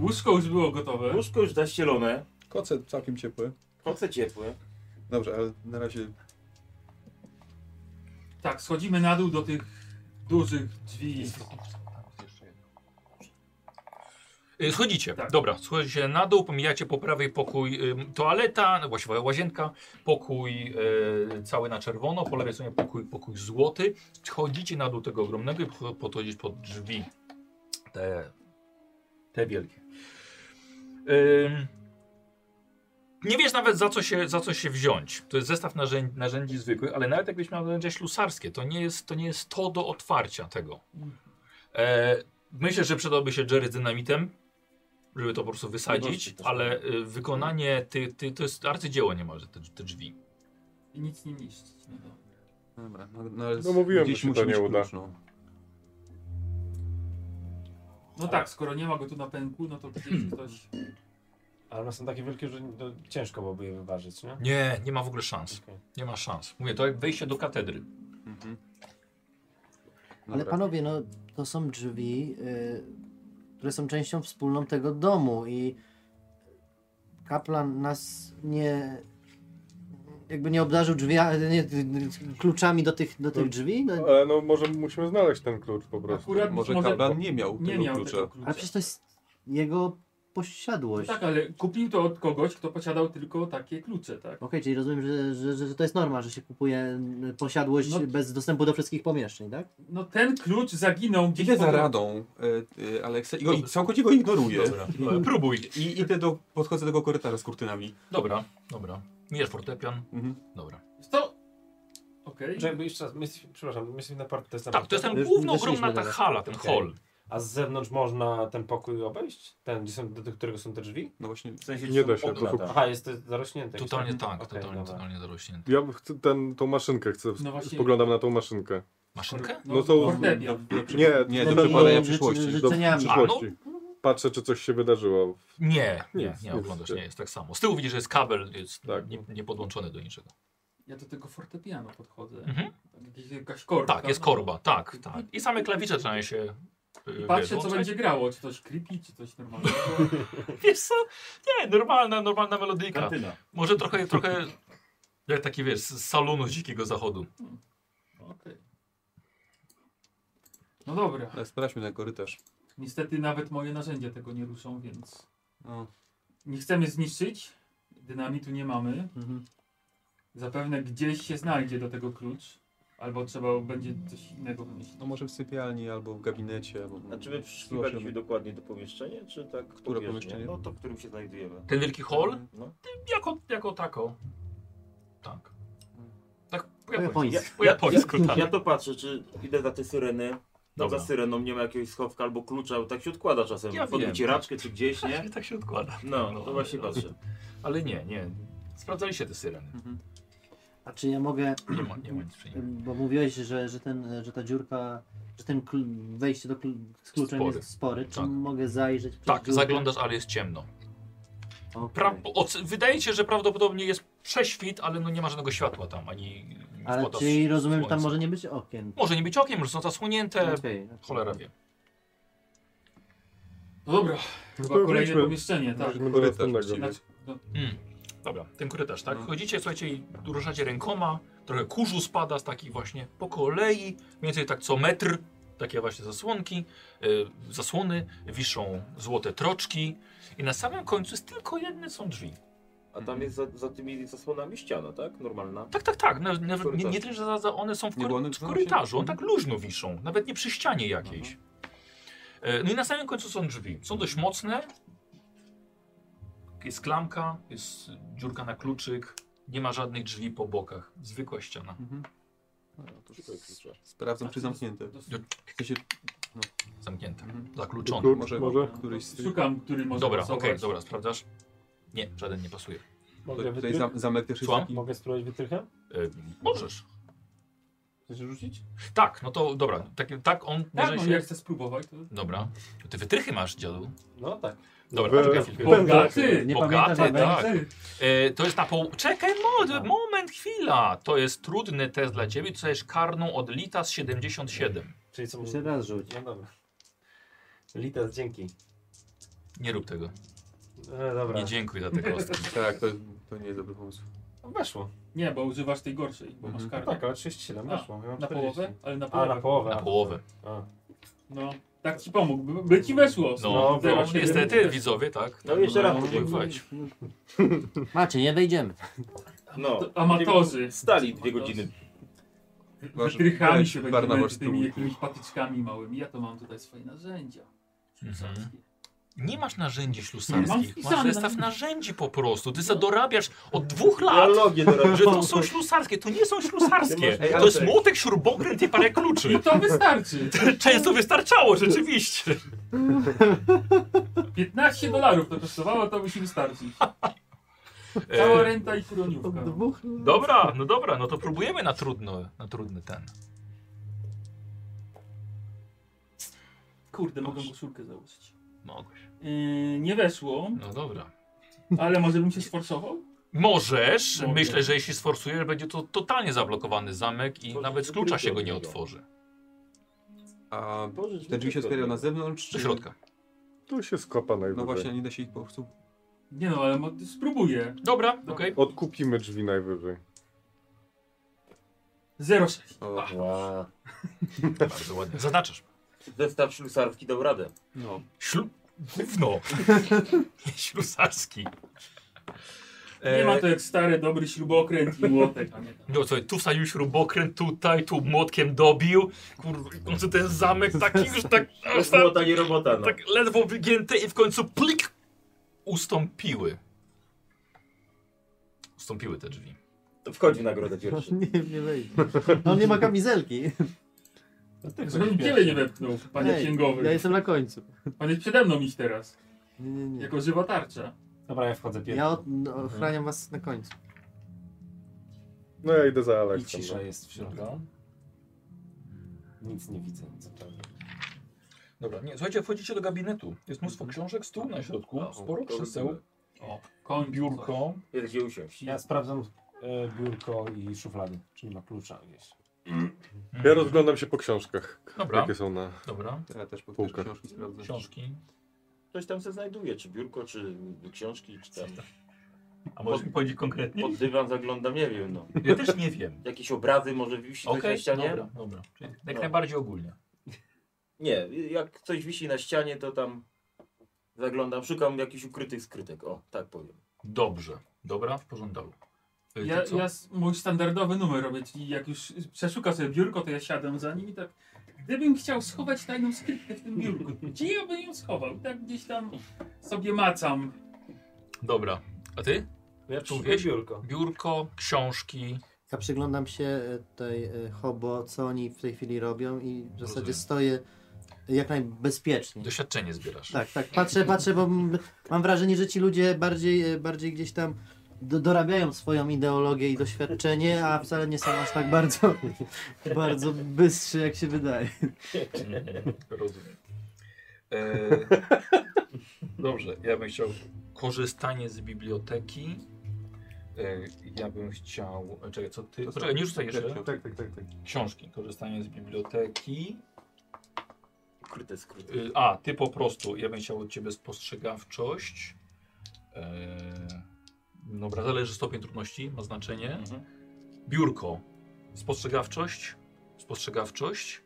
F: łóżko już było gotowe.
G: łóżko już zaścielone,
H: Koce całkiem ciepłe.
G: koce ciepłe.
H: Dobrze, ale na razie
F: Tak, schodzimy na dół do tych dużych drzwi.
A: Y, Schodzicie,
F: Tak.
A: dobra, schodzicie na dół, pomijacie po prawej pokój ym, toaleta, no, właściwie łazienka, pokój y, cały na czerwono, po lewej stronie pokój, pokój złoty. Chodzicie na dół tego ogromnego i po- podchodzić pod drzwi. Te, te wielkie. Ym, nie wiesz nawet za co, się, za co się wziąć. To jest zestaw narzędzi, narzędzi zwykłych, ale nawet jakbyś miał narzędzia ślusarskie, to nie jest to, nie jest to do otwarcia tego. E, myślę, że przydałby się Jerry z dynamitem, żeby to po prostu wysadzić,
G: Nowości też.
A: ale y, wykonanie ty, ty, to jest arcydzieło niemalże, te, te drzwi.
F: I nic nie niszczyć. No dobra.
H: Dobra, no, no, ale
B: No mówiłem,
H: gdzieś
B: że się
H: musi
B: to
H: mieć
B: nie uda.
H: klucz, no.
F: no tak, skoro nie ma go tu na pęku, no to gdzieś ktoś...
C: Ale one są takie wielkie, że no, ciężko byłoby je wyważyć, nie?
A: Nie, nie ma w ogóle szans.
C: Okej.
A: Nie ma szans. Mówię, to jak wejście do katedry.
H: Mhm.
D: Ale
H: Dobra.
D: panowie, no to są drzwi, y, które są częścią wspólną tego domu i kaplan nas nie jakby nie obdarzył drzwia, nie, kluczami do tych, do tych drzwi. No,
B: Ale no może musimy znaleźć ten klucz po prostu.
F: Akurat
H: Może,
F: może
H: Kablan nie miał
F: nie
H: tego
F: miał
H: klucza.
F: tego klucza.
D: ale przecież to jest jego
F: No
D: posiadłość.
F: tak, ale kupił to od kogoś, kto posiadał tylko takie klucze, tak?
D: Okej, czyli rozumiem, że, że, że to jest norma, że się kupuje y, posiadłość
F: No-
D: bez dostępu do wszystkich pomieszczeń, tak?
F: No ten klucz zaginął gdzieś
H: Idę
F: po
H: za
F: drodze.
H: radą e, e, Aleksa i go, i całkowicie go ignoruję.
A: Dobra, e, próbuj.
H: I idę do, podchodzę do tego korytarza z kurtynami.
A: Dobra, dobra. Mijasz fortepian.
H: Mhm.
A: Dobra.
F: To... Okej.
C: Czekaj, bo jeszcze raz, my, jesteśmy- przepraszam, my jesteśmy na part, to jest na
A: Tak, to jest
C: parterze?
A: ten
D: Już
A: główny,
D: weszliśmy
A: ogromna ta
D: teraz.
A: hala, ten
C: Okej.
A: hall.
C: A z zewnątrz można ten pokój obejść? Ten, gdzie są, do, do którego są te drzwi?
H: No właśnie,
G: W sensie,
B: Nie
G: są
B: da się,
G: okna,
B: to-
G: tak.
C: Aha, jest to zarośnięte. gdzieś
A: Totalnie
C: tam.
A: tak,
C: Okej,
A: totalnie,
C: dobra.
A: totalnie dorośnięty.
B: Ja chcę ten, tą maszynkę, chcę,
F: No właśnie.
B: spoglądam na tą maszynkę.
A: Maszynkę?
B: No to-
F: fortepian.
B: Nie,
H: nie,
B: do
H: do
D: no,
H: przepalenia
D: no,
H: przyszłości.
D: rzeczy-
B: do
D: Życzeniami.
B: przyszłości. Patrzę, czy coś się wydarzyło.
A: Nie, nie,
B: Jest,
A: nie
B: jest,
A: oglądasz,
B: jest.
A: nie jest tak samo. Z tyłu widzisz, że jest kabel, jest
B: Tak.
A: nie, nie podłączony do niczego.
F: Ja do tego fortepianu podchodzę.
A: Mhm.
F: Tak, Jakieś, jakaś korba.
A: Tak, jest korba, tak, tak. I same klawisze trzeba się. e, Yy,
F: I patrzę, co będzie grało. Czy coś creepy, czy coś normalnego.
A: Wiesz co? Nie, normalna, normalna melodyjka.
G: Kantyna.
A: Może trochę, trochę jak taki wiesz, z salonu z dzikiego zachodu.
F: Okej. No dobra.
H: Ale e, sprawdźmy ten korytarz.
F: Niestety nawet moje narzędzia tego nie ruszą, więc
H: No.
F: nie chcemy zniszczyć. Dynamitu nie mamy.
H: Mhm.
F: Zapewne gdzieś się znajdzie do tego klucz. Albo trzeba będzie coś innego wymyślić.
H: no może w sypialni albo w gabinecie. Albo...
A: No,
G: A czy my przysłuchiwaliśmy Znaczy, dokładnie do pomieszczenia, czy tak pobieżnie?
H: pomieszczenie?
G: No to, w którym się znajdujemy.
A: Ten wielki hall?
G: No.
A: Jako, jako tako. Tak. Tak po
D: Po
A: japońsku.
D: japońsku.
A: Po japońsku, tak.
G: Ja to patrzę, czy idę za te syreny, no
A: Dobra.
G: za syreną nie ma jakiegoś schowka albo klucza, bo tak się odkłada czasem.
A: Ja
G: Ja Pod
A: wiem.
G: ucieraczkę czy gdzieś, nie?
A: Tak się odkłada.
G: No,
A: No,
G: to właśnie
A: no.
G: patrzę.
A: Ale nie, nie. Sprawdzaliście te syreny.
D: Mhm. A czy ja mogę
A: Nie ma, nie ma nic przy nim.
D: Bo mówiłeś, że, że, ten, że ta dziurka, że ten kl- wejście do kl- z kluczem
A: Spory.
D: jest spory. Czy
A: Tak.
D: mogę zajrzeć przez
A: Tak,
D: dziurkę?
A: zaglądasz, ale jest ciemno.
D: Okej.
A: Pra oce- wydaje się, że prawdopodobnie jest prześwit, ale no nie ma żadnego światła tam, ani
D: Ale
A: podaż
D: czyli rozumiem, że tam
A: słońca.
D: może nie być okien.
A: Może nie być okiem, może są zasłonięte,
D: Okej.
A: E, cholera wie.
F: No dobra. Chyba
B: to
F: kolejne
B: wróćmy.
F: pomieszczenie, tak.
B: Weźmy do
H: Korytarz
B: następnego.
H: właściwie.
F: Znaczy, no,
A: Mm. Dobra, ten korytarz, tak?
H: No.
A: Chodzicie, słuchajcie, i ruszacie rękoma, trochę kurzu spada z takich właśnie po kolei, mniej więcej tak co metr, takie właśnie zasłonki, y, zasłony, wiszą złote troczki i na samym końcu jest tylko jedne są drzwi.
G: A tam jest za, za tymi zasłonami ściana, tak? Normalna.
A: Tak, tak, tak, na, na, nie, nie
G: Korytarz.
A: tyle, że za, za one są w,
H: Nie, bo
A: kory
H: one
A: w
H: wznoszą się-
A: korytarzu, one tak luźno wiszą, nawet nie przy ścianie jakiejś. E, No i na samym końcu są drzwi. Są dość mocne. Jest klamka, jest dziurka na kluczyk. Nie ma żadnych drzwi po bokach. Zwykła ściana.
H: Sprawdzam, czy zamknięte.
F: znaczy,
H: W sensie,
A: Zamknięta.
H: Mhm.
A: Zakluczona.
B: Klucz
H: może,
B: może?
H: któryś z tych.
F: Szukam, który może
A: Dobra, okej,
F: pasować.
A: dobra, sprawdzasz? Nie, żaden nie pasuje.
E: Mogę
H: Tutaj
E: wytrych?
H: zam- zamek też jest
A: Słucham?
H: taki.
E: Mogę spróbować wytrychem?
A: E, możesz.
I: Chcesz rzucić?
A: Tak, no to dobra. Tak, tak on
F: Tak,
A: może
F: no,
A: się...
F: jak chcę spróbować, to...
A: Dobra. Ty wytrychy masz, dziadu.
E: No tak.
A: Dobra,
B: Wy-
A: poczekaj chwilkę.
F: Bogaty!
A: Nie Bogaty,
F: Bogaty,
A: tak.
F: ty.
A: E, to jest na poł... Czekaj, mo- moment, chwila. To jest trudny test dla ciebie. Dostajesz karną od Lita z 77.
E: Czyli co
C: Jeszcze
E: mówię?
C: raz rzuć.
E: No dobra. Litas, dzięki.
A: Nie rób tego.
E: E, dobra.
A: Nie dziękuję za te kostki.
H: Tak, to, to nie jest dobry pomysł.
E: Weszło.
F: Nie, bo używasz tej gorszej, bo
H: Mhm.
F: masz kartę.
E: Tak, ale 37
F: A,
E: weszło. Ja mam
F: Na
E: 40.
F: połowę? Ale na
E: A,
F: połowę.
E: na połowę.
A: Na połowę.
E: A.
F: No, tak ci pomógł, by ci weszło.
A: No,
E: No,
A: no
E: właśnie.
A: niestety widzowie, tak.
G: No jeszcze raz
A: podziękować.
D: Macie, nie wejdziemy.
G: No.
F: To amatorzy.
G: Stali dwie godziny.
H: Wasz-
F: Wytrychami
H: weź,
F: się
H: Barnabasz,
F: będziemy tymi
H: spróbuj.
F: jakimiś patyczkami małymi. Ja to mam tutaj swoje narzędzia.
A: Mhm.
F: Ślusarskie.
A: Nie masz narzędzi
F: Mam
A: ślusarskich.
F: wpisane.
A: Masz zestaw narzędzi po prostu. Ty sobie dorabiasz od dwóch lat.
G: Dialogie do
A: Że to są ślusarskie, to nie są ślusarskie.
G: Ty masz-
A: To jest młotek, śrubokręt i parę
F: I
A: kluczy.
F: to wystarczy.
A: Często wystarczało, rzeczywiście.
F: 15 dolarów to kosztowało, to musi wystarczyć.
A: E,
F: Cała renta i kuroniówka.
A: Dobra, no dobra, no to próbujemy na trudno, na trudny ten.
F: Kurde, mogę koszulkę założyć.
A: Mogłeś.
F: Yy, nie weszło,
A: No dobra.
F: ale może bym się sforsował?
A: Możesz,
F: Mogę.
A: myślę, że jeśli sforsujesz, będzie to totalnie zablokowany zamek i
G: To
A: nawet z
G: to
A: klucza
G: tylko
A: się go
G: od
A: nie
G: niego.
A: otworzy.
H: A te drzwi się otwierają na zewnątrz?
A: Do
H: czy-
A: środka.
B: Tu się skopa najwyżej.
H: No właśnie, nie da się ich po prostu.
F: Nie no, ale mo- spróbuję.
A: Dobra, okej.
B: Odkupimy drzwi najwyżej.
F: 06.
H: O,
C: Wow.
A: Bardzo ładnie. Zaznaczasz.
G: Zestaw ślusarski dał radę.
H: no.
A: Ślu... Gówno. Ślusarski.
F: Nie
A: E,
F: ma to jak stary, dobry śrubokręt i łotek. a nie tam.
A: No co, tu wsadził śrubokręt, tutaj, tu młotkiem dobił. Kurwa, w końcu ten zamek taki już tak...
G: Bez młota nie robota, no.
A: Tak ledwo wygięte i w końcu plik ustąpiły. Ustąpiły te drzwi.
G: To wchodzi w nagrodę pierwszy.
D: Nie, nie wejdzie. On nie ma kamizelki.
E: tak
F: Żebym ciebie nie wepchnął, panie
D: Ej,
F: księgowy.
D: Ja jestem na końcu.
F: Pan jest przede mną iść teraz.
D: Nie, nie, nie.
F: Jako żywa tarcza.
E: Dobra, ja wchodzę pierwszy.
D: Ja od, no,
A: Mhm.
D: ochraniam was na końcu.
B: No ja idę za
E: I
B: Aleksem. no.
E: cisza jest w środku. Nic nie widzę, co prawda.
A: Dobra, nie, słuchajcie, wchodzicie do gabinetu. Jest mnóstwo książek, stół na środku, sporo krzeseł,
F: O, koń,
A: biurko.
G: Jest gdzie usiąść.
E: Ja sprawdzam e, biurko i szuflady, czy nie ma klucza gdzieś.
B: Ja rozglądam się po książkach.
A: Mhm. Dobra,
B: Jakie są na...
A: dobra.
H: Ja też po
B: Półka.
H: też książki sprawdzę.
A: Książki.
G: Ktoś tam se znajduje, czy biurko, czy książki, czy tam
A: A możesz mi powiedzieć konkretnie?
G: pod dywan zaglądam, nie wiem, no.
A: Ja też nie wiem.
G: Jakieś obrazy może wisi okay,
A: Okej,
G: na ścianie?
A: dobra, dobra. Czyli jak
G: Dobra.
A: najbardziej ogólnie.
G: Nie, jak coś wisi na ścianie, to tam zaglądam, szukam jakichś ukrytych skrytek. O, tak powiem.
A: Dobrze, dobra, w porządku. Ty
F: Ja,
A: co?
F: ja s- mój standardowy numer robię, czyli jak już przeszuka sobie biurko, to ja siadam za nim i tak. Gdybym chciał schować tajną skrytkę w tym biurku, gdzie ja bym ją schował? I tak gdzieś tam sobie macam.
A: Dobra, a ty?
E: Ja
A: Tu
E: przeszukuję
A: wiesz?
E: biurko.
A: Biurko, książki.
D: Ja przyglądam się e, tej e, hobo, co oni w tej chwili robią i w zasadzie
A: Rozumiem.
D: stoję jak najbezpieczniej.
A: Doświadczenie zbierasz.
D: Tak, tak, patrzę, patrzę, bo m- mam wrażenie, że ci ludzie bardziej, e, bardziej gdzieś tam do, dorabiają swoją ideologię i doświadczenie, a wcale nie są aż tak bardzo, bardzo bystrzy, jak się wydaje.
A: Rozumiem. E, dobrze, ja bym chciał korzystanie z biblioteki. E, ja bym chciał. Czekaj, co ty.
H: To
A: Poczekaj, nie rzucaj jeszcze.
H: Tak,
B: Tak, tak, tak. tak.
A: Książki. Korzystanie z biblioteki.
G: Ukryte skrytki.
A: E, a, ty po prostu. Ja bym chciał od ciebie spostrzegawczość. E, dobra, zależy stopień trudności, ma znaczenie.
G: Mhm.
A: Biurko. Spostrzegawczość. Spostrzegawczość.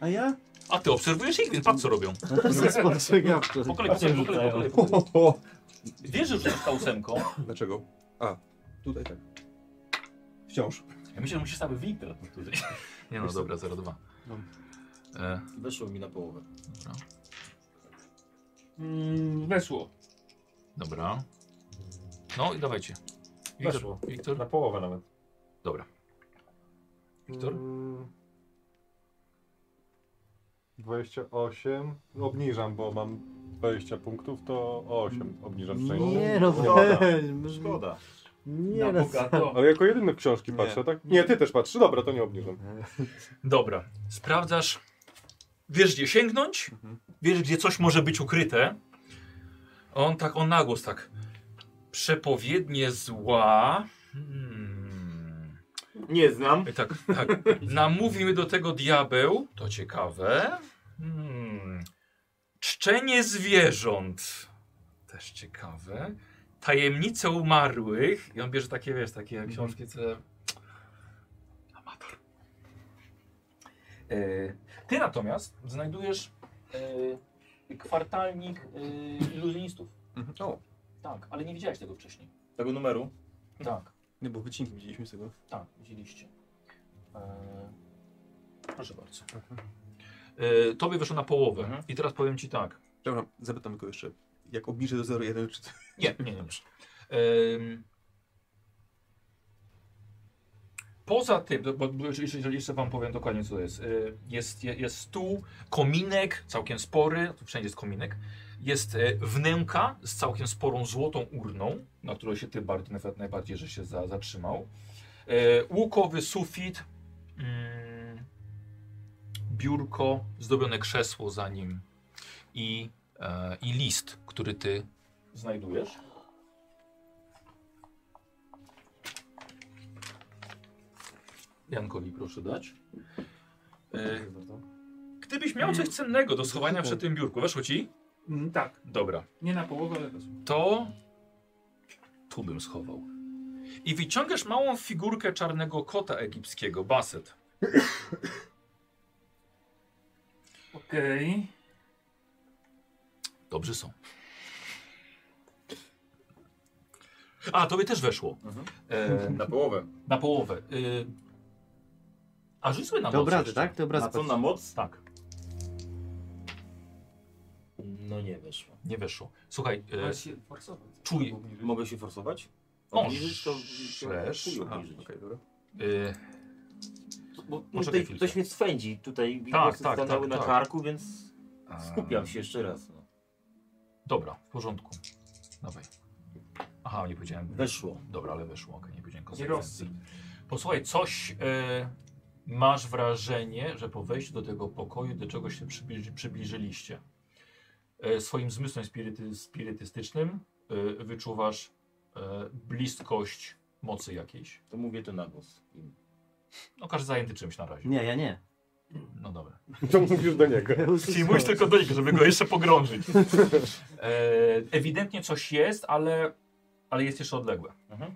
D: A ja?
A: A ty obserwujesz ich, więc patrz co robią.
D: No to jest spostrzegawczo.
A: Po kolei, po kolei, po kolei, po kolei, po kolei. Wiesz, że rzucasz ta ósemką.
H: Dlaczego? A, tutaj tak. Wciąż.
A: Ja myślę, że musisz stały Wiktor tutaj. Nie no, dobra, 02. E,
K: Weszło mi na połowę.
F: Mm, weszło.
A: dobra. No i dawajcie.
E: Weszło.
A: Wiktor, Wiktor?
E: Na połowę nawet.
A: Dobra. Wiktor?
B: Mm. 28. No, Obniżam, bo mam 20 punktów, to o 8 obniżam szczęście.
D: Nie no,
B: Szkoda.
K: Szkoda.
D: Nie
F: Na
D: no.
F: bogato.
B: Ale jako jedyny w książki
H: Nie.
B: patrzę, tak? Nie, ty też patrzysz. Dobra, to nie obniżam.
A: Dobra. Sprawdzasz. Wiesz, gdzie sięgnąć, wiesz, gdzie coś może być ukryte. A On tak, on na głos tak. Przepowiednie zła. Hmm.
K: Nie znam.
A: I tak, tak. Namówił mnie do tego diabeł. To ciekawe. Hmm. Czczenie zwierząt. Też ciekawe. Tajemnice umarłych. I on bierze takie, wiesz, takie książki, co... Amator. E, Ty natomiast znajdujesz e, kwartalnik e, iluzjonistów.
H: Mhm. O,
A: Tak, ale nie widziałeś tego wcześniej.
K: Tego numeru?
A: Tak.
H: nie, bo wycinki widzieliśmy z tego.
A: Tak, widzieliście. E, Proszę bardzo. E, tobie wyszło na połowę.
K: Mhm.
A: I teraz powiem ci tak.
H: Dobra, zapytam go jeszcze. Jak obniżę do 0,1 czy coś?
A: Nie, nie, nie. muszę. Em, Poza tym, bo- bo jeszcze, jeszcze- jeszcze wam powiem dokładnie co to jest. Y, Jest, je- jest stół, kominek, całkiem spory, tu wszędzie jest kominek. Jest e, wnęka z całkiem sporą złotą urną, na którą się ty bardzo, nawet najbardziej że się za, zatrzymał. E, Łukowy sufit, mm, biurko, zdobione krzesło za nim i, e, i list, który ty znajdujesz. Jankowi proszę dać. E, Gdybyś miał coś cennego do schowania przy tym biurku, weszło ci?
F: Mm, tak,
A: Dobra.
F: nie na połowę, ale weszło.
A: To tu bym schował. I wyciągasz małą figurkę czarnego kota egipskiego, Baset.
F: Okej.
A: Dobrze są. A, tobie też weszło. E,
K: Mhm. Na połowę.
A: na połowę. E, a rzuć sobie na
D: Te
A: moc
D: obrazy,
A: jeszcze.
D: tak? Te obrazy.
K: Na co
D: patrz.
K: na moc?
A: Tak,
K: No nie weszło.
A: nie weszło. Słuchaj, e,
F: Ale się forsować.
A: czuj,
K: Mogę się forsować?
A: Możesz.
K: Obniżyć to...
A: Możesz.
K: Chuj
H: Aha,
K: obniżyć.
H: okej, dobra.
A: e,
K: Bo no,
A: Poczekaj
K: tutaj
A: chwilkę.
K: ktoś mnie swędzi. Tutaj
A: Tak,
K: tak,
A: tak,
K: tak, stanęły
A: tak,
K: na
A: tak.
K: czarku, więc skupiam się jeszcze raz. No.
A: Dobra, w porządku. Dawaj. Aha, nie powiedziałem.
K: Weszło.
A: Dobra, ale weszło, okej, nie powiedziałem
F: Nie
A: konsekwencji.
F: rosy.
A: Posłuchaj, coś e, masz wrażenie, że po wejściu do tego pokoju, do czego się przybliży, przybliżyliście, e, swoim zmysłem spiryty, spirytystycznym e, wyczuwasz e, bliskość mocy jakiejś.
K: To mówię to na głos.
A: No każdy zajęty czymś na razie.
D: Nie, ja nie.
A: No dobra.
B: To mówisz do niego.
A: Czyli mówisz tylko do niego, żeby go jeszcze pogrążyć. E, ewidentnie coś jest, ale, ale jest jeszcze odległe.
K: Mhm.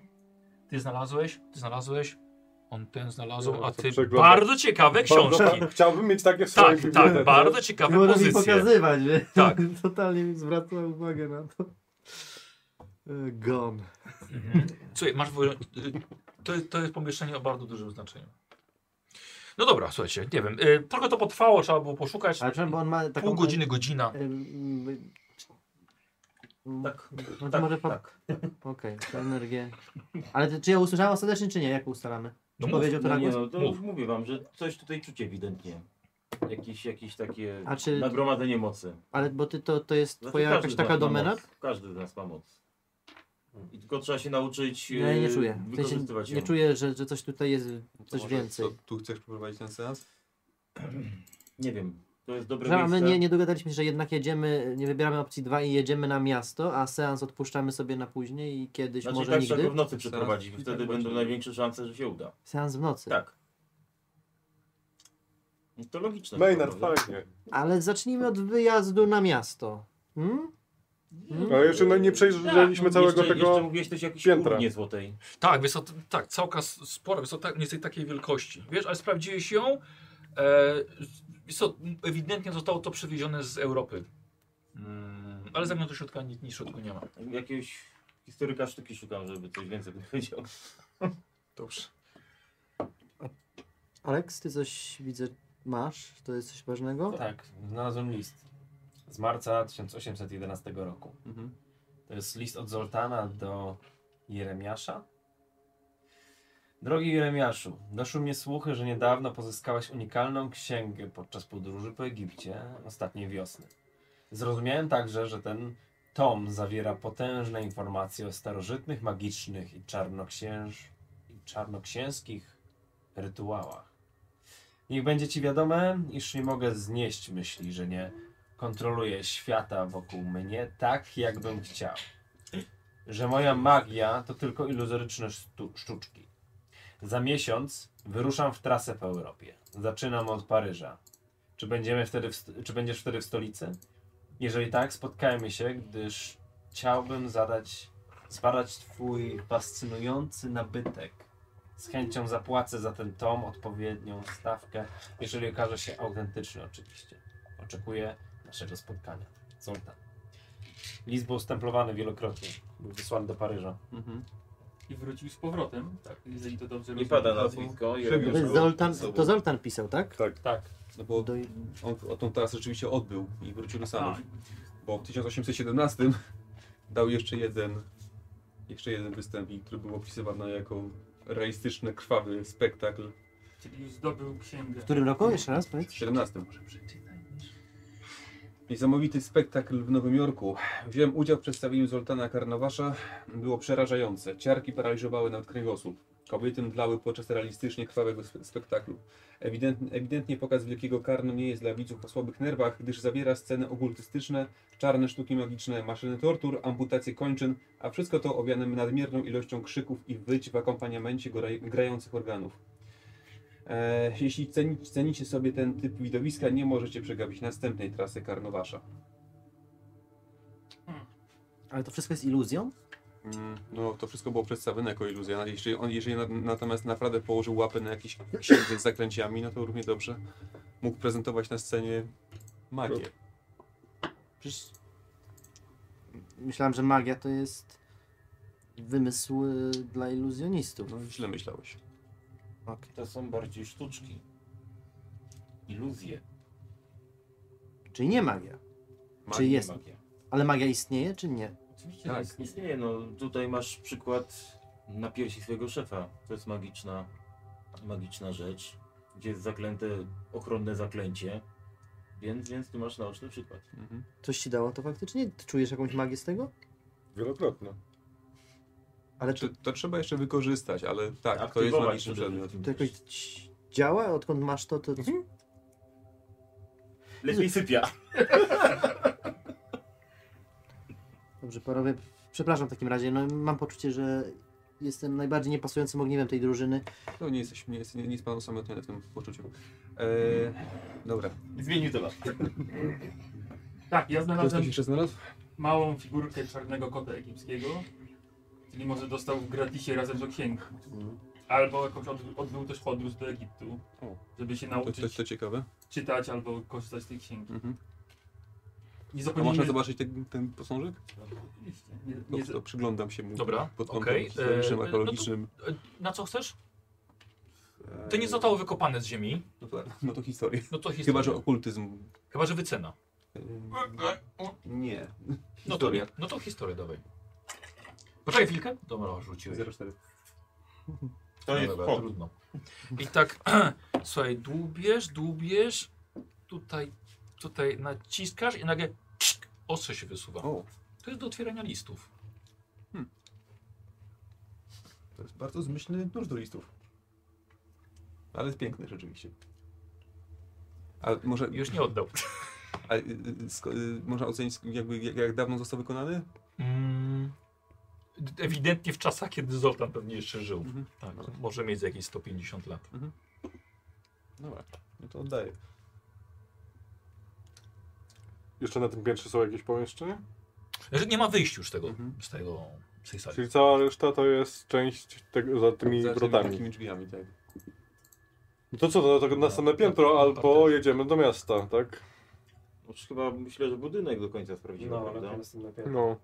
A: Ty znalazłeś, ty znalazłeś, on ten znalazł, a
B: co
A: ty
B: przeglądam.
A: bardzo ciekawe
B: Bardzo
A: książki.
B: fa- Chciałbym mieć takie w swojej
A: Tak, tak,
B: bibliotece.
A: bardzo
D: Nie
A: ciekawe
D: można mi
A: pozycje.
D: pokazywać, wie?
A: Tak.
D: Totalnie mi zwraca uwagę na to. E, Gone.
A: Mhm. Słuchaj, masz w ogóle, y, to, jest- to jest pomieszczenie o bardzo dużym znaczeniu. No dobra, słuchajcie, nie wiem, y, trochę to potrwało, trzeba było poszukać,
D: Ale przepraszam, bo on ma taką...
A: pół godziny, godzina.
D: Tak, no to może po... tak. Okej, to energię. Ale ty, czy ja usłyszałem ostatecznie, czy nie? Jak ustalamy?
A: No
D: Czy
A: mów,
D: powiedział to
K: No
D: na
K: nie,
D: głos?
K: no, to
A: Mów.
K: mówię wam, że coś tutaj czucie ewidentnie. Jakieś, jakieś takie
D: A czy-
K: nagromadzenie mocy.
D: Ale bo ty, to, to
G: No
D: jest
K: Znaczy,
D: twoja
K: każdy
D: jakaś
K: z nas
D: taka
K: ma
D: domena?
K: moc. Każdy z nas ma moc. I tylko trzeba się nauczyć
D: Hmm. No, Ja jej nie
G: Yy,
K: e,
D: czuję. W sensie
K: wykorzystywać
D: nie
K: ją.
D: czuję, że, że coś tutaj jest,
H: No To
D: coś
H: może
D: więcej.
H: co, Tu chcesz przeprowadzić ten seans?
K: Nie wiem. To jest dobre
D: Że, a my
K: miejsce.
D: nie, nie dogadaliśmy się, że jednak jedziemy, nie wybieramy opcji 2 i jedziemy na miasto, a seans odpuszczamy sobie na później i kiedyś,
K: Znaczy
D: może
K: tak trzeba
D: nigdy.
K: go w nocy
H: Zaraz
K: przeprowadzić,
H: i
K: bo
H: tak
K: wtedy
H: właśnie.
K: będą największe szanse, że się uda.
D: Seans w nocy.
K: Tak. No To logiczne.
B: Maynard,
K: prawda?
B: fajnie.
D: Ale zacznijmy od wyjazdu na miasto. Hmm? Hmm?
B: Ale jeszcze no, nie przejrzeliśmy
K: Tak,
B: całego
K: jeszcze,
B: tego...
K: Jeszcze mówiłeś coś o jakiejś
B: piętra.
K: urnie złotej.
A: Tak, wiesz, co, t- tak, całka s- spora, wiesz, co, tak, mniej więcej takiej wielkości. Wiesz, ale sprawdziłeś ją. E, wiesz, co, m, ewidentnie zostało to przywiezione z Europy. Mm, ale zewnątrz do środka nic, nic w środku nie ma.
K: Jakiegoś historyka sztuki szukam, żeby coś więcej powiedział.
H: Dobrze.
D: Aleks, ty coś widzę, Masz? To jest coś ważnego?
E: Tak, znalazłem list z marca 1811 roku. To jest list od Zoltana do Jeremiasza. Drogi Jeremiaszu, doszły mnie słuchy, że niedawno pozyskałeś unikalną księgę podczas podróży po Egipcie ostatniej wiosny. Zrozumiałem także, że ten tom zawiera potężne informacje o starożytnych, magicznych i, czarnoksięż... i czarnoksięskich rytuałach. Niech będzie ci wiadome, iż nie mogę znieść myśli, że nie kontroluje świata wokół mnie tak, jakbym chciał. Że moja magia to tylko iluzoryczne sztu- sztuczki. Za miesiąc wyruszam w trasę po Europie. Zaczynam od Paryża. Czy, będziemy wtedy w, st- czy będziesz wtedy w stolicy? Jeżeli tak, spotkajmy się, gdyż chciałbym zadać, zbadać twój fascynujący nabytek. Z chęcią zapłacę za ten tom odpowiednią stawkę, jeżeli okaże się autentyczny oczywiście. Oczekuję naszego spotkania. Zoltan. List był stemplowany wielokrotnie. Był wysłany do Paryża.
H: Mhm.
F: I wrócił z powrotem, tak. jeżeli to dobrze
G: Nie
F: rozumiem.
G: pada nazwisko. Jeremiasz
D: To jest
G: był
D: Zoltan,
G: ze sobą.
D: to Zoltan pisał, tak?
E: Tak.
H: No bo
D: Do,
H: on, on tą teraz rzeczywiście odbył i wrócił do Stanów.
F: A,
H: Bo w 1817 dał jeszcze jeden, jeszcze jeden występ, i który był opisywany jako realistyczny, krwawy spektakl
F: Czyli już zdobył księgę.
D: W którym roku? Jeszcze raz
H: w
D: powiedz.
H: 17. Niesamowity spektakl w Nowym Jorku. Wziąłem udział w przedstawieniu Zoltana Karnawasza. Było przerażające. Ciarki paraliżowały nawet kręgosłup. Kobiety mdlały podczas realistycznie krwawego spe- spektaklu. Ewident, ewidentnie pokaz Wielkiego Karnu nie jest dla widzów o słabych nerwach, gdyż zawiera sceny okultystyczne, czarne sztuki magiczne, maszyny tortur, amputacje kończyn, a wszystko to owiane nadmierną ilością krzyków i wyć w akompaniamencie gra- grających organów. E, jeśli ceni, cenicie sobie ten typ widowiska, nie możecie przegapić następnej trasy Karnowasza.
D: Ale to wszystko jest iluzją?
H: Mm, No, to wszystko było przedstawione jako iluzja. Jeśli on, jeżeli na, natomiast naprawdę położył łapę na jakiejś księdze z zaklęciami, no to równie dobrze mógł prezentować na scenie magię.
D: Przecież myślałem, że magia to jest wymysł y, dla iluzjonistów.
H: No, źle myślałeś.
D: Okej.
G: To są bardziej sztuczki. Iluzje.
D: Czyli nie magia.
H: Magia,
D: Czy jest.
G: Magia.
D: Ale magia istnieje, czy nie?
G: Oczywiście tak. jest, istnieje. No, tutaj masz przykład na piersi swojego szefa. To jest magiczna, magiczna rzecz, gdzie jest zaklęte, ochronne zaklęcie. Więc, więc tu masz naoczny przykład.
H: Mhm.
D: Coś ci dało to faktycznie? Ty czujesz jakąś magię z tego?
B: Wielokrotnie.
D: Ale to,
H: To, Znaczy, to trzeba jeszcze wykorzystać, ale tak, to jest
G: Aktywować
H: magiczny
G: przede
H: przedmiot.
G: wszystkim
D: to jakoś
G: też.
D: ci- działa? Odkąd masz to, to...
G: Lepiej sypia.
D: Dobrze, panowie, przepraszam w takim razie. No, mam poczucie, że jestem najbardziej niepasującym ogniwem tej drużyny.
H: To No, nie jesteś, nie, jest, nie, nie jest pan osamotniony w tym poczuciu. E, dobra.
G: Zmienił to
F: Tak, ja
H: Ktoś coś
F: znalazłem
H: jeszcze znalazł?
F: małą figurkę czarnego kota egipskiego. Czyli może dostał w gratisie razem do księgi. Albo jakąś od, odbył też podróż do Egiptu,
H: O.
F: żeby się
H: To, to,
F: nauczyć
H: to ciekawe.
F: czytać albo korzystać z tej księgi.
H: Mhm.
F: Nie
H: A można
F: zapomnijmy...
H: zobaczyć ten, ten posążek?
F: Oczywiście. Nie,
H: To,
F: nie, za-
H: to przyglądam się mu
A: Dobra,
H: pod kątem
A: okej.
H: historycznym,
A: E,
H: archeologicznym.
A: E, Na co chcesz? To nie zostało wykopane z ziemi.
H: No to, no to historię.
A: No to historia.
H: Chyba, że okultyzm.
A: Chyba, że wycena.
H: E, Nie.
A: No to, nie. no to historię dawaj. Poczekaj chwilkę. Dobra, rzuciłeś.
H: 04.
G: To jest
A: No dobra,
G: hop.
A: trudno. I tak, słuchaj, dłubiesz, dłubiesz, tutaj, tutaj naciskasz i nagle pszk, ostrze się wysuwa.
H: O,
A: To jest do otwierania listów.
H: to jest bardzo zmyślny nóż do listów. Ale jest piękny rzeczywiście. Ale może,
A: Już nie oddał.
H: a, y, y, sko- y, można ocenić jakby jak, jak dawno został wykonany?
A: Mm, ewidentnie w czasach, kiedy Zoltan pewnie jeszcze żył.
H: Mhm.
A: Tak, może mieć jakieś 150 lat.
H: Dobra, no to oddaję.
B: Jeszcze na tym piętrze są jakieś pomieszczenia?
A: Że Znaczy, nie ma wyjścia już tego,
H: Mhm.
A: z tego, z tej sali.
B: Czyli cała reszta to jest część tego, za tymi
H: Za tymi
B: wrotami.
H: takimi drzwiami, tak.
B: No to co, to na to następne piętro, albo jedziemy do miasta, tak?
G: Już chyba myślę, że budynek do końca sprawdzimy,
E: No, ale
G: prawda?
E: to jest lepiej.
B: No.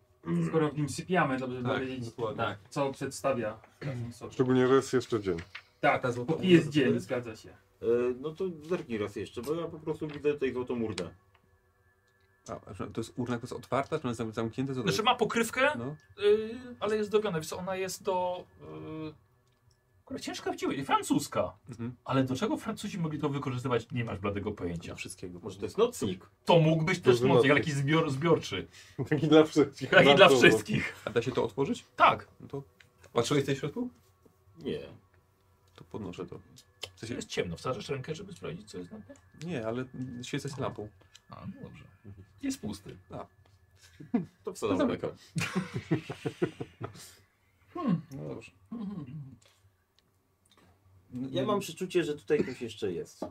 F: skoro w nim sypiamy, dobrze by
H: Tak,
F: dowiedzieć,
H: dokładnie.
F: tak, co przedstawia. razem sobie.
B: Szczególnie, że jest jeszcze dzień.
F: Tak,
H: ta złota
F: póki jest
H: ulica, to
F: dzień,
H: jest?
F: zgadza się.
G: E, no to zerknij raz jeszcze, bo ja po prostu widzę tutaj złotą murdę.
H: A, a to jest urna, która jest otwarta, czy ona jest zam- zamknięta? Co to
A: Znaczy
H: jest?
A: ma pokrywkę,
H: No.
A: y, ale jest dobiona. Wiesz co, ona jest do... y, Kurwa, ciężka wciąż, francuska.
H: Mhm.
A: Ale do czego Francuzi mogli to wykorzystywać, nie masz bladego pojęcia.
H: wszystkiego.
G: Może to jest nocnik?
A: To mógł być też
B: Duży
A: mocnik, ale
B: mocnik.
A: jakiś zbior, zbiorczy.
B: Taki dla wszystkich.
A: Jak i dla
B: Żartowo.
A: wszystkich.
H: A da się to otworzyć?
A: Tak,
H: No to... Patrzyłeś tutaj w środku?
G: Nie.
H: To podnoszę to. W
A: to
H: sensie,
A: jest ciemno. Wsadzasz rękę, żeby sprawdzić, co jest na tym.
H: nie, ale świecę z lampą.
A: A, no dobrze. Jest pusty.
G: To
E: No
H: To
G: wsadzam.
H: zamykam.
F: Hmm.
H: No dobrze.
F: Mhm.
K: Ja mam przeczucie, że tutaj ktoś jeszcze jest.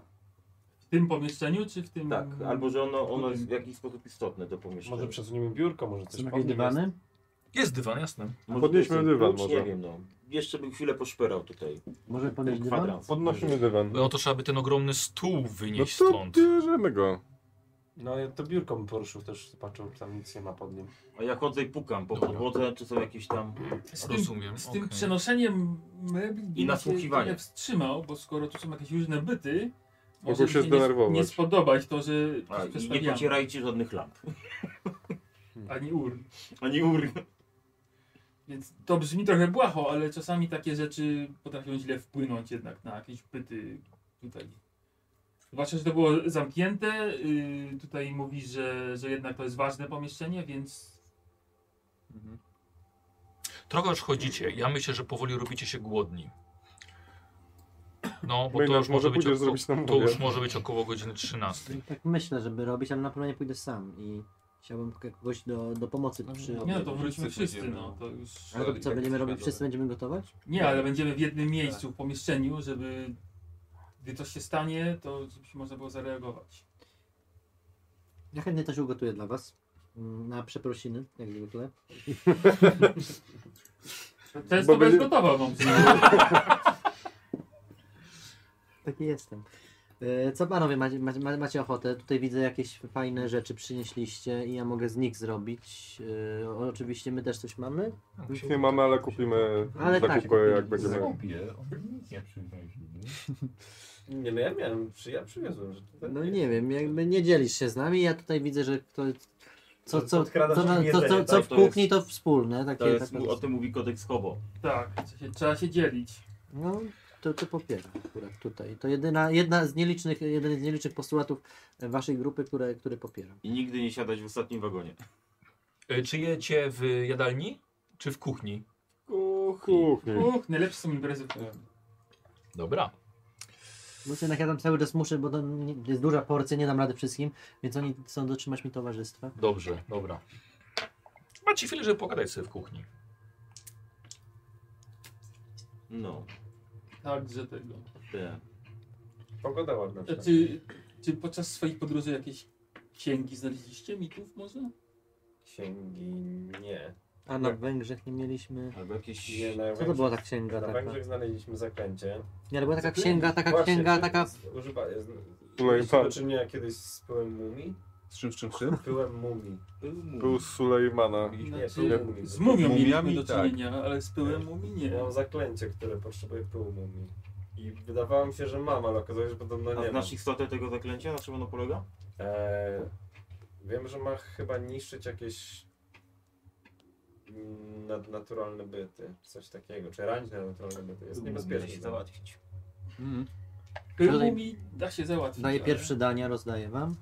F: W tym pomieszczeniu, czy w tym...
G: Tak, albo że ono, ono jest w jakiś sposób istotne do pomieszczenia.
E: Może przesuniemy biurko, może coś
I: Są jakieś
E: pod nim jest.
I: dywany?
A: Jest dywan, jasne.
G: Może
B: Podnieśmy
G: to jest
B: dywan
G: klucz,
B: może.
G: Nie wiem, no. Jeszcze bym chwilę poszperał tutaj.
I: Może podnieść
G: Ten
I: dywan?
G: kwadrans.
B: Podnosimy dywan.
A: No to trzeba by ten ogromny stół
B: No
A: wynieść
B: to
A: stąd.
B: bierzemy go.
E: No ja to biurko bym poruszył też, zobaczył, czy tam nic nie ma pod nim.
G: A ja chodzę i pukam po
A: Dobra.
G: podłodze, czy są jakieś tam...
F: Z tym,
A: Rozumiem.
F: z tym
A: okej.
F: przenoszeniem mebli bym się
G: nasłuchiwanie.
F: trochę wstrzymał, bo skoro tu są jakieś różne byty,
B: Mogą
F: może
B: się
F: im nie,
B: zdenerwować.
F: nie spodobać to, że
G: A, i nie
F: przestawiamy,
G: pocierajcie żadnych lamp.
F: ani ur.
G: Ani ur.
F: Więc to brzmi trochę błaho, ale czasami takie rzeczy potrafią źle wpłynąć jednak na jakieś byty tutaj. Zwłaszcza, że to było zamknięte. Yy, tutaj mówi, że, że jednak to jest ważne pomieszczenie, więc
A: Trochę już chodzicie. Ja myślę, że powoli robicie się głodni. No, bo
B: Bo
A: to już może być
B: pójdziesz
A: około,
B: zrobić nam
A: to już
B: obiad.
A: może być około godziny 13.
D: Tak myślę, żeby robić, ale na pewno nie pójdę sam i chciałbym kogoś do, do pomocy przy
F: nie no
D: obie-
F: to wróćmy
H: wszyscy
F: wszyscy,
H: pójdziemy.
F: no to już...
D: Ale co, będziemy robić
H: Dobra.
D: wszyscy? Będziemy gotować?
F: Nie, ale będziemy w jednym miejscu, w pomieszczeniu, żeby gdy coś się stanie, to żebyś można było zareagować.
D: Ja chętnie też ugotuję dla was. Mm, Na przeprosiny, jak zwykle.
F: Często będziesz
B: będzie-
F: gotował, mam
D: Taki jestem. E, Co panowie, macie, macie, ma- macie ochotę? Tutaj widzę jakieś fajne rzeczy przynieśliście i ja mogę z nich zrobić. E, o- Oczywiście my też coś mamy.
B: Nic nie mamy, ale kupimy
D: Ale tak,
B: zakupy, jak będziemy.
A: Kupię, on nic nie przywieźli.
C: Nie no ja miałem, przy, ja przywiozłem, że tutaj
E: Tak
D: No nie wiem, jakby nie dzielisz się z nami. Ja tutaj wiedzę, że ktoś... Co, co, co,
C: Podkradasz
D: co,
C: mi
D: co,
C: jedzenie,
D: co,
C: tak?
D: co
G: To
D: w
G: jest-
D: kuchni, to wspólne. Takie,
G: To jest,
D: taka-
G: o tym mówi kodeks Hobo.
F: Tak, trzeba się- trzeba się dzielić.
D: No, to, to popieram akurat tutaj. To jedyna, jedna z nielicznych, jeden z nielicznych postulatów e, waszej grupy, które, które popieram.
G: I nigdy nie siadać w ostatnim wagonie.
A: Y, Czy jecie w jadalni, czy w kuchni?
B: Kuchni.
F: Uch, najlepsze są imprezy w kuchni.
A: Dobra.
D: Bo jednak ja tam cały czas muszę, bo tam nie- jest duża porcja, nie dam rady wszystkim, więc oni chcą dotrzymać mi towarzystwa.
A: Dobrze, dobra. Macie chwilę, żeby pogadać sobie w kuchni.
G: No,
F: Także tego.
G: te.
E: pogoda ładna.
F: A czy, czy podczas swoich podróży jakieś księgi znaleźliście? Mitów może?
E: Księgi nie.
D: A na Węgrzech nie mieliśmy.
G: Albo jakieś...
E: nie na
D: Co to
E: Węgrzech-
D: była tak, ta księga
E: Na
D: taka?
E: Węgrzech znaleźliśmy zaklęcie.
D: Nie, ale była taka
E: Zaklęcie.
D: księga, taka
E: Właśnie,
D: księga,
E: czy-
D: taka.
E: Używa... z-
B: No i
E: Mieliście
B: pan.
E: do czynienia kiedyś z pyłem mumii?
H: Z czym, z czym, z czym?
E: Pyłem mumii.
B: Był z Sulejmana.
E: Nie,
F: Znaczy,
E: pyłem mumii.
F: z mumią
H: Mumiami
F: mieliśmy do
H: tak.
F: czynienia, ale z pyłem mumi nie.
E: Miałem zaklęcie, które potrzebuje pyłu mumii. I wydawało mi się, że mam, ale okazało się, że podobno
G: A
E: nie mam.
G: znasz istotę tego zaklęcia? Na czym ono polega?
E: Eee, wiem, że ma chyba niszczyć jakieś mm, nadnaturalne byty, coś takiego, czy ranić nadnaturalne byty. Jest
G: się
E: niebezpieczne.
G: załatwić.
H: Mhm.
F: Pył
D: Tutaj-
F: mumi da się załatwić.
D: Daję
F: ale
D: pierwsze dania, rozdaję wam.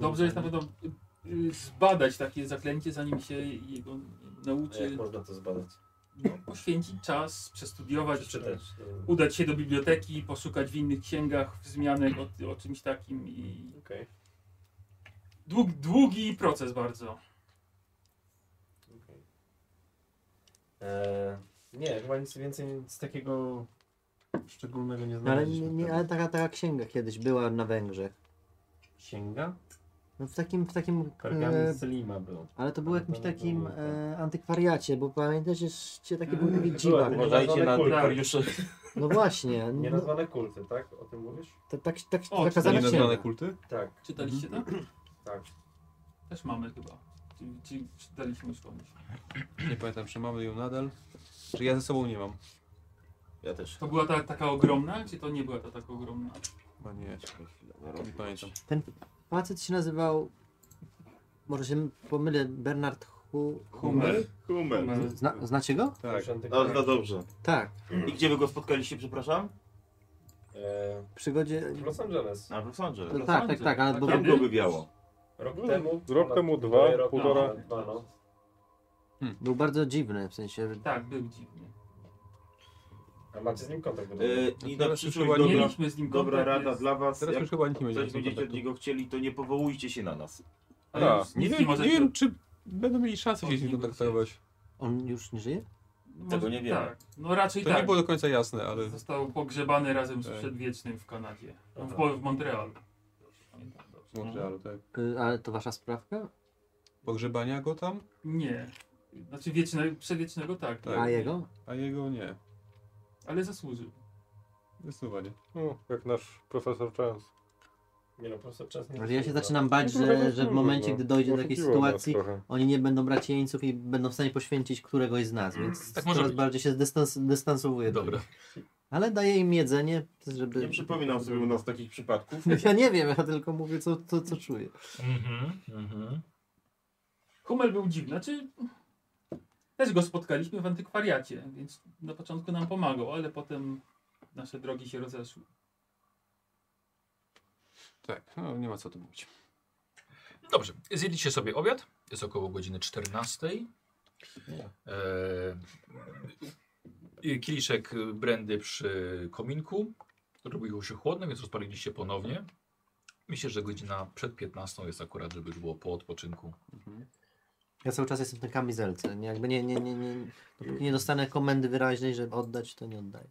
F: Dobrze jest na pewno y, y, zbadać takie zaklęcie, zanim się jego
E: A
F: nauczy.
E: Jak można to zbadać?
F: No, poświęcić czas, przestudiować,
E: Przeczytać. no.
F: udać się do biblioteki, poszukać w innych księgach wzmianek o, o czymś takim i
E: Okej.
F: dług, długi proces bardzo.
E: okej.
C: E,
E: Eee, nie, chyba nic więcej z takiego szczególnego nie
D: No, ale,
E: znaleźliśmy.
D: nie, nie, ale taka, taka księga kiedyś była na Węgrzech.
E: Księga?
D: No w takim, w takim E,
E: Pergamin z Lima był.
D: Ale to było
E: Ale
D: jakimś
E: to nie
D: takim
E: było,
D: e, antykwariacie, bo pamiętacie, że takie
F: Eee,
D: były
E: była
D: dziwak.
E: była.
G: Uważajcie na
E: Kultury.
G: antykwariuszy.
D: No właśnie, no,
E: Nienazwane kulty, tak? O tym mówisz?
D: tak, tak, tak,
F: O,
D: taka
H: To nie
D: zamiana.
H: nazwane kulty?
E: Tak,
F: Czytaliście to?
E: tak.
F: Też mamy chyba. Czy, czy czytaliśmy już pomysł?
H: Nie pamiętam, czy mamy ją nadal. Czy ja ze sobą nie mam.
G: Ja też.
F: To była ta, taka ogromna, czy to nie była ta taka ogromna?
H: Chyba nie,
G: Czekaj chwilę,
H: nie pamiętam.
D: Facet się nazywał, może się pomylę, Bernard Hu...
F: Hummel.
G: Humor.
D: Zna, znacie go?
B: Tak.
G: No, no dobrze.
D: Tak.
G: I gdzie wy go spotkaliście, przepraszam?
C: E,
D: W przygodzie...
C: w Los Angeles.
G: Na Los Angeles.
D: No, tak, tak, tak, ale bo...
G: Tam go wywiało.
C: Rok temu.
B: No, Rok
C: ponad-
B: temu dwa,
C: prawie rok
B: półtora.
C: temu, Dwa, no.
D: Był bardzo dziwny, w sensie... że-
F: Tak, był dziwny.
C: A macie z nim kontakt?
G: Yy, I na
H: Teraz
G: przyszłość
H: chyba nie
G: dobra,
F: Mieliśmy z nim
G: dobra
F: kontakt,
G: rada
F: więc
G: dla was.
H: Teraz
G: Jak
H: już chyba nikt nie będzie
G: coś
H: miał
G: będziecie od
H: kontaktu.
G: niego chcieli, to nie powołujcie się na nas.
B: A,
F: nic
H: Nie
F: nie
H: wiem, nie
F: możecie-
H: wiem, czy będą mieli szansę się z nim kontaktować.
D: On już nie żyje?
F: może-
G: Tego nie wiemy.
F: Tak. No raczej
H: To
F: tak.
H: nie było do końca jasne, ale
F: Został pogrzebany razem z
H: Tak.
F: przedwiecznym w Kanadzie. W, po- w Montrealu. Pamiętam dobrze.
H: może, ale tak.
D: Y, Ale to wasza sprawka?
H: Pogrzebania go tam,
F: Nie. Znaczy wieczne, przedwiecznego tak,
H: Tak.
D: A jego?
H: a jego nie.
F: ale zasłużył.
H: Zdecydowanie.
B: no, jak nasz profesor Chance.
C: Nie no, po prostu czas nie
D: Ale ja się
E: Tak.
C: przyjdzie.
D: zaczynam bać,
B: No, trochę
D: że, że w
B: zasłużył,
D: momencie,
B: no.
D: gdy dojdzie do takiej
B: Oszukiwał nas
D: sytuacji,
B: trochę.
D: oni nie będą brać jeńców i będą w stanie poświęcić któregoś z nas, więc
A: Tak może
D: coraz
A: być.
D: bardziej się dystans, dystansowuję.
A: Dobra.
D: Ale daję im jedzenie, żeby...
G: Nie przypominam sobie u nas takich przypadków.
D: Ja nie wiem, ja tylko mówię, co, co, co czuję.
A: Mhm, mhm.
F: Hummel był dziwny, znaczy też go spotkaliśmy w antykwariacie, więc na początku nam pomagał, ale potem nasze drogi się rozeszły.
H: Tak, no nie ma co tu mówić.
A: Dobrze, zjedliście sobie obiad. Jest około godziny 14. Eee, kieliszek brandy przy kominku. Robiło się chłodno, więc rozpaliliście ponownie. Myślę, że godzina przed 15 jest akurat, żeby już było po odpoczynku.
D: Ja cały czas jestem w tej kamizelce. Nie, jakby nie, nie, nie, nie, dopóki nie dostanę komendy wyraźnej, żeby oddać, to nie oddaję.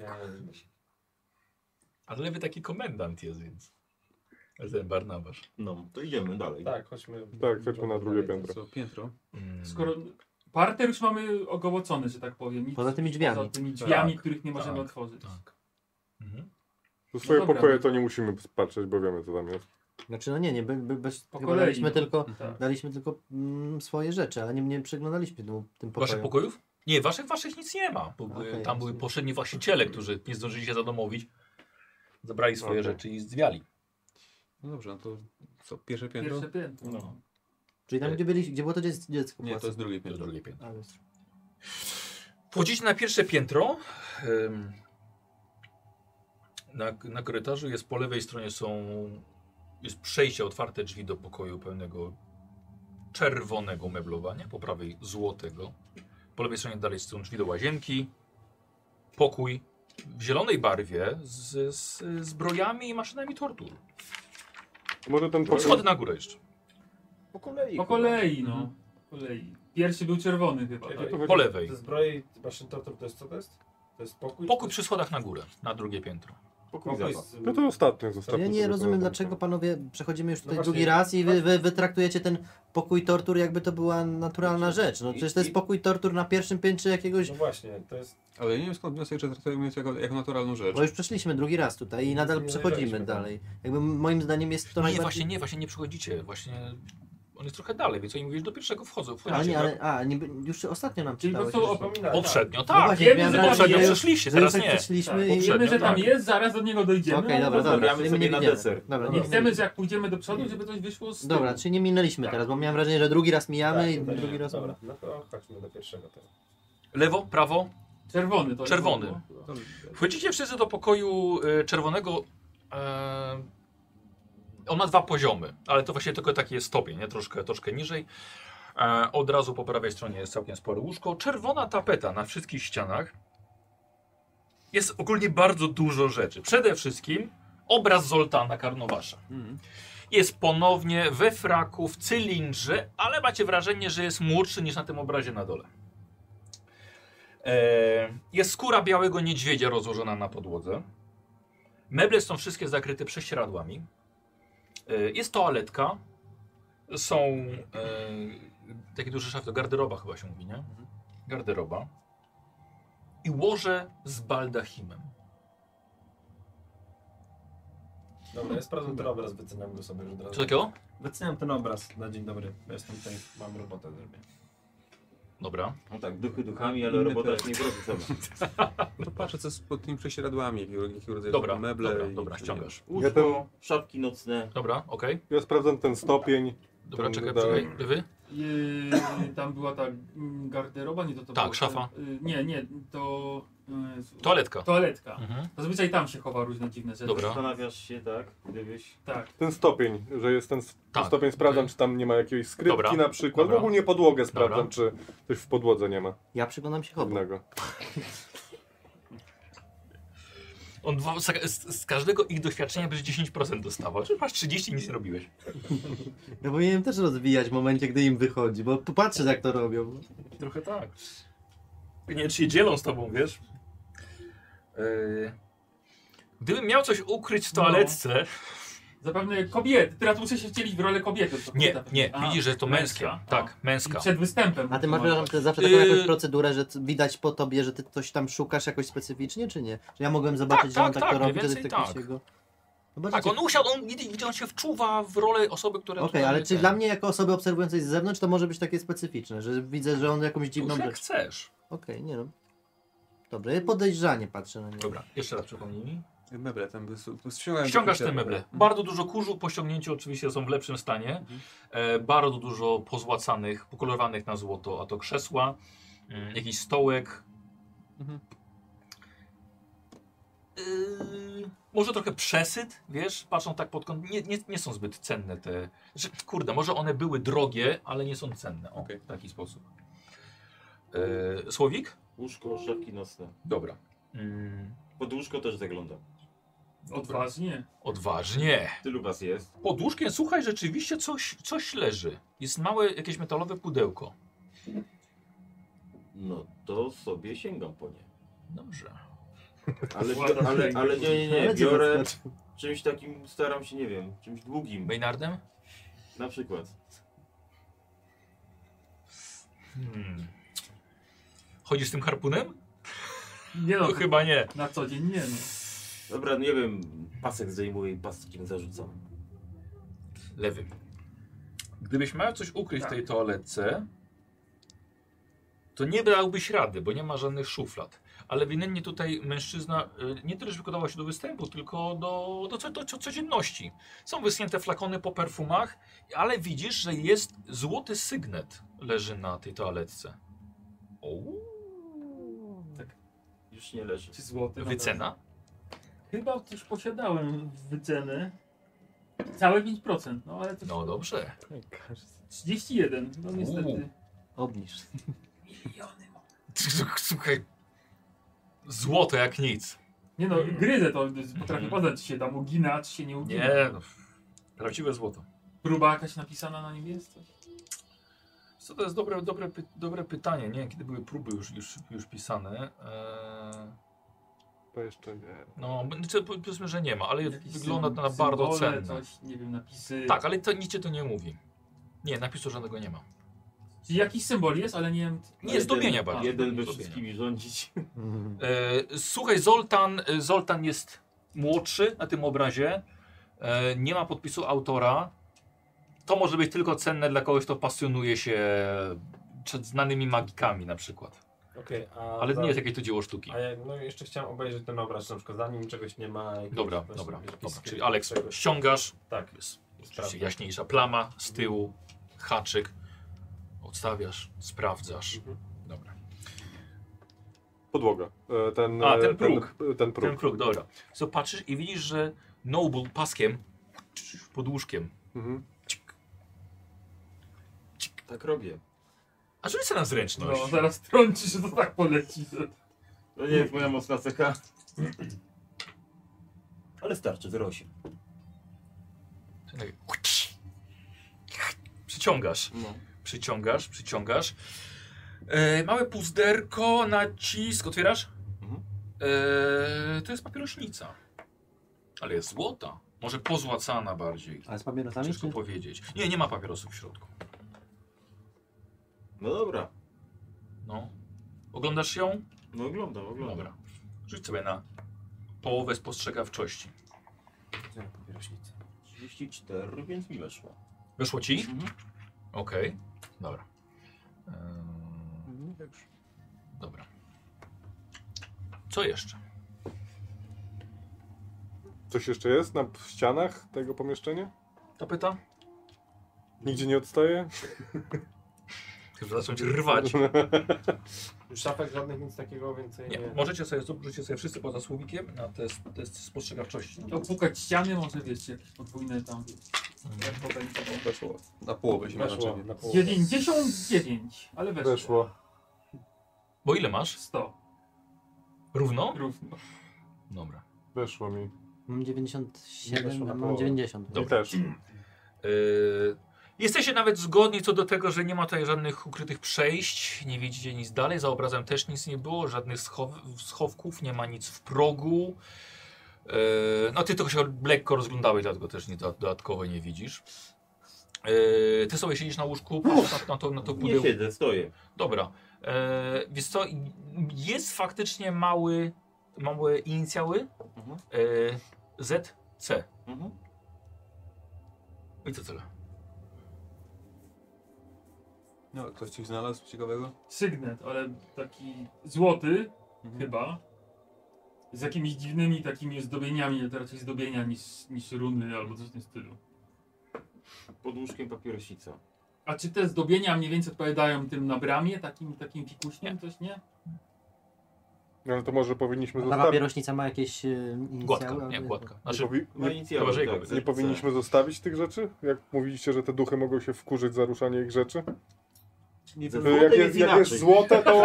C: E,
A: Ale lewy taki komendant jest, więc. Ale Ten Barnabasz.
G: No, to idziemy dalej.
C: Tak, chodźmy.
B: Tak, chodźmy na drugie
C: dalej.
B: piętro.
H: Co, piętro?
A: Mm.
F: Skoro parter już mamy ogołocony, że tak powiem. Nic,
D: Poza tymi drzwiami.
F: Poza tymi drzwiami,
A: Tak,
F: których nie możemy
A: tak,
F: otworzyć.
A: Tak. Mhm.
B: To swoje
F: dobra.
B: pokoje to nie musimy patrzeć, bo wiemy co tam jest.
D: Znaczy, no nie, nie, be- be- bez,
F: Po
D: chyba
F: kolei.
D: daliśmy tylko,
F: Tak.
D: daliśmy tylko mm, swoje rzeczy, ale nie, nie przeglądaliśmy tym, tym
A: Waszych
D: pokojem.
A: pokojów? Nie, waszych, waszych nic nie ma. Bo były-
D: Okej,
A: tam były
D: rozumiem.
A: poprzedni właściciele, którzy nie zdążyli się zadomowić. Zabrali swoje
B: Okej.
A: rzeczy i zdwiali.
H: No dobrze, no to co, pierwsze piętro?
F: Pierwsze piętro.
G: No.
D: Czyli tam,
A: Nie.
D: gdzie, byli, gdzie było to dzie- dziecko.
H: Nie, to jest drugie
A: To
H: piętro.
A: drugie piętro.
D: A, jest.
A: Wchodzicie na pierwsze piętro. Ym, Na, na korytarzu jest po lewej stronie są jest przejście, otwarte drzwi do pokoju pełnego czerwonego meblowania, po prawej złotego. Po lewej stronie dalej są drzwi do łazienki. Pokój w zielonej barwie z, z zbrojami i maszynami tortur.
B: Może
A: No
B: ten pokój...
A: Schody na górę jeszcze.
C: Po kolei.
F: Po kolei, no. Po kolei. Pierwszy był czerwony chyba.
C: Czyli
F: tak?
C: to
A: Po
C: chodzi-
A: lewej.
C: Te zbroje maszyn tortur to jest co to jest? To jest pokój?
A: Pokój przy schodach na górę, na drugie piętro.
G: Pokój
C: Pokój
G: zabaw.
C: z...
B: No to ostatnie zostawmy.
D: Ja nie
B: sobie
D: rozumiem,
B: to na
D: dlaczego panowie przechodzimy już tutaj
C: No właśnie,
D: drugi raz i wy, wy, wy traktujecie ten pokój tortur, jakby to była naturalna rzecz. No przecież to jest pokój tortur na pierwszym piętrze jakiegoś.
C: No właśnie, to jest...
H: Ale ja nie wiem skąd wniosek, że traktujemy to jako, jako naturalną rzecz.
A: No
D: Bo już przeszliśmy drugi raz tutaj i nadal
C: Nie
D: przechodzimy
C: zajrzeliśmy tam.
D: dalej. Jakby moim zdaniem jest
A: No
D: to
A: nie,
D: najbardziej.
A: właśnie nie, właśnie nie przychodzicie. Właśnie on jest trochę dalej, więc oni mówisz do pierwszego wchodzą.
D: A,
A: Wchodzicie.
D: nie, ale, a niby, już ostatnio nam
F: Czyli po
D: czytałeś.
F: prostu
D: że-
F: opomina.
A: Poprzednio,
D: No
A: tak.
D: właśnie,
F: wiemy,
D: miałem
F: że
D: wrażenie,
A: Poprzednio
D: że już-
A: przeszliśmy,
D: że
A: teraz
D: już tak
A: nie.
D: przeszliśmy
F: Tak, No,
D: i...
A: poprzednio.
F: Wiemy, że tam
A: tak.
F: jest, zaraz do niego dojdziemy.
D: Okej,
F: ale
D: dobra, dobra,
G: Pozdrawiamy
D: czyli my
G: sobie
D: nie
G: na
D: widzimy.
G: deser.
D: Dobra,
F: No, Nie
D: dobra.
F: chcemy, że jak pójdziemy do przodu, żeby coś wyszło z tyłu.
D: Dobra, czyli nie minęliśmy teraz, bo miałem wrażenie, że drugi raz
E: Tak,
D: mijamy i drugi raz...
C: Dobra, no to chodźmy do pierwszego teraz.
A: Lewo, prawo.
F: Czerwony to
A: Czerwony.
F: było.
A: Wchodzicie wszyscy do pokoju e, czerwonego. E, on ma dwa poziomy, ale to właśnie tylko taki jest stopień, nie? Troszkę, troszkę niżej. E, od razu po prawej stronie jest całkiem spore łóżko. Czerwona tapeta na wszystkich ścianach. Jest ogólnie bardzo dużo rzeczy. Przede wszystkim obraz Zoltana Karnowasza.
H: Mhm.
A: Jest ponownie we fraku, w cylindrze, ale macie wrażenie, że jest młodszy niż na tym obrazie na dole. E, jest skóra białego niedźwiedzia rozłożona na podłodze. Meble są wszystkie zakryte prześcieradłami. E, jest toaletka. Są e, takie duże szafy, to garderoba chyba się mówi, nie?
H: Mhm.
A: Garderoba. I łoże z baldachimem.
C: Dobra, ja sprawdzę ten obraz, wyceniam go sobie już od
A: Co
C: razu.
A: takiego?
C: Wyceniam ten obraz na dzień dobry. Ja Jestem tutaj, mam robotę zrobię.
A: Dobra.
G: No tak, duchy duchami, ale
H: Inny
G: robota
H: projekt.
G: się nie wrobi sama.
H: No patrzę, co z pod tymi prześcieradłami, jakiego, jakiego rodzaju
A: Dobra,
H: są meble.
A: dobra,
H: i-
A: dobra, ściągasz.
B: Ja, tam,
G: Łóżko, szafki nocne.
A: Dobra, okej.
B: ja sprawdzam ten stopień.
A: Dobra,
B: Ten
A: czekaj,
B: dalej.
A: czekaj. Lewy?
F: Yy, tam była ta mm, garderoba, nie to to
A: Tak,
F: było,
A: szafa.
F: To, yy, nie, nie, to... Yy,
A: Toaletka.
F: Toaletka.
A: Mhm.
F: Zazwyczaj tam się chowa różne dziwne rzeczy.
A: Dobra.
G: Zastanawiasz się, tak? Gdybyś...
F: Tak.
B: Ten stopień, że jest ten s-
A: Tak,
B: stopień, sprawdzam,
A: okej.
B: czy tam nie ma jakiejś skrytki
A: Dobra,
B: na przykład.
A: dobra.
B: Ogólnie podłogę sprawdzam,
A: Dobra.
B: czy coś w podłodze nie ma
D: Ja przyglądam się chobu.
B: innego.
A: On w- z, z- z każdego ich doświadczenia będzie 10% dostawał. Czyli masz 30 i nic nie robiłeś.
D: Ja powinienem No też rozwijać w momencie, gdy im wychodzi, bo tu patrzę jak to robią.
A: Trochę tak. Nie, czy się dzielą z tobą, wiesz? Yy... Gdybym miał coś ukryć w toaletce...
F: Zapewne kobiety. Teraz muszę się wcielić w rolę kobiety.
A: Nie, nie,
F: A,
A: widzisz, że to męskie.
F: męska.
A: Tak,
F: I
A: męska.
F: przed występem.
D: A ty masz
F: muszę
D: przepraszam,
F: malować.
D: ty zawsze taką
A: Yy.
D: jakąś procedurę, że c- widać po tobie, że ty coś tam szukasz jakoś specyficznie, czy nie? Że ja mogłem zobaczyć,
A: Tak,
D: że on
A: tak,
D: tak,
A: tak,
D: to
A: mniej
D: robi, wtedy
A: więcej
D: tak.
A: tak.
D: się go... No
A: Tak, on usiadł, on, widzisz, on się wczuwa w rolę osoby, która...
D: Okej,
A: tutaj-
D: ale czy dla mnie jako osoby obserwującej z zewnątrz to może być takie specyficzne, że widzę, że on jakąś
A: Już
D: dziwną
A: jak
D: rzecz...
A: chcesz.
D: Okej, nie no. Dobra, ja podejrzanie patrzę na niego.
A: Dobra, jeszcze raz przypomnij mi.
H: Meble tam by- ściągałem
A: Ściągasz
H: takie-
A: te meble. Bardzo dużo kurzu po ściągnięciu oczywiście są w lepszym stanie.
H: Mhm.
A: E, bardzo dużo pozłacanych, pokolorowanych na złoto, a to krzesła, mm, jakiś stołek.
H: Mhm.
A: Yy, może trochę przesyt, wiesz, patrzą tak pod kąt. Nie, nie, nie są zbyt cenne te. Znaczy, kurde, może one były drogie, ale nie są cenne. O,
H: Okej.
A: w taki sposób. E, słowik?
G: Łóżko, szafki nocne.
A: Dobra. Mm,
G: Pod łóżko też zaglądam.
F: Odważnie.
A: odważnie.
G: Tylu was jest.
A: Pod łóżkiem, słuchaj, rzeczywiście coś, coś leży. Jest małe jakieś metalowe pudełko.
G: No to sobie sięgam po nie.
A: Dobrze.
G: Ale,
F: Włada
G: ale,
F: sięga.
G: ale nie, nie, nie.
D: Ale dziwne
G: Biorę
D: znaczy.
G: czymś takim, staram się, nie wiem, czymś długim.
A: Maynardem?
G: Na przykład.
A: Hmm. Chodzisz z tym harpunem?
F: Nie
A: No
F: no,
A: chyba nie.
F: na co dzień nie no.
G: Dobra, nie wiem, pasek zdejmuję i paskiem zarzucam.
A: Lewy. Gdybyś miał coś ukryć
F: Tak.
A: w tej toaletce, to nie brałbyś rady, bo nie ma żadnych szuflad. Ale winnie tutaj mężczyzna y, nie tyle, że wygotował się do występu, tylko do, do, co- do, co- codzienności. Są wyschnięte flakony po perfumach, ale widzisz, że jest złoty sygnet leży na tej toaletce. Ouu.
G: Już nie leży.
F: Czy złoty. no
A: Wycena?
F: tak. Chyba też posiadałem wycenę. Całe 5%, no ale to
A: No dobrze.
F: 31, no niestety.
D: Obniż.
A: Słuchaj, złoto jak nic.
F: Nie no, gryzę to, potrafię poznać się tam, uginać się, nie ugina.
A: Nie, no, prawdziwe złoto.
F: Próba jakaś napisana na nim jest? Coś?
A: Co to jest dobre, dobre, py- dobre pytanie, nie? Kiedy były próby już, już, już pisane? Eee,
B: To jeszcze nie.
A: no, znaczy, powiedzmy, że nie ma, ale
F: Jakieś
A: wygląda to na
F: sym-
A: bardzo
F: symbole,
A: cenne.
F: Coś, nie wiem, napisy.
A: Tak, ale to, nic cię to nie mówi. Nie, napisu żadnego nie ma.
F: Czyli jakiś symbol jest, ale nie wiem.
A: Nie, zdobienia bardziej.
G: Jeden by
A: Zdobienia.
G: wszystkimi rządzić.
H: Mhm.
A: E, słuchaj, Zoltan, e, Zoltan jest młodszy na tym obrazie. E, nie ma podpisu autora. To może być tylko cenne dla kogoś, kto pasjonuje się przed znanymi magikami na przykład.
E: Okej, a
A: Ale
E: za-
A: nie jest jakieś to dzieło sztuki.
E: A ja no, jeszcze chciałem obejrzeć ten obraz, na przykład zanim czegoś nie ma. jakiegoś
A: Dobra,
E: właśnie
A: dobra,
E: jakiejś
A: dobra. Czyli
E: skrytki,
A: Aleks,
E: czegoś.
A: ściągasz,
E: Tak,
A: jest oczywiście
E: Sprawdzam.
A: jaśniejsza plama z tyłu, haczyk, odstawiasz, sprawdzasz.
E: Mhm.
A: Dobra.
B: Podłoga. E, Ten,
A: A,
B: e,
A: ten próg.
B: Ten, ten próg.
A: Ten próg, dobra. Co patrzysz i widzisz, że Noble paskiem, pod łóżkiem,
B: Mhm.
G: Tak robię.
A: A rzuć sobie na
F: No,
A: zręczność.
F: zaraz trąci, że to tak poleci. że-
G: To nie jest moja mocna cecha. Ale starczy, 08.
A: Tak. Przyciągasz,
H: No.
A: przyciągasz, przyciągasz. E, małe puzderko, nacisk, otwierasz?
G: Mhm.
A: E, to jest papierośnica. Ale jest złota. Może pozłacana bardziej.
D: Ale z papierosami?
A: Ciężko powiedzieć. Nie, nie ma papierosów w środku.
G: No dobra.
A: No. Oglądasz ją?
G: No oglądam, oglądam.
A: Dobra. Rzuć sobie na połowę spostrzegawczości.
G: 34, więc mi weszło.
A: Wyszło ci?
G: Mhm.
A: Okej. Dobra. Ehm,
I: Już.
A: Dobra. Co jeszcze?
B: Coś jeszcze jest na w ścianach tego pomieszczenia?
A: To pyta?
B: Nigdzie nie odstaje?
A: Chyba zacząć rwać.
E: Szafek żadnych nic takiego więcej
A: Nie. Możecie sobie, rzućcie sobie wszyscy poza słowikiem na test, test spostrzegawczości.
F: Opukać ściany może, wiecie, jakieś podwójne tam.
A: Mhm.
F: Jak to będzie.
H: Weszło. Na połowę się ma
E: Weszło
H: znaczenie.
E: na połowę.
F: 99, ale weszło.
B: Weszło.
A: Bo ile masz?
F: 100,
A: Równo?
F: równo.
A: Dobra.
B: Weszło mi.
D: Mam
B: Nie weszło
D: 97,
B: na
D: a mam
B: połowę.
D: 90.
B: I też.
A: Yy, jesteście nawet zgodni co do tego, że nie ma tutaj żadnych ukrytych przejść, nie widzicie nic dalej, za obrazem też nic nie było, żadnych schow, schowków, nie ma nic w progu. Yy, no ty tylko się lekko rozglądałeś, dlatego też nie, dodatkowo nie widzisz. Yy, ty sobie siedzisz na łóżku, patrzysz na, na to, na to
G: Nie
A: pudełko.
G: siedzę, stoję.
A: Dobra. E, więc co, jest faktycznie mały, małe inicjały
G: Mhm.
A: e, ZC.
G: Mhm.
A: I co tyle?
H: No, ktoś coś znalazł ciekawego?
F: Sygnet, ale taki złoty
H: Mhm.
F: chyba. Z jakimiś dziwnymi takimi zdobieniami, ale to raczej zdobienia niż, niż runy albo coś w tym stylu.
G: Pod łóżkiem papierosica.
F: A czy te zdobienia mniej więcej odpowiadają tym na bramie, takim, takim fikuśnym, coś nie?
B: No ale to może powinniśmy
D: Ta
B: zostawić.
D: papierośnica ma jakieś y, inicjały?
A: Gładka, nie, gładka.
B: Nie,
A: Znaczy,
B: powi-
G: Ma
B: nie,
G: inicjały,
A: Chyba, że
G: tak,
A: jego.
B: nie
G: ZC.
B: powinniśmy zostawić tych rzeczy? Jak mówiliście, że te duchy mogą się wkurzyć za ruszanie ich rzeczy?
G: Nie,
B: To
G: złote
B: jak
G: No,
B: jest,
G: jest
B: jak jest
G: inaczej.
B: złote, to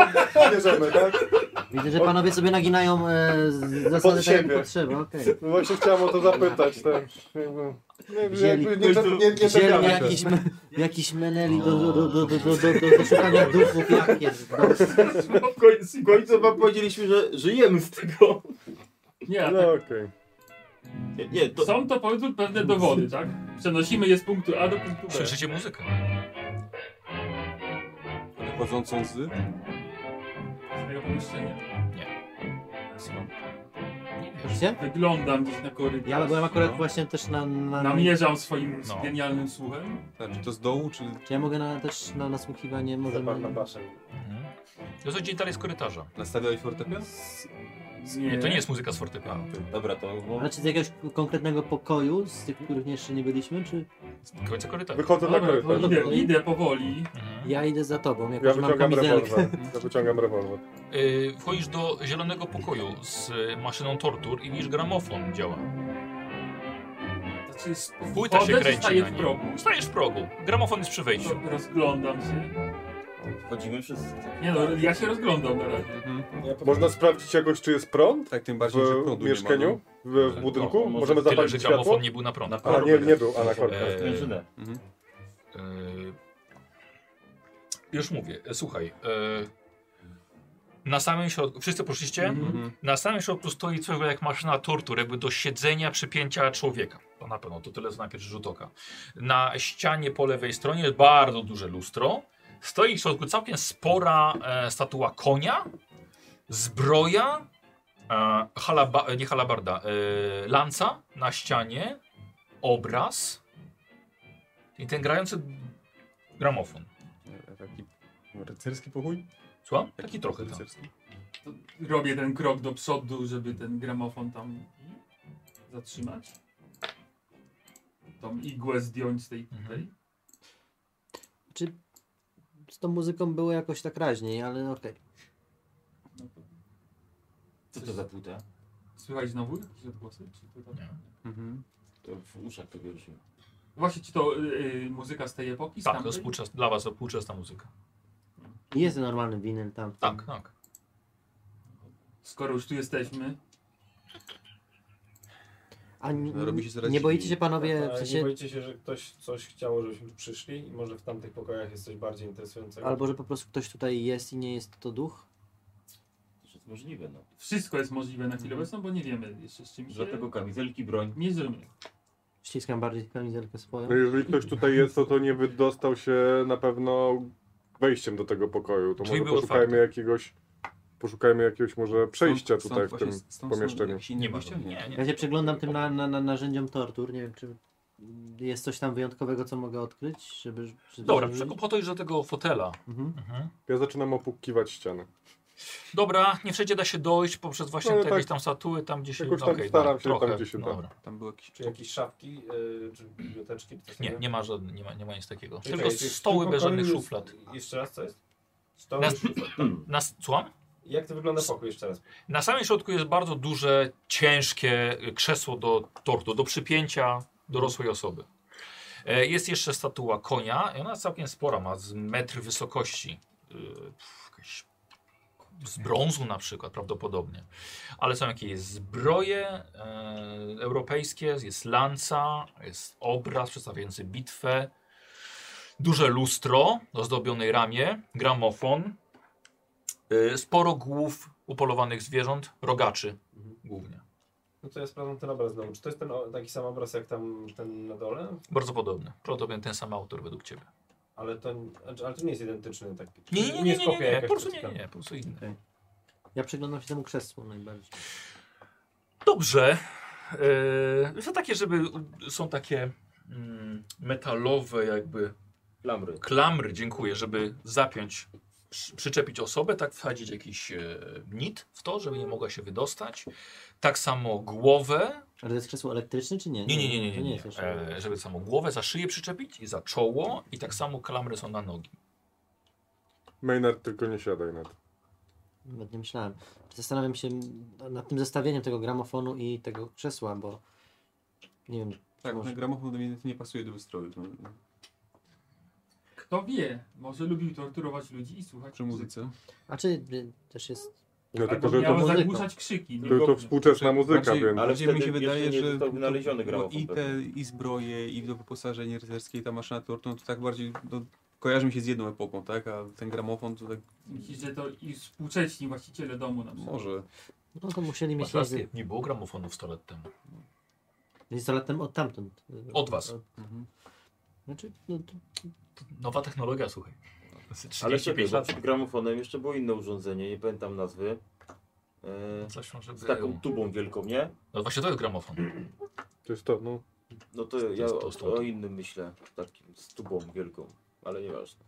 B: bierzemy, tak?
D: Widzę, że panowie sobie naginają e, z- zasady tak jak
B: siebie.
D: potrzeba, okej.
B: No właśnie chciałem o to zapytać, tak. Jakby- Nie,
D: Wzięli-
B: jakby nie, nie, nie, nie
D: Wzięli
B: czekamy się.
D: jakiś, me, jakiś meneli do, do, do, do, do, do, do, do, do szukania duchów, jak jest.
G: W końcu, w końcu wam powiedzieliśmy, że żyjemy z tego.
F: Nie, a
B: No okej.
G: Nie, nie to...
F: tak, są to powiedzmy pewne dowody, tak? Przenosimy je z punktu A do punktu B.
A: słyszycie muzykę.
H: Wychodzącą z...
F: Z tego pomieszczenia.
A: Nie wiesz.
D: Widzicie?
F: Wyglądam gdzieś na korytarz.
D: Ja byłem akurat
F: No.
D: właśnie też na... na, na
F: Namierzam swoim
A: No.
F: genialnym słuchem.
H: Tak, czy to z dołu, czy...
D: czy ja mogę na, też na nasłuchiwanie, może...
E: Zapach na baszę.
A: Mhm. To jest dzień dalej z korytarza.
H: Nastawiałeś fortepian?
A: Nie, to nie jest muzyka z fortepianu.
G: Dobra, to...
H: Mhm.
D: Znaczy z jakiegoś konkretnego pokoju, z tych, których jeszcze nie byliśmy, czy...
A: Z końca korytarza.
B: Wychodzę na
F: No Dobra, to
B: korytarz.
F: idę, idę powoli.
A: Mhm.
D: Ja idę za tobą, jako
B: Ja
D: że mam
B: wyciągam
D: kamizelkę.
B: rewolwer. Ja wyciągam rewolwer.
A: Yy, wchodzisz do zielonego pokoju z y, maszyną tortur i widzisz gramofon działa.
F: Znaczy, s-
A: Płyta się
F: wchodzę, czy
A: kręci
F: staję
A: na
F: w
A: nim.
F: progu.
A: Stajesz w progu. Gramofon jest przy wejściu.
F: Ro- Rozglądam się.
G: Wchodzimy wszyscy.
F: Nie no, ja się rozglądam na razie.
B: Można sprawdzić jakoś, czy jest prąd
H: Tak, tym
B: w
H: bardziej, że prądu nie ma.
B: mieszkaniu, w, w budynku?
G: No, może
B: Możemy
A: Tyle,
B: zapalić
A: że
B: światło?
A: gramofon nie był na prąd.
G: Na
B: A, nie, nie był, a na korytarz.
A: Eee,
G: Sprężynę.
H: no. Mhm.
A: Yy, Już mówię, E, słuchaj. yy, Na samym środku, wszyscy poszliście?
F: Mhm.
A: Na samym środku stoi coś jak maszyna tortur, jakby do siedzenia, przypięcia człowieka. To na pewno, to tyle co na pierwszy rzut oka. Na ścianie po lewej stronie jest bardzo duże lustro. Stoi w środku całkiem spora e, statua konia, zbroja, e, halaba, e, nie halabarda, e, lanca na ścianie, obraz i ten grający gramofon.
H: no. E, Taki rycerski pokój?
A: Słucham? Tak. Taki trochę tam.
H: rycerski.
F: To robię ten krok do przodu, żeby ten gramofon tam zatrzymać. Tą igłę zdjąć z tej,
A: Mhm.
F: tej.
D: Czy z tą muzyką było jakoś tak raźniej, ale okej.
F: No to
K: Co to za płyta?
F: Słychać znowu jakieś odgłosy? Czy to tak?
A: Nie.
H: Mhm.
K: To w uszach to wierzymy.
F: Właśnie czy to y, y, muzyka z tej epoki? Z
A: Tak, to jest
F: tamtej?
A: współczes- dla was to współczesna muzyka.
D: Jest normalny winyl tam.
A: Tak, tak.
F: Skoro już tu jesteśmy,
D: A n-
H: No, robi się coraz
D: nie boicie się
H: dziwniej.
D: panowie,
B: Tak,
E: A
D: w
E: Nie
D: sensie,
E: boicie się, że ktoś coś chciało, żebyśmy tu przyszli i może w tamtych pokojach jest coś bardziej interesującego?
D: albo że po prostu ktoś tutaj jest i nie jest to duch?
K: To jest możliwe, no.
F: wszystko jest możliwe na
A: Mhm.
F: chwilę obecną, bo nie wiemy jeszcze z czym się
K: Dlatego kamizelki, broń.
F: nie żymy.
D: Ściskam bardziej kamizelkę swoją.
B: No Jeżeli ktoś tutaj jest, to, to nie wydostał się na pewno wejściem do tego pokoju. To
A: Czyli
B: może
A: był
B: poszukajmy
A: otwarty.
B: jakiegoś, poszukajmy jakiegoś może przejścia
H: Stąd-
B: tutaj
H: stąd
B: w tym
H: właśnie- stąd są
B: pomieszczeniu.
H: jakieś inne
A: Nie ma.
H: wyjścia?
A: Nie, nie.
D: Ja się przeglądam tym na, na, na narzędziom tortur, nie wiem czy Jest coś tam wyjątkowego, co mogę odkryć, żeby... żeby
A: Dobra,
D: żeby-
A: przekup- podejść do tego fotela. Mhm.
B: Ja zaczynam opukiwać ścianę.
A: Dobra, nie wszędzie da się dojść poprzez właśnie
B: No,
A: te
B: tak.
A: jakieś tam statuły, tam gdzie się...
B: Jakoś tam
A: okej,
B: staram
A: dobra,
B: się tam,
A: trochę,
B: gdzie się da.
A: dobra.
H: Tam były jakieś...
E: Czy jakieś szafki, y, czy biblioteczki? czy coś
A: Nie,
E: takiego?
A: nie ma, żadne, nie, ma, nie ma nic takiego.
E: Czekaj,
A: Tylko
E: jest-
A: stoły
E: tylko
A: bez żadnych
E: koniec-
A: szuflad.
E: Jeszcze raz, co jest? Stoły
A: Na-
E: bez szuflad.
A: Nas, słucham?
E: Jak to wygląda pokój jeszcze raz?
A: Na samym środku jest bardzo duże, ciężkie y, krzesło do tortu, do przypięcia dorosłej osoby. E, Jest jeszcze statua konia i ona jest całkiem spora, ma z metr wysokości. Y, pff, Jakieś z brązu na przykład prawdopodobnie. Ale są jakieś zbroje e, europejskie, jest lanca, jest obraz przedstawiający bitwę, duże lustro o zdobionej ramie, gramofon, Y, sporo głów upolowanych zwierząt, rogaczy głównie.
E: No to ja sprawdzam ten obraz znowu. Czy to jest ten o- taki sam obraz jak tam ten na dole?
A: Bardzo podobne. Prawdopodobnie ten sam autor według ciebie.
E: Ale to, ale to nie jest identyczny taki.
A: Nie, nie, nie, nie,
E: jest
A: nie,
E: kopia
A: nie, nie.
E: jakaś
A: po prostu
E: czy
A: nie,
E: tam.
A: nie, po prostu inny.
D: Ja przyglądam się temu krzesłu najbardziej.
A: Dobrze. Yy, są takie, żeby są takie mm, metalowe jakby
G: Lamry.
A: klamry, dziękuję, żeby zapiąć, przy, przyczepić osobę, tak wsadzić jakiś e, nit w to, żeby nie mogła się wydostać. Tak samo głowę,
D: Ale to jest krzesło elektryczne czy nie?
A: Nie, nie, nie, nie,
D: to
A: nie, nie.
D: jest jeszcze-
A: E, żeby samą głowę za szyję przyczepić i za czoło i tak samo klamry są na nogi.
B: Maynard, tylko nie siadaj nad.
D: Nawet nie myślałem. Zastanawiam się nad tym zestawieniem tego gramofonu i tego krzesła, bo nie wiem.
H: Tak,
D: może-
H: na gramofon do mnie nie pasuje do wystroju. To,
F: Kto wie, może lubił torturować ludzi i słuchać
H: przy muzyce.
D: A czy y, też jest.
B: No
F: Albo
B: tylko, że
F: miało
B: to,
D: muzyką.
F: zagłuszać krzyki.
B: to, to
F: Nie godne.
H: Znaczy,
B: współczesna muzyka,
H: Bardziej-
B: więc...
G: Ale
H: bardziej mi
G: wtedy
H: się
G: jeszcze
H: wydaje,
G: nie
H: że
G: został wynaleziony
H: bo
G: gramofon
H: i te
G: pewnie.
H: i zbroje, i do wyposażenie rycerskie, i ta maszyna tortu, no to tak bardziej no, kojarzy mi się z jedną epoką, tak? A ten gramofon to tak
F: Myślisz, że to i współcześni właściciele domu na przykład.
H: może.
D: No to musieli mieć
A: Masz rację, nie było gramofonów 100 lat temu.
D: instalatem od tamtąd.
A: Od was.
H: Mhm.
D: Znaczy, no, to,
A: Nowa technologia, słuchaj.
G: Ale znaczy?
A: 35
G: wtedy, bo
A: lat.
G: przed gramofonem jeszcze było inne urządzenie, nie pamiętam nazwy. E,
A: Coś może
G: z taką tubą wielką, nie?
A: No właśnie to jest gramofon.
B: To jest to, no.
G: No to ja
A: to-
G: o,
A: to-
G: o innym myślę, takim z tubą wielką, ale nieważne.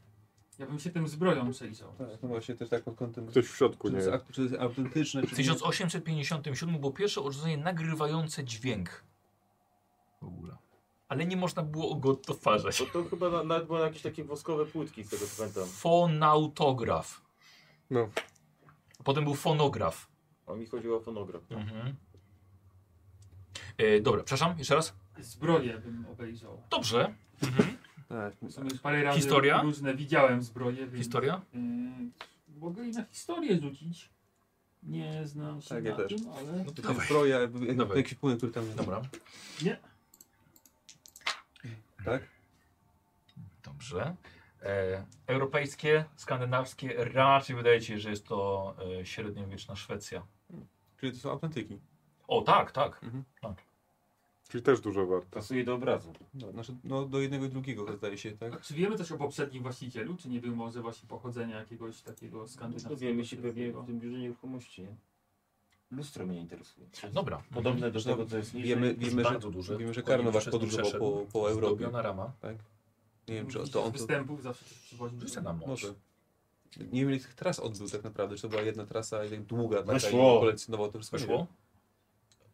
F: Ja bym się tym zbroją przejrzał.
H: Tak, no właśnie też tak pod kątem.
B: Ktoś w środku
H: Czy
B: nie
H: to
B: jest.
H: jest, ak- czy to jest autentyczne,
A: W
H: czy nie.
A: 1857 było pierwsze urządzenie nagrywające dźwięk. W ogóle. Ale nie można było go odtwarzać.
G: Bo to chyba na, nawet były jakieś takie woskowe płytki, z tego co pamiętam.
A: Fonautograf.
B: No.
A: Potem był fonograf.
G: A mi chodziło o fonograf.
A: Mhm. E, dobra, przepraszam, jeszcze raz.
F: Zbroję bym obejrzał.
A: Dobrze. Mhm.
H: Tak,
F: W sumie już parę razy
A: Historia?
F: różne widziałem zbroje, więc...
A: Historia?
F: Yy, mogę i na historię rzucić. Nie znam się
H: Tak,
F: na
H: ja też.
F: tym, ale...
A: No to
H: Te
A: dawaj.
H: zbroje, jakby- jakby
A: Dawaj.
H: jakiś płyn, który tam jest.
A: Dobra.
F: Nie.
H: Tak?
A: Dobrze. E, europejskie, skandynawskie, raczej wydaje ci się, że jest to e, średniowieczna Szwecja.
H: Czyli to są autentyki.
A: O tak, tak.
B: Czyli też dużo warte.
G: Pasuje do obrazu.
H: No, znaczy, no do jednego i drugiego zdaje się,
F: A
A: Znaczy,
H: tak?
F: Czy wiemy coś o poprzednim właścicielu? Czy nie był może właśnie pochodzenia jakiegoś takiego skandynawskiego?
G: Dowiemy No, się pewnie
F: średniego?
G: w tym biurze nieruchomości, nie? Lustro mnie interesuje. Czy jest
A: Dobra.
G: Podobne do tego, co jest niżej.
H: No, Wiemy, wiemy, że,
A: bardzo duże.
H: wiemy, że
A: Konie
H: Karnowasz
A: przez
H: podróżował
A: przeszedł.
H: po, po Europie.
A: Zdobiona rama.
H: Nie wiem, czy
F: Jakichś
H: to on to...
F: występów zawsze coś przywoził.
A: Rzucę na moc.
H: Może. Nie wiem, ile tych tras odbył tak naprawdę. Czy to była jedna trasa i tak długa taka
G: Weszło.
H: i kolekcjonował to wszystko.
A: Weszło?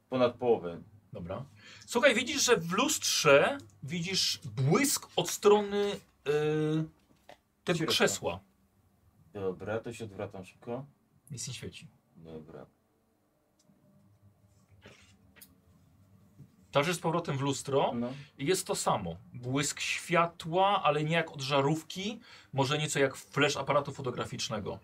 G: Ponad połowę.
A: Dobra. Słuchaj, widzisz, że w lustrze widzisz błysk od strony e, tego
G: Środka.
A: krzesła.
G: Dobra, to się odwracam szybko.
A: Nic nie świeci.
G: Dobra.
A: Tarzysz z powrotem w lustro.
G: No.
A: Jest to samo. Błysk światła, ale nie jak od żarówki, może nieco jak flash aparatu fotograficznego.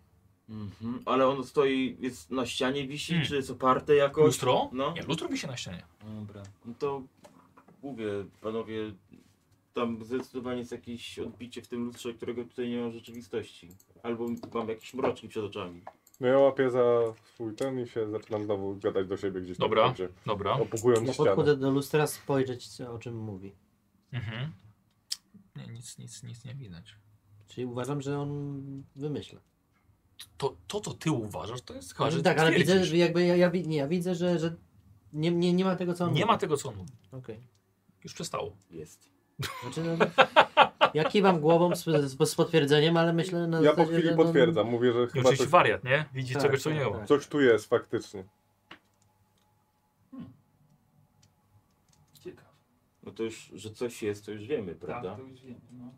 G: Mhm. Ale ono stoi, jest na ścianie wisi,
A: Mm.
G: czy jest oparte jakoś?
A: Lustro?
G: No.
A: Nie, lustro wisi na ścianie.
G: Dobra. No to mówię, panowie, tam zdecydowanie jest jakieś odbicie w tym lustrze, którego tutaj nie ma w rzeczywistości. Albo mam jakiś mrocznik przed oczami.
B: No ja łapię za swój ten i się zaczynam znowu gadać do siebie gdzieś
A: Dobra.
B: tam. Gdzie,
A: Dobra.
B: opuchując
D: ja
B: ścianę.
D: No, podchodzę do lustra spojrzeć, co, o czym mówi.
A: Mhm. Nie, nic, nic, nic nie widać.
D: Czyli uważam, że on wymyśla.
A: To, to co ty uważasz, to jest chyba, że
D: tak, ale widzę,
A: twierdzisz.
D: że jakby ja, ja, wi- nie, ja widzę, że, że nie, nie, nie ma tego, co on
A: Nie
D: mówi.
A: ma tego, co on mówi.
D: Okej.
A: Już przestało.
G: Jest.
D: Znaczy, no, ja kiwam głową z, z, z potwierdzeniem, ale myślę na
B: Ja po
D: zasadzie,
B: chwili
D: że, no,
B: potwierdzam, mówię, że
A: I
B: chyba
A: oczywiście
B: coś,
A: wariat, nie? Widzi
D: Tak,
A: czegoś, co
D: tak,
A: nie ma.
D: tak.
B: coś tu jest faktycznie.
F: Ciekawe.
G: No to już, że coś jest, to już wiemy, prawda?
F: Tak, to już wiem. No.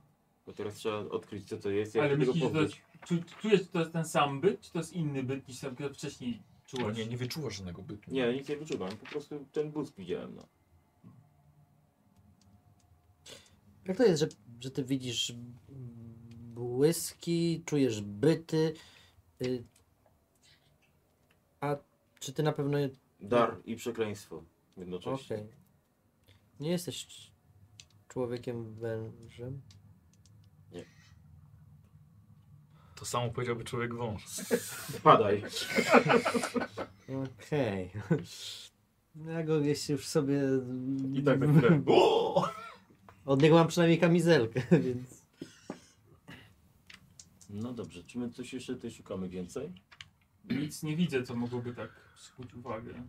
G: Bo teraz trzeba odkryć, co to jest, jak
F: Ale
G: się tego
F: myślisz, że to jest,
G: pozbyć.
F: czy, czujesz, że to jest ten sam byt, czy to jest inny byt niż ten, który wcześniej
A: Bo
H: No
F: czułeś?
A: No Nie, nie wyczuwasz żadnego bytu.
G: Nie, nic nie wyczuwam, po prostu ten bus widziałem, no.
D: Jak to jest, że, że ty widzisz błyski, czujesz byty, y, a czy ty na pewno...
G: Dar i przekleństwo jednocześnie.
D: Okej. Nie jesteś c- człowiekiem wężem?
A: To samo powiedziałby człowiek wąż.
G: Padaj.
D: Okej. Ja go gdzieś już sobie...
I: I tak, tak, tak.
D: Od niego mam przynajmniej kamizelkę, więc...
G: No dobrze, czy my coś jeszcze tutaj szukamy więcej?
F: Nic nie widzę, co mogłoby tak przykuć uwagę.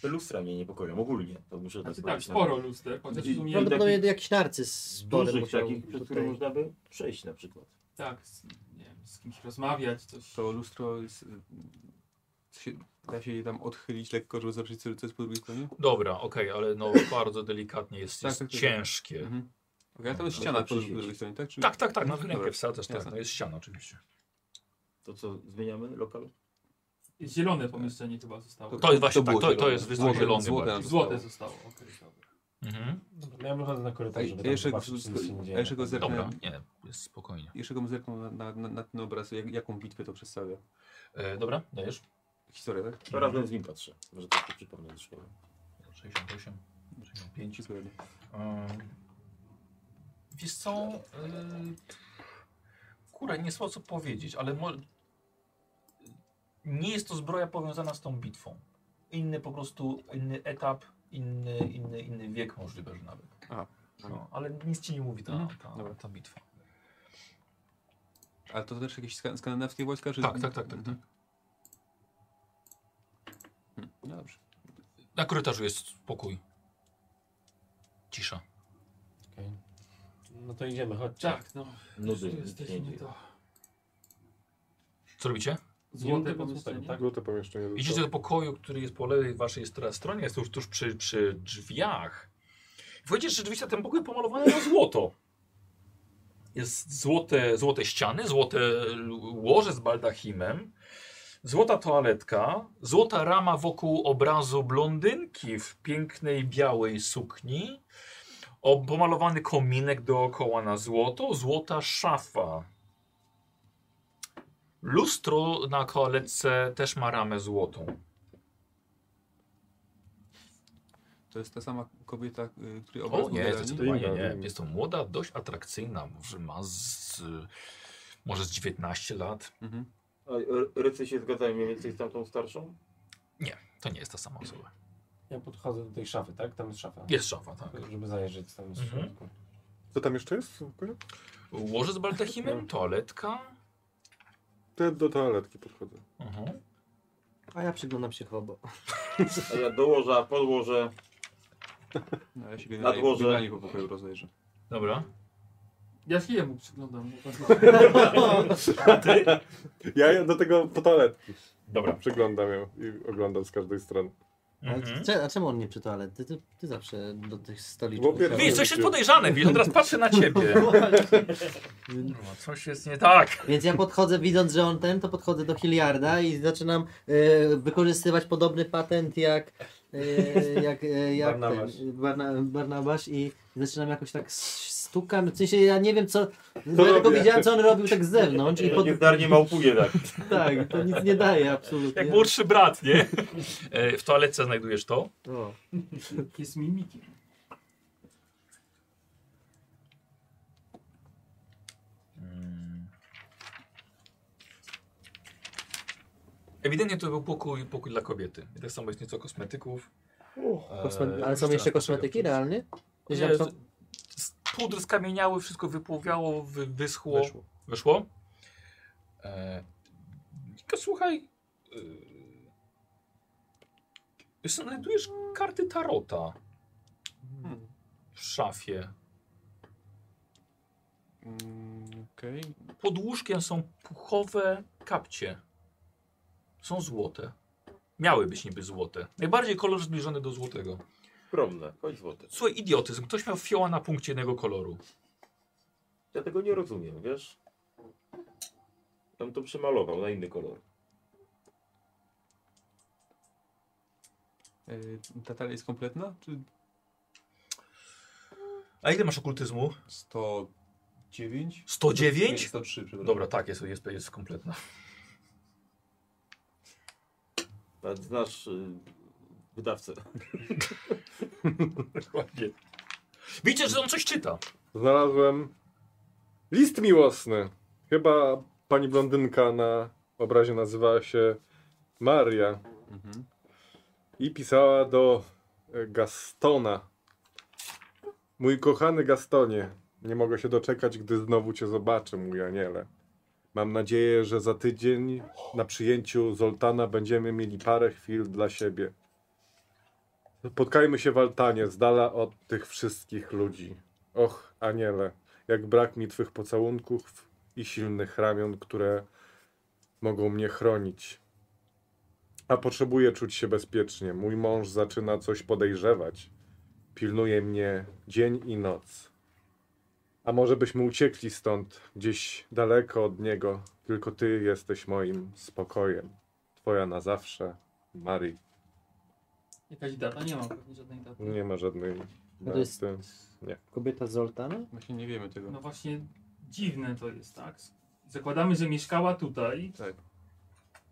G: Te lustra mnie niepokoją ogólnie, to muszę
F: Znaczy tak,
G: powiedzieć.
F: sporo luster, chociaż
G: Znaczy,
F: w sumie... tak,
G: prawda-
D: Prawdopodobnie jakiś narcyz spory
G: Dużych
D: musiał
G: takich, przez które
D: tutaj...
G: można by przejść na przykład.
F: Tak, z, nie wiem, z kimś rozmawiać, coś...
H: To lustro jest... y, Się, da się je tam odchylić lekko, żeby zobaczyć, co co jest po drugiej stronie?
A: Dobra, okej, ale no bardzo delikatnie jest,
H: Tak,
A: jest
H: tak, tak.
A: ciężkie.
H: Mhm. Okej, a tam jest
G: to
H: ściana
G: to
H: po
G: przyjdzie.
H: drugiej stronie, tak? Czy...
A: Tak, tak, tak, na rękę
H: Dobra.
A: wsadzasz, tak,
H: Jasne.
A: no jest ściana oczywiście.
G: To co, zmieniamy lokal?
F: Zielone pomieszczenie chyba zostało.
A: To jest właśnie
H: było
A: tak, to- to
H: zielone.
A: jest
H: Złote-
A: zielony
H: złote
A: bardziej.
H: zostało.
F: Złote zostało, okej, dobra.
A: Mhm.
E: Dobra, No Ja wychodzę na korytarz,
H: Tak,
E: żeby
H: ja
E: tam
H: jeszcze,
E: zobaczyć, co się dzieje.
H: ja jeszcze go zerknę,
A: Dobra, E, nie, jest spokojnie.
H: jeszcze go zerknę na, na, na, na ten obraz, jak, jaką bitwę to przedstawia.
A: E, dobra, dajesz?
H: Historia, tak?
G: To razem z nim patrzę. Może tak to przypomnę do szkoły.
A: 68, 65.
H: Dziękuję.
A: Ym, E, Wiesz co? Yy, kurę, nie sposób powiedzieć, ale mo- nie jest to zbroja powiązana z tą bitwą. Inny po prostu, inny etap, inny, inny, inny wiek możliwe, że nawet.
H: Aha,
A: no, ale nic ci nie mówi ta,
H: Mhm,
A: ta,
H: dobra.
A: ta bitwa.
H: Ale to też jakieś ska- skandynawskie wojska? Czy...
A: Tak, tak, tak, tak, tak.
H: Hmm, No dobrze.
A: Na korytarzu jest spokój. Cisza.
E: No to idziemy, chodźcie.
F: Tak, no,
G: Nudy,
F: tu
G: nic nie
F: jesteśmy
G: dzieje.
F: to...
A: Co robicie?
F: Złote
E: Złote
F: pomieszczenie, tak?
E: tak?
B: Złote pomieszczenie. zostało.
A: Idziecie do pokoju, który jest po lewej waszej stra- stronie, jest już tuż przy, przy drzwiach. I Wchodzicie, że rzeczywiście ten pokój pomalowany na złoto. Jest złote, złote ściany, złote l- łoże z baldachimem, złota toaletka, złota rama wokół obrazu blondynki w pięknej białej sukni, o, pomalowany kominek dookoła na złoto, złota szafa. Lustro na koaletce też ma ramę złotą.
H: To jest ta sama kobieta, y, której obraz
A: O
H: był
A: nie,
H: realnie?
A: zdecydowanie nie.
B: Inna.
A: Jest to młoda, dość atrakcyjna, może ma z, może z 19 lat.
H: Mhm.
G: A e, rycy się zgadzają mniej więcej z tamtą starszą?
A: To nie jest ta sama osoba.
E: Ja podchodzę do tej szafy, tak? Tam jest szafa.
A: Jest szafa, tak.
E: Żeby zajrzeć co tam jest w
A: Mhm.
E: środku.
B: Co tam jeszcze jest? w pokoju?
A: Łoże z baldachimem, toaletka.
B: To ja do toaletki podchodzę.
A: Mhm.
D: A ja przyglądam się hobo.
G: A ja dołożę, podłożę.
H: No, ja się generalnie,
G: dworze.
H: generalnie po pokoju rozejrzę.
A: Dobra.
F: Ja się jemu przyglądam. bo to-
B: Ja ja do tego po toaletki
A: Dobra.
B: przyglądam ją i oglądam z każdej strony.
D: A,
A: Mhm.
D: cze- a czemu on nie przy toalety? Ty, ty zawsze do tych stoliczków.
B: Bo pierwszy-
A: Wiesz, coś jest podejrzane, wiesz, on teraz patrzy na ciebie. Kurwa, Coś jest nie tak.
D: Więc ja podchodzę, widząc, że on ten, to podchodzę do Hilliarda i zaczynam e, wykorzystywać podobny patent jak, e, jak, e, jak
E: Barnabasz.
D: ten, Barna, Barnabasz i zaczynam jakoś tak s- stukam. W sensie ja nie wiem co,
B: Co
D: bo ja tylko
B: robię?
D: widziałem co on robił tak z zewnątrz i
G: Czyli
D: pod,
G: pod... Niezdarnie małpuje tak.
D: tak, to nic nie daje absolutnie.
A: Jak młodszy brat, nie? E, W toaletce znajdujesz to.
D: O,
F: Jest mimikiem.
A: Mm. Ewidentnie to był pokój, pokój dla kobiety. I tak samo jest nieco kosmetyków.
D: kosme-
A: Eee,
D: ale są
A: teraz
D: jeszcze
A: tak
D: kosmetyki
A: jak-
D: realnie?
A: Nie,
D: Wiedziałem,
A: to- s- Pudr skamieniały, wszystko wypłowiało, wy, wyschło. Wyszło.
H: Weszło.
A: Eee, tylko słuchaj. Eee, znajdujesz karty Tarota. w szafie.
H: Mm, Okej.
A: Pod łóżkiem są puchowe kapcie. Są złote. Miały być niby złote. Najbardziej kolor zbliżony do złotego.
I: Skromne, choć złote.
A: Słuchaj, idiotyzm. Ktoś miał fioła na punkcie jednego koloru.
I: Ja tego nie rozumiem, wiesz? Tam to przemalował na inny kolor.
H: Y, Ta talia jest kompletna? Czy
A: A ile masz okultyzmu?
H: 109?
A: 109?
H: Nie, 103, przepraszam.
A: Dobra, tak, jest, jest, jest kompletna.
I: A znasz y, wydawcę.
A: Dokładnie. Widzicie, że on coś czyta.
B: Znalazłem list miłosny. Chyba pani blondynka na obrazie nazywała się Maria
H: Mhm.
B: i pisała do e, Gastona. Mój kochany Gastonie, nie mogę się doczekać, gdy znowu cię zobaczę, mój aniele. Mam nadzieję, że za tydzień na przyjęciu Zoltana będziemy mieli parę chwil dla siebie. Spotkajmy się w altanie, z dala od tych wszystkich ludzi. Och, aniele, jak brak mi twych pocałunków i silnych ramion, które mogą mnie chronić. A potrzebuję czuć się bezpiecznie. Mój mąż zaczyna coś podejrzewać. Pilnuje mnie dzień i noc. A może byśmy uciekli stąd, gdzieś daleko od niego. Tylko ty jesteś moim spokojem. Twoja na zawsze, Mary.
F: Jakaś data? Nie ma pewnie żadnej daty.
B: Nie ma żadnej
D: No to jest-
B: daty.
D: Kobieta z Zoltana?
H: Właśnie nie wiemy tego.
F: No właśnie dziwne to jest, tak? Zakładamy, że mieszkała tutaj.
H: Tak.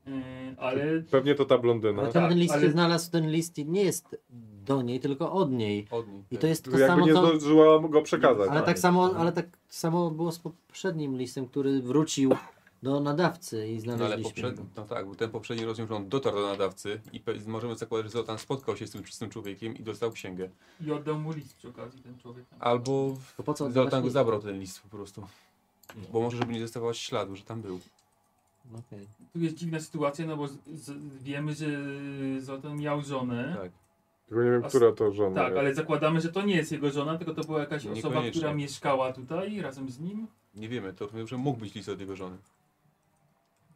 F: Yy, ale
B: Pewnie to ta blondyna.
D: Ale
F: No
D: ten,
F: tak,
D: ten list
F: ale-
D: znalazł, ten list i nie jest do niej, tylko od niej.
H: Od niej.
D: I to jest to
B: No Jakby
D: samo,
B: nie
D: co...
B: zdążyła go przekazać.
D: Ale tak, samo, ale tak samo było z poprzednim listem, który wrócił do nadawcy i
H: No ale
D: znaleźliśmy.
H: poprzed... no tak, bo ten poprzedni rozumiem, że on dotarł do nadawcy i pe... możemy zakładać, że Zoltan spotkał się z tym, z tym człowiekiem i dostał księgę.
F: i oddał mu list przy okazji ten człowiek. tam.
H: Albo
D: To po co oddawać
H: Zoltan go
D: list?
H: zabrał ten list po prostu.
A: No.
H: Bo może, żeby nie zostawiać śladu, że tam był.
D: Okej.
F: Tu jest dziwna sytuacja, no bo z, z, wiemy, że Zoltan miał żonę.
H: Tak.
B: Tylko nie wiem,
F: A s-
B: która to żona.
F: Tak,
B: jest.
F: ale zakładamy, że to nie jest jego żona, tylko to była jakaś osoba,
H: Niekoniecznie.
F: która mieszkała tutaj razem z nim.
H: Nie wiemy, to rozumiem, że mógł być list od jego żony.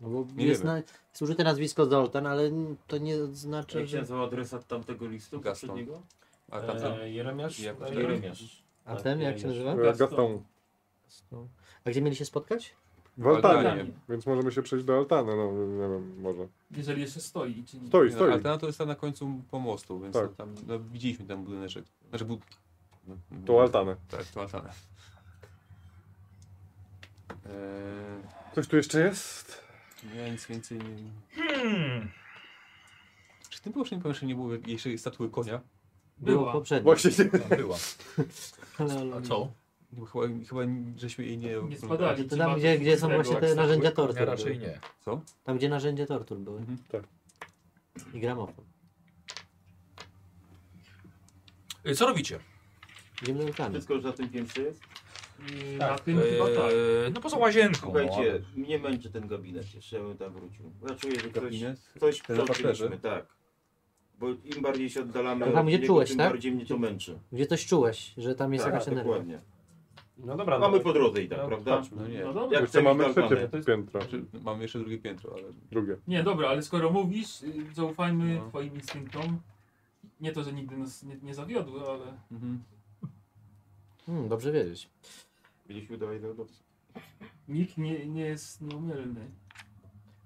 D: No bo
H: Nie
D: jest
H: wiemy.
D: na... jest użyte nazwisko Zoltan, ale to nie
G: Czy
D: znaczy,
G: jak się
D: że...
G: nazywał adresat tamtego listu
H: Gaston.
G: poprzedniego?
H: A
E: E,
H: tam tam-
G: Eee, Jeremiasz?
H: Jak-
G: Tak, Jeremiasz.
D: A ten jak się nazywa?
B: E, Gaston.
D: A gdzie mieli się spotkać?
B: W altanie.
H: Altanie.
F: Pytanie,
B: Więc możemy się przejść do altany, no nie wiem, może.
F: Jeżeli jeszcze stoi, czy nie.
B: Stoi,
H: No,
B: stoi.
H: Ale ten to jest tam na końcu pomostu, więc
B: Tak.
H: tam no, widzieliśmy ten budyneczek. Znaczy bud... no,
B: To altanę.
H: Tak, to altanę. Eee,
B: Coś tu jeszcze jest?
H: no ja nic więcej nie wiem.
A: Hmm.
H: Czy w tym poprzednim pomieszczeniu nie było jeszcze statuły konia?
D: Było
F: Była.
D: poprzednio.
B: Właśnie nie.
A: Tam była.
D: Ale- ale-
A: A co?
H: Bo Chyba, chyba żeśmy jej nie...
F: Nie spadali.
D: To tam, gdzie, gdzie są właśnie te narzędzia
A: Ja
D: tortur.
A: raczej
D: były.
A: nie.
H: Co?
D: Tam, gdzie narzędzia tortur były.
H: Mhm.
B: Tak.
D: I gramofon.
A: Y, Co robicie?
D: Idziemy do Zoltana.
G: Wszystko już na tym piętrze jest?
F: Yy,
G: Tak,
F: Na tym chyba tak.
A: Eee, No poza łazienką. no, ale-
G: Słuchajcie, mnie męczy ten gabinet, jeszcze ja bym tam wrócił. Ja czuję, że ktoś,
H: Gabinet?
G: coś
H: Ten na
G: przeoczyliśmy,
H: parterze?
G: tak. Bo im bardziej się oddalamy
D: To tam,
G: od
D: gdzie
G: niego,
D: czułeś,
G: tym
D: tak?
G: bardziej mnie to męczy.
D: Gdzie coś czułeś, że tam jest
G: Tak,
D: jakaś energia.
G: dokładnie.
C: No dobra,
G: Mamy
C: no,
G: po drodze i tak,
C: no,
G: prawda?
C: chodźmy.
H: No nie.
F: No dobra.
G: Jak
B: Jeszcze
G: chcemy
B: mamy
G: iść do
B: trzecie
G: Albany.
C: to jest-
B: piętro.
H: Znaczy, mamy jeszcze drugie piętro, ale...
B: Drugie.
F: Nie, dobra, ale skoro mówisz, y, zaufajmy
H: No.
F: twoim instynktom. Nie to, że nigdy nas nie, nie zawiodły, ale
H: Mhm.
D: Hmm, dobrze wiedzieć.
G: Mieliśmy do Albany.
F: nikt nie, nie jest nieomylny.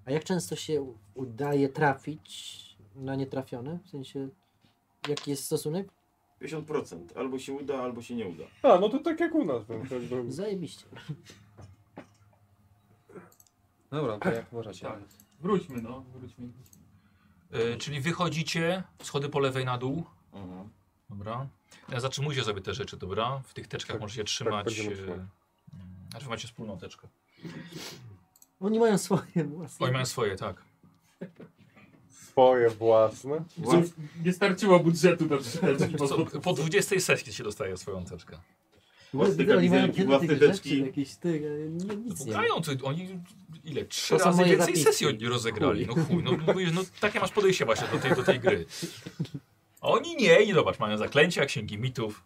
D: A jak często się u- udaje trafić na nietrafione? W sensie, jaki jest stosunek?
G: 50%. Albo się uda, albo się nie uda.
B: A, no to tak jak u nas. Więc jakby...
D: Zajebiście.
H: Dobra, to jak uważacie?
F: Tak. Wróćmy, no, wróćmy.
A: Y, Czyli wychodzicie, schody po lewej na dół.
G: Mhm.
A: Dobra. E, Zatrzymujcie sobie te rzeczy, dobra? W tych teczkach
B: Tak,
A: możecie trzymać.
B: będziemy
A: e,
B: trzymać.
A: mm, Znaczy macie wspólną teczkę.
D: Oni mają swoje własne.
A: Oni mają swoje, tak.
B: Swoje własne.
F: Znów Nie starczyło budżetu na przyteczki.
A: Wiesz Co, po 20 sesji się dostaje swoją teczkę.
G: Własne
D: Oni mają
G: kamizelki,
D: wiele
G: własne
D: tych
G: teczki.
D: rzeczy, jakieś ty, nie, nic nie. ma.
A: Grają, to oni ile? Trzy
D: To są
A: razy
D: moje
A: więcej
D: zapiski.
A: sesji oni rozegrali. No chuj, no, mówisz, no takie masz podejście właśnie do tej, do tej gry. A oni nie, i zobacz, mają zaklęcia, księgi mitów.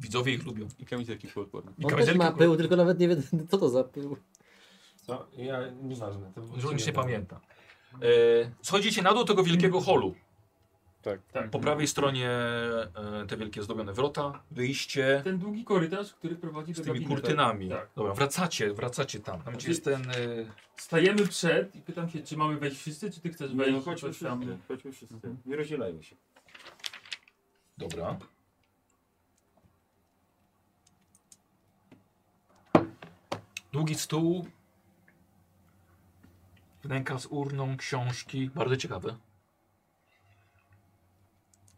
A: Widzowie ich lubią.
H: I kamizelki płodporne.
A: I
D: On też
A: kamizelki
D: ma
A: ku-
D: pył, tylko nawet nie wiem, co to za pył.
E: Co? Ja, nieważne. To
A: że on już nie pamięta. E, schodzicie na dół tego wielkiego holu.
B: Tak.
A: Po
F: Mhm.
A: prawej stronie e, te wielkie zdobione wrota, wyjście
F: no, Ten długi korytarz, który prowadzi do
A: z tymi
F: gabinetu.
A: kurtynami.
F: Tak.
A: Dobra, wracacie, wracacie tam. Tam gdzie jest ten... E,
F: Stajemy przed i pytam się, czy mamy wejść wszyscy, czy ty chcesz wejść?
I: No, chodźmy
F: Coś tam.
I: wszyscy, chodźmy wszyscy. Mhm. Nie rozdzielajmy się.
A: Dobra. Długi stół. Wnęka z urną, książki. Bardzo ciekawe.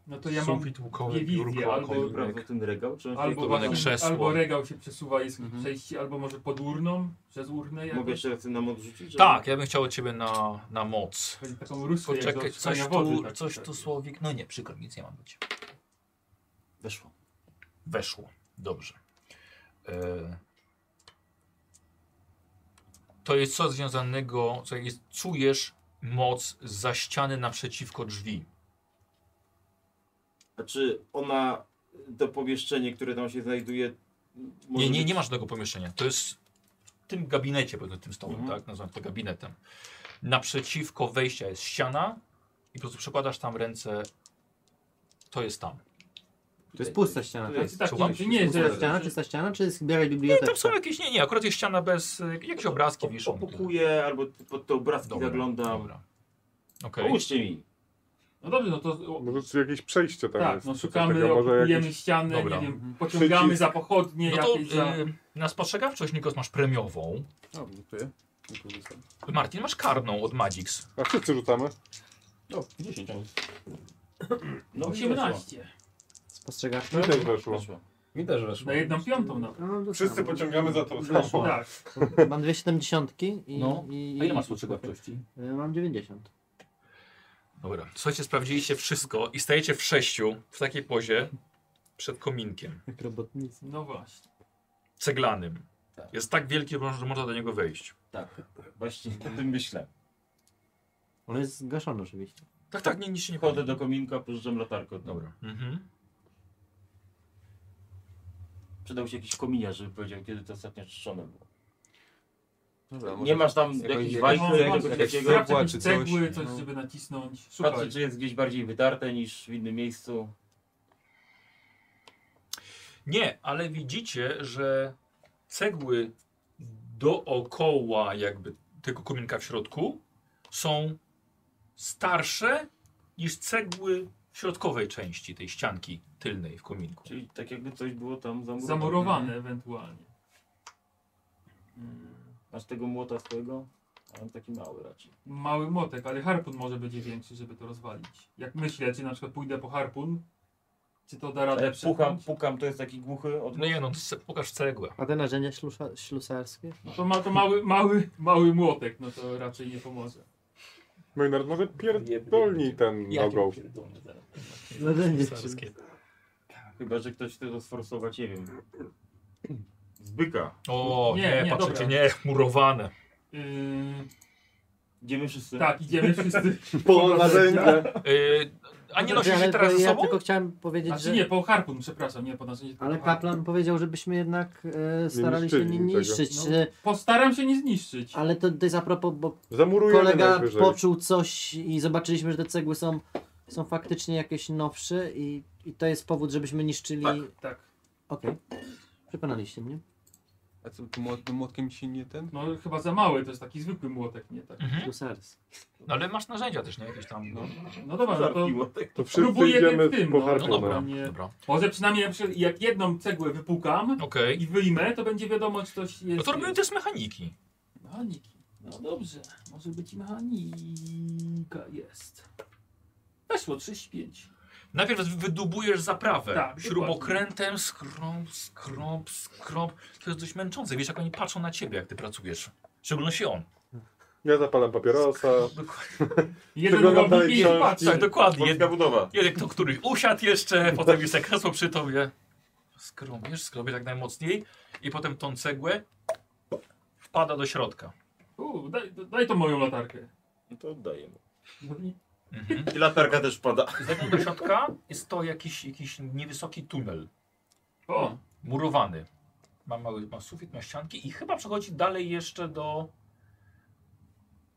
F: No to ja mam
A: Sufit łukowy,
F: dwie wizje,
A: biurko,
F: albo-
A: kombinek.
I: Prawda, ten regał? Czy on się
F: albo,
I: podoba?
A: Skomplikowane
F: właśnie,
A: krzesło.
F: albo regał się przesuwa, jest przejście, albo może pod urną, przez urnę jakoś.
I: Mogę jeszcze raz nam odrzucić?
A: Tak, ja bym chciał od ciebie na, na moc.
F: Chodzi taką ruskę jak do
A: Poczekaj,
F: odszukania
A: coś
F: wody.
A: tu,
F: tak,
A: coś
F: tak.
A: tu słowik. No nie, przykro, mi, nic nie mam być.
I: Weszło.
A: Weszło. Dobrze. E... To jest coś związanego, co jest, czujesz moc za ściany naprzeciwko drzwi.
I: A czy ona, to pomieszczenie, które tam się znajduje... może
A: Nie, nie,
I: być-
A: nie masz tego pomieszczenia. To jest w tym gabinecie, powiedzmy, tym stołem,
I: Mhm.
A: tak? Nazywam to gabinetem. Naprzeciwko wejścia jest ściana i po prostu przekładasz tam ręce. To jest tam.
K: To jest pusta ściana,
I: Tutaj
K: tak?
I: jest-
F: Tak,
A: Słucham?
F: nie, nie,
K: Pusta
F: że,
K: ściana, czysta ściana, czy zbierać
A: Nie, No tam są
K: biblioteczkę?
A: jakieś, nie, nie, akurat jest ściana bez, y, jakieś obrazki wiszą.
I: Opukuje, albo pod te obrazki
A: Dobra,
I: zaglądam.
A: Dobra. Okej.
I: Pomóżcie mi.
F: no dobrze, no to o,
B: Może tu jakieś przejście tam
F: tak,
B: jest.
F: no
B: czy coś
F: szukamy,
B: takiego, może
F: obkujemy
B: jakieś...
F: ścianę,
A: Dobra.
F: nie wiem, pociągamy
B: Przycisk.
F: za pochodnie
A: No to
F: jakieś za...
A: y, na spostrzegawczość, Nikos, masz premiową.
H: O, dziękuję. Dziękuję za-
A: Martin, masz karną od Magix.
B: A wszyscy rzucamy.
H: O, 10.
I: No,
F: 18.
D: Spostrzegasz?
B: Mi też weszło.
I: Weszło.
C: Mi też weszło.
F: Na jedną piątą nawet.
D: No,
K: Ja mam to
B: Wszyscy
K: samo.
B: pociągamy za to samo.
F: Weszło. Tak.
D: Mam dwie siedemdziesiątki i...
A: No.
D: i,
A: A ile masz
D: spostrzegawczości? Mam 90.
A: Dobra. Słuchajcie, sprawdziliście wszystko i stajecie w sześciu w takiej pozie przed kominkiem.
D: Jak robotnicy.
F: No właśnie.
A: ceglanym.
I: Tak.
A: Jest tak wielki, że można do niego wejść.
I: Tak, właśnie o tym myślę.
K: On jest zgaszony oczywiście.
A: Tak, tak, nie, nic się nie
I: Chodzę
A: pali.
I: do kominka, pożyczam latarkę. od-
A: Dobra. Mhm.
I: Przydał się jakiś kominiarz, żeby powiedział, kiedy to ostatnio czczone było.
H: Dobra,
I: Nie masz tam
H: No, jakoś-
I: jakiejś
H: jakoś-
I: wajki,
F: No,
I: jakiegoś
H: jakaś-
I: takiego?
H: jakaś-
F: Sprawdzę
H: Cegła
F: jakieś cegły,
H: czy coś.
F: coś,
H: No.
F: żeby nacisnąć. Szukaj.
I: Patrzę, czy jest gdzieś bardziej wytarte niż w innym miejscu.
A: Nie, ale widzicie, że cegły dookoła jakby tego kominka w środku są starsze niż cegły w środkowej części tej ścianki tylnej w kominku.
I: Czyli tak jakby coś było tam zamurowane.
F: Zamurowane ewentualnie.
I: Masz tego młota swojego? A on taki mały raczej.
F: Mały młotek, ale harpun może będzie większy, żeby to rozwalić. Jak myślę, czy na przykład pójdę po harpun, czy to da
I: A
F: radę
I: jak Tak, pukam,
F: przepchnąć?
I: pukam, to jest taki głuchy od...
A: No nie no, ce- pokaż cegłę.
D: A te narzędzia ślusa- ślusarskie?
F: No to ma to mały, mały, mały młotek, no to raczej nie pomoże.
B: Maynard, może pierdolnij ten nogą.
D: Narzędzie
I: Chyba, że ktoś chce to sforsować, nie wiem. Zbyka.
A: O, nie,
F: Nie, nie,
A: patrzycie,
F: dobra.
A: nie, murowane.
F: Yy,
I: Idziemy wszyscy.
F: tak, idziemy wszyscy.
B: Po narzędzia.
A: Yy, a nie nosicie teraz
D: ja
A: ze sobą?
D: tylko chciałem powiedzieć,
F: Znaczy
D: że...
F: nie, po harpun, przepraszam, nie po narzędzie. tylko
D: Ale
F: po harpun.
D: kaplan powiedział, żebyśmy jednak e, starali się
B: niszczyli
D: nie
B: tego.
D: niszczyć.
F: No.
D: że-
F: Postaram się nie zniszczyć.
D: Ale to, to jest a propos, bo
B: Zamurujemy
D: kolega
B: No, najwyżej.
D: poczuł coś i zobaczyliśmy, że te cegły są, są faktycznie jakieś nowsze i, i to jest powód, żebyśmy niszczyli... Okej.
F: Tak.
D: Przekonaliście mnie.
H: A co, tym młot- tym młotkiem ci nie ten?
F: No chyba za mały, to jest taki zwykły młotek, nie tak.
A: Mhm.
D: Ślusarski.
A: No ale masz narzędzia też, nie? Jakieś tam... No,
F: No dobra, no to
I: Zarpiło.
B: To wszyscy
F: Próbuję
B: idziemy
F: tym,
B: po
F: no.
A: no
B: harpunach.
A: dobra,
F: Nie.
A: dobra.
F: może przynajmniej na przykład jak jedną cegłę wypukam
A: Okej.
F: i wyjmę, to będzie wiadomo, czy coś jest.
A: No to robimy test mechaniki.
F: Mechaniki. No dobrze, może być i mechanika jest. Weszło 35.
A: Najpierw wydubujesz zaprawę.
F: Tak,
A: Śrubokrętem, skrąb, skrąb, skrąb. To jest dość męczące. Wiesz, jak oni patrzą na ciebie, jak ty pracujesz. W szczególności on.
B: Ja zapalam papierosa.
A: Dokładnie.
F: Jeden
B: Wygląda
F: robotnik
B: na
F: i
B: książki.
F: patrz.
A: Tak, dokładnie. Jed,
I: Polska budowa.
A: jeden kto, który usiadł jeszcze, potem jeszcze kresło przy tobie. Skrąbiesz, skrąbiesz jak najmocniej i potem tą cegłę wpada do środka.
F: U, daj, daj tą moją latarkę.
I: No to oddaję mu.
F: No i-
A: Mhm.
I: I latarka też pada.
A: Zajmę do środka jest to jakiś, jakiś niewysoki tunel.
F: O,
A: murowany. Ma mały ma sufit, ma ścianki i chyba przechodzi dalej jeszcze do...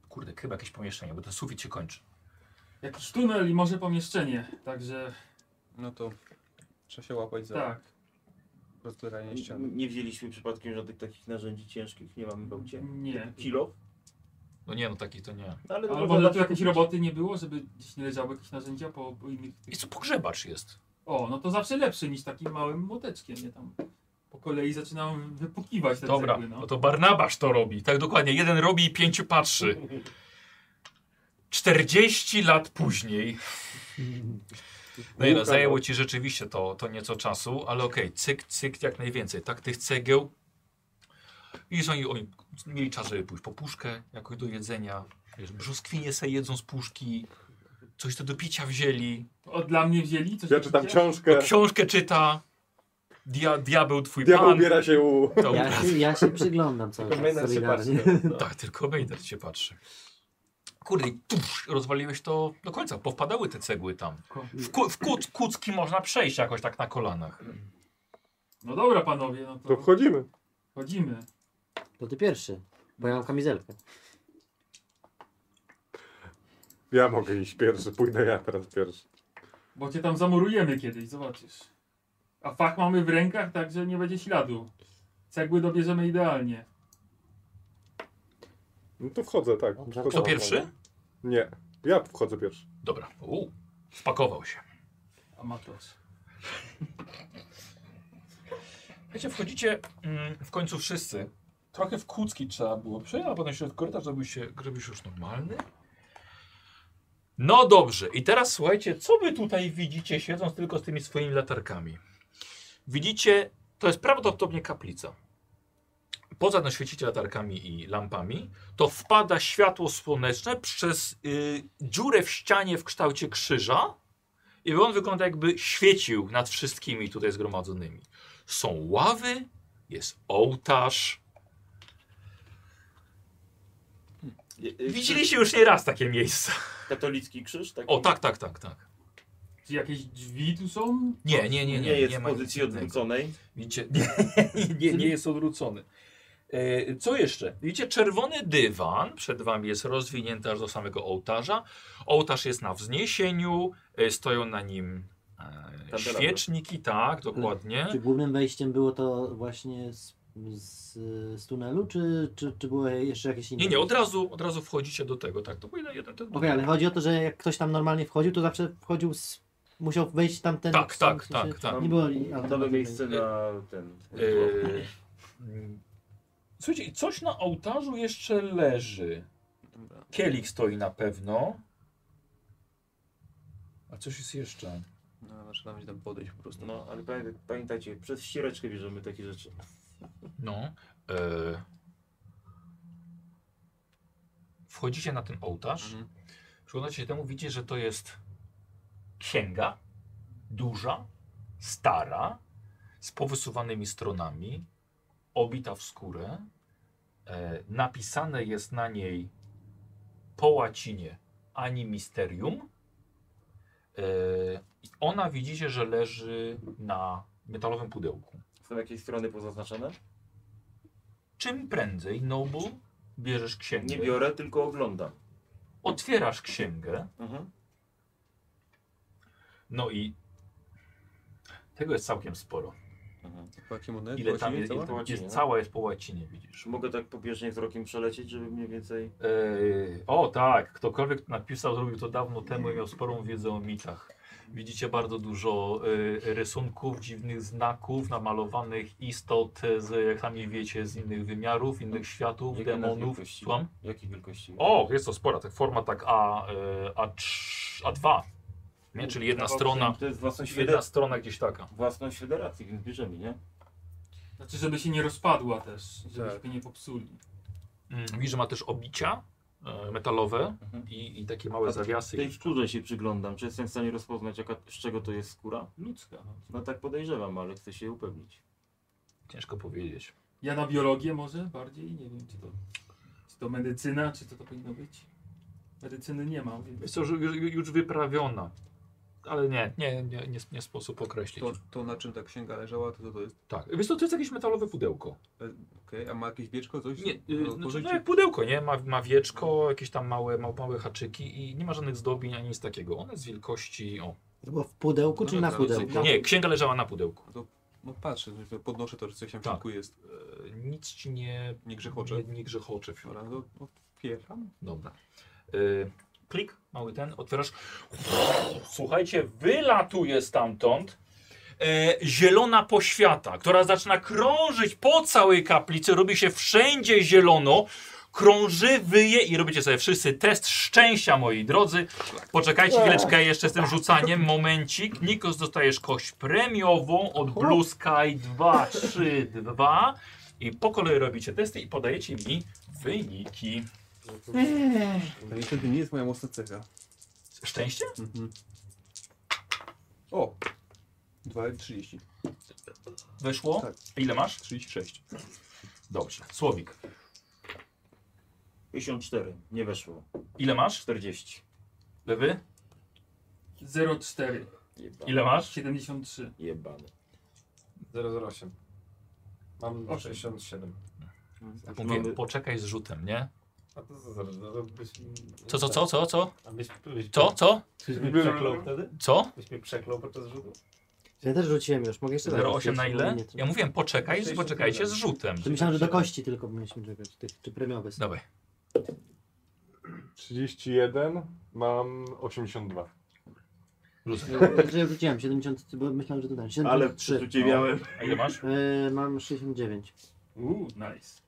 A: Kurde, chyba jakieś pomieszczenie, bo ten sufit się kończy.
F: jakiś tunel i może pomieszczenie, także
H: No to trzeba się łapać za
F: tak.
H: rozbieranie ściany.
I: Nie wzięliśmy przypadkiem żadnych takich narzędzi ciężkich, nie mamy w aucie.
A: Mhm.
F: Nie.
I: Kilo?
A: No nie, no taki to nie.
I: Ale tak to
F: Albo
I: można
F: dla
I: się
F: tu jakiejś
I: kupić.
F: roboty nie było, żeby gdzieś nie leżały jakieś narzędzia po, po innych tych...
A: I co pogrzebacz jest?
F: O, no to zawsze lepszy niż takim małym młoteczkiem, nie tam. Po kolei zaczynam wypukiwać te
A: Dobra,
F: cegły,
A: no
F: no.
A: to Barnabasz to robi. Tak dokładnie, jeden robi i pięciu patrzy. 40 lat później. No i no, zajęło ci rzeczywiście to, to nieco czasu, ale okej, cyk, cyk, jak najwięcej, tak, tych cegieł. I są i oni mieli czas, żeby pójść po puszkę jakoś do jedzenia. Wiesz, brzoskwinie se jedzą z puszki, coś to do picia wzięli,
F: O, dla mnie wzięli coś
B: Ja czytam
F: takiego?
B: książkę.
A: książkę czyta, dia, diabeł twój
B: Diabeł
A: pan.
B: ubiera się u...
A: To,
D: Ja się, ja się przyglądam cały
K: Tylko Maynard
D: czas
K: się
D: solidarnie.
K: patrzy, no.
A: Tak, tylko Maynard się patrzy. Kurde, i tuż, rozwaliłeś to do końca. Powpadały te cegły tam. W, ku, w kuc, kucki można przejść jakoś tak na kolanach.
F: No dobra panowie, no
B: To
F: to
B: wchodzimy.
F: chodzimy.
D: To ty pierwszy, bo ja mam kamizelkę.
B: Ja mogę iść pierwszy, pójdę ja teraz pierwszy.
F: Bo cię tam zamurujemy kiedyś, zobaczysz. A fach mamy w rękach, także nie będzie śladu. Cegły dobierzemy idealnie.
B: No to wchodzę, tak. To
A: Kto
B: samo.
A: pierwszy?
B: Nie, ja wchodzę pierwszy.
A: Dobra. U, wpakował się.
F: Amatos.
A: Wiecie, wchodzicie mm, w końcu wszyscy. Trochę w kucki trzeba było przejść, a potem się w korytarz zrobił się, zrobił się już normalny. No dobrze, i teraz słuchajcie, co wy tutaj widzicie, siedząc tylko z tymi swoimi latarkami? Widzicie, to jest prawdopodobnie kaplica. Poza tym świecicie latarkami i lampami, to wpada światło słoneczne przez y, dziurę w ścianie w kształcie krzyża i on wygląda jakby świecił nad wszystkimi tutaj zgromadzonymi są ławy, jest ołtarz.
I: Y, y,
A: Widzieliście już nie raz takie miejsca.
I: Katolicki krzyż? Taki?
A: O, tak, tak, tak, tak.
F: Czy jakieś drzwi tu są?
A: Nie, nie, nie,
I: Nie,
A: nie.
I: jest
A: nie
I: w
A: ma nic
I: pozycji
A: innego.
I: odwróconej.
A: Widzicie, nie, nie, nie jest odwrócony. E, Co jeszcze? Widzicie, czerwony dywan przed wami jest rozwinięty aż do samego ołtarza. Ołtarz jest na wzniesieniu, e, stoją na nim e,
I: Kandelabry.
A: świeczniki, tak, dokładnie.
D: Czy głównym wejściem było to właśnie z, z, z tunelu, czy, czy, czy było jeszcze jakieś inne?
A: Nie, nie, od razu, od razu wchodzicie do tego, tak. To był jeden, jeden,
D: Okej, ale chodzi o to, że jak ktoś tam normalnie wchodził, to zawsze wchodził z... Musiał wejść tam ten...
A: Tak,
D: w
A: tak,
D: sensie-
A: tak, tak.
D: Nie było...
I: Nowe miejsce na ten.
A: Eee, Słuchajcie, i coś na ołtarzu jeszcze leży. Kielich stoi na pewno. A coś jest jeszcze.
H: No, trzeba się tam podejść po prostu.
I: No, ale pamię- pamiętajcie, przez ściereczkę bierzemy takie rzeczy.
A: No. Eee. Wchodzicie na ten ołtarz.
H: Mhm.
A: Przyglądacie się temu, widzicie, że to jest księga. Duża, stara, z powysuwanymi stronami, obita w skórę. E, napisane jest na niej po łacinie ani misterium. E, i ona widzicie, że leży na metalowym pudełku.
I: Są jakieś strony pozaznaczone?
A: Czym prędzej, Nobu, bierzesz księgę.
I: Nie biorę, tylko oglądam.
A: Otwierasz księgę.
I: Mhm.
A: No i tego jest całkiem sporo.
H: Po jakie monety?
A: Ile
H: Po
A: tam
H: jakie
A: jest? Ile
H: cała?
A: tam
I: łacinie,
A: jest
I: no?
A: cała jest po łacinie, widzisz.
I: Czy mogę tak pobieżnie wzrokiem przelecieć, żeby mniej więcej...
A: Eee, o tak, ktokolwiek napisał, zrobił to dawno temu i miał sporą wiedzę o mitach. Widzicie bardzo dużo e, rysunków, dziwnych znaków, namalowanych istot, z, jak sami wiecie, z innych wymiarów, innych światów,
I: No, Jakie nazwy
A: demonów.
I: kości?
A: Słucham?
I: Jakiej wielkości?
A: O, jest to spora, tak forma tak A, e, A3, A2,
I: Mm,
A: nie? czyli jedna
I: Owszem,
A: strona,
I: No, To jest własność,
A: jedna
I: federa
A: strona gdzieś taka.
I: własność federacji, więc bierzemy, nie?
F: Znaczy, żeby się nie rozpadła też, żebyśmy nie popsuli.
A: Mm, Widzisz, że ma też obicia e, metalowe
I: Mhm.
A: i, i takie małe
I: A to-
A: zawiasy.
I: Tej skórze się przyglądam. Czy jestem w stanie rozpoznać, jaka, z czego to jest skóra?
F: Ludzka. No.
I: No tak podejrzewam, ale chcę się upewnić.
A: Ciężko powiedzieć.
F: Ja na biologię może bardziej, nie wiem, czy to, czy to medycyna, czy to to powinno być. Medycyny nie mam, więc
A: Jest to już, już, już wyprawiona. ale nie, nie, nie, nie, nie sposób określić.
H: To, to na czym ta księga leżała, to, to, to jest.
A: Tak. Wiesz co, to jest jakieś metalowe pudełko.
H: Okej, a ma jakieś wieczko, coś?
A: Nie,
H: Do
A: yy, znaczy,
H: pożycia?
A: no jak pudełko, nie? Ma, ma wieczko, jakieś tam małe, ma, małe haczyki i nie ma żadnych zdobień ani nic takiego. One z wielkości... O,
D: To było w pudełku czy
H: No
D: na
H: tak, ale co-
D: pudełku?
A: nie, księga leżała na pudełku.
H: No patrzę, że podnoszę to, że coś tam w
A: Tak.
H: środku jest.
A: E, Nic ci nie...
H: Nie grzechocze.
A: Nie, nie grzechocze w środku.
H: Dobra, no, otwieram.
A: Dobra. Y, Klik, mały ten, otwierasz. Słuchajcie, wylatuje stamtąd e, zielona poświata, która zaczyna krążyć po całej kaplicy, robi się wszędzie zielono, krąży, wyje i robicie sobie wszyscy test szczęścia, moi drodzy. Poczekajcie chwileczkę jeszcze z tym rzucaniem, momencik. Nikos, dostajesz kość premiową od Blue Sky 2, 3, 2 i po kolei robicie testy i podajecie mi wyniki.
H: To niestety nie jest moja mocna cecha.
A: Szczęście?
H: Mhm. O! 2,30.
A: Weszło?
H: Tak.
A: Ile masz?
H: 36.
A: Dobrze. Słowik,
I: 54, nie weszło.
A: ile masz?
I: 40.
A: Lewy?
F: 0,4.
I: Jebane.
A: Ile masz?
F: 73.
I: Jebane.
C: 008. Mam 67.
A: Mówię,
I: Mamy-
A: poczekaj z rzutem, nie?
C: A to co zaraz? no to byś-
A: Co, co, co, co, co?
C: A byś, byś,
A: Co, co,
C: Byś mnie przeklął wtedy?
A: co?
C: Byś mnie przeklął podczas rzutu?
D: Ja też rzuciłem już, mogę jeszcze raz.
A: 0,8 na
D: rzucić,
A: ile?
D: bo nie-
A: Ja mówiłem poczekaj,
C: 67.
A: poczekajcie z rzutem.
D: To myślałem, że do kości tylko mieliśmy czekać, tych, czy premiowe. są.
A: Dawaj.
B: 31, mam 82.
A: Tak.
D: Także rzuciłem 70, bo myślałem, że to ten, 73.
I: przeczucie miałem.
H: No.
A: A ile masz?
D: E, mam 69.
F: Uuu, nice.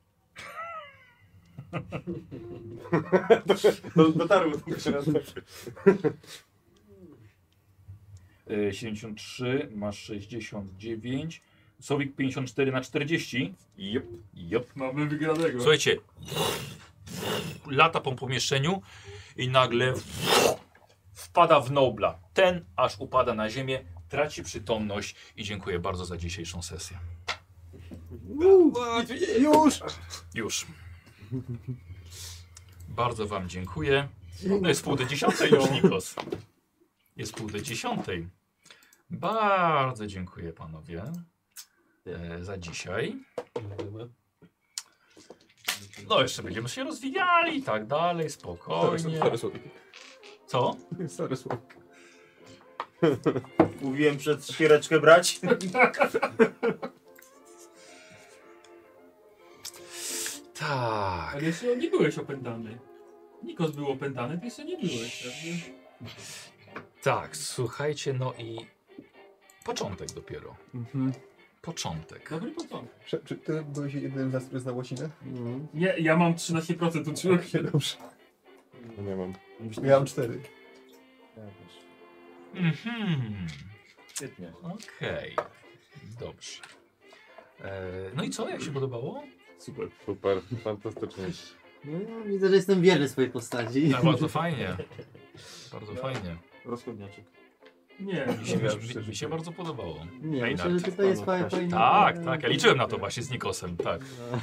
B: Do- Dotarło to teraz. tak.
A: Y, 73, masz 69. Słowik 54 na 40. Jop, jop.
F: Mamy wygranego.
A: Słuchajcie, lata po pomieszczeniu i nagle wpada w Nobla. Ten aż upada na ziemię, traci przytomność i dziękuję bardzo za dzisiejszą sesję.
H: Już!
A: Już. Bardzo wam dziękuję. No jest pół do dziesiątej już, Nikos. Jest pół do dziesiątej. Bardzo dziękuję panowie e, za dzisiaj. No jeszcze będziemy się rozwijali i tak dalej, spokojnie.
H: Stary słodki.
A: Co?
H: Stary słodki.
I: Mówiłem przed świereczkę brać.
A: Tak.
F: Ale jeszcze nie byłeś opętany. Nikos był opętany, ty jeszcze nie byłeś. tak?
A: Tak, słuchajcie, no i początek dopiero.
H: Mhm.
A: Początek.
F: Dobry początek.
H: Czy, czy ty byłeś jednym z nas, który znał łacinę?
D: Mhm.
F: Nie, ja mam 13% uczyłem się.
H: Dobrze.
B: No Nie mam.
H: Miałem 4.
A: Mhm.
I: Świetnie.
A: Okej. Dobrze. E, no i co, jak się podobało?
H: Super.
B: Super, fantastycznie.
D: No ja widzę, że jestem wierny swojej postaci.
A: Tak, bardzo fajnie. Bardzo
D: No.
A: fajnie.
I: Rozchodniaczek.
F: Nie, no.
A: Mi się, mi, mi
D: tak.
A: się bardzo podobało.
D: Nie,
A: Ej,
D: myślę, że
A: tak.
D: tutaj jest fajnie. fajnie-
A: Tak, tak. Ja liczyłem na to właśnie z Nikosem, tak.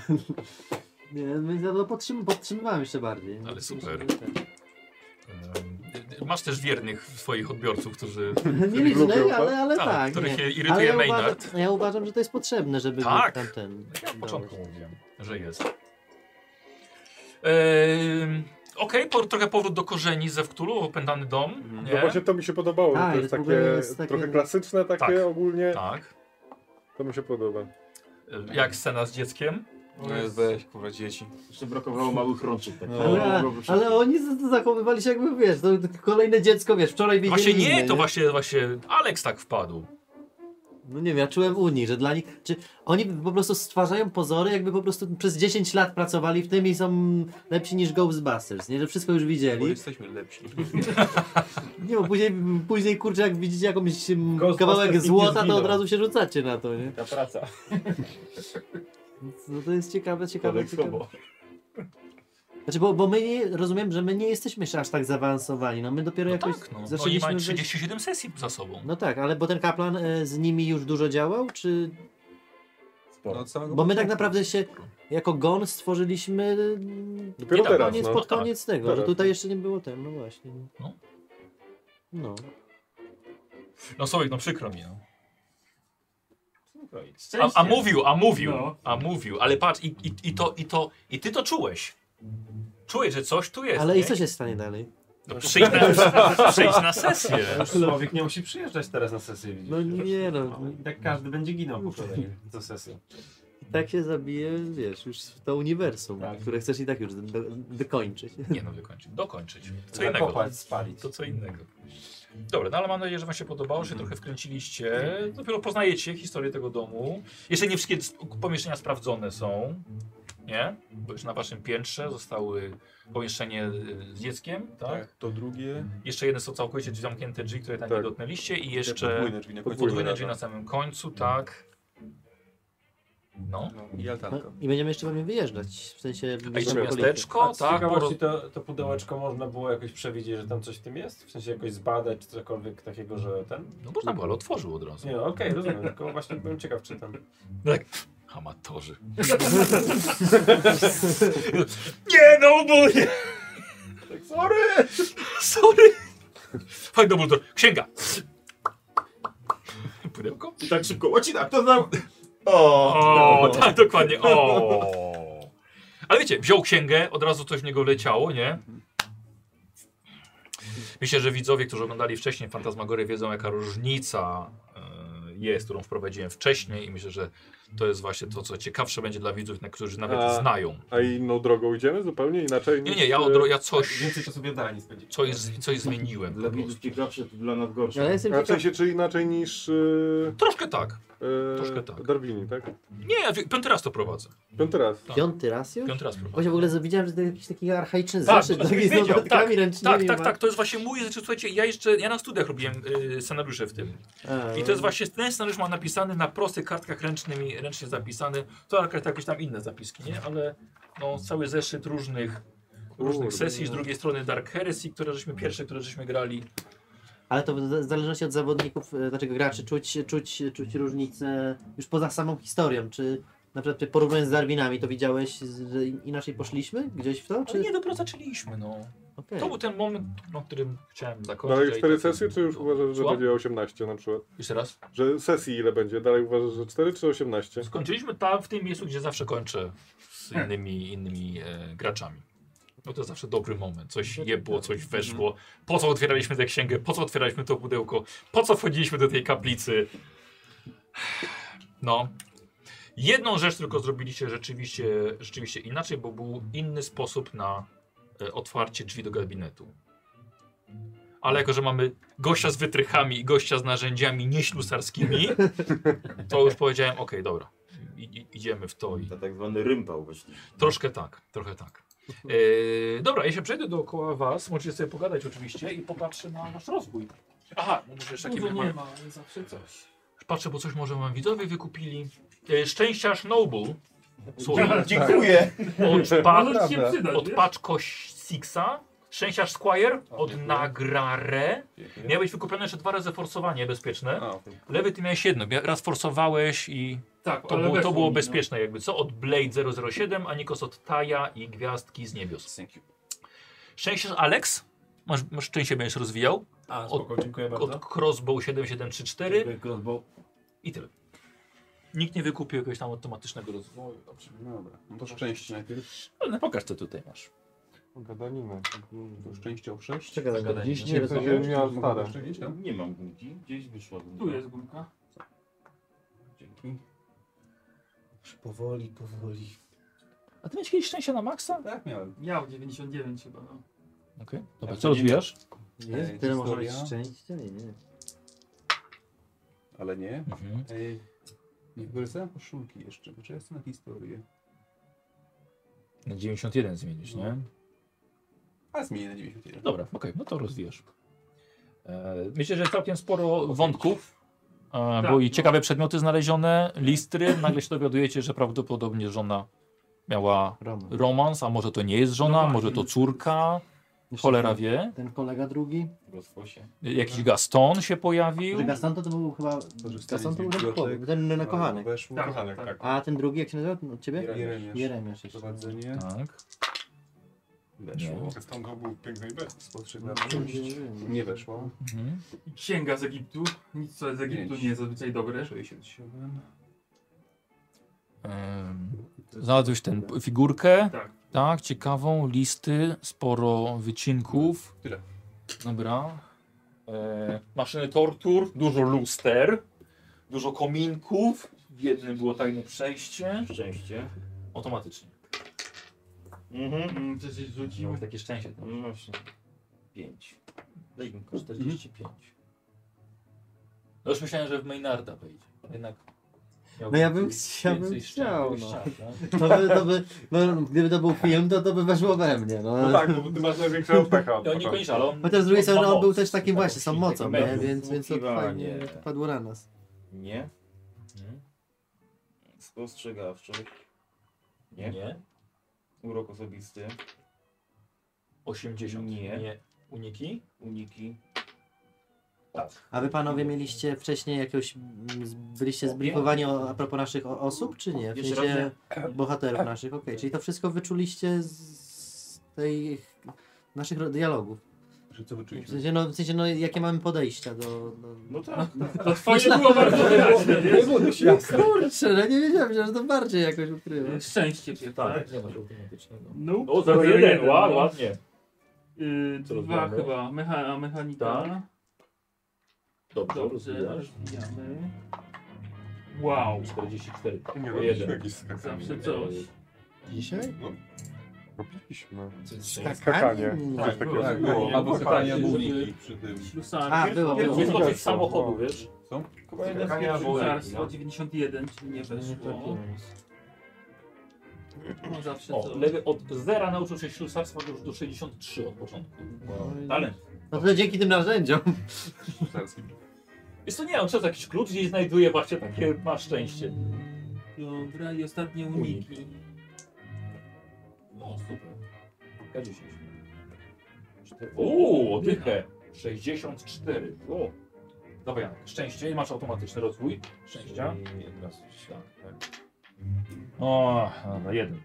D: No. Nie, my za to podtrzym podtrzymywałem jeszcze bardziej.
A: Ale super. Em, Masz też wiernych swoich odbiorców, którzy.
D: Nie licznej, ale, ale
A: tak,
D: tak.
A: których
D: nie.
A: irytuje
D: ale ja
A: Maynard.
D: Uważam, ja uważam, że to jest potrzebne, żeby
A: Tak.
D: tam ten.
A: Ja od początku
D: dałeś.
A: mówiłem, że jest. Ehm, Okej, po, trochę powrót do korzeni ze Wktulu, opętany dom.
D: Mhm.
B: No właśnie
A: Nie?
B: to mi się podobało.
D: A,
B: to
D: i
B: jest
D: to Tak, w
B: takie,
D: ogóle jest takie-
B: trochę klasyczne takie
A: Tak.
B: ogólnie.
A: Tak.
B: To mi się podoba.
A: E, Jak scena z dzieckiem?
H: No jest weź, kurwa, dzieci.
I: Jeszcze brakowało małych rączek. Tak.
G: No,
D: Ale, ale oni z- z- zachowywali się jakby, wiesz, to kolejne dziecko, wiesz, wczoraj widzieli
A: Właśnie
D: inne,
A: nie, to właśnie, właśnie Alex tak wpadł.
D: No nie wiem, ja czułem u nich, że dla nich, czy oni po prostu stwarzają pozory, jakby po prostu przez 10 lat pracowali w tym i są lepsi niż Ghostbusters, nie? Że wszystko już
H: Bo
D: widzieli.
H: jesteśmy lepsi.
D: Nie, bo później, później kurczę, jak widzicie jakąś mm, kawałek złota, to od razu się rzucacie na to, nie?
I: Ta praca.
D: Więc, No to jest ciekawe, ciekawe,
I: Kodeks
D: ciekawe.
I: homo.
D: Znaczy, bo, bo my nie, rozumiem, że my nie jesteśmy jeszcze aż tak zaawansowani, no my dopiero
A: No
D: jakoś
A: tak, no. Oni
D: zaczęliśmy...
A: mają
D: wejść-
A: 37 sesji za sobą.
D: No tak, ale bo ten kaplan e, z nimi już dużo działał, czy...
H: No, całego...
D: Bo my tak naprawdę się jako gon stworzyliśmy mm,
B: Dopiero
A: tak,
B: teraz.
D: koniec,
B: no.
D: pod koniec tego,
B: Teraz,
D: że tutaj
B: no.
D: jeszcze nie było ten, no właśnie.
A: No.
D: No.
A: No Słowik, no przykro mi. No.
G: Słuchaj,
A: A, a mówił, a mówił,
F: No.
A: a mówił, ale patrz, i, i, i, to, i, to, i ty to czułeś. Czułeś, że coś tu jest.
D: Ale
A: nie?
D: i co się stanie dalej?
A: No, przyjdź, na, przyjdź na sesję.
E: Już Słowik nie musi przyjeżdżać teraz na sesję, widzisz.
D: No nie no,
E: I tak każdy będzie ginął po kolei co sesję.
D: tak się zabije, wiesz, już w to uniwersum, które chcesz i tak już do, dokończyć.
A: Nie no, wykończyć, dokończyć. Co innego.
E: Tak, spalić.
A: To co innego. Dobra, no ale mam nadzieję, że wam się podobało, że się trochę wkręciliście. Dopiero poznajecie historię tego domu. Jeszcze nie wszystkie s- pomieszczenia sprawdzone są. Nie? Bo już na waszym piętrze zostały pomieszczenie y, z dzieckiem, tak?
H: To drugie.
A: Jeszcze jedne są całkowicie zamknięte drzwi, które tam nie
B: Tak.
A: dotknęliście i
H: Te
A: jeszcze
H: Podwójne drzwi na końcu.
A: podwójne drzwi na samym końcu, tak. No.
H: No, I altanka.
D: I będziemy jeszcze pewnie wyjeżdżać, w sensie...
A: A jeszcze
D: okolicy.
A: miasteczko,
E: z
A: tak.
E: ciekawości
A: poro-
E: to, to pudełeczko można było jakoś przewidzieć, że tam coś w tym jest? W sensie jakoś zbadać, czy cokolwiek takiego, że ten?
A: No można było, ale otworzył od razu.
E: Nie, no, okej, rozumiem, tylko właśnie byłem ciekaw, czy tam...
A: Tak. Amatorzy. nie, no bo nie. Sorry. Sorry. Chodź do Bulldor. Księga. Pudełko?
I: I tak szybko, łacina, kto tam? O,
A: O, tak, dokładnie. O. Ale wiecie, wziął księgę, od razu coś w niego leciało, nie? Myślę, że widzowie, którzy oglądali wcześniej Fantasmagory wiedzą jaka różnica e, jest, którą wprowadziłem wcześniej i myślę, że to jest właśnie to, co ciekawsze będzie dla widzów, na którzy nawet
B: A-
A: znają.
B: A inną drogą idziemy zupełnie inaczej?
A: Nie,
B: niż,
A: nie, ja,
B: e,
A: odro, ja coś,
E: Więcej czasu w jadalni spędzić.
A: coś, z- coś zmieniłem
I: Dla
A: po
I: widzów
A: prostu.
I: ciekawsze, to dla nas
D: No, Ale
I: gorsze.
D: jestem
B: A w
D: ciekaw,
B: sensie, czy inaczej niż e,
A: Troszkę tak.
B: e,
A: Troszkę tak.
B: Darwini, tak?
A: Nie, wi- piąty raz to prowadzę.
B: Piąty raz.
A: Tak,
D: piąty raz już?
A: Piąty raz prowadzę.
D: Właśnie w ogóle widziałem, że to jakiś taki archaiczny
A: Tak,
D: zeszyt,
A: to
D: taki z
A: wiedział,
D: notatkami ręcznymi.
A: Tak, tak,
D: ma.
A: tak, to jest właśnie mój, znaczy, słuchajcie, ja jeszcze, ja na studiach robiłem y, scenariusze w tym.
D: A,
A: I to jest właśnie ten scenariusz ma napisany na prostych kartkach ręcznymi, ręcznie zapisany. To akurat jakieś tam inne zapiski, nie? Ale no, cały zeszyt różnych, różnych
B: Kurde,
A: sesji. Z
E: no.
A: drugiej strony Dark Heresy, które
E: Mm.
A: żeśmy pierwsze, które żeśmy grali.
D: Ale to w w zależności od zawodników, e, znaczy graczy, czuć, czuć, czuć różnicę już poza samą historią. Czy na przykład porównując z Darwinami, to widziałeś, z- że in- inaczej poszliśmy gdzieś w to?
A: Ale
E: Znaczy-
D: Czy...
A: nie dopiero zaczęliśmy, no.
D: Okej.
A: To był ten moment, no, którym chciałem zakończyć.
B: No ale
A: a i
B: cztery
A: tak-
B: sesje, czy już uważasz, że
A: Słucham?
B: będzie 18 na przykład?
A: Jeszcze raz.
B: Że sesji ile będzie? Dalej uważasz, że 4 czy 18?
A: Skończyliśmy tam, w tym miejscu, gdzie zawsze kończę z innymi, innymi e, graczami. No to zawsze dobry moment. Coś jebło, coś weszło. Po co otwieraliśmy tę księgę? Po co otwieraliśmy to pudełko? Po co wchodziliśmy do tej kaplicy? No. Jedną rzecz tylko zrobiliście rzeczywiście, rzeczywiście inaczej, bo był inny sposób na e, otwarcie drzwi do gabinetu. Ale jako, że mamy gościa z wytrychami i gościa z narzędziami nieślusarskimi, to już powiedziałem, okej, dobra. I, i, idziemy w to i
I: To tak zwany rympał właśnie.
A: troszkę tak, trochę tak. E, dobra, ja się przejdę dookoła was, możecie sobie pogadać oczywiście i popatrzę na wasz rozwój. Aha, no może jeszcze
F: Dużo
A: jakieś
F: nie
A: mamy.
F: ma, ale zawsze coś.
A: Patrzę, bo coś może wam widzowie wykupili. E, szczęściarz Noble. Słuchaj,
G: Dziękuję.
A: od, pa,
F: Może ci się przydać,
A: od
F: wiesz?
A: Paczko Sixa. Szczęściarz Squire od Nagrare. Miał być wykupione jeszcze dwa razy forsowanie bezpieczne.
H: A, okej.
A: Lewy ty miałeś jedno, mia- raz forsowałeś i
F: Tak,
A: to,
F: ale
A: było, to
F: weszło
A: było
F: mi, no.
A: bezpieczne jakby co? Od Blade 007, a Nikos od Taja i Gwiazdki z Niebios.
H: Thank you.
A: Szczęście, że Alex, masz, masz szczęście będziesz rozwijał.
E: A,
A: spoko,
E: spoko, dziękuję bardzo.
A: Od Crossbow 7734 i tyle. Nikt nie wykupił jakiegoś tam automatycznego rozwoju. Dobrze.
H: Dobra, no to szczęście
D: Tak
H: najpierw.
A: Ale no pokaż co tutaj masz.
B: Gadanina.
H: To szczęście o 6.
D: Czekaj,
A: Zagadaj.
D: zagadaj.
B: Nie, w sensie nie miała stare.
I: Nie mam gumki, gdzieś wyszła gumka.
F: Tu jest gumka.
I: Dzięki.
C: Powoli, powoli.
A: A ty miałeś kiedyś szczęście na maksa?
H: Tak miałem.
F: Miał 99 chyba. No.
A: Okej. Dobra, co rozwijasz?
D: Jest, tyle może być
H: historia.
D: szczęścia? Nie, nie.
H: Ale nie.
A: Mhm.
H: Ej, nie wykorzystałem koszulki jeszcze, bo ja jestem na historię.
A: Na 91 zmienisz, nie?
H: A zmienię na 91.
A: Dobra, okej, no to rozwijasz. E, myślę, że całkiem sporo wątków. E,
F: Tak,
A: bo i
F: no.
A: ciekawe przedmioty znalezione, listry. Nagle się dowiadujecie, że prawdopodobnie żona miała
D: Roman.
A: romans, a może to nie jest żona,
F: No
A: może to
F: właśnie.
A: córka,
D: Jeszcze
A: cholera
D: ten-
A: wie.
D: Ten kolega drugi.
I: Rozposie.
A: Jakiś Gaston się pojawił.
D: Że Gaston to był chyba...
H: Korzystanie
D: Gaston to
H: z
D: był ten
H: bibliotek.
D: chłopak, ten na kochanek.
H: Weszło.
F: Tak,
H: Kochanek,
F: tak.
D: A ten drugi, jak się nazywa? Od ciebie?
H: Jeremiasz.
D: Jeremiasz jeszcze.
H: Prowadzenie.
A: Tak. Weszło.
B: Zresztą go był w pięknej bestii. Spostrzegł na
H: Nie weszło.
A: Mhm.
F: Księga z Egiptu. Nic co z Egiptu nie jest zazwyczaj dobre.
H: 67.
A: Em, Znalazłeś tę figurkę.
F: Tak.
A: Tak, ciekawą, listy, sporo wycinków.
H: Tyle.
A: Dobra. Mm, E, maszyny tortur, dużo luster, dużo kominków. W jednym było tajne przejście.
G: Szczęście.
A: Automatycznie.
G: Mhm.
F: Mm, Przecież rzucił.
A: Miałeś takie szczęście.
G: No właśnie.
I: 5. Daj mi 45.
A: No już myślałem, że w Maynarda wejdzie. Jednak
D: No ja bym, chci- ja bym
A: więcej
D: chciał,
A: szczęścia,
D: no.
A: tak?
D: To by, to by, no, gdyby to był film, to to by weszło we mnie, no.
B: No tak, no bo ty masz największego pecha. od
A: No
B: początku.
A: niekoniecznie, ale on...
D: Chociaż z drugiej
A: on ma
D: strony
A: moc.
D: on
A: Tak,
D: był też takim właśnie, z tą
A: Taki
D: mocą,
A: medium.
D: nie? więc, więc to fajnie
I: Słuchiwanie.
D: padło na nas.
I: Nie.
A: Mhm.
I: Spostrzegawczy. Nie.
A: Nie.
I: Urok osobisty.
A: 80.
I: Nie.
A: Uniki?
I: Uniki.
D: A wy panowie mieliście wcześniej jakiegoś, mm, z- byliście zbriefowani o, a propos naszych o, osób, czy nie? W
I: Jeszcze
D: sensie bohaterów naszych, okej. Czyli to wszystko wyczuliście z z tej naszych ro- dialogów.
B: Że co
D: W
B: wyczuliśmy?
D: sensie, no, w sensie no, jakie mamy podejścia do... do...
I: No tak.
F: To twoje było bardzo wyraźne, nie?
D: Kurczę, no nie wiedziałem, że to bardziej jakoś ukrywa.
F: Szczęście cię, tak?
A: Nie masz automatycznego.
F: No,
A: O, 01, ła, ładnie.
F: Yy,
A: Co
F: dwa
A: robimy?
F: chyba, Mecha, a mechanika.
A: Tak. Dobrze,
F: Dobrze,
A: rozwijasz.
F: rozwijamy. Wow,
A: 44.
B: Nie no,
A: O
B: robiliśmy
A: jeden.
B: jakichś skakami.
F: zawsze coś.
D: Dzisiaj?
B: Robiliśmy.
D: Skakanie.
B: Skakanie.
D: Tak,
B: Coś takiego
F: no,
H: tak,
B: było.
H: tak. Albo skakanie, albo
B: Skakanie.
H: uniki.
B: Przy tym.
D: A,
F: Ślusarstwo,
D: było, było.
A: Wyskoczyć
B: było.
A: z samochodu, wiesz?
B: Chyba jednak
G: Skakanie
B: nie
G: albo
B: było.
F: ślusarstwo 91, czyli nie weszło. No zawsze
A: O,
F: to.
A: lewy od zera nauczył się ślusarstwa do, do 63 od początku.
G: Talent.
D: No to dzięki tym narzędziom.
A: Jest to nie, on przez jakiś klucz gdzieś znajduje właśnie takie, ma szczęście.
F: Dobra, i ostatnie uniki.
A: No, super. K10. Uuu, dychę. 64. O. Dobra, Janek, szczęście i masz automatyczny rozwój szczęścia. O, na jeden.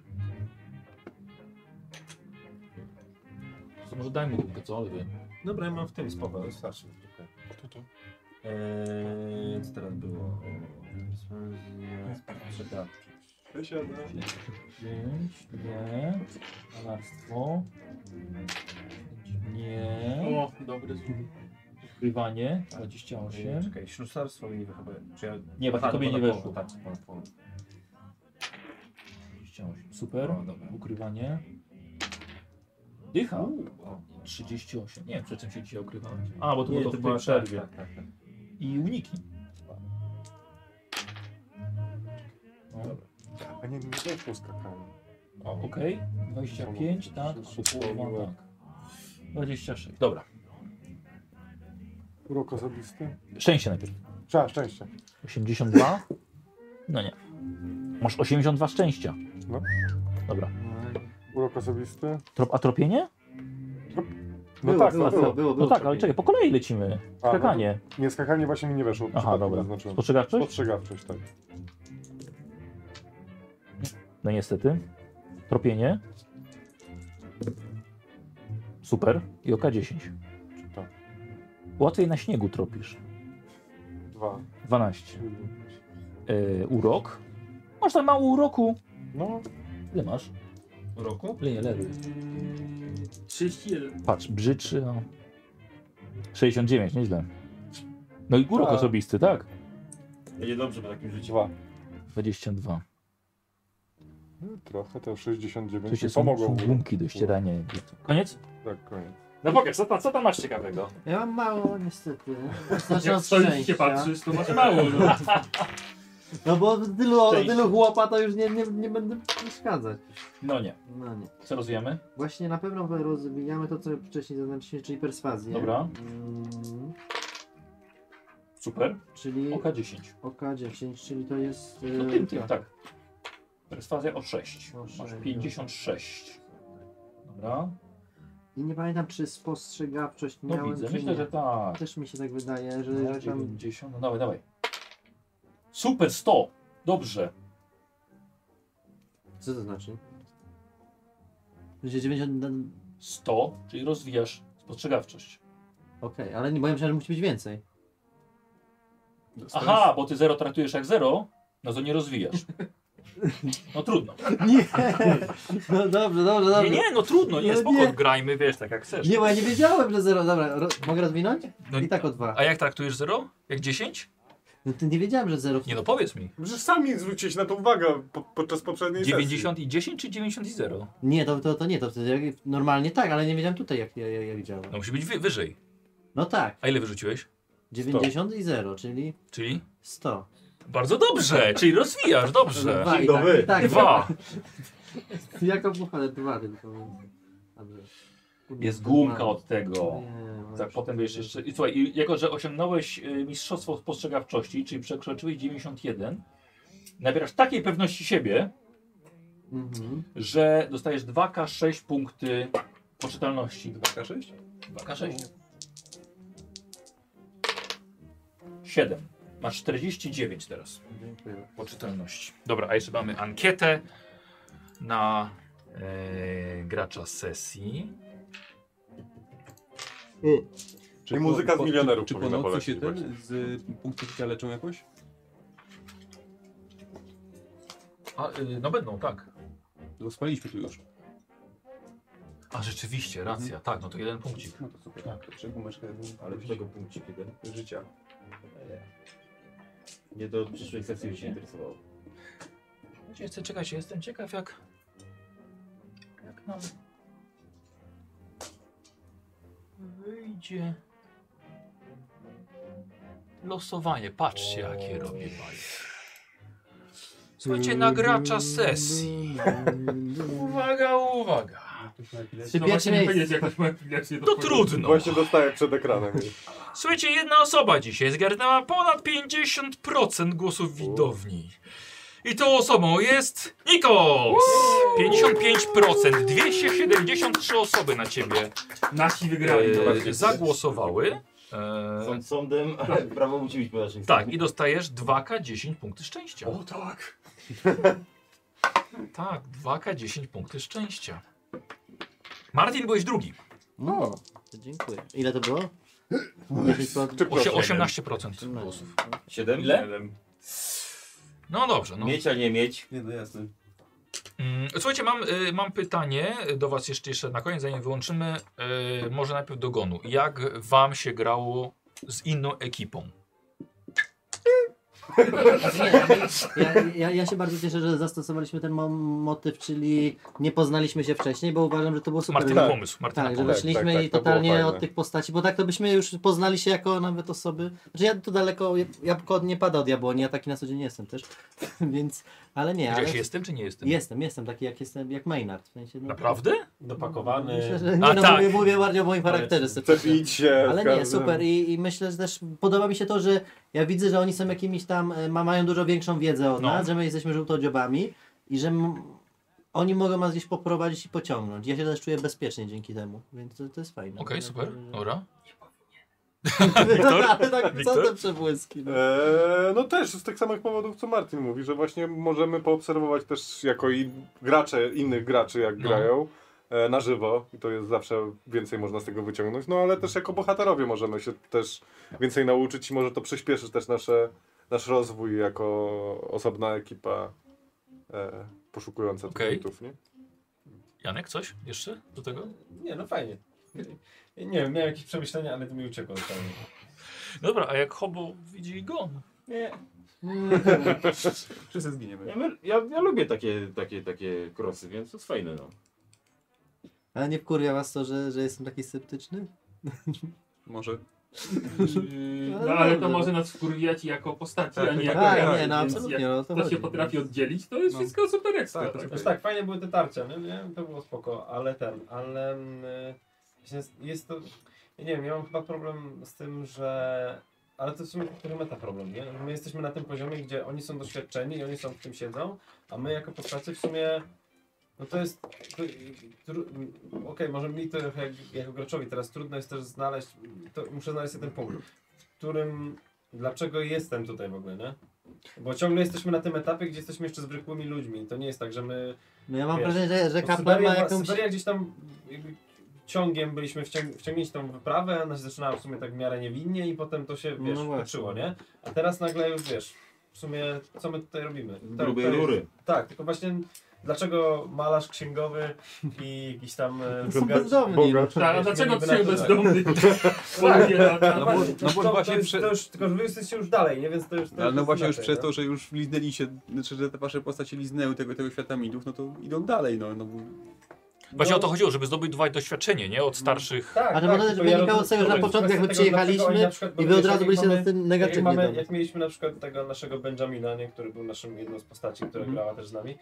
A: To może dajmy kubkę, co? Ale wie.
E: Dobra, ja mam w tym spoko, wystarczy.
B: Kto to?
E: Eee, co teraz było? Czekaj.
B: Przesiadam.
A: Pięć, nie. Malarstwo. Nie.
F: O, dobry złom.
A: Ukrywanie. 28.
E: Eee, Czekaj, ślusarstwo mi chyba... Czy ja...
A: Nie, bo to tobie nie
E: na
A: weszło.
E: połowę, Tak, ponad połowę.
A: 28. Super.
E: O, dobra.
A: Ukrywanie. Dycha. 38. Nie, przed czym się dzisiaj ukrywałeś. A, bo to
E: Nie,
A: było
E: to
A: to w
E: była-
A: tej
E: tak,
A: przerwie.
E: tak, tak, tak.
A: I uniki. No,
B: A nie, nie weszło skakanie.
A: Okej. 25, tak. Połowa, tak. 26. Dobra.
B: Urok osobisty?
A: Szczęście najpierw.
B: Trzeba, szczęście.
A: 82? No nie. Masz 82 szczęścia.
B: No.
A: Dobra.
B: Urok osobisty?
A: Trop, a tropienie?
B: No
D: Było,
B: tak,
D: było,
B: no
D: było,
B: było.
D: było,
A: No
D: było
A: tak, ale czekaj, po kolei lecimy.
B: A, no to-
A: Skakanie.
B: Nie, skakanie właśnie mi nie weszło.
A: Aha,
B: przypadkiem
A: dobra.
B: zaznaczyłem.
A: Spostrzegawczość?
B: Spostrzegawczość, tak.
A: No niestety. Tropienie. Super. I oka 10.
B: Tak.
A: Łatwiej na śniegu tropisz.
B: Dwa.
A: 12. Yy, urok. Masz tam mało uroku.
B: No,
A: Ile masz?
E: Roku?
A: Ile, ile?
F: Yy, 31.
A: Patrz, brzyczy. No. 69, nieźle. No i urok
B: Tak.
A: osobisty, tak?
G: Będzie dobrze po takim życiu.
B: dwa.
A: 22.
B: no, Trochę to 69
A: Tu się
B: mi
A: są
B: pomogło.
A: gumki do ścierania. jakby. Koniec?
B: Tak, koniec.
A: No pokaż, co, co tam masz ciekawego?
D: Ja mam mało niestety. Znaczy
F: Jak
D: od
F: stolicznie
D: szczęścia.
F: patrzysz, to masz mało. No.
D: No bo tylu,
A: Szczęście.
D: tylu chłopa to już nie, nie, nie będę przeszkadzać.
A: No nie.
D: No nie.
A: Co rozwijamy?
D: Właśnie na pewno rozwijamy to, co wcześniej zaznaczyliśmy, czyli perswazję.
A: Dobra.
D: Mm,
A: Super.
D: czyli
A: Oka 10.
D: oka 10, czyli to jest...
A: No
D: e,
A: tym, tym,
D: tak.
A: tak. Perswazja o 6.
D: O
A: Masz
D: sześć,
A: 56. Dobra.
D: I nie pamiętam, czy spostrzegawczość
A: No
D: miałem,
A: widzę.
D: czy
A: Myślę,
D: nie.
A: że tak.
D: Też mi się tak wydaje, że,
A: No,
D: że tam...
A: 90. No dawaj, dawaj. Super, 100. Dobrze.
D: Co to znaczy? Będzie 90... Okej,
A: 100, czyli rozwijasz spostrzegawczość.
D: ale nie, bo ja myślałem, że musi być więcej.
A: Aha, bo ty 0 traktujesz jak 0, no to nie rozwijasz. No trudno.
D: Nie! No dobrze, dobrze, dobrze.
A: Nie, nie, no trudno, nie,
D: No
A: spoko,
D: nie.
A: grajmy, wiesz, tak jak chcesz.
D: Nie, bo ja nie wiedziałem, że zero. Dobra, ro... mogę rozwinąć?
A: No,
D: I tak o dwa.
A: A jak traktujesz 0? Jak 10?
D: No ty nie wiedziałem, że zero.
A: Nie no, powiedz mi.
B: Przecież sami zwróciłeś na to uwagę po, podczas poprzedniej
A: 90 i 10 czy 90 i 0?
D: Nie, to, to, to nie, to wtedy jak- normalnie tak, ale nie wiedziałem tutaj, jak, jak, jak działa.
A: No musi być wy, wyżej.
D: No tak,
A: A ile wyrzuciłeś?
D: 90 i 0, czyli
A: Czyli?
D: 100.
A: Bardzo dobrze, czyli rozwijasz, dobrze.
D: Dwa i
B: Dzień
D: tak,
B: dobry.
D: i tak.
A: Dwa.
D: Jako buchale, dwa tylko. Dobrze. Kurde,
A: Jest
D: to
A: gumka
D: mało.
A: od tego.
D: Nie, no
A: Tak,
D: już-
A: potem wiesz jeszcze. I słuchaj, i jako że osiągnąłeś y, mistrzostwo spostrzegawczości, czyli przekroczyłeś 91, nabierasz takiej pewności siebie,
D: Mhm.
A: że dostajesz 2K6 punkty poczytalności.
H: 2K6?
A: 2K6. 7. Masz 49 teraz
D: Dziękuję.
A: poczytalności. Dobra, a jeszcze mamy ankietę na e, gracza sesji.
B: Czyli muzyka z milionerów
H: Czy po
B: powinna
H: nocy się
B: polecić
H: ten z punktów życia leczą jakoś?
A: A, y, no będą, tak.
H: Bo spaliśmy tu już.
A: A rzeczywiście, racja, tak, no to jeden punkcik.
H: No to super. Tak. Jeszcze gumeczkę jedną.
I: Ale do tego punkcik jeden.
H: życia.
I: Nie do przyszłej sesji by się interesowało.
A: Jeszcze czekajcie, jestem ciekaw jak... Jak nam... Wyjdzie... Losowanie, patrzcie jakie robię baje. Słuchajcie, na gracza sesji. Uwaga, uwaga.
D: Czy pierwsze miejsce?
F: jak ktoś ma epilację,
A: To trudno.
B: Właśnie dostaję przed ekranem.
A: Słuchajcie, jedna osoba dzisiaj zgarnęła ponad 50% głosów widowni. I tą osobą jest Nikos! 55%, 273 osoby na ciebie
F: Nasi wygrali.
A: e,
F: zobaczcie.
A: zagłosowały. E,
I: Sąd sądem, ale prawo musi być po naszej
A: tak, i dostajesz 2K10 punkty szczęścia. O tak! tak, 2K10 punkty szczęścia. Martin, byłeś drugi.
D: No, to dziękuję. Ile to było? 10 po...
A: Osie, 18% głosów.
I: 7?
A: Ile? No dobrze, no.
I: Mieć, a nie mieć.
K: Nie, no jasne.
A: Mm, Słuchajcie, mam, y, mam pytanie do Was jeszcze, jeszcze na koniec, zanim wyłączymy. Y, może najpierw do Gonu. Jak Wam się grało z inną ekipą?
D: Nie, ja, ja, ja się bardzo cieszę, że zastosowaliśmy ten mo- motyw, czyli nie poznaliśmy się wcześniej, bo uważam, że to było super.
A: Martyna pomysł. Martyna
D: Tak, że
A: pomysł.
D: weszliśmy
B: tak, tak,
D: i
B: to było
D: totalnie
B: fajne.
D: od tych postaci, bo tak to byśmy już poznali się jako nawet osoby. Znaczy ja tu daleko, jabłko od nie pada od jabłoni, ja taki na co dzień nie jestem też, więc, ale nie, ale
A: Gdzieś jestem czy nie jestem?
D: jestem, jestem taki jak jestem, jak Maynard. W sensie, no,
A: Naprawdę?
E: Dopakowany.
D: Myślę, że, nie,
A: A,
D: no,
A: tak.
D: mówię, mówię bardziej o moim charakterze.
B: Chcę
D: sobie.
B: pić się.
D: Ale
B: z
D: nie,
B: każdym.
D: super I, i myślę, że też podoba mi się to, że ja widzę, że oni są jakimiś tam, e, ma, mają dużo większą wiedzę od
A: No.
D: nas, że my jesteśmy żółtodziobami i że m, oni mogą nas gdzieś poprowadzić i pociągnąć. Ja się też czuję bezpiecznie dzięki temu, więc to, to jest fajne. No.
A: Okej, super. Dobra.
D: Wiktor? Ale tak, co
A: Wiktor?
D: te przebłyski? No.
B: Eee, no też z tych samych powodów, co Martin mówi, że właśnie możemy poobserwować też jako i gracze, innych graczy, jak
A: No.
B: grają e, na żywo i to jest zawsze więcej można z tego wyciągnąć, no ale też jako bohaterowie możemy się też więcej nauczyć i może to przyspieszy też nasze, nasz rozwój jako osobna ekipa e, poszukująca tych
A: Okej.
B: mitów, nie?
A: Janek, coś jeszcze do tego?
E: Nie, no fajnie. Nie wiem, miałem jakieś przemyślenia, ale to mi uciekło. zupełnie.
A: No dobra, a jak Hobo widzi Gon?
I: Nie.
H: Wszyscy zginiemy.
I: Ja, ja, ja lubię takie, takie, takie krosy, więc to jest fajne no.
D: Ale nie wkurwia was to, że, że jestem taki sceptyczny?
H: Może.
F: Yy, No ale to może nas wkurwiać jako postaci, a nie jako
D: A,
F: gracz,
D: nie, no
F: więc
D: absolutnie, no o to
F: Jak to
D: chodzi.
F: się potrafi oddzielić, to jest
H: No.
F: wszystko super ekstra.
H: Tak, to
F: tak?
H: super.
E: Znaczy, tak, fajnie były te tarcze, nie? nie? To było spoko, ale ten, ale mm, jest, jest to, ja nie wiem, ja mam chyba problem z tym, że, ale to w sumie który meta problem, nie? My jesteśmy na tym poziomie, gdzie oni są doświadczeni i oni są w tym siedzą, a my jako postacie w sumie, no to jest, to, tru- okej, może mi to trochę jak, jako graczowi teraz trudno jest też znaleźć, to muszę znaleźć sobie ten punkt, w którym dlaczego jestem tutaj w ogóle, nie? Bo ciągle jesteśmy na tym etapie, gdzie jesteśmy jeszcze zwykłymi ludźmi. To nie jest tak, że my...
D: No ja mam
E: Wiesz,
D: wrażenie, że, że
E: bo
D: kapłan ma
E: Syberia-
D: jakąś...
E: Syberia gdzieś tam jakby ciągiem byliśmy wciąg wciągnięci tą wyprawę, ona się zaczynała w sumie tak w miarę niewinnie i potem to się, wiesz,
D: No
E: no
D: właśnie.
E: toczyło, nie? A teraz nagle już, wiesz, w sumie co my tutaj robimy?
I: Z
E: To-
I: grubej
E: to jest-
I: rury.
E: Tak, tylko właśnie dlaczego malarz księgowy i jakiś tam... e,
D: Są
E: bogacz-
D: bezdomni. no.
F: Tak, a dlaczego
E: mieliby
F: trzy
E: na to tak.
F: bezdomny? Polnie lata.
H: No bo, no bo
E: to,
H: właśnie
E: to, jest,
H: prze...
E: to już, tylko że wy jesteście już dalej, nie? Więc to już... To
H: Ale no
E: jest
H: właśnie już
E: inaczej,
H: przez
E: no.
H: to, że już liznęli się, znaczy, że te wasze postacie liznęły tego, tego świata mitów, no to idą dalej, no. no bo...
A: Właśnie
E: No.
A: o to chodziło, żeby zdobywać doświadczenie, nie? Od starszych...
E: Tak,
D: Ale
E: tak,
D: może też
E: tylko ja
D: wynikało z tego, że na
E: rozumiem
D: początku jak my
E: kwestię tego, dlaczego
D: przyjechaliśmy
E: oni na przykład- bo
D: I wy od
E: wiesz,
D: razu
E: jak
D: byliście
E: mamy-
D: na tym
E: jak,
D: negatywnie.
E: mamy,
D: do-
E: jak mieliśmy na przykład tego naszego Benjamina, nie, który był naszym jedną z postaci, która
H: Mhm.
E: grała też z nami,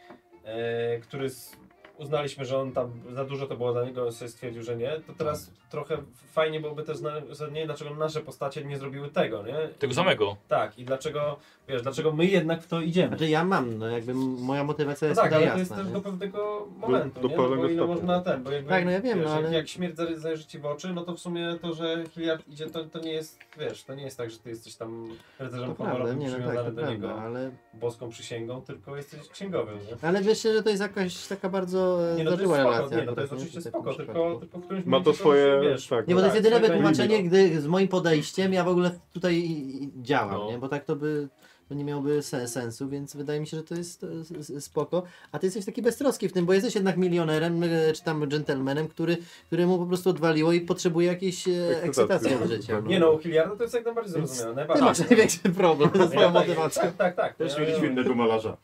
E: e, który z, uznaliśmy, że on tam za dużo to było dla niego, on sobie stwierdził, że nie, to teraz trochę fajnie byłoby też zrozumieć, dlaczego nasze postacie nie zrobiły tego, nie?
A: Tego samego.
E: Tak, i dlaczego, wiesz, dlaczego my jednak w to idziemy.
D: Znaczy ja mam, no jakby m- moja motywacja
E: No
D: jest
E: tak, ale
D: dalej
E: to jest
D: jasna.
E: też
D: nie?
E: do pewnego momentu,
B: do
E: nie? No
B: pewnego
E: bo ile
B: stopnia.
E: można ten, bo jakby,
D: Tak, no ja wiem,
E: wiesz,
D: no
E: jak-
D: ale-
E: jak śmierć za- zajrzy ci w oczy, no to w sumie to, że Hilliard idzie, to, to nie jest, wiesz, to nie jest tak, że ty jesteś tam
D: To
E: rycerzem
D: prawda,
E: honorowym
D: nie no
E: przywiązany
D: tak, to
E: do
D: prawda,
E: niego
D: ale,
E: boską przysięgą, tylko jesteś księgowym, nie?
D: ale myślę, że to jest jakaś taka bardzo e,
E: Nie, no to jest
D: zażyła
E: spoko,
D: relacja.
E: nie, no to
D: akurat,
E: jest oczywiście
D: w takim
E: spoko,
D: przypadku.
E: tylko, tylko w którymś
B: Ma
E: momencie
B: to swoje,
E: wiesz,
B: tak.
D: Nie, bo to jest
E: tak,
D: jedyne
E: to jest
D: wytłumaczenie,
E: limit.
D: gdy z moim podejściem ja w ogóle tutaj i- i działam,
A: No.
D: nie? Bo tak to by to nie miałoby se- sensu, więc wydaje mi się, że to jest e, s- s- spoko. A ty jesteś taki beztroski w tym, bo jesteś jednak milionerem, e, czy tam dżentelmenem, który, któremu po prostu odwaliło i potrzebuje jakiejś e,
B: Ekscytacji.
D: ekscytacji od życia.
E: Nie no, u Hilliarda to jest jak najbardziej
D: Więc
E: zrozumiałe,
D: Ty
E: najbardziej.
D: masz największy problem ze swoją
E: Ja tak-
D: motywacją.
E: Tak, tak, tak.
I: Też
E: Ja-
I: mieliśmy innego malarza.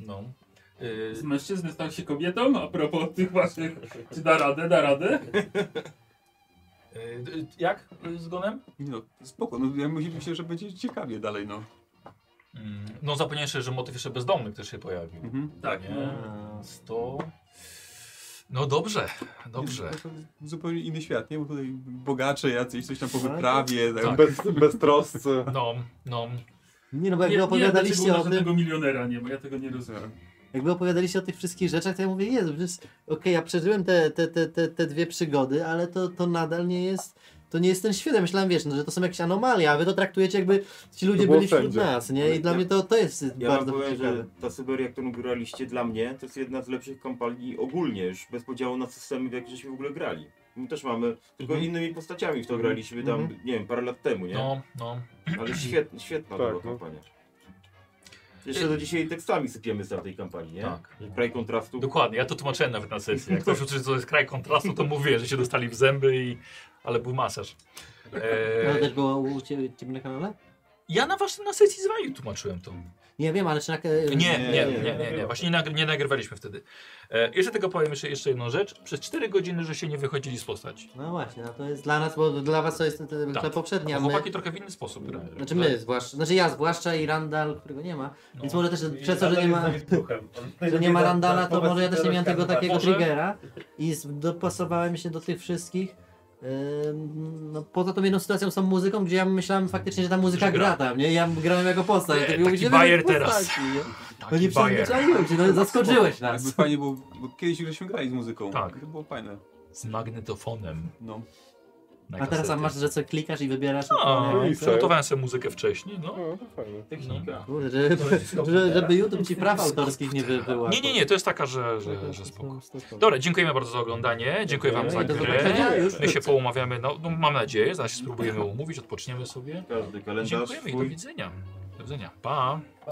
A: No. Y,
F: Z mężczyzny stał się kobietą, a propos tych waszych, czy da radę, da radę?
A: y, y, jak y, z gonem?
H: Nie no, spoko, no ja myślę, myślę, że będzie ciekawie dalej, no.
A: Mm, No zapomniałem jeszcze, że motyw jeszcze bezdomnych też się pojawił.
H: Mhm.
F: Tak,
A: Nie?
F: no.
A: Eee, Sto... No dobrze, dobrze.
H: no, To Zupełnie inny świat, nie? Bo tutaj bogacze jacyś, coś tam po wyprawie, tak.
A: Tak.
B: Bez, beztroscy.
A: No, no.
D: Nie no, bo
F: Nie, nie,
D: jakby opowiadaliście
F: dlaczego
D: o
F: u nas
D: tym,
F: żadnego milionera nie ma, ja tego nie
A: Tak.
F: rozumiem.
D: jakby opowiadaliście o tych wszystkich rzeczach, to ja mówię, Jezu, przecież okej, ja przeżyłem te, te, te, te, te dwie przygody, ale to, to nadal nie jest, to nie jest ten świat. Ja myślałem, wiesz, no, że to są jakieś anomalie, a wy to traktujecie jakby ci ludzie
B: To było
D: byli wśród
B: wszędzie.
D: nas, nie? I dla
I: Ja-
D: mnie to, to jest
I: Ja wam
D: bardzo
I: powiem,
D: ciekawe.
I: że ta Syberia, którą graliście dla mnie, to jest jedna z lepszych kampanii ogólnie, już bez podziału na systemy, w jakie żeśmy w ogóle grali. My też mamy, tylko innymi postaciami w to graliśmy tam, nie wiem, parę lat temu, nie?
A: Mhm. No, no.
I: Ale świetna, świetna
B: Tak,
I: była
B: no.
I: kampania. Jeszcze do dzisiaj tekstami sypiemy z tamtej kampanii, nie?
A: Tak.
I: Kraj kontrastu.
A: Dokładnie, ja to tłumaczyłem nawet na sesji. Jak ktoś uczy, co jest kraj kontrastu, to mówię, że się dostali w zęby i... Ale był masaż.
D: To
A: E,
D: też było u ciebie, ciebie na kanale?
A: ja na waszym na sesji z wami tłumaczyłem to.
D: Nie wiem, ale czy na... e,
A: Nie, nie, nie, nie, nie. Właśnie nie, nagry- nie nagrywaliśmy wtedy. E, jeszcze tego powiem jeszcze, jeszcze jedną rzecz. Przez 4 godziny, że się nie wychodzili z postaci.
D: No właśnie, no to jest dla nas, bo dla was to jest te- te- ta
A: Tak.
D: poprzednia,
A: A
D: my...
A: chłopaki trochę w inny sposób grają.
D: Znaczy my zwłaszcza, znaczy ja zwłaszcza i Randall, którego nie ma,
A: No.
D: więc może też
E: I
D: przez to, że nie
E: Randall
D: ma...
E: jest duchem. On-
D: że nie ma Randala, to
E: Wobec
D: może ja też nie miałem tego
E: Randala.
D: takiego
A: Może?
D: triggera i z- dopasowałem się do tych wszystkich. Ym, No, poza tą jedną sytuacją z tą muzyką, gdzie ja myślałem faktycznie, że ta muzyka
A: Że
D: gra.
A: gra.
D: tam, nie? Ja grałem jako postać.
A: Nie,
D: to mi
A: taki
D: mówicie,
A: bajer
D: wy postaci,
A: teraz.
D: nie? No
A: Taki
D: nie
A: Tak, bajer.
D: przyzwyczaiłem się, no zaskoczyłeś
H: Jakby
D: nas.
H: fajnie, bo, bo kiedyś żeśmy grali z muzyką.
A: Tak.
H: To było fajne.
A: Z magnetofonem.
H: No.
A: na
D: A teraz a
A: kasety.
D: masz, że co klikasz No, i wybierasz.
A: A, no
D: utwory,
B: i
D: jak-
B: co?
A: przygotowałem sobie muzykę wcześniej, no.
B: No, to fajne.
I: Technika.
D: Kurde, że- że- żeby YouTube ci praw autorskich nie wybyła.
A: Nie, nie, nie, to jest taka, że, że, że spoko. Dobra, dziękujemy bardzo za oglądanie, dziękuję wam za
D: Do
A: grę.
D: zobaczenia już
A: My się
D: wkrótce.
A: poumawiamy, no, no mam nadzieję, zaraz się spróbujemy umówić, odpoczniemy sobie.
I: Każdy kalendarz
A: Dziękujemy i do
I: swój.
A: widzenia. Do widzenia, pa.